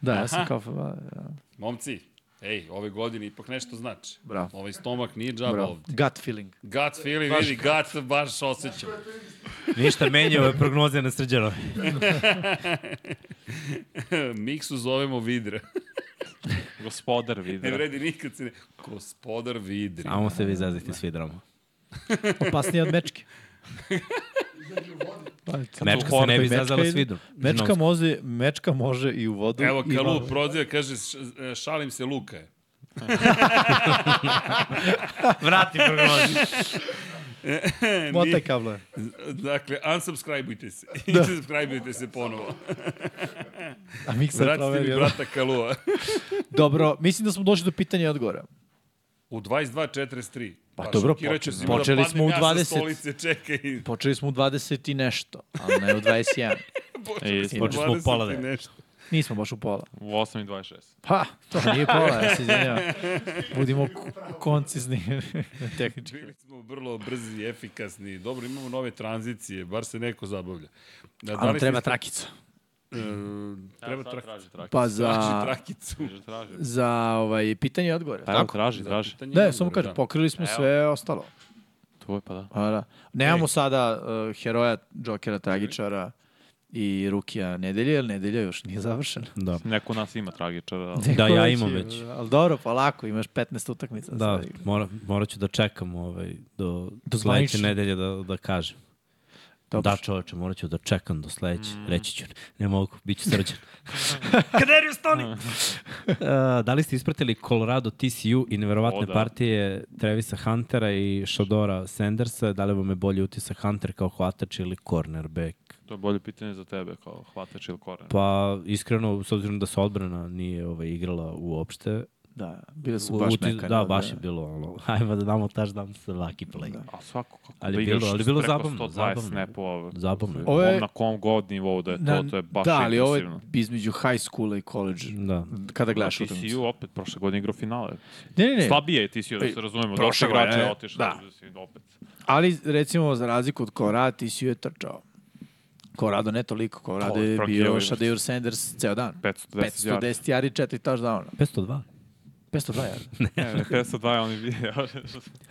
Speaker 4: Da, ja sam kao... da,
Speaker 3: Momci, ej, ove godine ipak nešto znači.
Speaker 4: Bravo.
Speaker 3: Ovaj stomak nije džaba
Speaker 4: Bravo.
Speaker 3: ovde.
Speaker 4: Gut feeling.
Speaker 3: Gut feeling, vidi, gut baš osjećam.
Speaker 6: Ništa menjao je prognoze na srđano.
Speaker 3: Miksu zovemo Vidra.
Speaker 5: Gospodar
Speaker 3: Ne
Speaker 5: vidi.
Speaker 3: vredi nikad se ne... Gospodar Vidri.
Speaker 6: Amo se vi zazite svi drama.
Speaker 4: Opasnije od mečke. Pa, eto.
Speaker 6: Mečka se
Speaker 5: horor
Speaker 6: ne bi
Speaker 4: i mečka
Speaker 6: zazala
Speaker 4: ide.
Speaker 6: s vidom.
Speaker 4: Mečka može, mečka može i u vodu.
Speaker 3: Evo,
Speaker 4: i
Speaker 3: Kalu
Speaker 4: van.
Speaker 3: proziva, kaže, š- e, šalim se, Luka je.
Speaker 6: Vrati prognozu.
Speaker 4: Motaj kabla.
Speaker 3: Dakle, unsubscribeujte se. I da. subscribeujte se ponovo.
Speaker 4: A mikser
Speaker 3: Vratite mi
Speaker 4: proverio.
Speaker 3: brata Kalua.
Speaker 4: Dobro, mislim da smo došli do pitanja i odgovora.
Speaker 3: U 22.43.
Speaker 4: Pa dobro,
Speaker 3: šokirat ću
Speaker 4: poč-
Speaker 3: se, ima da
Speaker 4: počeli
Speaker 3: padnem
Speaker 4: smo u
Speaker 3: ja sa
Speaker 4: 20.
Speaker 3: Stolice, čekaj.
Speaker 4: Počeli smo u 20 i nešto, ali ne u 21.
Speaker 5: I
Speaker 6: Počeli smo u pola
Speaker 3: 20 i
Speaker 6: devet.
Speaker 3: nešto.
Speaker 4: Nismo baš u pola.
Speaker 5: u 8.26.
Speaker 4: Pa, to nije pola, ja se izvinjam. Budimo k- koncizni tehnički.
Speaker 3: Bili smo vrlo brzi i efikasni. Dobro, imamo nove tranzicije, bar se neko zabavlja. Da,
Speaker 4: Ali treba
Speaker 3: trakicu.
Speaker 4: trakicu.
Speaker 3: treba
Speaker 5: Sad
Speaker 3: trakicu.
Speaker 5: traži, traži.
Speaker 4: Pa za,
Speaker 3: Traži trakicu.
Speaker 5: Traži, traži.
Speaker 4: za ovaj, pitanje i odgovore.
Speaker 5: Pa evo, traži, traži.
Speaker 3: Pitanje
Speaker 4: Da,
Speaker 3: je
Speaker 4: samo
Speaker 3: dobro,
Speaker 4: kažem, pokrili smo sve ostalo.
Speaker 5: Tvoj pa da.
Speaker 4: A, da. Nemamo sada uh, heroja, džokera, tragičara i rukija nedelje, jer nedelja još nije završena.
Speaker 6: Da.
Speaker 5: Neko od nas ima tragičara. ali-
Speaker 6: Da, ja
Speaker 4: Koleći,
Speaker 6: imam već.
Speaker 4: Ali dobro, pa lako, imaš 15 utakmica.
Speaker 6: Da,
Speaker 4: sad.
Speaker 6: mora, morat ću da čekam ovaj, do, do
Speaker 4: Do
Speaker 6: sledeće
Speaker 4: zvanične.
Speaker 6: nedelje da, da kažem.
Speaker 4: Dobro.
Speaker 6: Da, čoveče, morat ću da čekam do sledeće. Mm. Reći ću, ne mogu, bit ću srđan.
Speaker 3: Kaderius Tony!
Speaker 6: Uh, da li ste ispratili Colorado TCU i neverovatne
Speaker 5: O,
Speaker 6: o,
Speaker 5: da.
Speaker 6: da. partije Trevisa Huntera i Shadora Sandersa? Da li vam je bolji utisak Hunter kao hvatač ili cornerback?
Speaker 5: To je bolje pitanje za tebe, kao hvatač ili koren.
Speaker 6: Pa, iskreno, s obzirom da se odbrana nije ovaj, igrala uopšte,
Speaker 4: Da, bile su
Speaker 6: u-
Speaker 4: baš
Speaker 6: utis-
Speaker 4: mekane.
Speaker 6: Da, baš je bilo ono, ajmo da damo touchdown svaki play. Da.
Speaker 5: A svako kako
Speaker 6: Ali
Speaker 5: da
Speaker 6: bilo-
Speaker 5: igraš
Speaker 6: ali bilo
Speaker 5: preko
Speaker 6: zabavno,
Speaker 5: 120
Speaker 6: zabavno.
Speaker 5: snapova.
Speaker 6: Zabavno je.
Speaker 4: Ovo je-
Speaker 5: Ovo na kom god nivou da je to, to je baš
Speaker 4: da, ali ovo je
Speaker 5: impresivno.
Speaker 4: između high schoola i college.
Speaker 6: Da.
Speaker 4: Kada gledaš
Speaker 5: Da,
Speaker 4: utakmicu.
Speaker 5: TCU opet prošle godine igrao finale.
Speaker 4: Ne, ne, ne.
Speaker 5: Slabije je TCU, da
Speaker 4: Ej,
Speaker 5: se razumemo. Došli
Speaker 4: prošle
Speaker 5: igrača
Speaker 4: godine,
Speaker 5: je otišao.
Speaker 4: da.
Speaker 5: Da. si opet.
Speaker 4: Ali recimo za razliku od Korada, ti si ju je trčao. Korado ne toliko, Korado
Speaker 5: To ovaj je
Speaker 4: je
Speaker 5: Frank
Speaker 4: bio
Speaker 5: Jelovinac.
Speaker 4: Shadur Sanders ceo dan.
Speaker 5: 510 yardi.
Speaker 4: 510 jari, 4 touchdowna.
Speaker 6: 502.
Speaker 4: 502 jari.
Speaker 5: Ne, ne, 502 je oni bio.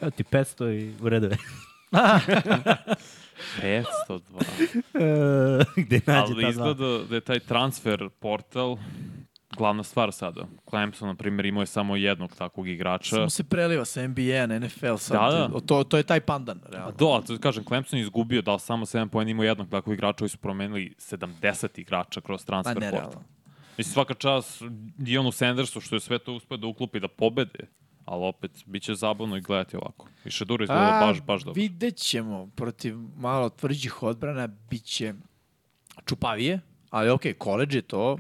Speaker 6: Evo ti 500 i u redu je.
Speaker 5: 502.
Speaker 6: E, Gde nađe
Speaker 5: Ali
Speaker 6: ta dva?
Speaker 5: izgleda da je taj transfer portal glavna stvar sada. Clemson, na primjer, imao je samo jednog takvog igrača.
Speaker 4: Samo se preliva sa NBA na NFL. Sad.
Speaker 5: Da, da.
Speaker 4: O, To, to je taj pandan,
Speaker 5: A
Speaker 4: realno.
Speaker 5: Pa do, ali to kažem, Clemson je izgubio da li samo 7 pojena imao jednog takvog igrača koji su promenili 70 igrača kroz
Speaker 4: Ma
Speaker 5: transfer portal.
Speaker 4: nerealno.
Speaker 5: Mislim, svaka čast Dionu Sandersu što je sve to uspio da uklopi da pobede, ali opet, bit će zabavno i gledati ovako. I Šedura izgleda
Speaker 4: A,
Speaker 5: baš, baš dobro.
Speaker 4: Vidjet ćemo. Protiv malo tvrđih odbrana bit će čupavije, ali ok, koleđ je to.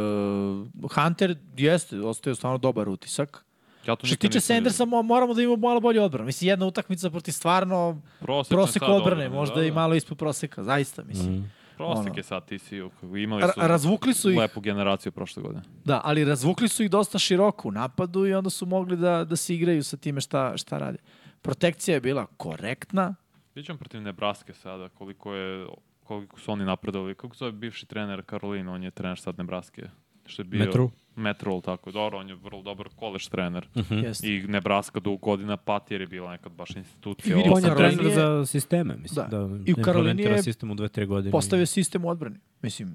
Speaker 4: Uh, Hunter jeste, ostaje stvarno dobar utisak.
Speaker 5: Ja
Speaker 4: Što
Speaker 5: to
Speaker 4: se
Speaker 5: nikad
Speaker 4: tiče
Speaker 5: nisam
Speaker 4: Sandersa, mo- moramo da imamo malo bolju odbranu. Mislim, jedna utakmica proti stvarno
Speaker 5: vidio. Prosečna
Speaker 4: prosek
Speaker 5: sad
Speaker 4: odbrane,
Speaker 5: odbrana,
Speaker 4: možda
Speaker 5: da,
Speaker 4: i
Speaker 5: da. Mm.
Speaker 4: malo ispod proseka, zaista, mislim.
Speaker 5: Prosek
Speaker 4: ono.
Speaker 5: je sad TCU. Imali
Speaker 4: Ra-
Speaker 5: su
Speaker 4: razvukli su ih,
Speaker 5: lepu generaciju prošle godine.
Speaker 4: da, ali razvukli su ih dosta široko u napadu i onda su mogli da, da se igraju sa time šta, šta rade. Protekcija je bila korektna,
Speaker 5: Sjećam protiv Nebraske sada, koliko je koliko su oni napredovali. Kako se zove bivši trener Karolina, on je trener sad Nebraske. Što je bio
Speaker 6: Metro.
Speaker 5: Metro, ili tako. Dobro, on je vrlo dobar kolež trener.
Speaker 4: jeste.
Speaker 5: Mm. I Nebraska dugo godina pati jer je bila nekad baš institucija.
Speaker 4: I vidi,
Speaker 5: Ovo
Speaker 6: On
Speaker 5: sad-
Speaker 6: je
Speaker 4: Karolini
Speaker 6: trener
Speaker 4: je-
Speaker 6: za sisteme, mislim.
Speaker 4: Da.
Speaker 6: Da.
Speaker 4: I u
Speaker 6: implementira
Speaker 4: Karolini je
Speaker 6: sistem u 2-3 godine.
Speaker 4: Postavio sistem u odbrani. Mislim,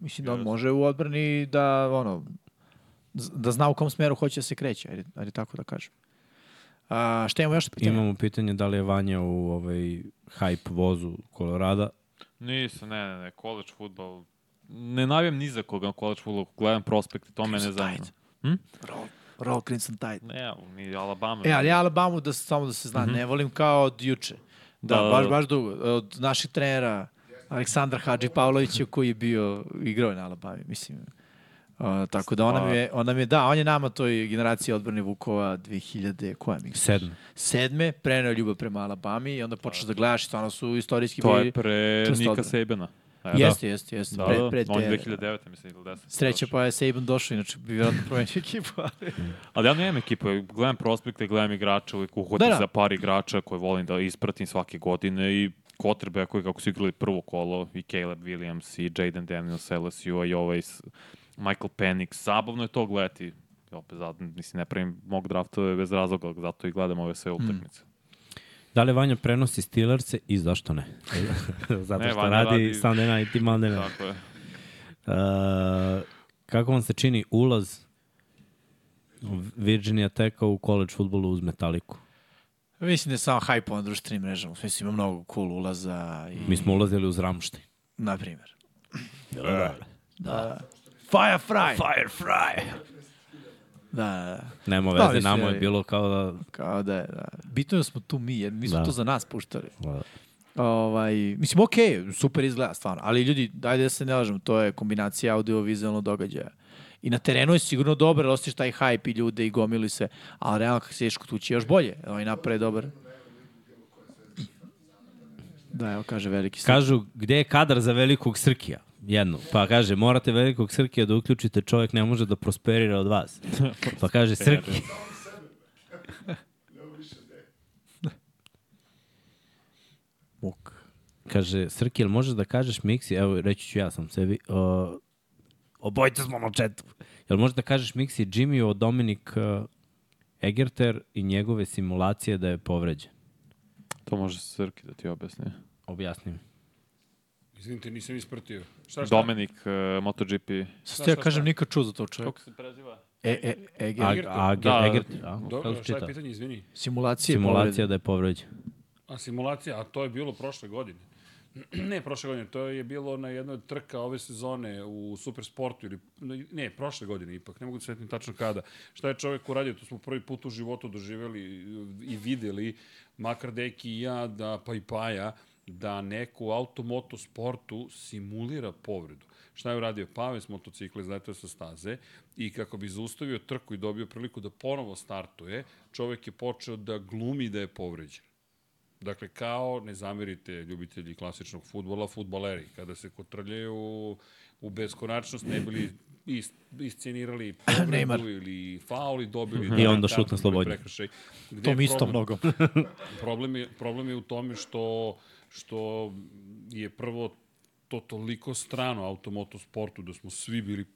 Speaker 4: mislim da on
Speaker 5: Jeste.
Speaker 4: može u odbrani da, ono, z- da zna u kom smeru hoće da se kreće, ajde, ajde tako da kažem. A, šta imamo još pitanje?
Speaker 6: Imamo pitanje da li je Vanja u ovaj hype vozu Kolorada.
Speaker 5: Nisam, ne, ne, ne, college futbol. Ne navijam ni za koga na college futbol, gledam prospekte, to me ne zanima.
Speaker 4: Tide. Roll, roll Crimson Tide.
Speaker 5: Ne, ni Alabama.
Speaker 4: E, ali ja Alabamu, da, samo da se zna, ne volim kao od juče. Da,
Speaker 5: Mhm. Da, da,
Speaker 4: baš,
Speaker 5: da.
Speaker 4: baš dugo. Od naših trenera, Aleksandra Hadži Pavlovića, koji je bio, igrao je na Alabami, mislim. Uh, tako da ona mi je, ona mi je, da, on je nama toj generaciji odbrane Vukova 2000, koja mi?
Speaker 6: Sedme.
Speaker 4: Sedme, preneo ljubav prema Alabami i onda počneš da gledaš i stvarno su istorijski
Speaker 5: To
Speaker 4: bili...
Speaker 5: je pre
Speaker 4: čvrsto
Speaker 5: Nika
Speaker 4: odbrana.
Speaker 5: Sabena. E,
Speaker 4: Jeste, jeste, jeste.
Speaker 5: Da,
Speaker 4: pre,
Speaker 5: da,
Speaker 4: pre
Speaker 5: on je
Speaker 4: te-
Speaker 5: 2009. mislim, ili 10.
Speaker 4: Sreća pa je Saban došao, inače bi vjerojatno promenio ekipu. ali-
Speaker 5: Ali ja nemam ekipu, ja gledam prospekte, gledam igrača, uvijek uhodim
Speaker 4: Da, da.
Speaker 5: za par igrača koje volim da ispratim svake godine i kotrbe koji kako su igrali prvo kolo i Caleb Williams i Jaden Daniels LSU i ovaj s- Michael Penix. Zabavno je to gledati. I Opet, zato, mislim, ne pravim mog draftove bez razloga, ali zato i gledam ove sve utakmice.
Speaker 6: Da li Vanja prenosi Steelerse i zašto ne? Zato
Speaker 5: Ne,
Speaker 6: što
Speaker 5: Vanja
Speaker 6: radi,
Speaker 5: radi-
Speaker 6: Sunday night i Monday night.
Speaker 5: Tako je.
Speaker 4: Da.
Speaker 6: Uh, kako vam se čini ulaz Virginia Techa u college futbolu uz Metaliku?
Speaker 4: Mislim da je samo hype na društvenim mrežama. u smislu ima mnogo cool ulaza i...
Speaker 6: Mi smo ulazili uz Ramštaj.
Speaker 4: Na primjer. Da. Firefly. Firefly. Da, da, da.
Speaker 6: Nema
Speaker 4: Da,
Speaker 6: veze,
Speaker 4: mislim,
Speaker 6: nama je
Speaker 4: ali-
Speaker 6: bilo kao da...
Speaker 4: Kao da je, da. Bitno je da smo tu mi, jer mi smo
Speaker 6: Da.
Speaker 4: to za nas puštali.
Speaker 6: Da.
Speaker 4: Ovaj, mislim, okej, super izgleda stvarno, ali ljudi, dajde da se ne lažemo, to je kombinacija audio-vizualnog događaja. I na terenu je sigurno dobar, jer osjetiš taj hype i ljude i gomili se, ali realno kako se ideš kod kuće još bolje, ovaj napravi dobar. Da, evo kaže veliki stan.
Speaker 6: Kažu, gde je kadar za velikog Srkija? Jedno. Pa kaže, morate velikog Srkija da uključite, čovjek ne može da prosperira od vas. Pa kaže, Srki.
Speaker 4: Muk.
Speaker 6: Kaže, Srki, jel možeš da kažeš Miksi, evo reći ću ja sam sebi, uh, obojte smo na četu. Jel možeš da kažeš Miksi Jimmy o Dominik uh, Egerter i njegove simulacije da je povređen?
Speaker 5: To može Srki da ti objasni.
Speaker 6: Objasnim.
Speaker 10: Izvinite, nisam ispratio. Šta šta?
Speaker 5: Dominik, uh, MotoGP.
Speaker 4: Sad ti ja kažem, nikad čuo za to čovjek.
Speaker 5: se preziva?
Speaker 4: E, e, e, e,
Speaker 6: A, a,
Speaker 5: Da.
Speaker 6: da, Egerter, a,
Speaker 10: Dobro,
Speaker 6: kako
Speaker 10: šta
Speaker 6: čita?
Speaker 10: je pitanje, izvini?
Speaker 4: Simulacije,
Speaker 6: Simulacija
Speaker 4: povrede.
Speaker 6: da je povređen.
Speaker 10: A simulacija, a to je bilo prošle godine.
Speaker 3: Ne, prošle godine. To je bilo na jednoj od trka ove sezone u Supersportu ili... Ne, prošle godine ipak. Ne mogu da svetim tačno kada. Šta je čovek uradio? To smo prvi put u životu doživjeli i videli, makar Deki i ja, da, pa i Paja, da neko u automoto sportu simulira povredu. Šta je uradio? Pave s motocikla izletao sa staze i kako bi zaustavio trku i dobio priliku da ponovo startuje, čovek je počeo da glumi da je povređen. Dakle, kao, ne zamerite ljubitelji klasičnog futbola, futbaleri, kada se kotrljaju u, u beskonačnost, ne bili is, iscenirali povredu ili faul i dobili... da,
Speaker 6: I onda šut na slobodnju.
Speaker 4: Tom istom nogom.
Speaker 3: problem, je, problem je u tome što, što je prvo to toliko strano automoto sportu da smo svi bili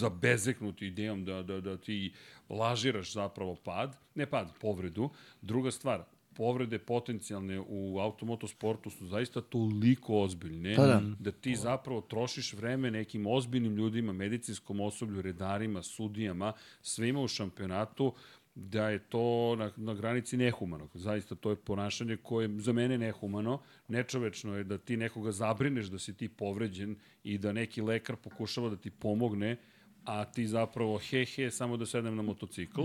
Speaker 3: zabezeknuti idejom da, da, da ti lažiraš zapravo pad, ne pad, povredu. Druga stvar, povrede potencijalne u automotosportu su zaista toliko ozbiljne
Speaker 4: Pa da.
Speaker 3: da ti zapravo trošiš vreme nekim ozbiljnim ljudima, medicinskom osoblju, redarima, sudijama, svima u šampionatu, da je to na, na granici nehumano. Zaista to je ponašanje koje je za mene nehumano. Nečovečno je da ti nekoga zabrineš da si ti povređen i da neki lekar pokušava da ti pomogne, a ti zapravo he he samo da sedem na motocikl.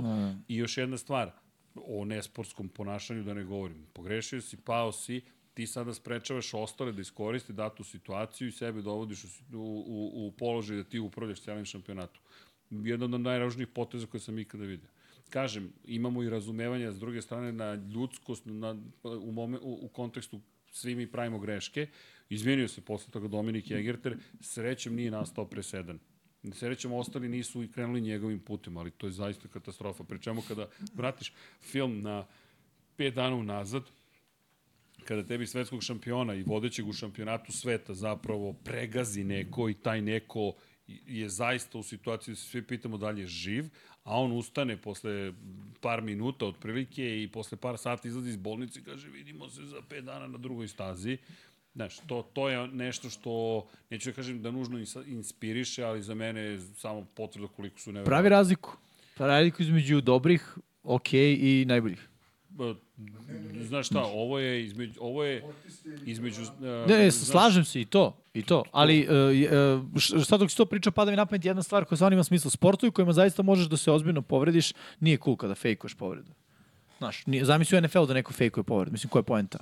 Speaker 3: I još jedna stvar, o nesportskom ponašanju da ne govorim. Pogrešio si, pao si, ti sada sprečavaš ostale da iskoriste datu situaciju i sebe dovodiš u, u, u položaj da ti upravljaš celim šampionatom. Jedan od najražnijih poteza koje sam ikada vidio. Kažem, imamo i razumevanja s druge strane na ljudskost, na, u, momen, u, u kontekstu svi mi pravimo greške. Izmijenio se posle toga Dominik Egerter, srećem nije nastao presedan. Srećem, ostali nisu i krenuli njegovim putem, ali to je zaista katastrofa. Pri čemu kada vratiš film na pet dana unazad, kada tebi svetskog šampiona i vodećeg u šampionatu sveta zapravo pregazi neko i taj neko je zaista u situaciji da se svi pitamo da li je živ, a on ustane posle par minuta otprilike i posle par sati izlazi iz bolnice i kaže vidimo se za pet dana na drugoj stazi. Znaš, to, to je nešto što, neću da kažem da nužno ins- inspiriše, ali za mene je samo potvrda koliko su nevjerojatni.
Speaker 4: Pravi razliku. Pravi razliku između dobrih, okej i najboljih.
Speaker 3: Ba, znaš šta, ovo je između, ovo je između... e,
Speaker 4: Ne, ne,
Speaker 3: znaš-
Speaker 4: slažem se i to, i to. Ali, e, e, š- sad dok si to pričao, pada mi na pamet jedna stvar koja stvarno ima smisla. Sportovi kojima zaista možeš da se ozbiljno povrediš, nije cool kada fejkuješ povredu. Znaš, nije, zamisli u NFL da neko fejkuje povredu. Mislim, koja je poenta?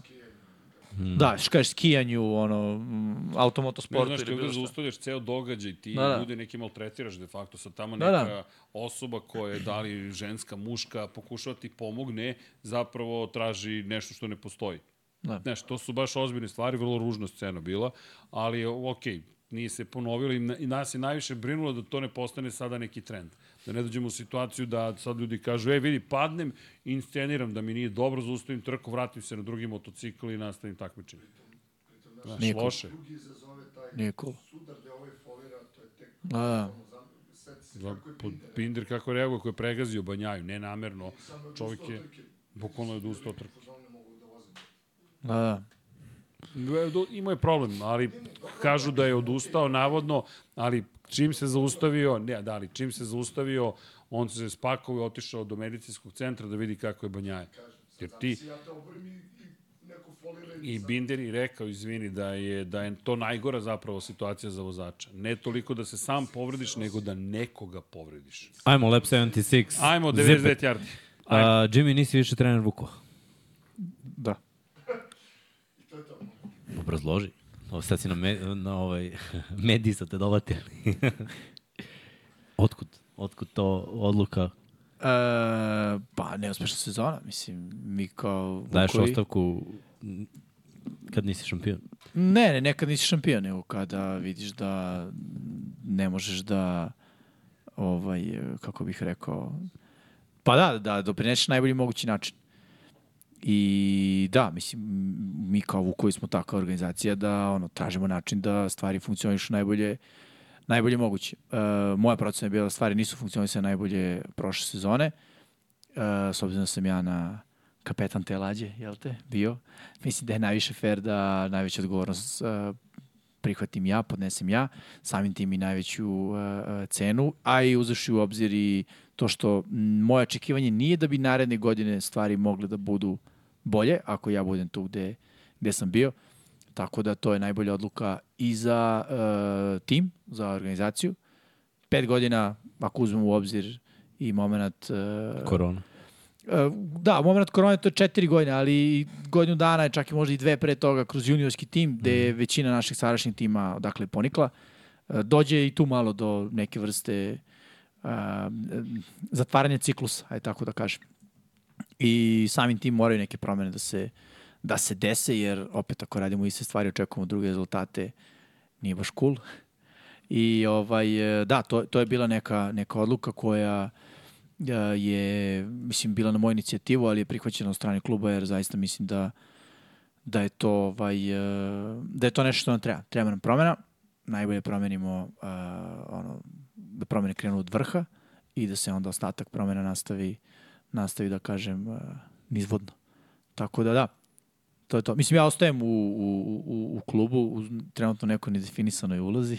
Speaker 4: Da, što kažeš, skijanju, ono, mm, automotosportu
Speaker 3: Ne, znaš,
Speaker 4: ili
Speaker 3: ti
Speaker 4: bilo
Speaker 3: ovde
Speaker 4: šta.
Speaker 3: zaustavljaš ceo događaj, ti
Speaker 4: Da, da.
Speaker 3: da, ljude neki maltretiraš de facto, sad tamo
Speaker 4: Da,
Speaker 3: neka
Speaker 4: da.
Speaker 3: da, da. osoba koja je da li ženska, muška, pokušava da ti pomogne, zapravo traži nešto što ne postoji.
Speaker 4: Da.
Speaker 3: Da. Znaš, to su baš ozbiljne stvari, vrlo ružna scena bila, ali ok, nije se ponovilo i na- i nas je najviše brinulo da to ne postane sada neki trend. Da ne dođemo u situaciju da sad ljudi kažu, e vidi, padnem, insceniram da mi nije dobro, zaustavim trku, vratim se na drugi motocikl i nastavim takmičenje. Znaš,
Speaker 4: Nije cool.
Speaker 3: loše.
Speaker 4: Nije cool. Da, da.
Speaker 3: Za, pod Pinder kako reaguje, koji je pregazio banjaju, ne namerno. Čovjek je, bukvalno je odustao od trke.
Speaker 4: Da, da.
Speaker 3: E, do- Imao je problem, ali kažu da je odustao, navodno, ali čim se zaustavio, ne, da, ali čim se zaustavio, on se spakovao i otišao do medicinskog centra da vidi kako je banjaje. Jer ti, I Binder je rekao, izvini, da je, da je to najgora zapravo situacija za vozača. Ne toliko da se sam povrediš, nego da nekoga povrediš.
Speaker 6: Ajmo, Lab 76.
Speaker 3: Ajmo,
Speaker 6: Zipet.
Speaker 3: 99 yardi.
Speaker 6: A, Jimmy, nisi više trener Vukova.
Speaker 4: Da.
Speaker 6: Obrazloži. Ovo sad si na, me, na ovaj, mediji sa te dovatili. otkud, otkud to odluka?
Speaker 4: E, pa, neuspešna sezona, mislim, mi kao...
Speaker 6: Daješ
Speaker 4: Vukovi-
Speaker 6: ostavku kad nisi šampion.
Speaker 4: Ne, ne, nekad nisi šampion, nego kada vidiš da ne možeš da, ovaj, kako bih rekao, pa da, da doprineš na najbolji mogući način. I da, mislim, mi kao Vukovi smo takva organizacija da ono, tražimo način da stvari funkcionišu najbolje, najbolje moguće. E, moja procena je bila da stvari nisu funkcionisane najbolje prošle sezone, e, s obzirom da sam ja na kapetan te lađe, jel te, bio. Mislim da je najviše fair da najveću odgovornost e, prihvatim ja, podnesem ja, samim tim i najveću e, e, cenu, a i uzevši u obzir i to što m, moje očekivanje nije da bi naredne godine stvari mogle da budu bolje, ako ja budem tu gde, gde sam bio, Tako da to je najbolja odluka i za e, tim, za organizaciju. Pet godina, ako uzmemo u obzir i moment... E,
Speaker 6: Korona.
Speaker 4: E, da, moment korone to je četiri godine, ali godinu dana, čak i možda i dve pre toga, kroz juniorski tim, gde je većina naših sadašnjih tima odakle ponikla, e, dođe i tu malo do neke vrste a, em, zatvaranja ciklusa, aj tako da kažem. I samim tim moraju neke promene da se, da se dese, jer opet ako radimo iste stvari, očekujemo druge rezultate, nije baš cool. I ovaj, e, da, to, to je bila neka, neka odluka koja e, je, mislim, bila na moju inicijativu, ali je prihvaćena od strane kluba, jer zaista mislim da, da je to ovaj, e, da je to nešto što nam treba. Treba nam promena, najbolje promenimo uh, ono, da promene krenu od vrha i da se onda ostatak promena nastavi, nastavi da kažem, uh, nizvodno. Tako da da, to je to. Mislim, ja ostajem u, u, u, u klubu, u trenutno nekoj nedefinisanoj ulozi.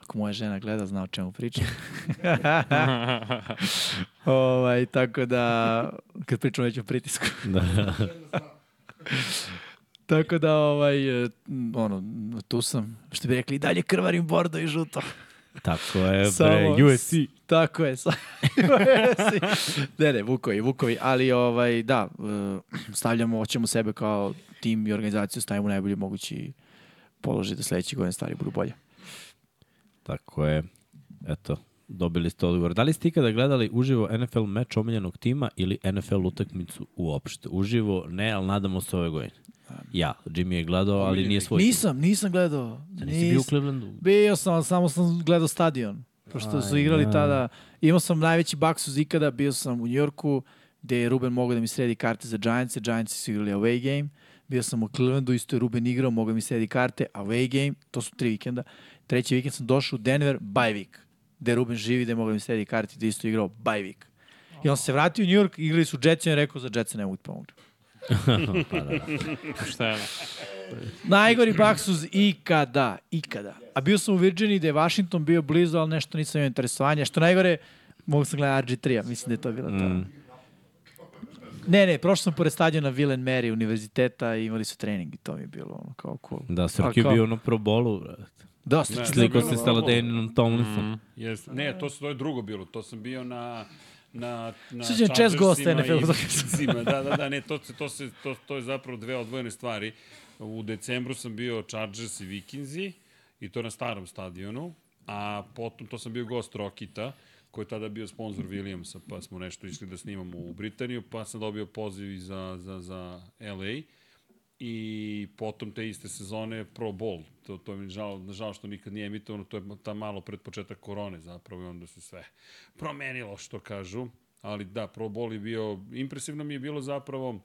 Speaker 4: Ako moja žena gleda, zna o čemu pričam. ovaj, tako da, kad pričam već o pritisku.
Speaker 6: Da.
Speaker 4: Tako da, ovaj, e, m, ono, tu sam, što bi rekli, i dalje krvarim bordo i žuto.
Speaker 6: Tako je, E bre, UFC.
Speaker 4: Tako je, sa, UFC. ne, ne, Vukovi, Vukovi, ali ovaj, da, e, stavljamo, hoćemo sebe kao tim i organizaciju, stavimo u najbolji mogući položaj da sledeće godine stvari budu bolje.
Speaker 6: Tako je, eto, dobili ste odgovor. Da li ste ikada gledali uživo NFL meč omiljenog tima ili NFL utakmicu uopšte? Uživo ne, ali nadamo se ove godine. Ja, Jimmy je gledao, ali nije svoj.
Speaker 4: Nisam, nisam gledao.
Speaker 6: tim. Nisi bio u Clevelandu?
Speaker 4: Bio sam, ali samo sam gledao stadion. Pošto su igrali tada, imao sam najveći baksuz ikada, bio sam u Njorku, gde je Ruben mogao da mi sredi karte za Giants, Giants su igrali away game, bio sam u Clevelandu, isto je Ruben igrao, mogao da mi sredi karte, away game, to su tri vikenda. Treći vikend sam došao u Denver, bye week, gde Ruben živi, gde je mogao da mi sredi karte, gde je isto igrao bye week. I on se vratio u New York, igrali su Jets i on je rekao za Jets ne mogu ti pomoći.
Speaker 5: Šta je ono?
Speaker 4: Najgori baksuz ikada, ikada. A bio sam u Virginiji gde je Washington bio blizu, ali nešto nisam imao interesovanja. Što najgore, mogu sam gledati RG3-a, mislim da je to bila to.
Speaker 6: Mm.
Speaker 4: Ne, ne, prošao sam pored stadiona Villen Mary univerziteta i imali su trening i to mi je bilo ono kao cool.
Speaker 6: Da,
Speaker 4: A
Speaker 6: Srki
Speaker 4: kao-
Speaker 6: je bio na Pro Bowlu, brate.
Speaker 4: Da, slično.
Speaker 6: Sliko se sa Ladeninom Tomlinson.
Speaker 3: Mhm. Jes, ne, to, su, to je drugo bilo, to sam bio na na na
Speaker 4: Srđan Čes gost
Speaker 3: Chargersima
Speaker 4: NFL
Speaker 3: i
Speaker 4: utakmice.
Speaker 3: Vicksima. da, da, da, ne, to se to se to to je zapravo dve odvojene stvari. U decembru sam bio Chargers i Vikingsi i to na starom stadionu, a potom to sam bio gost Rokita koji je tada bio sponsor Williamsa, pa smo nešto išli da snimamo u Britaniju, pa sam dobio poziv i za, za, za LA i potom te iste sezone Pro Bowl. To, to mi je žao, žao što nikad nije emitovano, to je ta malo pred početak korone zapravo i onda se sve promenilo što kažu. Ali da, Pro Bowl je bio, impresivno mi je bilo zapravo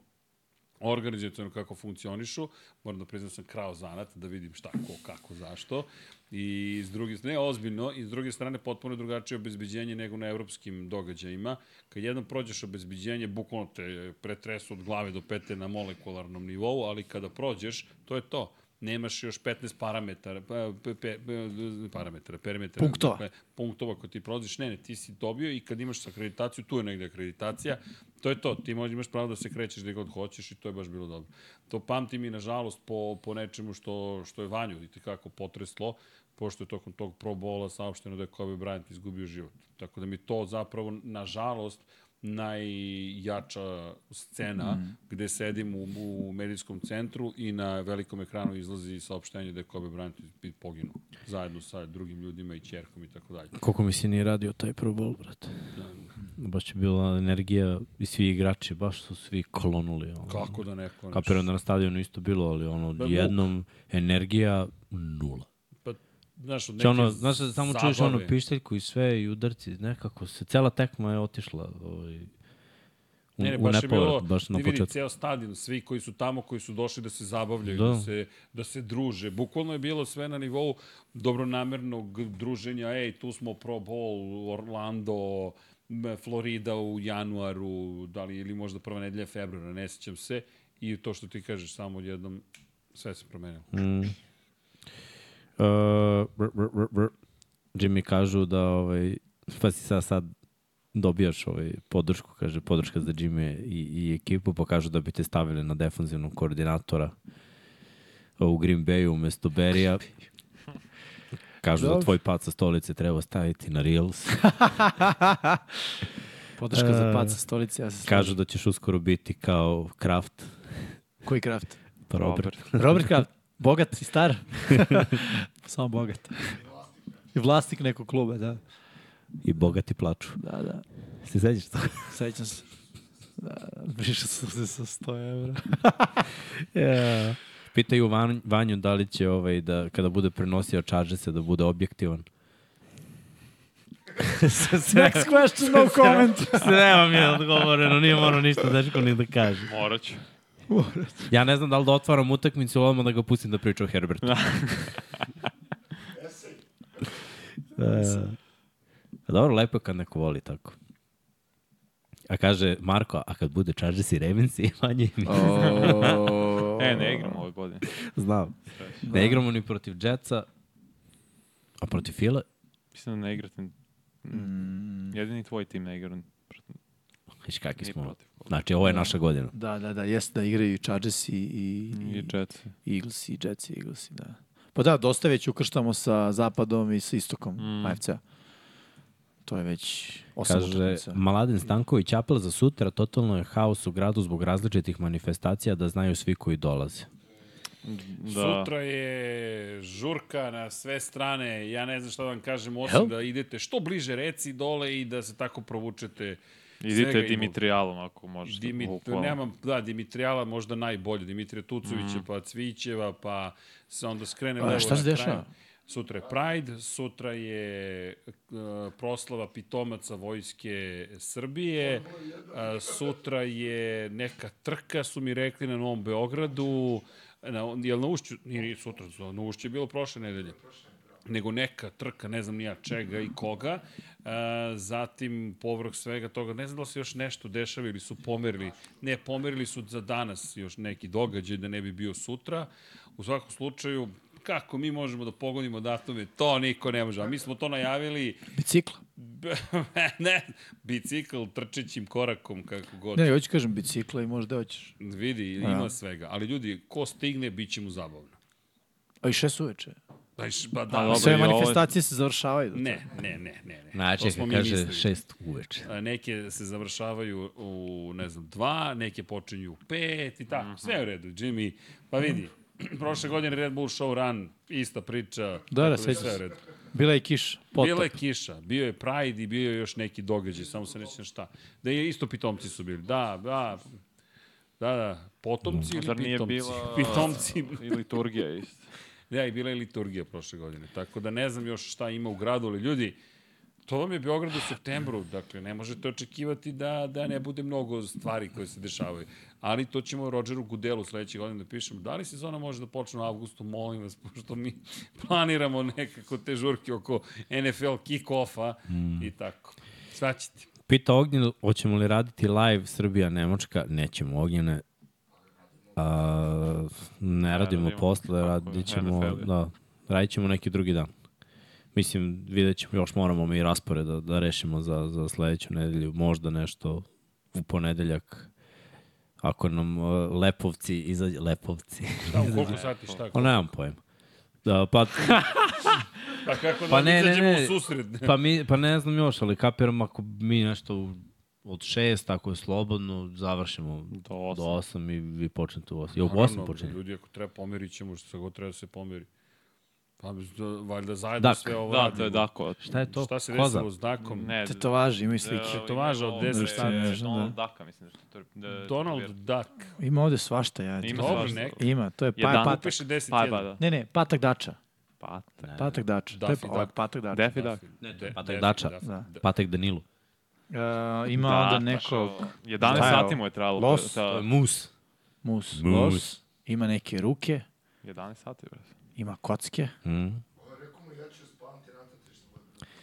Speaker 3: organizacijom kako funkcionišu. Moram da priznam sam krao zanat da vidim šta, ko, kako, zašto. I s druge strane, ne ozbiljno, i s druge strane potpuno drugačije obezbeđenje nego na evropskim događajima. Kad jednom prođeš obezbeđenje, bukvalno te pretresu od glave do pete na molekularnom nivou, ali kada prođeš, to je to. Nemaš još 15 parametara, pa, pe, pe, pe, parametara, perimetara.
Speaker 4: Punktova.
Speaker 3: Dakle, punktova koje ti prolaziš, ne, ne, ti si dobio i kad imaš akreditaciju, tu je negde akreditacija, to je to, ti možda imaš pravo da se krećeš gde god hoćeš i to je baš bilo dobro. To pamtim i nažalost po, po nečemu što, što je Vanju i tekako potreslo, pošto je tokom tog pro bola saopšteno da je Kobe Bryant izgubio život. Tako da mi to zapravo, nažalost, najjača scena
Speaker 6: Mhm.
Speaker 3: mm. gde sedim u, u medijskom centru i na velikom ekranu izlazi saopštenje da je Kobe Bryant i- i poginuo zajedno sa drugim ljudima i ćerkom i tako dalje.
Speaker 6: Koliko mi se nije radio taj Pro Bowl, brate. Da. Baš je bila energija i svi igrači, baš su svi klonuli. Ono.
Speaker 3: Kako da neko...
Speaker 6: Kapiram da na stadionu isto bilo, ali ono,
Speaker 3: Da,
Speaker 6: da,
Speaker 3: muk.
Speaker 6: jednom nula. nula.
Speaker 3: Pa, znaš, od neke
Speaker 6: Znači, ono, znaš, da samo čuješ ono
Speaker 3: zabave.
Speaker 6: pišteljku i sve i udarci, nekako se, cela tekma je otišla ovaj, u,
Speaker 3: Ne, ne,
Speaker 6: u
Speaker 3: baš je bilo,
Speaker 6: nepovrat, baš na
Speaker 3: ti vidi,
Speaker 6: početku.
Speaker 3: ceo stadion, svi koji su tamo, koji su došli da se zabavljaju, da,
Speaker 6: Da.
Speaker 3: da, se, da se druže. Bukvalno je bilo sve na nivou dobronamernog druženja, ej, tu smo Pro Bowl, Orlando, m, Florida u januaru, da li, ili možda prva nedelja februara, ne sećam se. I to što ti kažeš, samo jednom sve se promenilo.
Speaker 6: Mm. Uh, r, r, r, r. Jimmy kažu da ovaj, pa si sad, sad dobijaš ovaj podršku, kaže podrška za Jimmy i, i ekipu, pa kažu da bi te stavili na defanzivnog koordinatora. u Green Bayu umesto Berija. Kažu da
Speaker 4: Dobro.
Speaker 6: tvoj pad sa stolice treba staviti na Reels.
Speaker 4: Podrška za pad sa stolice, ja se slažem.
Speaker 6: E, Kažu da ćeš uskoro biti kao Kraft.
Speaker 4: Koji Kraft?
Speaker 6: Pa Robert.
Speaker 4: Robert Kraft. Bogat i star. Samo bogat. I vlasnik nekog kluba, da.
Speaker 6: I bogati plaču.
Speaker 4: Da, da.
Speaker 6: Se sećaš to?
Speaker 4: Sećam se. Da, više sam se sa 100 evra.
Speaker 6: yeah. Pitaju van, Vanju da li će ovaj, da, kada bude prenosio čarže se da bude objektivan.
Speaker 4: Next question, no comment.
Speaker 6: Nema mi je odgovoreno, nije morao ništa Daško ni da kaže.
Speaker 5: Morat ću.
Speaker 6: Ja ne znam da li da otvaram utakmicu ili odmah da ga pustim da priča o Herbertu. A Da. dobro, lepo je kad neko voli tako. A kaže Marko, a kad bude Chargers i Ravens i manje mi.
Speaker 5: E, ne igram ove godine.
Speaker 6: Znam. Ne igramo ni protiv Jetsa, a protiv Fila.
Speaker 5: Mislim da ne igrate. Mm. Jedini tvoj tim ne igra.
Speaker 6: Viš kakvi
Speaker 5: Ni
Speaker 6: smo.
Speaker 5: protiv.
Speaker 6: Znači, ovo je naša godina.
Speaker 4: Da, da, da, jeste da igraju i Chargers i, i,
Speaker 5: I
Speaker 4: i,
Speaker 5: Jets.
Speaker 4: i Eagles i Jets i Eagles, i da. Pa da, dosta već ukrštamo sa zapadom i sa istokom mm. AFC-a. To je već osam
Speaker 6: Kaže,
Speaker 4: utakmica.
Speaker 6: Mladen Stanković, apel za sutra, totalno je haos u gradu zbog različitih manifestacija da znaju svi koji dolaze.
Speaker 5: Da.
Speaker 3: Sutra je žurka na sve strane. Ja ne znam šta da vam kažem, osim
Speaker 6: Jel?
Speaker 3: da idete što bliže reci dole i da se tako provučete.
Speaker 5: Idite
Speaker 3: Svega ima.
Speaker 5: Dimitrijalom ako možete.
Speaker 3: Dimit,
Speaker 5: bukvalno.
Speaker 3: nemam, da, Dimitrijala možda najbolje. Dimitrija Tucovića, mm. pa Cvićeva, pa se onda skrene
Speaker 4: Mhm. A,
Speaker 3: levo
Speaker 4: šta
Speaker 3: na
Speaker 4: se
Speaker 3: kraju.
Speaker 4: dešava?
Speaker 3: Sutra je Pride, sutra je uh, proslava pitomaca Vojske Srbije, uh, sutra je neka trka, su mi rekli, na Novom Beogradu, na, jel na ušću, nije, nije sutra, na ušću je bilo prošle nedelje nego neka trka, ne znam nija čega i koga. E, zatim, povrh svega toga, ne znam da li se još nešto dešava ili su pomerili. Ne, pomerili su za danas još neki događaj da ne bi bio sutra. U svakom slučaju, kako mi možemo da pogodimo datume, to niko ne može. A mi smo to najavili,
Speaker 4: Bicikla.
Speaker 3: b- ne, bicikl trčećim korakom, kako god.
Speaker 4: Ne, hoću kažem bicikla i možda hoćeš.
Speaker 3: Vidi, ima svega. Ali ljudi, ko stigne, bit će mu zabavno.
Speaker 4: A i šest uveče.
Speaker 3: Znači, ba,
Speaker 5: A,
Speaker 3: da,
Speaker 5: dobro, i
Speaker 4: Sve
Speaker 5: ovo je-
Speaker 4: manifestacije se završavaju. do
Speaker 3: ne, ne, ne, ne. ne.
Speaker 6: Na,
Speaker 3: To
Speaker 6: čekaj,
Speaker 3: smo mi
Speaker 6: kaže
Speaker 3: mislili.
Speaker 6: šest uveče.
Speaker 3: A neke se završavaju u, ne znam, dva, neke počinju u pet i
Speaker 4: Mhm.
Speaker 3: tako. Sve je u redu, Jimmy. Pa vidi, prošle godine Red Bull Show Run, ista priča.
Speaker 4: Da,
Speaker 3: tako
Speaker 4: da,
Speaker 3: sve je
Speaker 4: sećam se.
Speaker 3: u redu.
Speaker 4: Bila je kiša, potop.
Speaker 3: Bila je kiša, bio je Pride i bio je još neki događaj, samo se nećem šta. Da je isto pitomci su bili. Da, da, da, da, potomci
Speaker 4: Mhm. Pa
Speaker 3: ili
Speaker 5: Zar nije
Speaker 3: pitomci?
Speaker 5: bila
Speaker 3: Pitomci.
Speaker 5: i liturgija isto?
Speaker 3: Da, i bila je liturgija prošle godine. Tako da ne znam još šta ima u gradu, ali ljudi, to vam je Beograd u septembru, dakle ne možete očekivati da, da ne bude mnogo stvari koje se dešavaju. Ali to ćemo Rodžeru Gudelu sledeće godine da pišemo. Da li sezona može da počne u avgustu, molim vas, pošto mi planiramo nekako te žurke oko NFL kick-offa
Speaker 6: Hmm.
Speaker 3: mm. i tako. Šta ćete?
Speaker 6: Pita Ognjen, hoćemo li raditi live Srbija-Nemačka? Nećemo, Ognjene. A, ne radimo
Speaker 5: radimo.
Speaker 6: posle,
Speaker 5: da Tako je,
Speaker 6: radit ćemo,
Speaker 5: NFL je.
Speaker 6: da, radit ćemo neki drugi dan. Mislim, vidjet ćemo, još moramo mi raspore da, da rešimo za, za sledeću nedelju, možda nešto u ponedeljak, ako nam uh, Lepovci izađe, Lepovci,
Speaker 3: Šta, Da, u koliko sati, šta?
Speaker 6: o, nemam pojma. Da, pa,
Speaker 3: Pa kako da
Speaker 6: Pa ne, ne,
Speaker 3: izađemo
Speaker 6: ne.
Speaker 3: u susret?
Speaker 6: pa, mi, pa ne znam još, ali kapiram ako mi nešto u- od šest, ako je slobodno, završimo
Speaker 5: Do osam.
Speaker 6: do osam i vi počnete u osam. Jo, u
Speaker 3: Naravno,
Speaker 6: osam počinje.
Speaker 3: Ljudi, ako treba pomerit ćemo, što se god treba da se pomeri. Pa, da, valjda zajedno
Speaker 6: Dak.
Speaker 3: sve ovo
Speaker 5: Da,
Speaker 3: radimo.
Speaker 5: to je Dako.
Speaker 6: Šta je to?
Speaker 3: Šta se
Speaker 6: Koza?
Speaker 3: desilo s Dakom?
Speaker 5: Ne,
Speaker 4: Tetovaže, imaju slike.
Speaker 3: tetovaža od 10
Speaker 4: sati.
Speaker 5: Da,
Speaker 4: Ne znam,
Speaker 5: Donald Daka, mislim da što je...
Speaker 3: Donald Duck.
Speaker 4: Ima ovde svašta, ja. ti
Speaker 5: Ima
Speaker 4: kažem.
Speaker 3: Dobro,
Speaker 5: svašta.
Speaker 3: neka.
Speaker 4: Ima, to je pa,
Speaker 5: Jedan.
Speaker 4: patak.
Speaker 3: Upiše
Speaker 5: Pa,
Speaker 3: 10
Speaker 5: ba,
Speaker 3: jedan.
Speaker 5: da.
Speaker 4: Ne, ne, patak dača.
Speaker 5: Pa,
Speaker 4: Patak dača. To je
Speaker 3: Daffy
Speaker 4: pa-
Speaker 3: Duck.
Speaker 4: patak dača.
Speaker 5: Defi Daka.
Speaker 3: Ne, to je
Speaker 6: Patek Dača.
Speaker 4: Da.
Speaker 6: Patek Danilu.
Speaker 4: Uh, ima da, onda nekog
Speaker 5: 11
Speaker 4: Šta je
Speaker 5: sati
Speaker 4: ovo?
Speaker 5: mu je trajalo.
Speaker 4: Los?
Speaker 5: pa-
Speaker 3: Da.
Speaker 5: ta-
Speaker 6: Mus.
Speaker 4: mus.
Speaker 6: Mus.
Speaker 4: Los. Ima neke ruke,
Speaker 5: 11 sati, bre.
Speaker 4: ima kocke.
Speaker 6: Mm.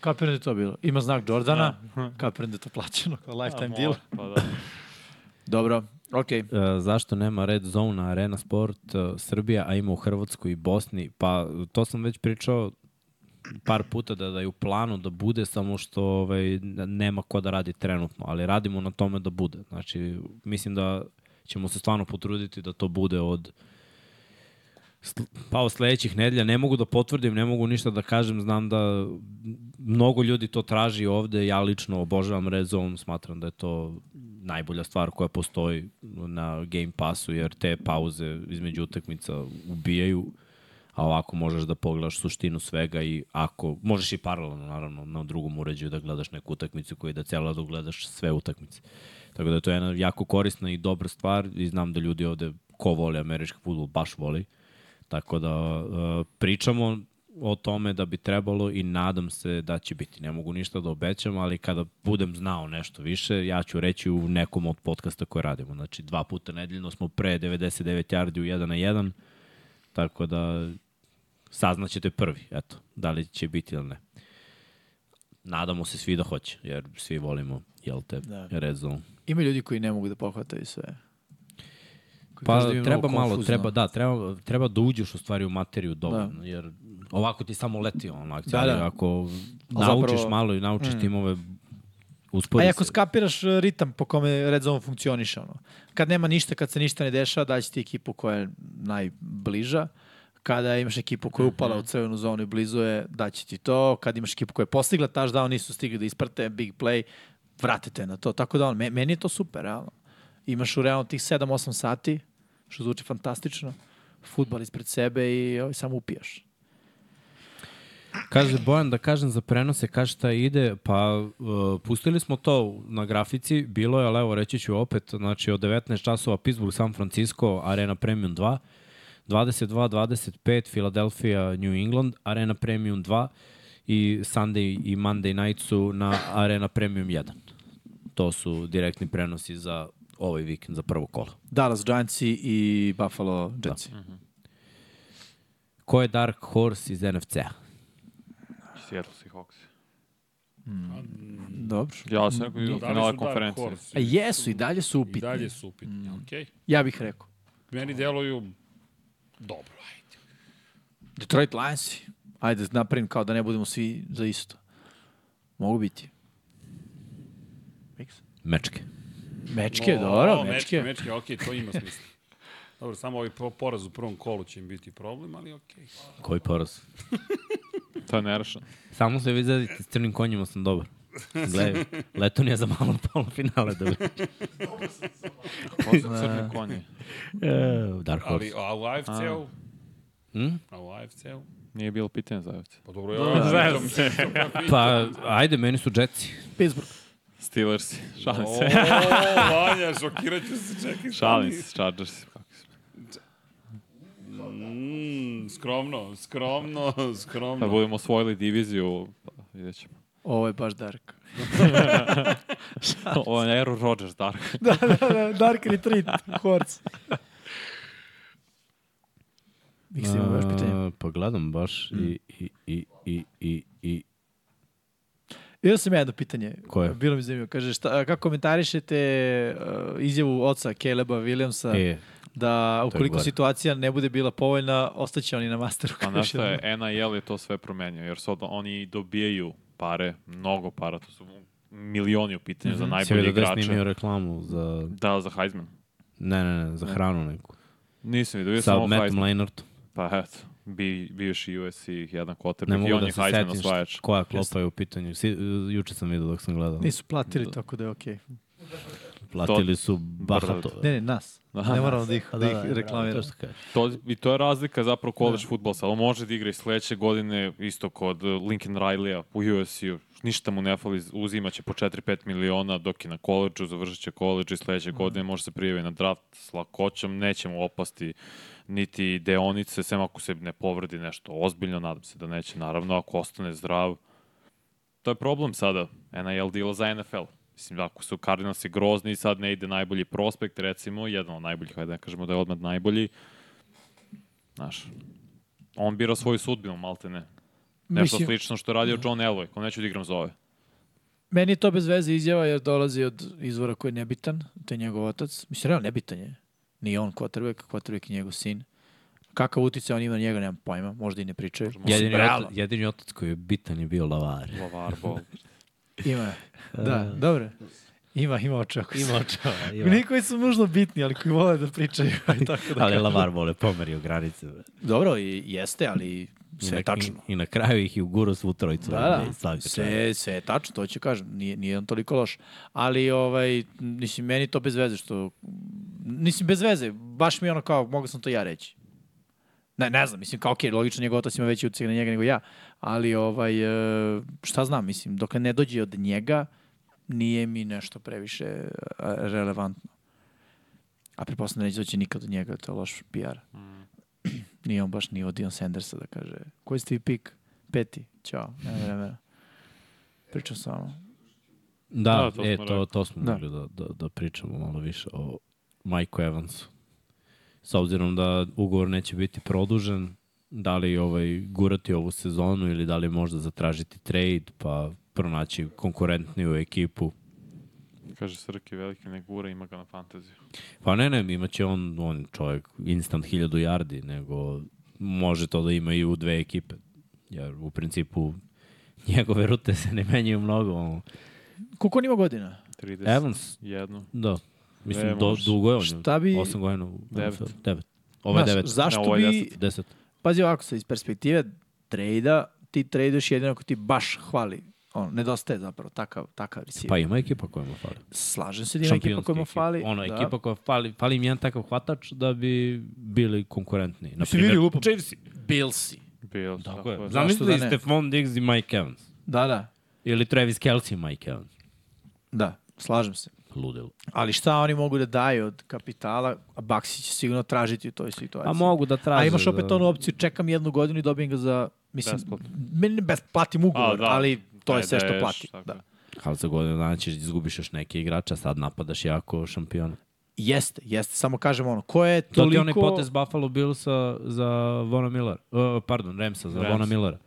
Speaker 4: Kapiram da je to bilo. Ima znak Jordana. Kapiram da je to plaćeno. kao Lifetime deal.
Speaker 5: Pa da.
Speaker 4: Dobro, okej.
Speaker 6: E, zašto nema Red Zone na Arena Sport e, Srbija, a ima u Hrvatskoj i Bosni? Pa to sam već pričao par puta da, da je u planu da bude, samo što ovaj, n- nema ko da radi trenutno, ali radimo na tome da bude. Znači, mislim da ćemo se stvarno potruditi da to bude od sl- pao sledećih nedelja, ne mogu da potvrdim, ne mogu ništa da kažem, znam da mnogo ljudi to traži ovde, ja lično obožavam Red Zone, smatram da je to najbolja stvar koja postoji na Game Passu, jer te pauze između utakmica ubijaju, a ovako možeš da pogledaš suštinu svega i ako, možeš i paralelno naravno na drugom uređaju da gledaš neku utakmicu koju da cela da gledaš sve utakmice. Tako da to je jedna jako korisna i dobra stvar i znam da ljudi ovde ko vole američki futbol baš voli. Tako da uh, pričamo o tome da bi trebalo i nadam se da će biti. Ne mogu ništa da obećam, ali kada budem znao nešto više, ja ću reći u nekom od podcasta koje radimo. Znači, dva puta nedeljno smo pre 99 yardi u 1 na 1, tako da saznaćete prvi, eto, da li će biti ili ne. Nadamo se svi da hoće, jer svi volimo, jel te, da. Red Zone.
Speaker 4: Ima ljudi koji ne mogu da pohvataju sve. Koji
Speaker 6: Pa
Speaker 4: kažu im je
Speaker 6: treba
Speaker 4: mnogo
Speaker 6: malo,
Speaker 4: konfuzno.
Speaker 6: treba, da, treba, treba da uđeš u stvari u materiju dovoljno, da. jer ovako ti samo leti ona akcija,
Speaker 4: Da,
Speaker 6: da,
Speaker 4: da.
Speaker 6: da. ako
Speaker 4: zapravo-
Speaker 6: naučiš malo i naučiš mm. timove,
Speaker 4: A
Speaker 6: uspori
Speaker 4: i
Speaker 6: se.
Speaker 4: ako Pa skapiraš e, ritam po kome Red Zone funkcioniše, ono. Kad nema ništa, kad se ništa ne dešava, daći ti ekipu koja je najbliža. Kada imaš ekipu koja je
Speaker 10: Mhm.
Speaker 4: upala u crvenu zonu i blizu je, daći ti to. Kad imaš ekipu koja je postigla taš da nisu stigli da isprate big play, vratite na to. Tako da on, me- meni je to super, realno. Imaš u realno tih 7-8 sati, što zvuči fantastično, futbal ispred sebe i ovaj, samo upijaš.
Speaker 6: Kaže Bojan da kažem za prenose, kaže šta ide, pa uh, pustili smo to na grafici, bilo je, ali evo reći ću opet, znači od 19 časova Pittsburgh, San Francisco, Arena Premium 2, 22-25 Philadelphia, New England, Arena Premium 2 i Sunday i Monday night su na Arena Premium 1. To su direktni prenosi za ovaj vikend, za prvo kolo.
Speaker 4: Dallas Giants i Buffalo Jetsi.
Speaker 10: Mhm.
Speaker 4: Da.
Speaker 6: Ko je Dark Horse iz NFC-a?
Speaker 5: Seattle Seahawks.
Speaker 4: Dobro.
Speaker 5: Ja sam rekao i do
Speaker 10: Da li su
Speaker 5: finala
Speaker 10: Dark
Speaker 5: konferencije.
Speaker 10: Horse?
Speaker 4: A jesu, i dalje su upitni.
Speaker 10: I dalje su upitni, mm. okej.
Speaker 4: Ja bih rekao.
Speaker 10: Meni deluju dobro, ajde.
Speaker 4: Detroit Lionsi. Ajde, napravim kao da ne budemo svi za isto. Mogu biti.
Speaker 6: Mečke.
Speaker 4: Mečke, dobro, mečke.
Speaker 10: Mečke, mečke okej, to ima smisla. Dobro, samo ovaj po- poraz u prvom kolu će im biti problem, ali okej.
Speaker 6: Koji poraz?
Speaker 5: To je nerešeno.
Speaker 6: Samo se vi zadite, s crnim konjima sam dobar. Gle, Letonija za malo polufinale dobi.
Speaker 5: Ko su crne konje?
Speaker 6: E, Dark Horse.
Speaker 10: Ali a u AFC-u?
Speaker 6: Hm?
Speaker 10: A u AFC-u?
Speaker 5: Nije bilo pitanje za ovce.
Speaker 10: Pa dobro, ja znam se.
Speaker 6: Pa, ajde, meni su Jetsi.
Speaker 4: Pittsburgh.
Speaker 5: Steelers, šalim
Speaker 10: O,
Speaker 5: se.
Speaker 10: Vanja, šokirat ću se, čekaj.
Speaker 5: Šalim se, Chargers.
Speaker 10: Mm, skromno, skromno,
Speaker 5: Da
Speaker 10: skromno.
Speaker 5: budemo osvojili diviziju, pa vidjet ćemo.
Speaker 4: Ovo je baš dark.
Speaker 5: Ovo je Aaron Rodgers, Dark.
Speaker 4: da, da, da, dark retreat, horc. Bih se imao baš pitanje.
Speaker 6: E, Pa gledam baš i, i, i, i, i, i.
Speaker 4: Imao sam ja jedno pitanje.
Speaker 6: Koje?
Speaker 4: Bilo mi zanimljivo. Kaže, šta, kako komentarišete uh, izjavu oca Caleba Williamsa e,
Speaker 6: E,
Speaker 4: da ukoliko
Speaker 6: gore.
Speaker 4: situacija ne bude bila povoljna, ostaće oni na masteru.
Speaker 5: Pa znaš šta je, NIL je to sve promenio, jer sad oni dobijaju pare, mnogo para, to su milioni u pitanju za
Speaker 6: si
Speaker 5: najbolje
Speaker 6: vidio da je
Speaker 5: igrače.
Speaker 6: snimio reklamu za...
Speaker 5: Da, za Heisman.
Speaker 6: Ne, ne, ne, za hranu neku.
Speaker 5: Nisam vidio, vidio
Speaker 6: Sa
Speaker 5: sam
Speaker 6: Mattom
Speaker 5: Heisman.
Speaker 6: Leinartom.
Speaker 5: Pa eto, bi, bivši USC jedan
Speaker 6: Ne
Speaker 5: quarterback i
Speaker 6: mogu
Speaker 5: on
Speaker 6: da
Speaker 5: je
Speaker 6: se
Speaker 5: Heisman
Speaker 6: setim
Speaker 5: osvajač.
Speaker 6: šta- koja klopa je u pitanju. Si, juče sam vidio dok sam gledao.
Speaker 4: Nisu platili, tako da je okej.
Speaker 6: Platili su bahato.
Speaker 4: Ne, ne, nas.
Speaker 5: Aha.
Speaker 4: ne moramo da ih, da ih reklamiramo.
Speaker 6: To što kaže.
Speaker 5: To, I to je razlika zapravo college da. futbolsa, ali može da igra i sledeće godine isto kod eh, Lincoln Riley-a u USC-u. Ništa mu ne fali, uzimaće po 4-5 miliona dok je na koleđu, završit će koleđu i sledeće mm. godine može se prijaviti na draft s lakoćom, neće mu opasti niti deonice, sem ako se ne povredi nešto ozbiljno, nadam se da neće, naravno, ako ostane zdrav. To je problem sada, NIL deal za NFL. Mislim, ako su Cardinalsi grozni i sad ne ide najbolji prospekt, recimo, jedan od najboljih, hajde da ne kažemo da je odmah najbolji, Znaš, on bira svoju sudbinu, malte ne. Nešto
Speaker 4: Mislim-
Speaker 5: slično što je radio John Elway, ko neću da igram za ove.
Speaker 4: Meni je to bez veze izjava jer dolazi od izvora koji je nebitan, to je njegov otac. Mislim, realno nebitan je. Nije on Kotrbek, Kotrbek je njegov sin. Kakav utjecaj on ima na njega, nemam pojma, možda i ne pričaju.
Speaker 6: Jedini,
Speaker 4: realno.
Speaker 6: otac, jedini otac koji je bitan je bio Lavar.
Speaker 5: Lavar, bol.
Speaker 4: Ima. Da, dobro. Ima, ima očeva koji su.
Speaker 6: Ima očeva, ima.
Speaker 4: Oni koji su nužno bitni, ali koji vole da pričaju. i tako da
Speaker 6: Ali Lavar vole pomerio granice. bre.
Speaker 4: Dobro, i jeste, ali
Speaker 6: I
Speaker 4: sve
Speaker 6: na-
Speaker 4: je tačno.
Speaker 6: I, I na kraju ih i uguro svu trojicu.
Speaker 4: Da, da,
Speaker 6: Slavio čovjek.
Speaker 4: sve, sve je tačno, to ću kažem, nije, nije on toliko loš. Ali, ovaj, mislim, meni to bez veze što... Mislim, bez veze, baš mi je ono kao, mogu sam to ja reći. Ne, ne znam, mislim, kao, okej, logično, njegov otac ima veći utjecaj na njega nego ja, ali, ovaj, e, šta znam, mislim, dokle ne dođe od njega, nije mi nešto previše e, relevantno. A pretpostavljam da neće doći nikad od njega, to je loš PR. Nije on baš ni od Dion Sandersa da kaže, koji ste vi pik? Peti, ćao, nema vremena. Pričam samo.
Speaker 6: Da,
Speaker 5: Da, to
Speaker 6: e,
Speaker 5: smo
Speaker 6: to,
Speaker 5: rekli.
Speaker 6: to smo
Speaker 4: Da.
Speaker 6: mogli da, da, da pričamo malo više o Mike Evansu. S obzirom da ugovor neće biti produžen, da li ovaj, gurati ovu sezonu ili da li možda zatražiti trade pa pronaći konkurentniju ekipu.
Speaker 5: Kaže Srki, veliki ne gura, ima ga na fantaziju.
Speaker 6: Pa ne, ne, imaće on, on čovjek instant 1000 yardi, nego može to da ima i u dve ekipe. Jer u principu njegove rute se ne menjaju mnogo. ono.
Speaker 4: Koliko on ima godina?
Speaker 5: 30.
Speaker 6: Evans,
Speaker 5: Jednu.
Speaker 6: da. Mislim,
Speaker 5: Ne,
Speaker 6: do,
Speaker 5: može.
Speaker 6: dugo je on.
Speaker 4: Šta bi-
Speaker 6: 8 godina. u
Speaker 5: Devet.
Speaker 6: NFL. Devet. Ovo je
Speaker 4: Znaš,
Speaker 6: devet.
Speaker 4: Zašto
Speaker 5: Ne, ovo je
Speaker 4: bi,
Speaker 6: 10.
Speaker 4: pazi ovako se iz perspektive trejda, ti trejduješ jedino ako ti baš hvali. On, nedostaje zapravo takav, takav receiver.
Speaker 6: Pa ima ekipa koja mu fali.
Speaker 4: Slažem se da ima ekipa
Speaker 6: Šampionska
Speaker 4: koja mu fali.
Speaker 6: Ono,
Speaker 4: da.
Speaker 6: ekipa koja fali, fali im jedan takav hvatač da bi bili konkurentni. Na
Speaker 4: Ti vidi
Speaker 6: primjer,
Speaker 4: lupom. Chivesi. Billsi.
Speaker 5: Bilo, tako,
Speaker 6: Tako je.
Speaker 4: Zašto da
Speaker 6: Zamislili
Speaker 4: ne?
Speaker 6: Stephon Diggs i Mike Evans.
Speaker 4: Da, da.
Speaker 6: Ili Travis Kelce i Mike Evans.
Speaker 4: Da, slažem se.
Speaker 6: Ludilo.
Speaker 4: Ali šta oni mogu da daju od kapitala, a Baxi će sigurno tražiti u toj situaciji.
Speaker 6: A mogu da traže.
Speaker 4: Pa A imaš opet
Speaker 6: da...
Speaker 4: onu opciju, čekam jednu godinu i dobijem ga za, mislim,
Speaker 5: Besplatno.
Speaker 4: meni ne bes, platim ugovor,
Speaker 5: A, da.
Speaker 4: ali to
Speaker 5: Taj
Speaker 4: je sve što
Speaker 5: daješ,
Speaker 4: plati.
Speaker 5: tako
Speaker 4: Da.
Speaker 5: je.
Speaker 6: Ali za godinu dana ćeš da izgubiš još neke igrača, sad napadaš jako šampiona.
Speaker 4: Jeste, jeste, samo kažem ono, ko je
Speaker 6: To
Speaker 4: toliko...
Speaker 6: ti je onaj potez Buffalo Billsa za Vona Millera. Uh, pardon, Remsa za
Speaker 5: Ramsa.
Speaker 6: Vona Millera.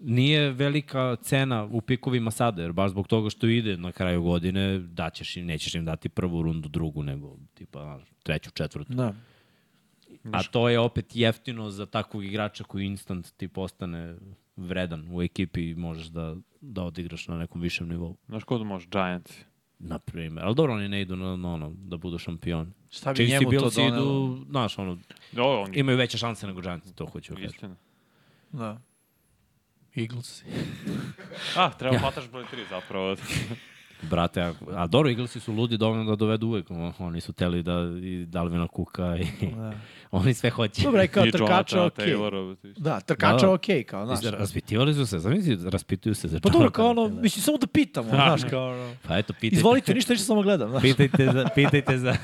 Speaker 6: Nije velika cena u pikovima sada, jer baš zbog toga što ide na kraju godine, daćeš im, nećeš im dati prvu rundu, drugu, nego tipa znaš, treću, četvrtu.
Speaker 4: Da.
Speaker 6: A to je opet jeftino za takvog igrača koji instant ti postane vredan u ekipi i možeš da, da odigraš na nekom višem nivou.
Speaker 5: Znaš ko da može? Giants.
Speaker 6: Na primjer. Ali dobro, oni ne idu na, na ono, da budu šampion.
Speaker 4: Šta bi
Speaker 6: Chiefs i
Speaker 4: Pa njemu to
Speaker 6: Billsi
Speaker 4: donelo?
Speaker 6: Idu, znaš, ono,
Speaker 5: Da, on je
Speaker 6: imaju veće šanse nego Giants, to hoću kažem.
Speaker 5: istina.
Speaker 4: Da. Eagles.
Speaker 5: A, treba hvataš broj 3 zapravo.
Speaker 6: Brate, a, a dobro, Eaglesi su ludi dovoljno da dovedu uvek. O, Oni su teli da i Dalvina Kuka i
Speaker 4: Da.
Speaker 6: oni sve hoće.
Speaker 4: Dobro, i kao
Speaker 5: I
Speaker 4: trkača,
Speaker 5: Jonathana
Speaker 4: okej.
Speaker 5: Taylora. ti-
Speaker 4: Da, trkača,
Speaker 6: Da, da.
Speaker 4: okej, kao,
Speaker 6: Mislim,
Speaker 4: znaš.
Speaker 6: Raspitivali su se, zamisli, raspituju se za
Speaker 4: Pa dobro,
Speaker 6: Jonathana
Speaker 4: kao ono,
Speaker 6: Taylora.
Speaker 4: mislim, samo da pitamo, znaš, kao ono.
Speaker 6: Pa eto, pitajte.
Speaker 4: Izvolite, ništa, ništa, samo gledam, znaš.
Speaker 6: Pitajte za... Pitajte za...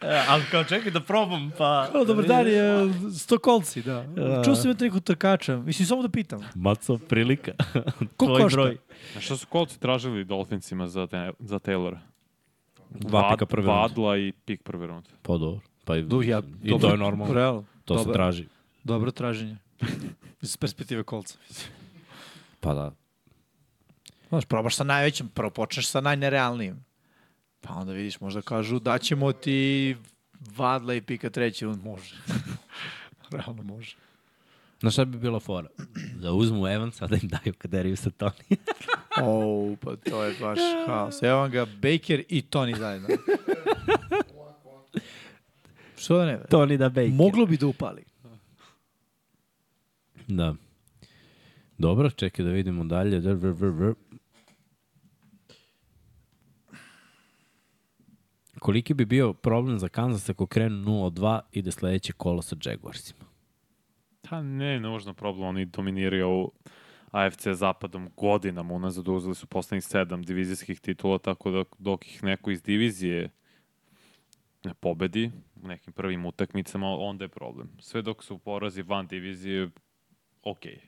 Speaker 6: E, Ali kao čekaj da probam, pa...
Speaker 4: Ono, dobar dan je stokolci, da. Čuo sam jutro nekog trkača, mislim, samo da pitam.
Speaker 6: Maco, prilika.
Speaker 4: Ko
Speaker 6: Tvoj
Speaker 4: košta?
Speaker 6: broj.
Speaker 5: Znaš šta su kolci tražili Dolphinsima za, te, za Taylora?
Speaker 6: Dva
Speaker 5: Vad-
Speaker 6: pika prve runde.
Speaker 5: Vadla i pik prve runde.
Speaker 6: Pa dobro. Pa i,
Speaker 4: Du, ja,
Speaker 6: i to je normalno.
Speaker 4: Realno.
Speaker 6: To se
Speaker 4: Dobar.
Speaker 6: traži.
Speaker 4: Dobro traženje. Iz perspektive kolca.
Speaker 6: Pa da.
Speaker 4: Znaš, probaš sa najvećim, prvo počneš sa najnerealnijim. Pa onda vidiš, možda kažu da ćemo ti vadla i pika treći rund. Može. Realno može.
Speaker 6: Na šta bi bila fora? Da uzmu Evansa, da im daju Kaderiju sa Toni.
Speaker 4: O, pa to je baš haos. Evo vam ga, Baker i Tony zajedno. Što da ne? bre?
Speaker 6: Toni da Baker.
Speaker 4: Moglo bi da upali.
Speaker 6: Da. Dobro, čekaj da vidimo dalje. Dr, vr, vr, vr. Koliki bi bio problem za Kansas ako krenu 0-2 ide sledeće kolo sa Jaguarsima?
Speaker 5: Pa ne, nužno problem, oni dominiraju ovu AFC zapadom godinama unazad, uzeli su poslednjih sedam divizijskih titula, tako da dok ih neko iz divizije ne pobedi u nekim prvim utakmicama, onda je problem. Sve dok su porazi van divizije, okej.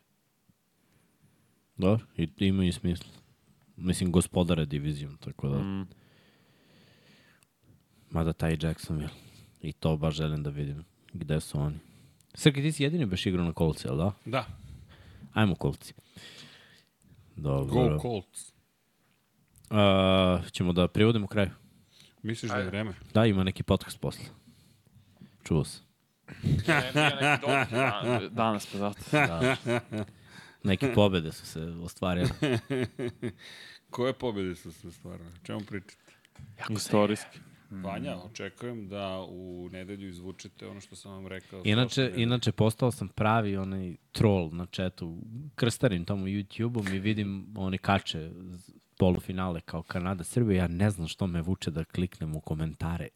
Speaker 6: Dobro, Da, i ima i smisla. Mislim, gospodare divizijom, tako da...
Speaker 5: Mm.
Speaker 6: Mada taj Jacksonville. I to baš želim da vidim gde su oni. Srki, ti si jedini baš igrao na kolci, jel da?
Speaker 10: Da,
Speaker 6: Ajmo kolci. Dobro.
Speaker 10: go Colts.
Speaker 6: A, ćemo da privodimo kraju.
Speaker 10: Misliš da je vreme?
Speaker 6: Da, ima neki podcast posle. Čuo sam.
Speaker 5: Da,
Speaker 6: Da.
Speaker 5: Danas pa zato.
Speaker 6: Neke pobede su se ostvarile.
Speaker 3: Koje pobjede su se stvarno? O čemu pričate?
Speaker 5: Istorijski.
Speaker 6: Mm.
Speaker 3: Vanja, očekujem da u nedelju izvučete ono što sam vam rekao.
Speaker 6: Inače,
Speaker 3: prošle nedelje.
Speaker 6: inače postao sam pravi onaj troll na chatu. Krstarim tamo YouTube-om i vidim oni kače z- polufinale kao Kanada, Srbija. Ja ne znam što me vuče da kliknem u komentare.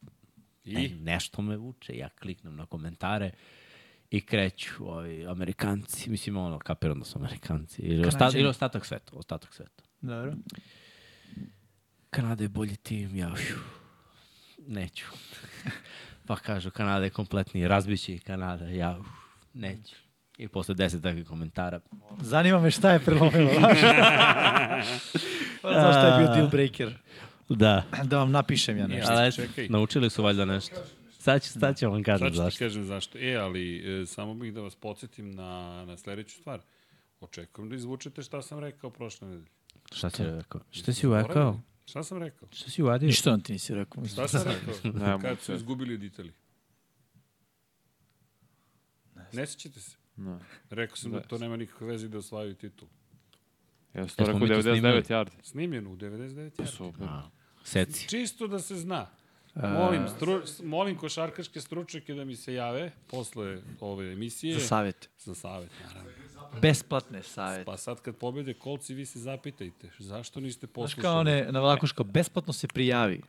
Speaker 6: I? Ne, nešto me vuče, ja kliknem na komentare i kreću ovi Amerikanci. Mislim, ono, kapiram da su Amerikanci. Ili, osta, ili ostatak sveta, ostatak sveta.
Speaker 4: Dobro.
Speaker 6: Kanada je bolji tim, ja ušu, neću. pa kažu, Kanada je kompletni, razbiće i Kanada, ja ušu, neću. I posle deset takvih komentara.
Speaker 4: Zanima me šta je prelomilo. znaš? Pa Zašto je bio deal breaker?
Speaker 6: Da,
Speaker 4: Da vam napišem ja nešto.
Speaker 6: ali
Speaker 3: čekaj.
Speaker 6: naučili su valjda nešto. Sad ću, sad ću vam kažem
Speaker 3: Sad ću ti
Speaker 6: zašto.
Speaker 3: kažem zašto. E, ali e, samo bih da vas podsjetim na, na sledeću stvar. Očekujem da izvučete šta sam rekao prošle nedelje.
Speaker 6: Šta da si rekao? Šta si urekao?
Speaker 3: Šta sam rekao?
Speaker 6: Šta si uradio?
Speaker 4: Ništa on ti nisi rekao.
Speaker 3: Šta sam rekao?
Speaker 5: Nemam
Speaker 3: Kad su
Speaker 5: pojma.
Speaker 3: izgubili od Italije. Ne sećate se?
Speaker 5: Ne.
Speaker 3: Rekao sam da to nema nikakve veze i da osvajaju titul.
Speaker 5: Ja sam to
Speaker 6: Jesmo
Speaker 5: rekao
Speaker 6: mi to
Speaker 5: 99
Speaker 6: snimili? Da.
Speaker 5: yardi.
Speaker 3: Snimljeno u
Speaker 4: Pa
Speaker 3: 99. jardi.
Speaker 5: Super.
Speaker 6: Seci.
Speaker 3: Čisto da se zna.
Speaker 4: E.
Speaker 3: Molim, stru, molim košarkaške stručnjake da mi se jave posle ove emisije.
Speaker 4: Za savjet.
Speaker 3: Za savjet, naravno.
Speaker 4: Besplatne savjete.
Speaker 3: Pa sad kad pobede kolci, vi se zapitajte. Zašto niste
Speaker 4: Znaš
Speaker 3: poslušali?
Speaker 4: kao one na Vlakuško, besplatno se prijavi,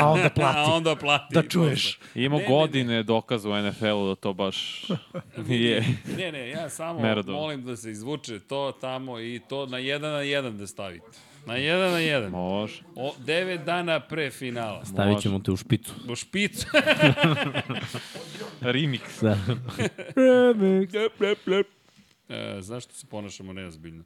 Speaker 4: a onda
Speaker 3: A
Speaker 4: plati.
Speaker 3: onda plati.
Speaker 4: Da čuješ.
Speaker 5: Imao godine dokaza u NFL-u da to baš nije.
Speaker 3: Ne, ne, ja samo
Speaker 5: Merodov.
Speaker 3: molim da se izvuče to tamo i to na jedan na jedan da stavite. Na jedan na jedan.
Speaker 5: Može.
Speaker 3: O, devet dana pre finala.
Speaker 6: Stavit ćemo te u špicu.
Speaker 3: U špicu.
Speaker 5: Remix.
Speaker 6: Da.
Speaker 3: Lep, lep, lep. E, zašto se ponašamo neozbiljno?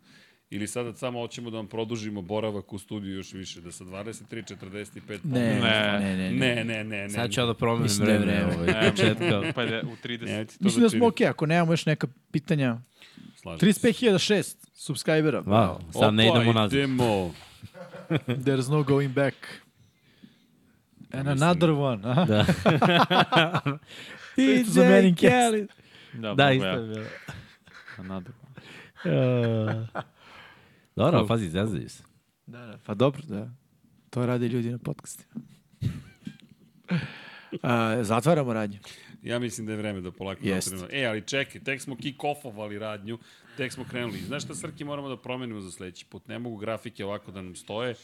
Speaker 3: Ili sada samo hoćemo da vam produžimo boravak u studiju još više, da sa 23.45...
Speaker 4: Ne, ne,
Speaker 5: Ne.
Speaker 4: ne. ne, ne.
Speaker 3: ne, ne, ne. ne.
Speaker 6: Sad ću ja da promenim
Speaker 4: Mislim da je
Speaker 6: vreme.
Speaker 4: vreme.
Speaker 6: Ovaj, početka.
Speaker 5: Pa je u 30.
Speaker 3: Nemojte to
Speaker 4: Mislim da smo
Speaker 3: činite.
Speaker 4: okej, ako nemamo još neka pitanja.
Speaker 3: Slažem se.
Speaker 4: 35.006 subscribera.
Speaker 6: Wow, sad ne
Speaker 3: Opa,
Speaker 6: idemo nazad.
Speaker 3: Idemo.
Speaker 4: There's no going back. And another one. Aha.
Speaker 6: Da.
Speaker 4: It's the man in cast.
Speaker 5: Da,
Speaker 6: Da,
Speaker 5: da
Speaker 6: isto je
Speaker 5: isto.
Speaker 6: bilo.
Speaker 5: Another.
Speaker 6: Dobro, pazi, zezaju se.
Speaker 4: Da, da, pa dobro, da. To rade ljudi na podcastima. A, zatvaramo radnje.
Speaker 3: Ja mislim da je vreme da polako
Speaker 4: Jest.
Speaker 3: napravimo. E, ali čekaj, tek smo kick-offovali radnju, tek smo krenuli. Znaš šta, Srki, moramo da promenimo za sledeći put. Ne mogu grafike ovako da nam stoje,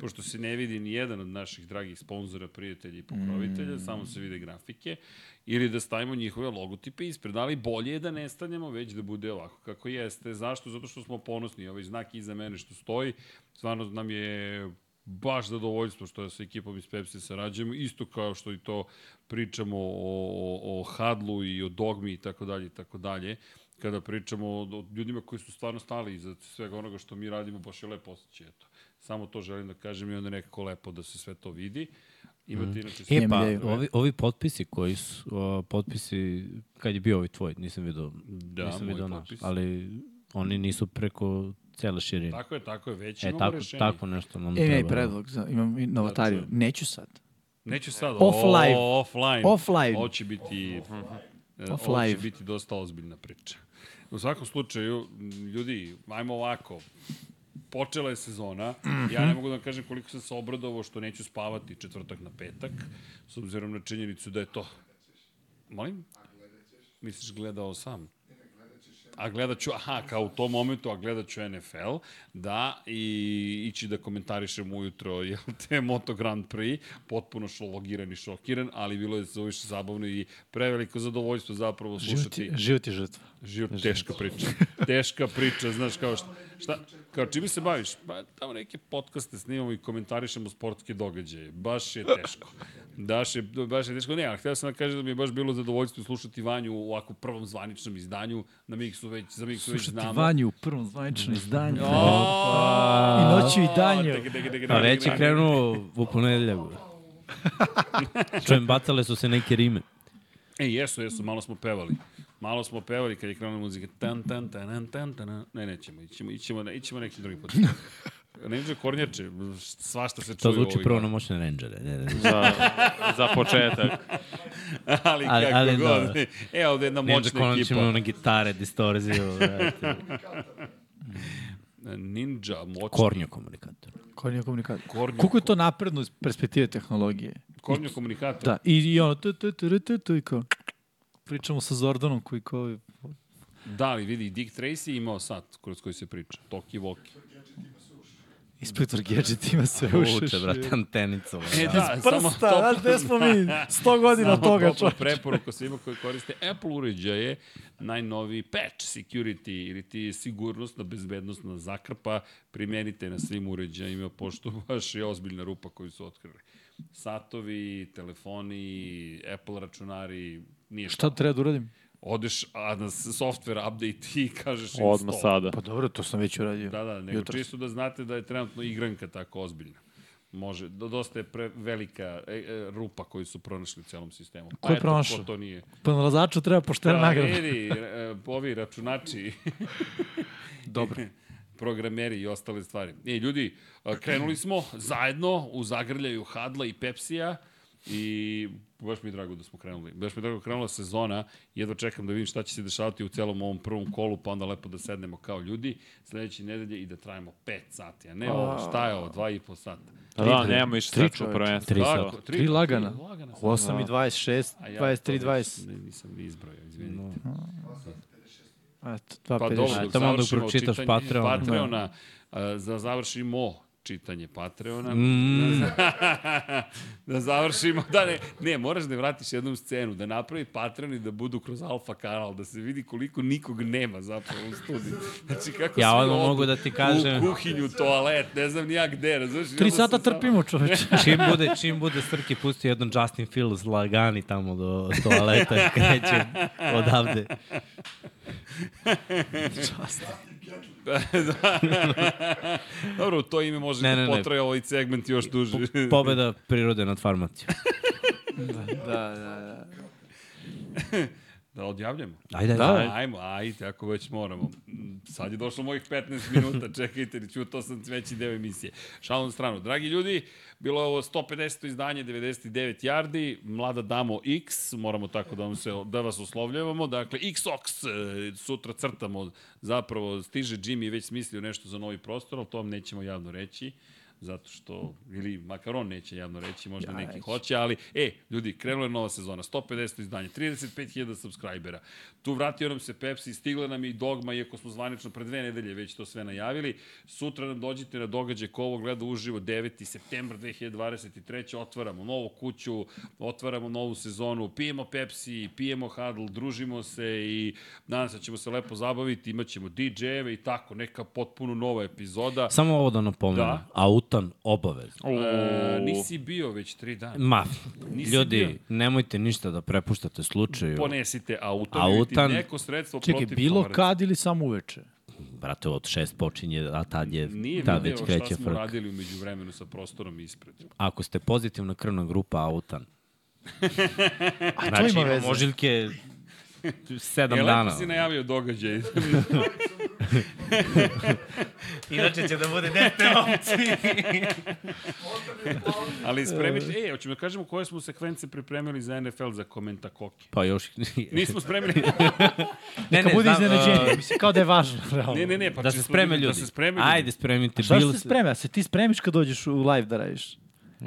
Speaker 3: pošto se ne vidi ni jedan od naših dragih sponzora, prijatelja i pokrovitelja, mm. samo se vide grafike, ili da stavimo njihove logotipe ispred, ali bolje je da ne stanemo, već da bude ovako kako jeste. Zašto? Zato što smo ponosni. Ovaj znak iza mene što stoji, stvarno nam je baš zadovoljstvo što ja sa ekipom iz Pepsi sarađujem, isto kao što i to pričamo o, o, o Hadlu i o Dogmi i tako dalje i tako dalje. Kada pričamo o, o ljudima koji su stvarno stali iza svega onoga što mi radimo, baš je lepo osjećaj. Eto. Samo to želim da kažem i onda je nekako lepo da se sve to vidi. Imate mm. inače... sve-
Speaker 4: E, pa, ideju.
Speaker 6: Ovi, ovi potpisi koji su, o, potpisi, kad je bio ovi tvoj, nisam vidio,
Speaker 3: Da,
Speaker 6: nisam
Speaker 3: moj
Speaker 6: vidio naš,
Speaker 3: potpis.
Speaker 6: ali oni nisu preko cele širine. Tako,
Speaker 3: Tako je, tako je, već e,
Speaker 6: e,
Speaker 3: imamo tako,
Speaker 6: tako,
Speaker 3: rešenje. Tako.
Speaker 6: tako nešto nam
Speaker 4: E,
Speaker 6: treba.
Speaker 4: ne, predlog, za, imam i novotariju.
Speaker 3: Da,
Speaker 4: Neću sad.
Speaker 3: Neću sad,
Speaker 4: Off
Speaker 3: o,
Speaker 4: live.
Speaker 3: offline.
Speaker 4: Off live.
Speaker 3: Ovo će biti... e,
Speaker 4: Off
Speaker 3: Ovo će
Speaker 4: live.
Speaker 3: biti dosta ozbiljna priča. U svakom slučaju, m, ljudi, ajmo ovako, počela je sezona. Ja
Speaker 4: Mhm.
Speaker 3: ne mogu da vam kažem koliko sam se obradovao što neću spavati četvrtak na petak, s obzirom na činjenicu da je to... Molim? Misliš gledao sam? A gledat ću, aha, kao u tom momentu, a gledat ću NFL, da, i ići da komentarišem ujutro, jel te, Moto Grand Prix, potpuno šologiran i šokiran, ali bilo je zaviše zabavno i preveliko zadovoljstvo zapravo
Speaker 4: Život
Speaker 3: slušati.
Speaker 4: je, život je žrtva.
Speaker 3: Život, teška priča. Teška priča, znaš, kao šta, šta, kao čime se baviš? Pa tamo neke podcaste snimamo i komentarišemo sportske događaje. Baš je teško. Daš je, baš je teško. Ne, ali htio sam da kažem da mi je baš bilo zadovoljstvo slušati Vanju u ovako prvom zvaničnom izdanju. Na Miksu već, za Miksu već
Speaker 4: Slušati
Speaker 3: znamo.
Speaker 4: vanju u prvom zvaničnom izdanju.
Speaker 3: Opa!
Speaker 4: I noću i danju.
Speaker 3: Dege, dege, dege,
Speaker 6: Pa
Speaker 3: dege,
Speaker 6: već je
Speaker 3: dege.
Speaker 6: krenuo u ponedelja. Čujem, bacale su se neke rime.
Speaker 3: E, jesu, jesu, malo smo pevali. Malo smo pevali kad je krenula muzika. Tan, tan, tan, tan, tan, Ne, nećemo, ićemo, ićemo, ićemo neki drugi put. Ninja Kornjače, svašta se
Speaker 6: To
Speaker 3: čuje u
Speaker 6: zvuči
Speaker 3: ovih
Speaker 6: prvo na moćne rangere. Ne, ne, ne.
Speaker 5: Za, za početak.
Speaker 3: ali,
Speaker 6: Ali-
Speaker 3: kako
Speaker 6: ali
Speaker 3: god.
Speaker 6: dobro. da
Speaker 3: E, ovde je jedna
Speaker 6: Ninja
Speaker 3: moćna
Speaker 6: konačno
Speaker 3: ekipa.
Speaker 6: na gitare, distorziju. brate.
Speaker 3: Ninja, moćni.
Speaker 6: Kornjo komunikator.
Speaker 4: Kornja komunikacija.
Speaker 3: Kornjo-
Speaker 4: Koliko je to napredno iz perspektive tehnologije?
Speaker 3: Kornjo komunikator.
Speaker 4: Da, i, i ono, tu, tu, tu, tu, tu, tu, i kao, pričamo sa Zordanom koji kao,
Speaker 3: Da, ali vidi, Dick Tracy je imao sat kroz koji se priča. Toki Voki.
Speaker 4: inspektor Gadget ima sve ušeš.
Speaker 6: Uče, brate, antenicom.
Speaker 3: E, da, samo
Speaker 4: Prsta, znaš gde smo mi? 100 godina toga,
Speaker 3: topla
Speaker 4: čovječe.
Speaker 3: preporuka svima koji koriste Apple uređaje, najnoviji patch security ili ti sigurnosna, bezbednostna zakrpa primenite na svim uređajima, pošto baš je ozbiljna rupa koju su otkrili. Satovi, telefoni, Apple računari, nije šta.
Speaker 4: Šta treba da uradim?
Speaker 3: Odeš a, na software update i kažeš im
Speaker 5: Odmah
Speaker 3: stop.
Speaker 5: sada.
Speaker 4: Pa dobro, to sam već uradio.
Speaker 3: Da, da, nego
Speaker 4: jutros.
Speaker 3: čisto da znate da je trenutno igranka tako ozbiljna. Može, do- dosta je pre velika e, e, rupa koju su pronašli u celom sistemu. Pa
Speaker 4: Ko je
Speaker 3: eto,
Speaker 4: pronašao?
Speaker 3: Ko to nije.
Speaker 4: Pronalazaču Pa treba poštena
Speaker 3: Pa,
Speaker 4: Da, nagrada.
Speaker 3: vidi, e, ovi računači,
Speaker 4: Dobro.
Speaker 3: programeri i ostale stvari. E, ljudi, a, krenuli smo zajedno u zagrljaju Hadla i Pepsija i baš mi je drago da smo krenuli. Baš mi je drago da krenula sezona. Jedva čekam da vidim šta će se dešavati u celom ovom prvom kolu, pa onda lepo da sednemo kao ljudi sledeće nedelje i da trajimo 5 sati, a ne ovo, šta je ovo, 2 i po sata.
Speaker 5: Da, da, nemamo više sreću u prvenstvu. Da,
Speaker 3: Tako,
Speaker 4: Tri lagana.
Speaker 3: Tri lagana.
Speaker 4: U 8 i 26,
Speaker 3: Da. A ja to
Speaker 4: 23,
Speaker 3: već
Speaker 4: 20.
Speaker 3: Ne, nisam ni izbrojao, izvinite.
Speaker 4: Eto,
Speaker 3: Pa dobro,
Speaker 4: 2,50.
Speaker 3: dok
Speaker 6: tamo onda
Speaker 3: završimo
Speaker 6: pročitaš
Speaker 3: čitanje
Speaker 6: Patreon.
Speaker 3: Patreona, a, da završimo čitanje Patreona,
Speaker 6: Mm.
Speaker 3: da završimo, da ne, ne, moraš da vratiš jednom scenu, da napravi Patreon i da budu kroz alfa kanal, da se vidi koliko nikog nema zapravo u studiju. Znači kako
Speaker 6: Ja
Speaker 3: svi
Speaker 6: odmah
Speaker 3: odu
Speaker 6: mogu da ti kažem.
Speaker 3: U kuhinju, toalet, ne znam ni ja gde, razumiješ? I
Speaker 4: 3
Speaker 3: onda
Speaker 4: sata
Speaker 3: se samo-
Speaker 4: trpimo, čoveče.
Speaker 6: čim bude, čim bude Srki pustio jedan Justin Fields lagani tamo do toaleta i kreće odavde.
Speaker 3: Dobro, u to ime može ne,
Speaker 6: Ne, ne,
Speaker 3: da
Speaker 6: ne.
Speaker 3: potraje ovaj segment još duže.
Speaker 6: Pobeda prirode nad farmacijom.
Speaker 3: Da odjavljamo.
Speaker 6: Ajde, ajde.
Speaker 3: Da, ajmo, ajde, ako već moramo. Mm, Sad je došlo mojih 15 minuta, čekajte, čutao sam veći deo emisije. Šalom na stranu. Dragi ljudi, bilo je ovo 150. izdanje, 99 yardi, mlada damo X, moramo tako da, vam se, da vas oslovljavamo, dakle, XOX, e, sutra crtamo, zapravo stiže Jimmy, već smislio nešto za novi prostor, ali to vam nećemo javno reći zato što, ili makar on neće javno reći, možda ja, neki hoće, ali, e, ljudi, krenula je nova sezona, 150 izdanje, 35.000 subscribera, tu vratio nam se Pepsi, stigla nam je i Dogma, iako smo zvanično pre dve nedelje već to sve najavili, sutra nam dođite na događaj ko ovo gleda uživo, 9. septembar 2023. otvaramo novu kuću, otvaramo novu sezonu, pijemo Pepsi, pijemo Hadl, družimo se i nadam se da ćemo se lepo zabaviti, imaćemo DJ-eve i tako, neka potpuno nova epizoda.
Speaker 6: Samo ovo da napomenu.
Speaker 3: Da.
Speaker 6: Autan obavezno.
Speaker 3: E, nisi bio već tri dana.
Speaker 6: Ma,
Speaker 3: Nisi
Speaker 6: ljudi,
Speaker 3: bio.
Speaker 6: nemojte ništa da prepuštate slučaju.
Speaker 3: Ponesite auto,
Speaker 6: Autan-
Speaker 3: autan, neko sredstvo
Speaker 4: Čekaj,
Speaker 3: protiv
Speaker 4: bilo
Speaker 3: komaraca.
Speaker 4: kad ili samo uveče?
Speaker 6: Brate, od šest počinje, a tad je,
Speaker 3: Nije
Speaker 6: tad
Speaker 3: video
Speaker 6: Da, već
Speaker 3: šta
Speaker 6: kreće
Speaker 3: smo
Speaker 6: frk.
Speaker 3: radili umeđu vremenu sa prostorom ispred.
Speaker 6: Ako ste pozitivna krvna grupa, autan. a
Speaker 4: to ima veze.
Speaker 6: ožiljke Znači, sedam
Speaker 3: E,
Speaker 6: dana.
Speaker 3: lepo si najavio događaj.
Speaker 6: Inače će da bude dete momci.
Speaker 3: Ali spremite, e, hoćemo da kažemo koje smo sekvence pripremili za NFL za komenta koke.
Speaker 6: Pa još... ne,
Speaker 3: Nismo spremili.
Speaker 4: Neka bude
Speaker 6: znam,
Speaker 4: iznenađenje,
Speaker 6: uh,
Speaker 4: mislim, kao da je važno. realno.
Speaker 3: Ne, ne, ne, pa
Speaker 6: da se
Speaker 3: čisto
Speaker 6: spreme ljudi.
Speaker 3: Da se spreme ljudi.
Speaker 6: Ajde, spremite.
Speaker 4: Šta
Speaker 6: bilo
Speaker 4: se spremi? A se ti spremiš kad dođeš u live da radiš?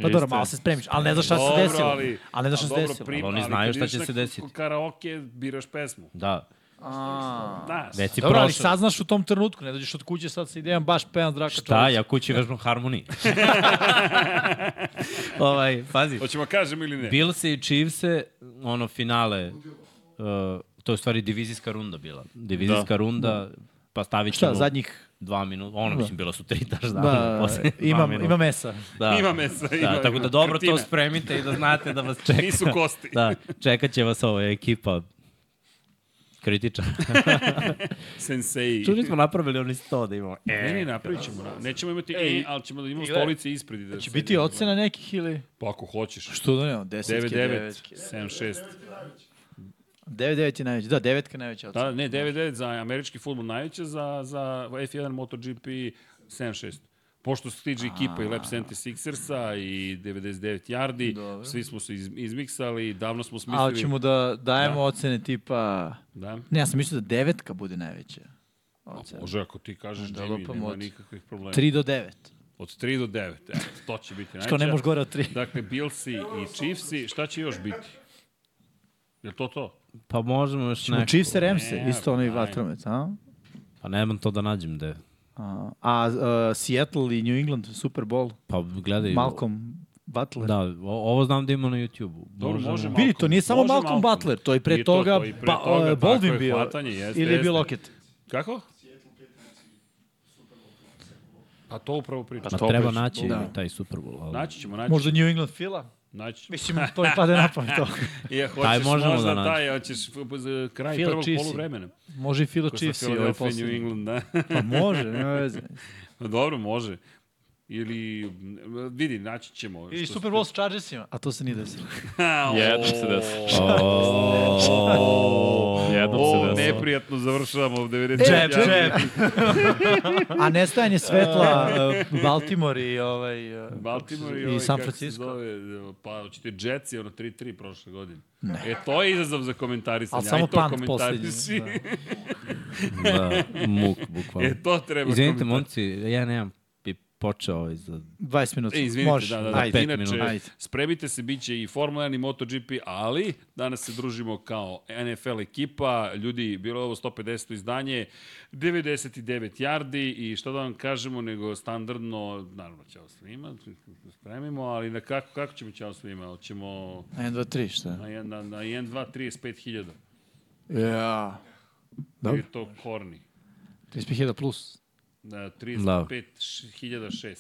Speaker 4: Pa dobro, malo se spremiš, ali ne znaš šta se
Speaker 3: Dobro,
Speaker 4: desilo.
Speaker 3: ali-
Speaker 4: ali ne znaš šta
Speaker 3: a
Speaker 4: se
Speaker 3: dobro,
Speaker 4: desilo.
Speaker 3: pri-
Speaker 6: Ali da oni
Speaker 3: kad
Speaker 6: znaju šta
Speaker 3: ideš
Speaker 6: će
Speaker 3: na
Speaker 6: se
Speaker 3: k-
Speaker 6: desiti.
Speaker 3: Karaoke, biraš pesmu.
Speaker 6: Da,
Speaker 3: Da,
Speaker 6: već si
Speaker 4: Dobro, ali
Speaker 6: prošao.
Speaker 4: saznaš u tom trenutku, ne dođeš od kuće, sad se idem baš pejan zraka
Speaker 6: Šta, Da, ja kući vežbam harmoniju. ovaj, pazi,
Speaker 3: Hoćemo kažemo ili ne?
Speaker 6: Bills i Chiefs ono finale, uh, to je u stvari divizijska runda bila. Divizijska da. runda, pa stavit ćemo
Speaker 4: Šta, zadnjih...
Speaker 6: dva minuta, ono mislim bilo su tri taš
Speaker 4: Da,
Speaker 6: dana.
Speaker 4: da,
Speaker 6: posle dva
Speaker 4: ima,
Speaker 6: minuta.
Speaker 4: ima mesa.
Speaker 6: Da.
Speaker 3: Ima mesa, ima,
Speaker 6: Da, tako
Speaker 3: ima.
Speaker 6: da dobro
Speaker 3: Krtina.
Speaker 6: to spremite i da znate da vas čeka.
Speaker 3: Nisu kosti.
Speaker 6: Da, čekat će vas ova ekipa kritiča.
Speaker 3: Sensei.
Speaker 6: Tu nismo napravili oni sto da imamo. E,
Speaker 3: Ne, ne, napravit ćemo. na- Nećemo imati e, ali ćemo da imamo stolice ispred. i Da
Speaker 10: Znači,
Speaker 4: Će
Speaker 3: se-
Speaker 4: biti ocena nekih ili...
Speaker 3: Pa ako hoćeš.
Speaker 4: Što da nema, desetke,
Speaker 3: 9-9,
Speaker 4: devetke.
Speaker 3: 7-6.
Speaker 4: 9-9 je najveća, da, devetka je najveća ocena.
Speaker 3: Da, ne, 9-9 za američki futbol najveće, za, za F1 MotoGP 7-6. Pošto stiže ekipa i Lab 76ersa i 99 yardi,
Speaker 4: Dobro.
Speaker 3: svi smo se iz, izmiksali, davno smo smislili...
Speaker 4: Ali ćemo da dajemo da ocene tipa...
Speaker 3: Da?
Speaker 4: Ne, ja sam mislio da devetka bude najveća.
Speaker 10: ocena.
Speaker 3: Može, ako ti kažeš
Speaker 10: Da
Speaker 3: da Jimmy,
Speaker 10: lupam
Speaker 3: nema
Speaker 10: od
Speaker 3: nikakvih problema.
Speaker 10: 3 do 9.
Speaker 3: Od 3 do 9, evo, to će biti najče.
Speaker 10: Što ne možeš gore od 3.
Speaker 3: Dakle, Billsi i Chiefsi, šta će još biti? Je to to?
Speaker 6: Pa možemo još
Speaker 10: U
Speaker 4: Znači-
Speaker 6: neko.
Speaker 10: Chiefs Remse,
Speaker 3: Ne,
Speaker 10: isto onaj
Speaker 3: ajde.
Speaker 10: vatromet, a?
Speaker 6: Pa nemam to da nađem gde.
Speaker 10: Uh, A, a, a Seattle i New England Super Bowl,
Speaker 6: Pa gledaj.
Speaker 10: Malcolm Butler.
Speaker 6: Da, o, ovo znam da ima na YouTube-u.
Speaker 3: Dobro,
Speaker 6: Možemo-
Speaker 3: može
Speaker 10: Vidi, to nije samo
Speaker 3: Može
Speaker 10: Malcolm, Butler, to je pre
Speaker 3: Nije to
Speaker 10: toga,
Speaker 3: to, i pre
Speaker 10: ba,
Speaker 3: toga,
Speaker 10: e,
Speaker 3: tako
Speaker 10: Baldwin
Speaker 3: je,
Speaker 10: bio.
Speaker 3: hvatanje, jeste,
Speaker 10: ili je bio
Speaker 3: jeste.
Speaker 10: Lockett.
Speaker 3: Kako? Pa to upravo pričam.
Speaker 6: Pa treba naći taj Super Bowl. Ali...
Speaker 3: Da. Naći ćemo, naći.
Speaker 10: Možda New England Fila?
Speaker 3: Naći ćemo.
Speaker 10: Mislim, to mi pade na pamet. to.
Speaker 3: Je, hoćeš
Speaker 6: Taj možemo
Speaker 3: možda
Speaker 6: da
Speaker 3: taj, hoćeš f- p- za kraj
Speaker 10: Phila
Speaker 3: prvog
Speaker 10: Chiefs-i.
Speaker 3: poluvremena.
Speaker 10: Može i Fila
Speaker 3: Ko sa
Speaker 10: Chiefs i ovaj
Speaker 3: Philadelphia, New
Speaker 10: poslednji.
Speaker 3: England, da.
Speaker 10: Pa može, nema veze.
Speaker 3: Pa Dobro, može. Ili, m, vidi, naći ćemo.
Speaker 10: I
Speaker 3: Što
Speaker 10: Super Bowl s Chargersima. A to se nije desilo.
Speaker 3: A, o,
Speaker 5: Jednom se desilo.
Speaker 6: da.
Speaker 5: Jednom
Speaker 3: O,
Speaker 5: se desilo.
Speaker 3: neprijatno završavamo ovde. E,
Speaker 10: Džep, A nestajanje svetla e, Baltimore i ovaj... e,
Speaker 3: Baltimore i,
Speaker 10: i
Speaker 3: ovaj,
Speaker 10: San
Speaker 3: kako se
Speaker 10: Francisco.
Speaker 3: Zove, pa hoćete Jetsi, ono 3-3 prošle godine. Ne. E, to je izazov za komentarisanje.
Speaker 10: Ali samo
Speaker 3: Aj, to
Speaker 10: punt
Speaker 3: komentariši.
Speaker 10: poslednji,
Speaker 6: da, muk, bukvalno.
Speaker 3: E, to treba
Speaker 6: Izvinite,
Speaker 3: komentar-
Speaker 6: momci, ja nemam bi počeo ovaj za...
Speaker 10: 20 minuta.
Speaker 3: E, izvinite,
Speaker 10: Može.
Speaker 3: da, da, da.
Speaker 10: Ajde.
Speaker 3: Inače,
Speaker 6: minuta.
Speaker 10: Ajde.
Speaker 3: spremite se, bit će i Formula 1 i MotoGP, ali danas se družimo kao NFL ekipa. Ljudi, bilo je ovo 150. izdanje, 99 yardi i šta da vam kažemo, nego standardno, naravno, ćao svima, spremimo, ali na kako, kako ćemo ćao svima? Hoćemo
Speaker 10: 1, 2, 3, šta?
Speaker 3: na, jedan- na, na 1, 2, 35.000.
Speaker 10: Ja. Da.
Speaker 3: Dobro.
Speaker 10: Dobro.
Speaker 3: Ili to korni.
Speaker 10: 35.000 plus.
Speaker 3: Na
Speaker 10: Da.
Speaker 3: 35.006.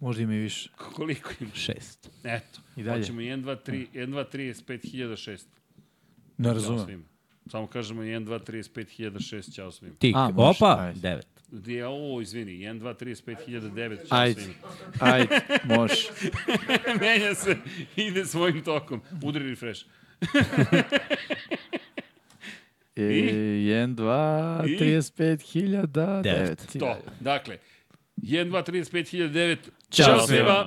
Speaker 10: Možda ima i više.
Speaker 3: Koliko ima?
Speaker 6: Šest.
Speaker 3: Eto. I
Speaker 10: dalje.
Speaker 3: Hoćemo 1, 2, 3, 1, 2, 35.006.
Speaker 10: Ne
Speaker 3: Ćao
Speaker 10: razumem.
Speaker 3: Da, svima. Samo kažemo 1, 2, 35, 1006, čao svima.
Speaker 6: Tik,
Speaker 10: A, može,
Speaker 6: opa,
Speaker 10: ajde.
Speaker 6: devet.
Speaker 3: Ja, o, izvini, 1, 2, 35, 1009, čao
Speaker 10: Ajde.
Speaker 3: svima.
Speaker 10: Ajde, može.
Speaker 3: Menja se, ide svojim tokom. Udri refresh.
Speaker 10: E, 1, 2,
Speaker 3: I?
Speaker 10: 35.000,
Speaker 6: Devet.
Speaker 10: 9.
Speaker 3: To, dakle, 1, 2, 35, 1009,
Speaker 10: Ćao
Speaker 3: čao
Speaker 10: svima.
Speaker 3: svima.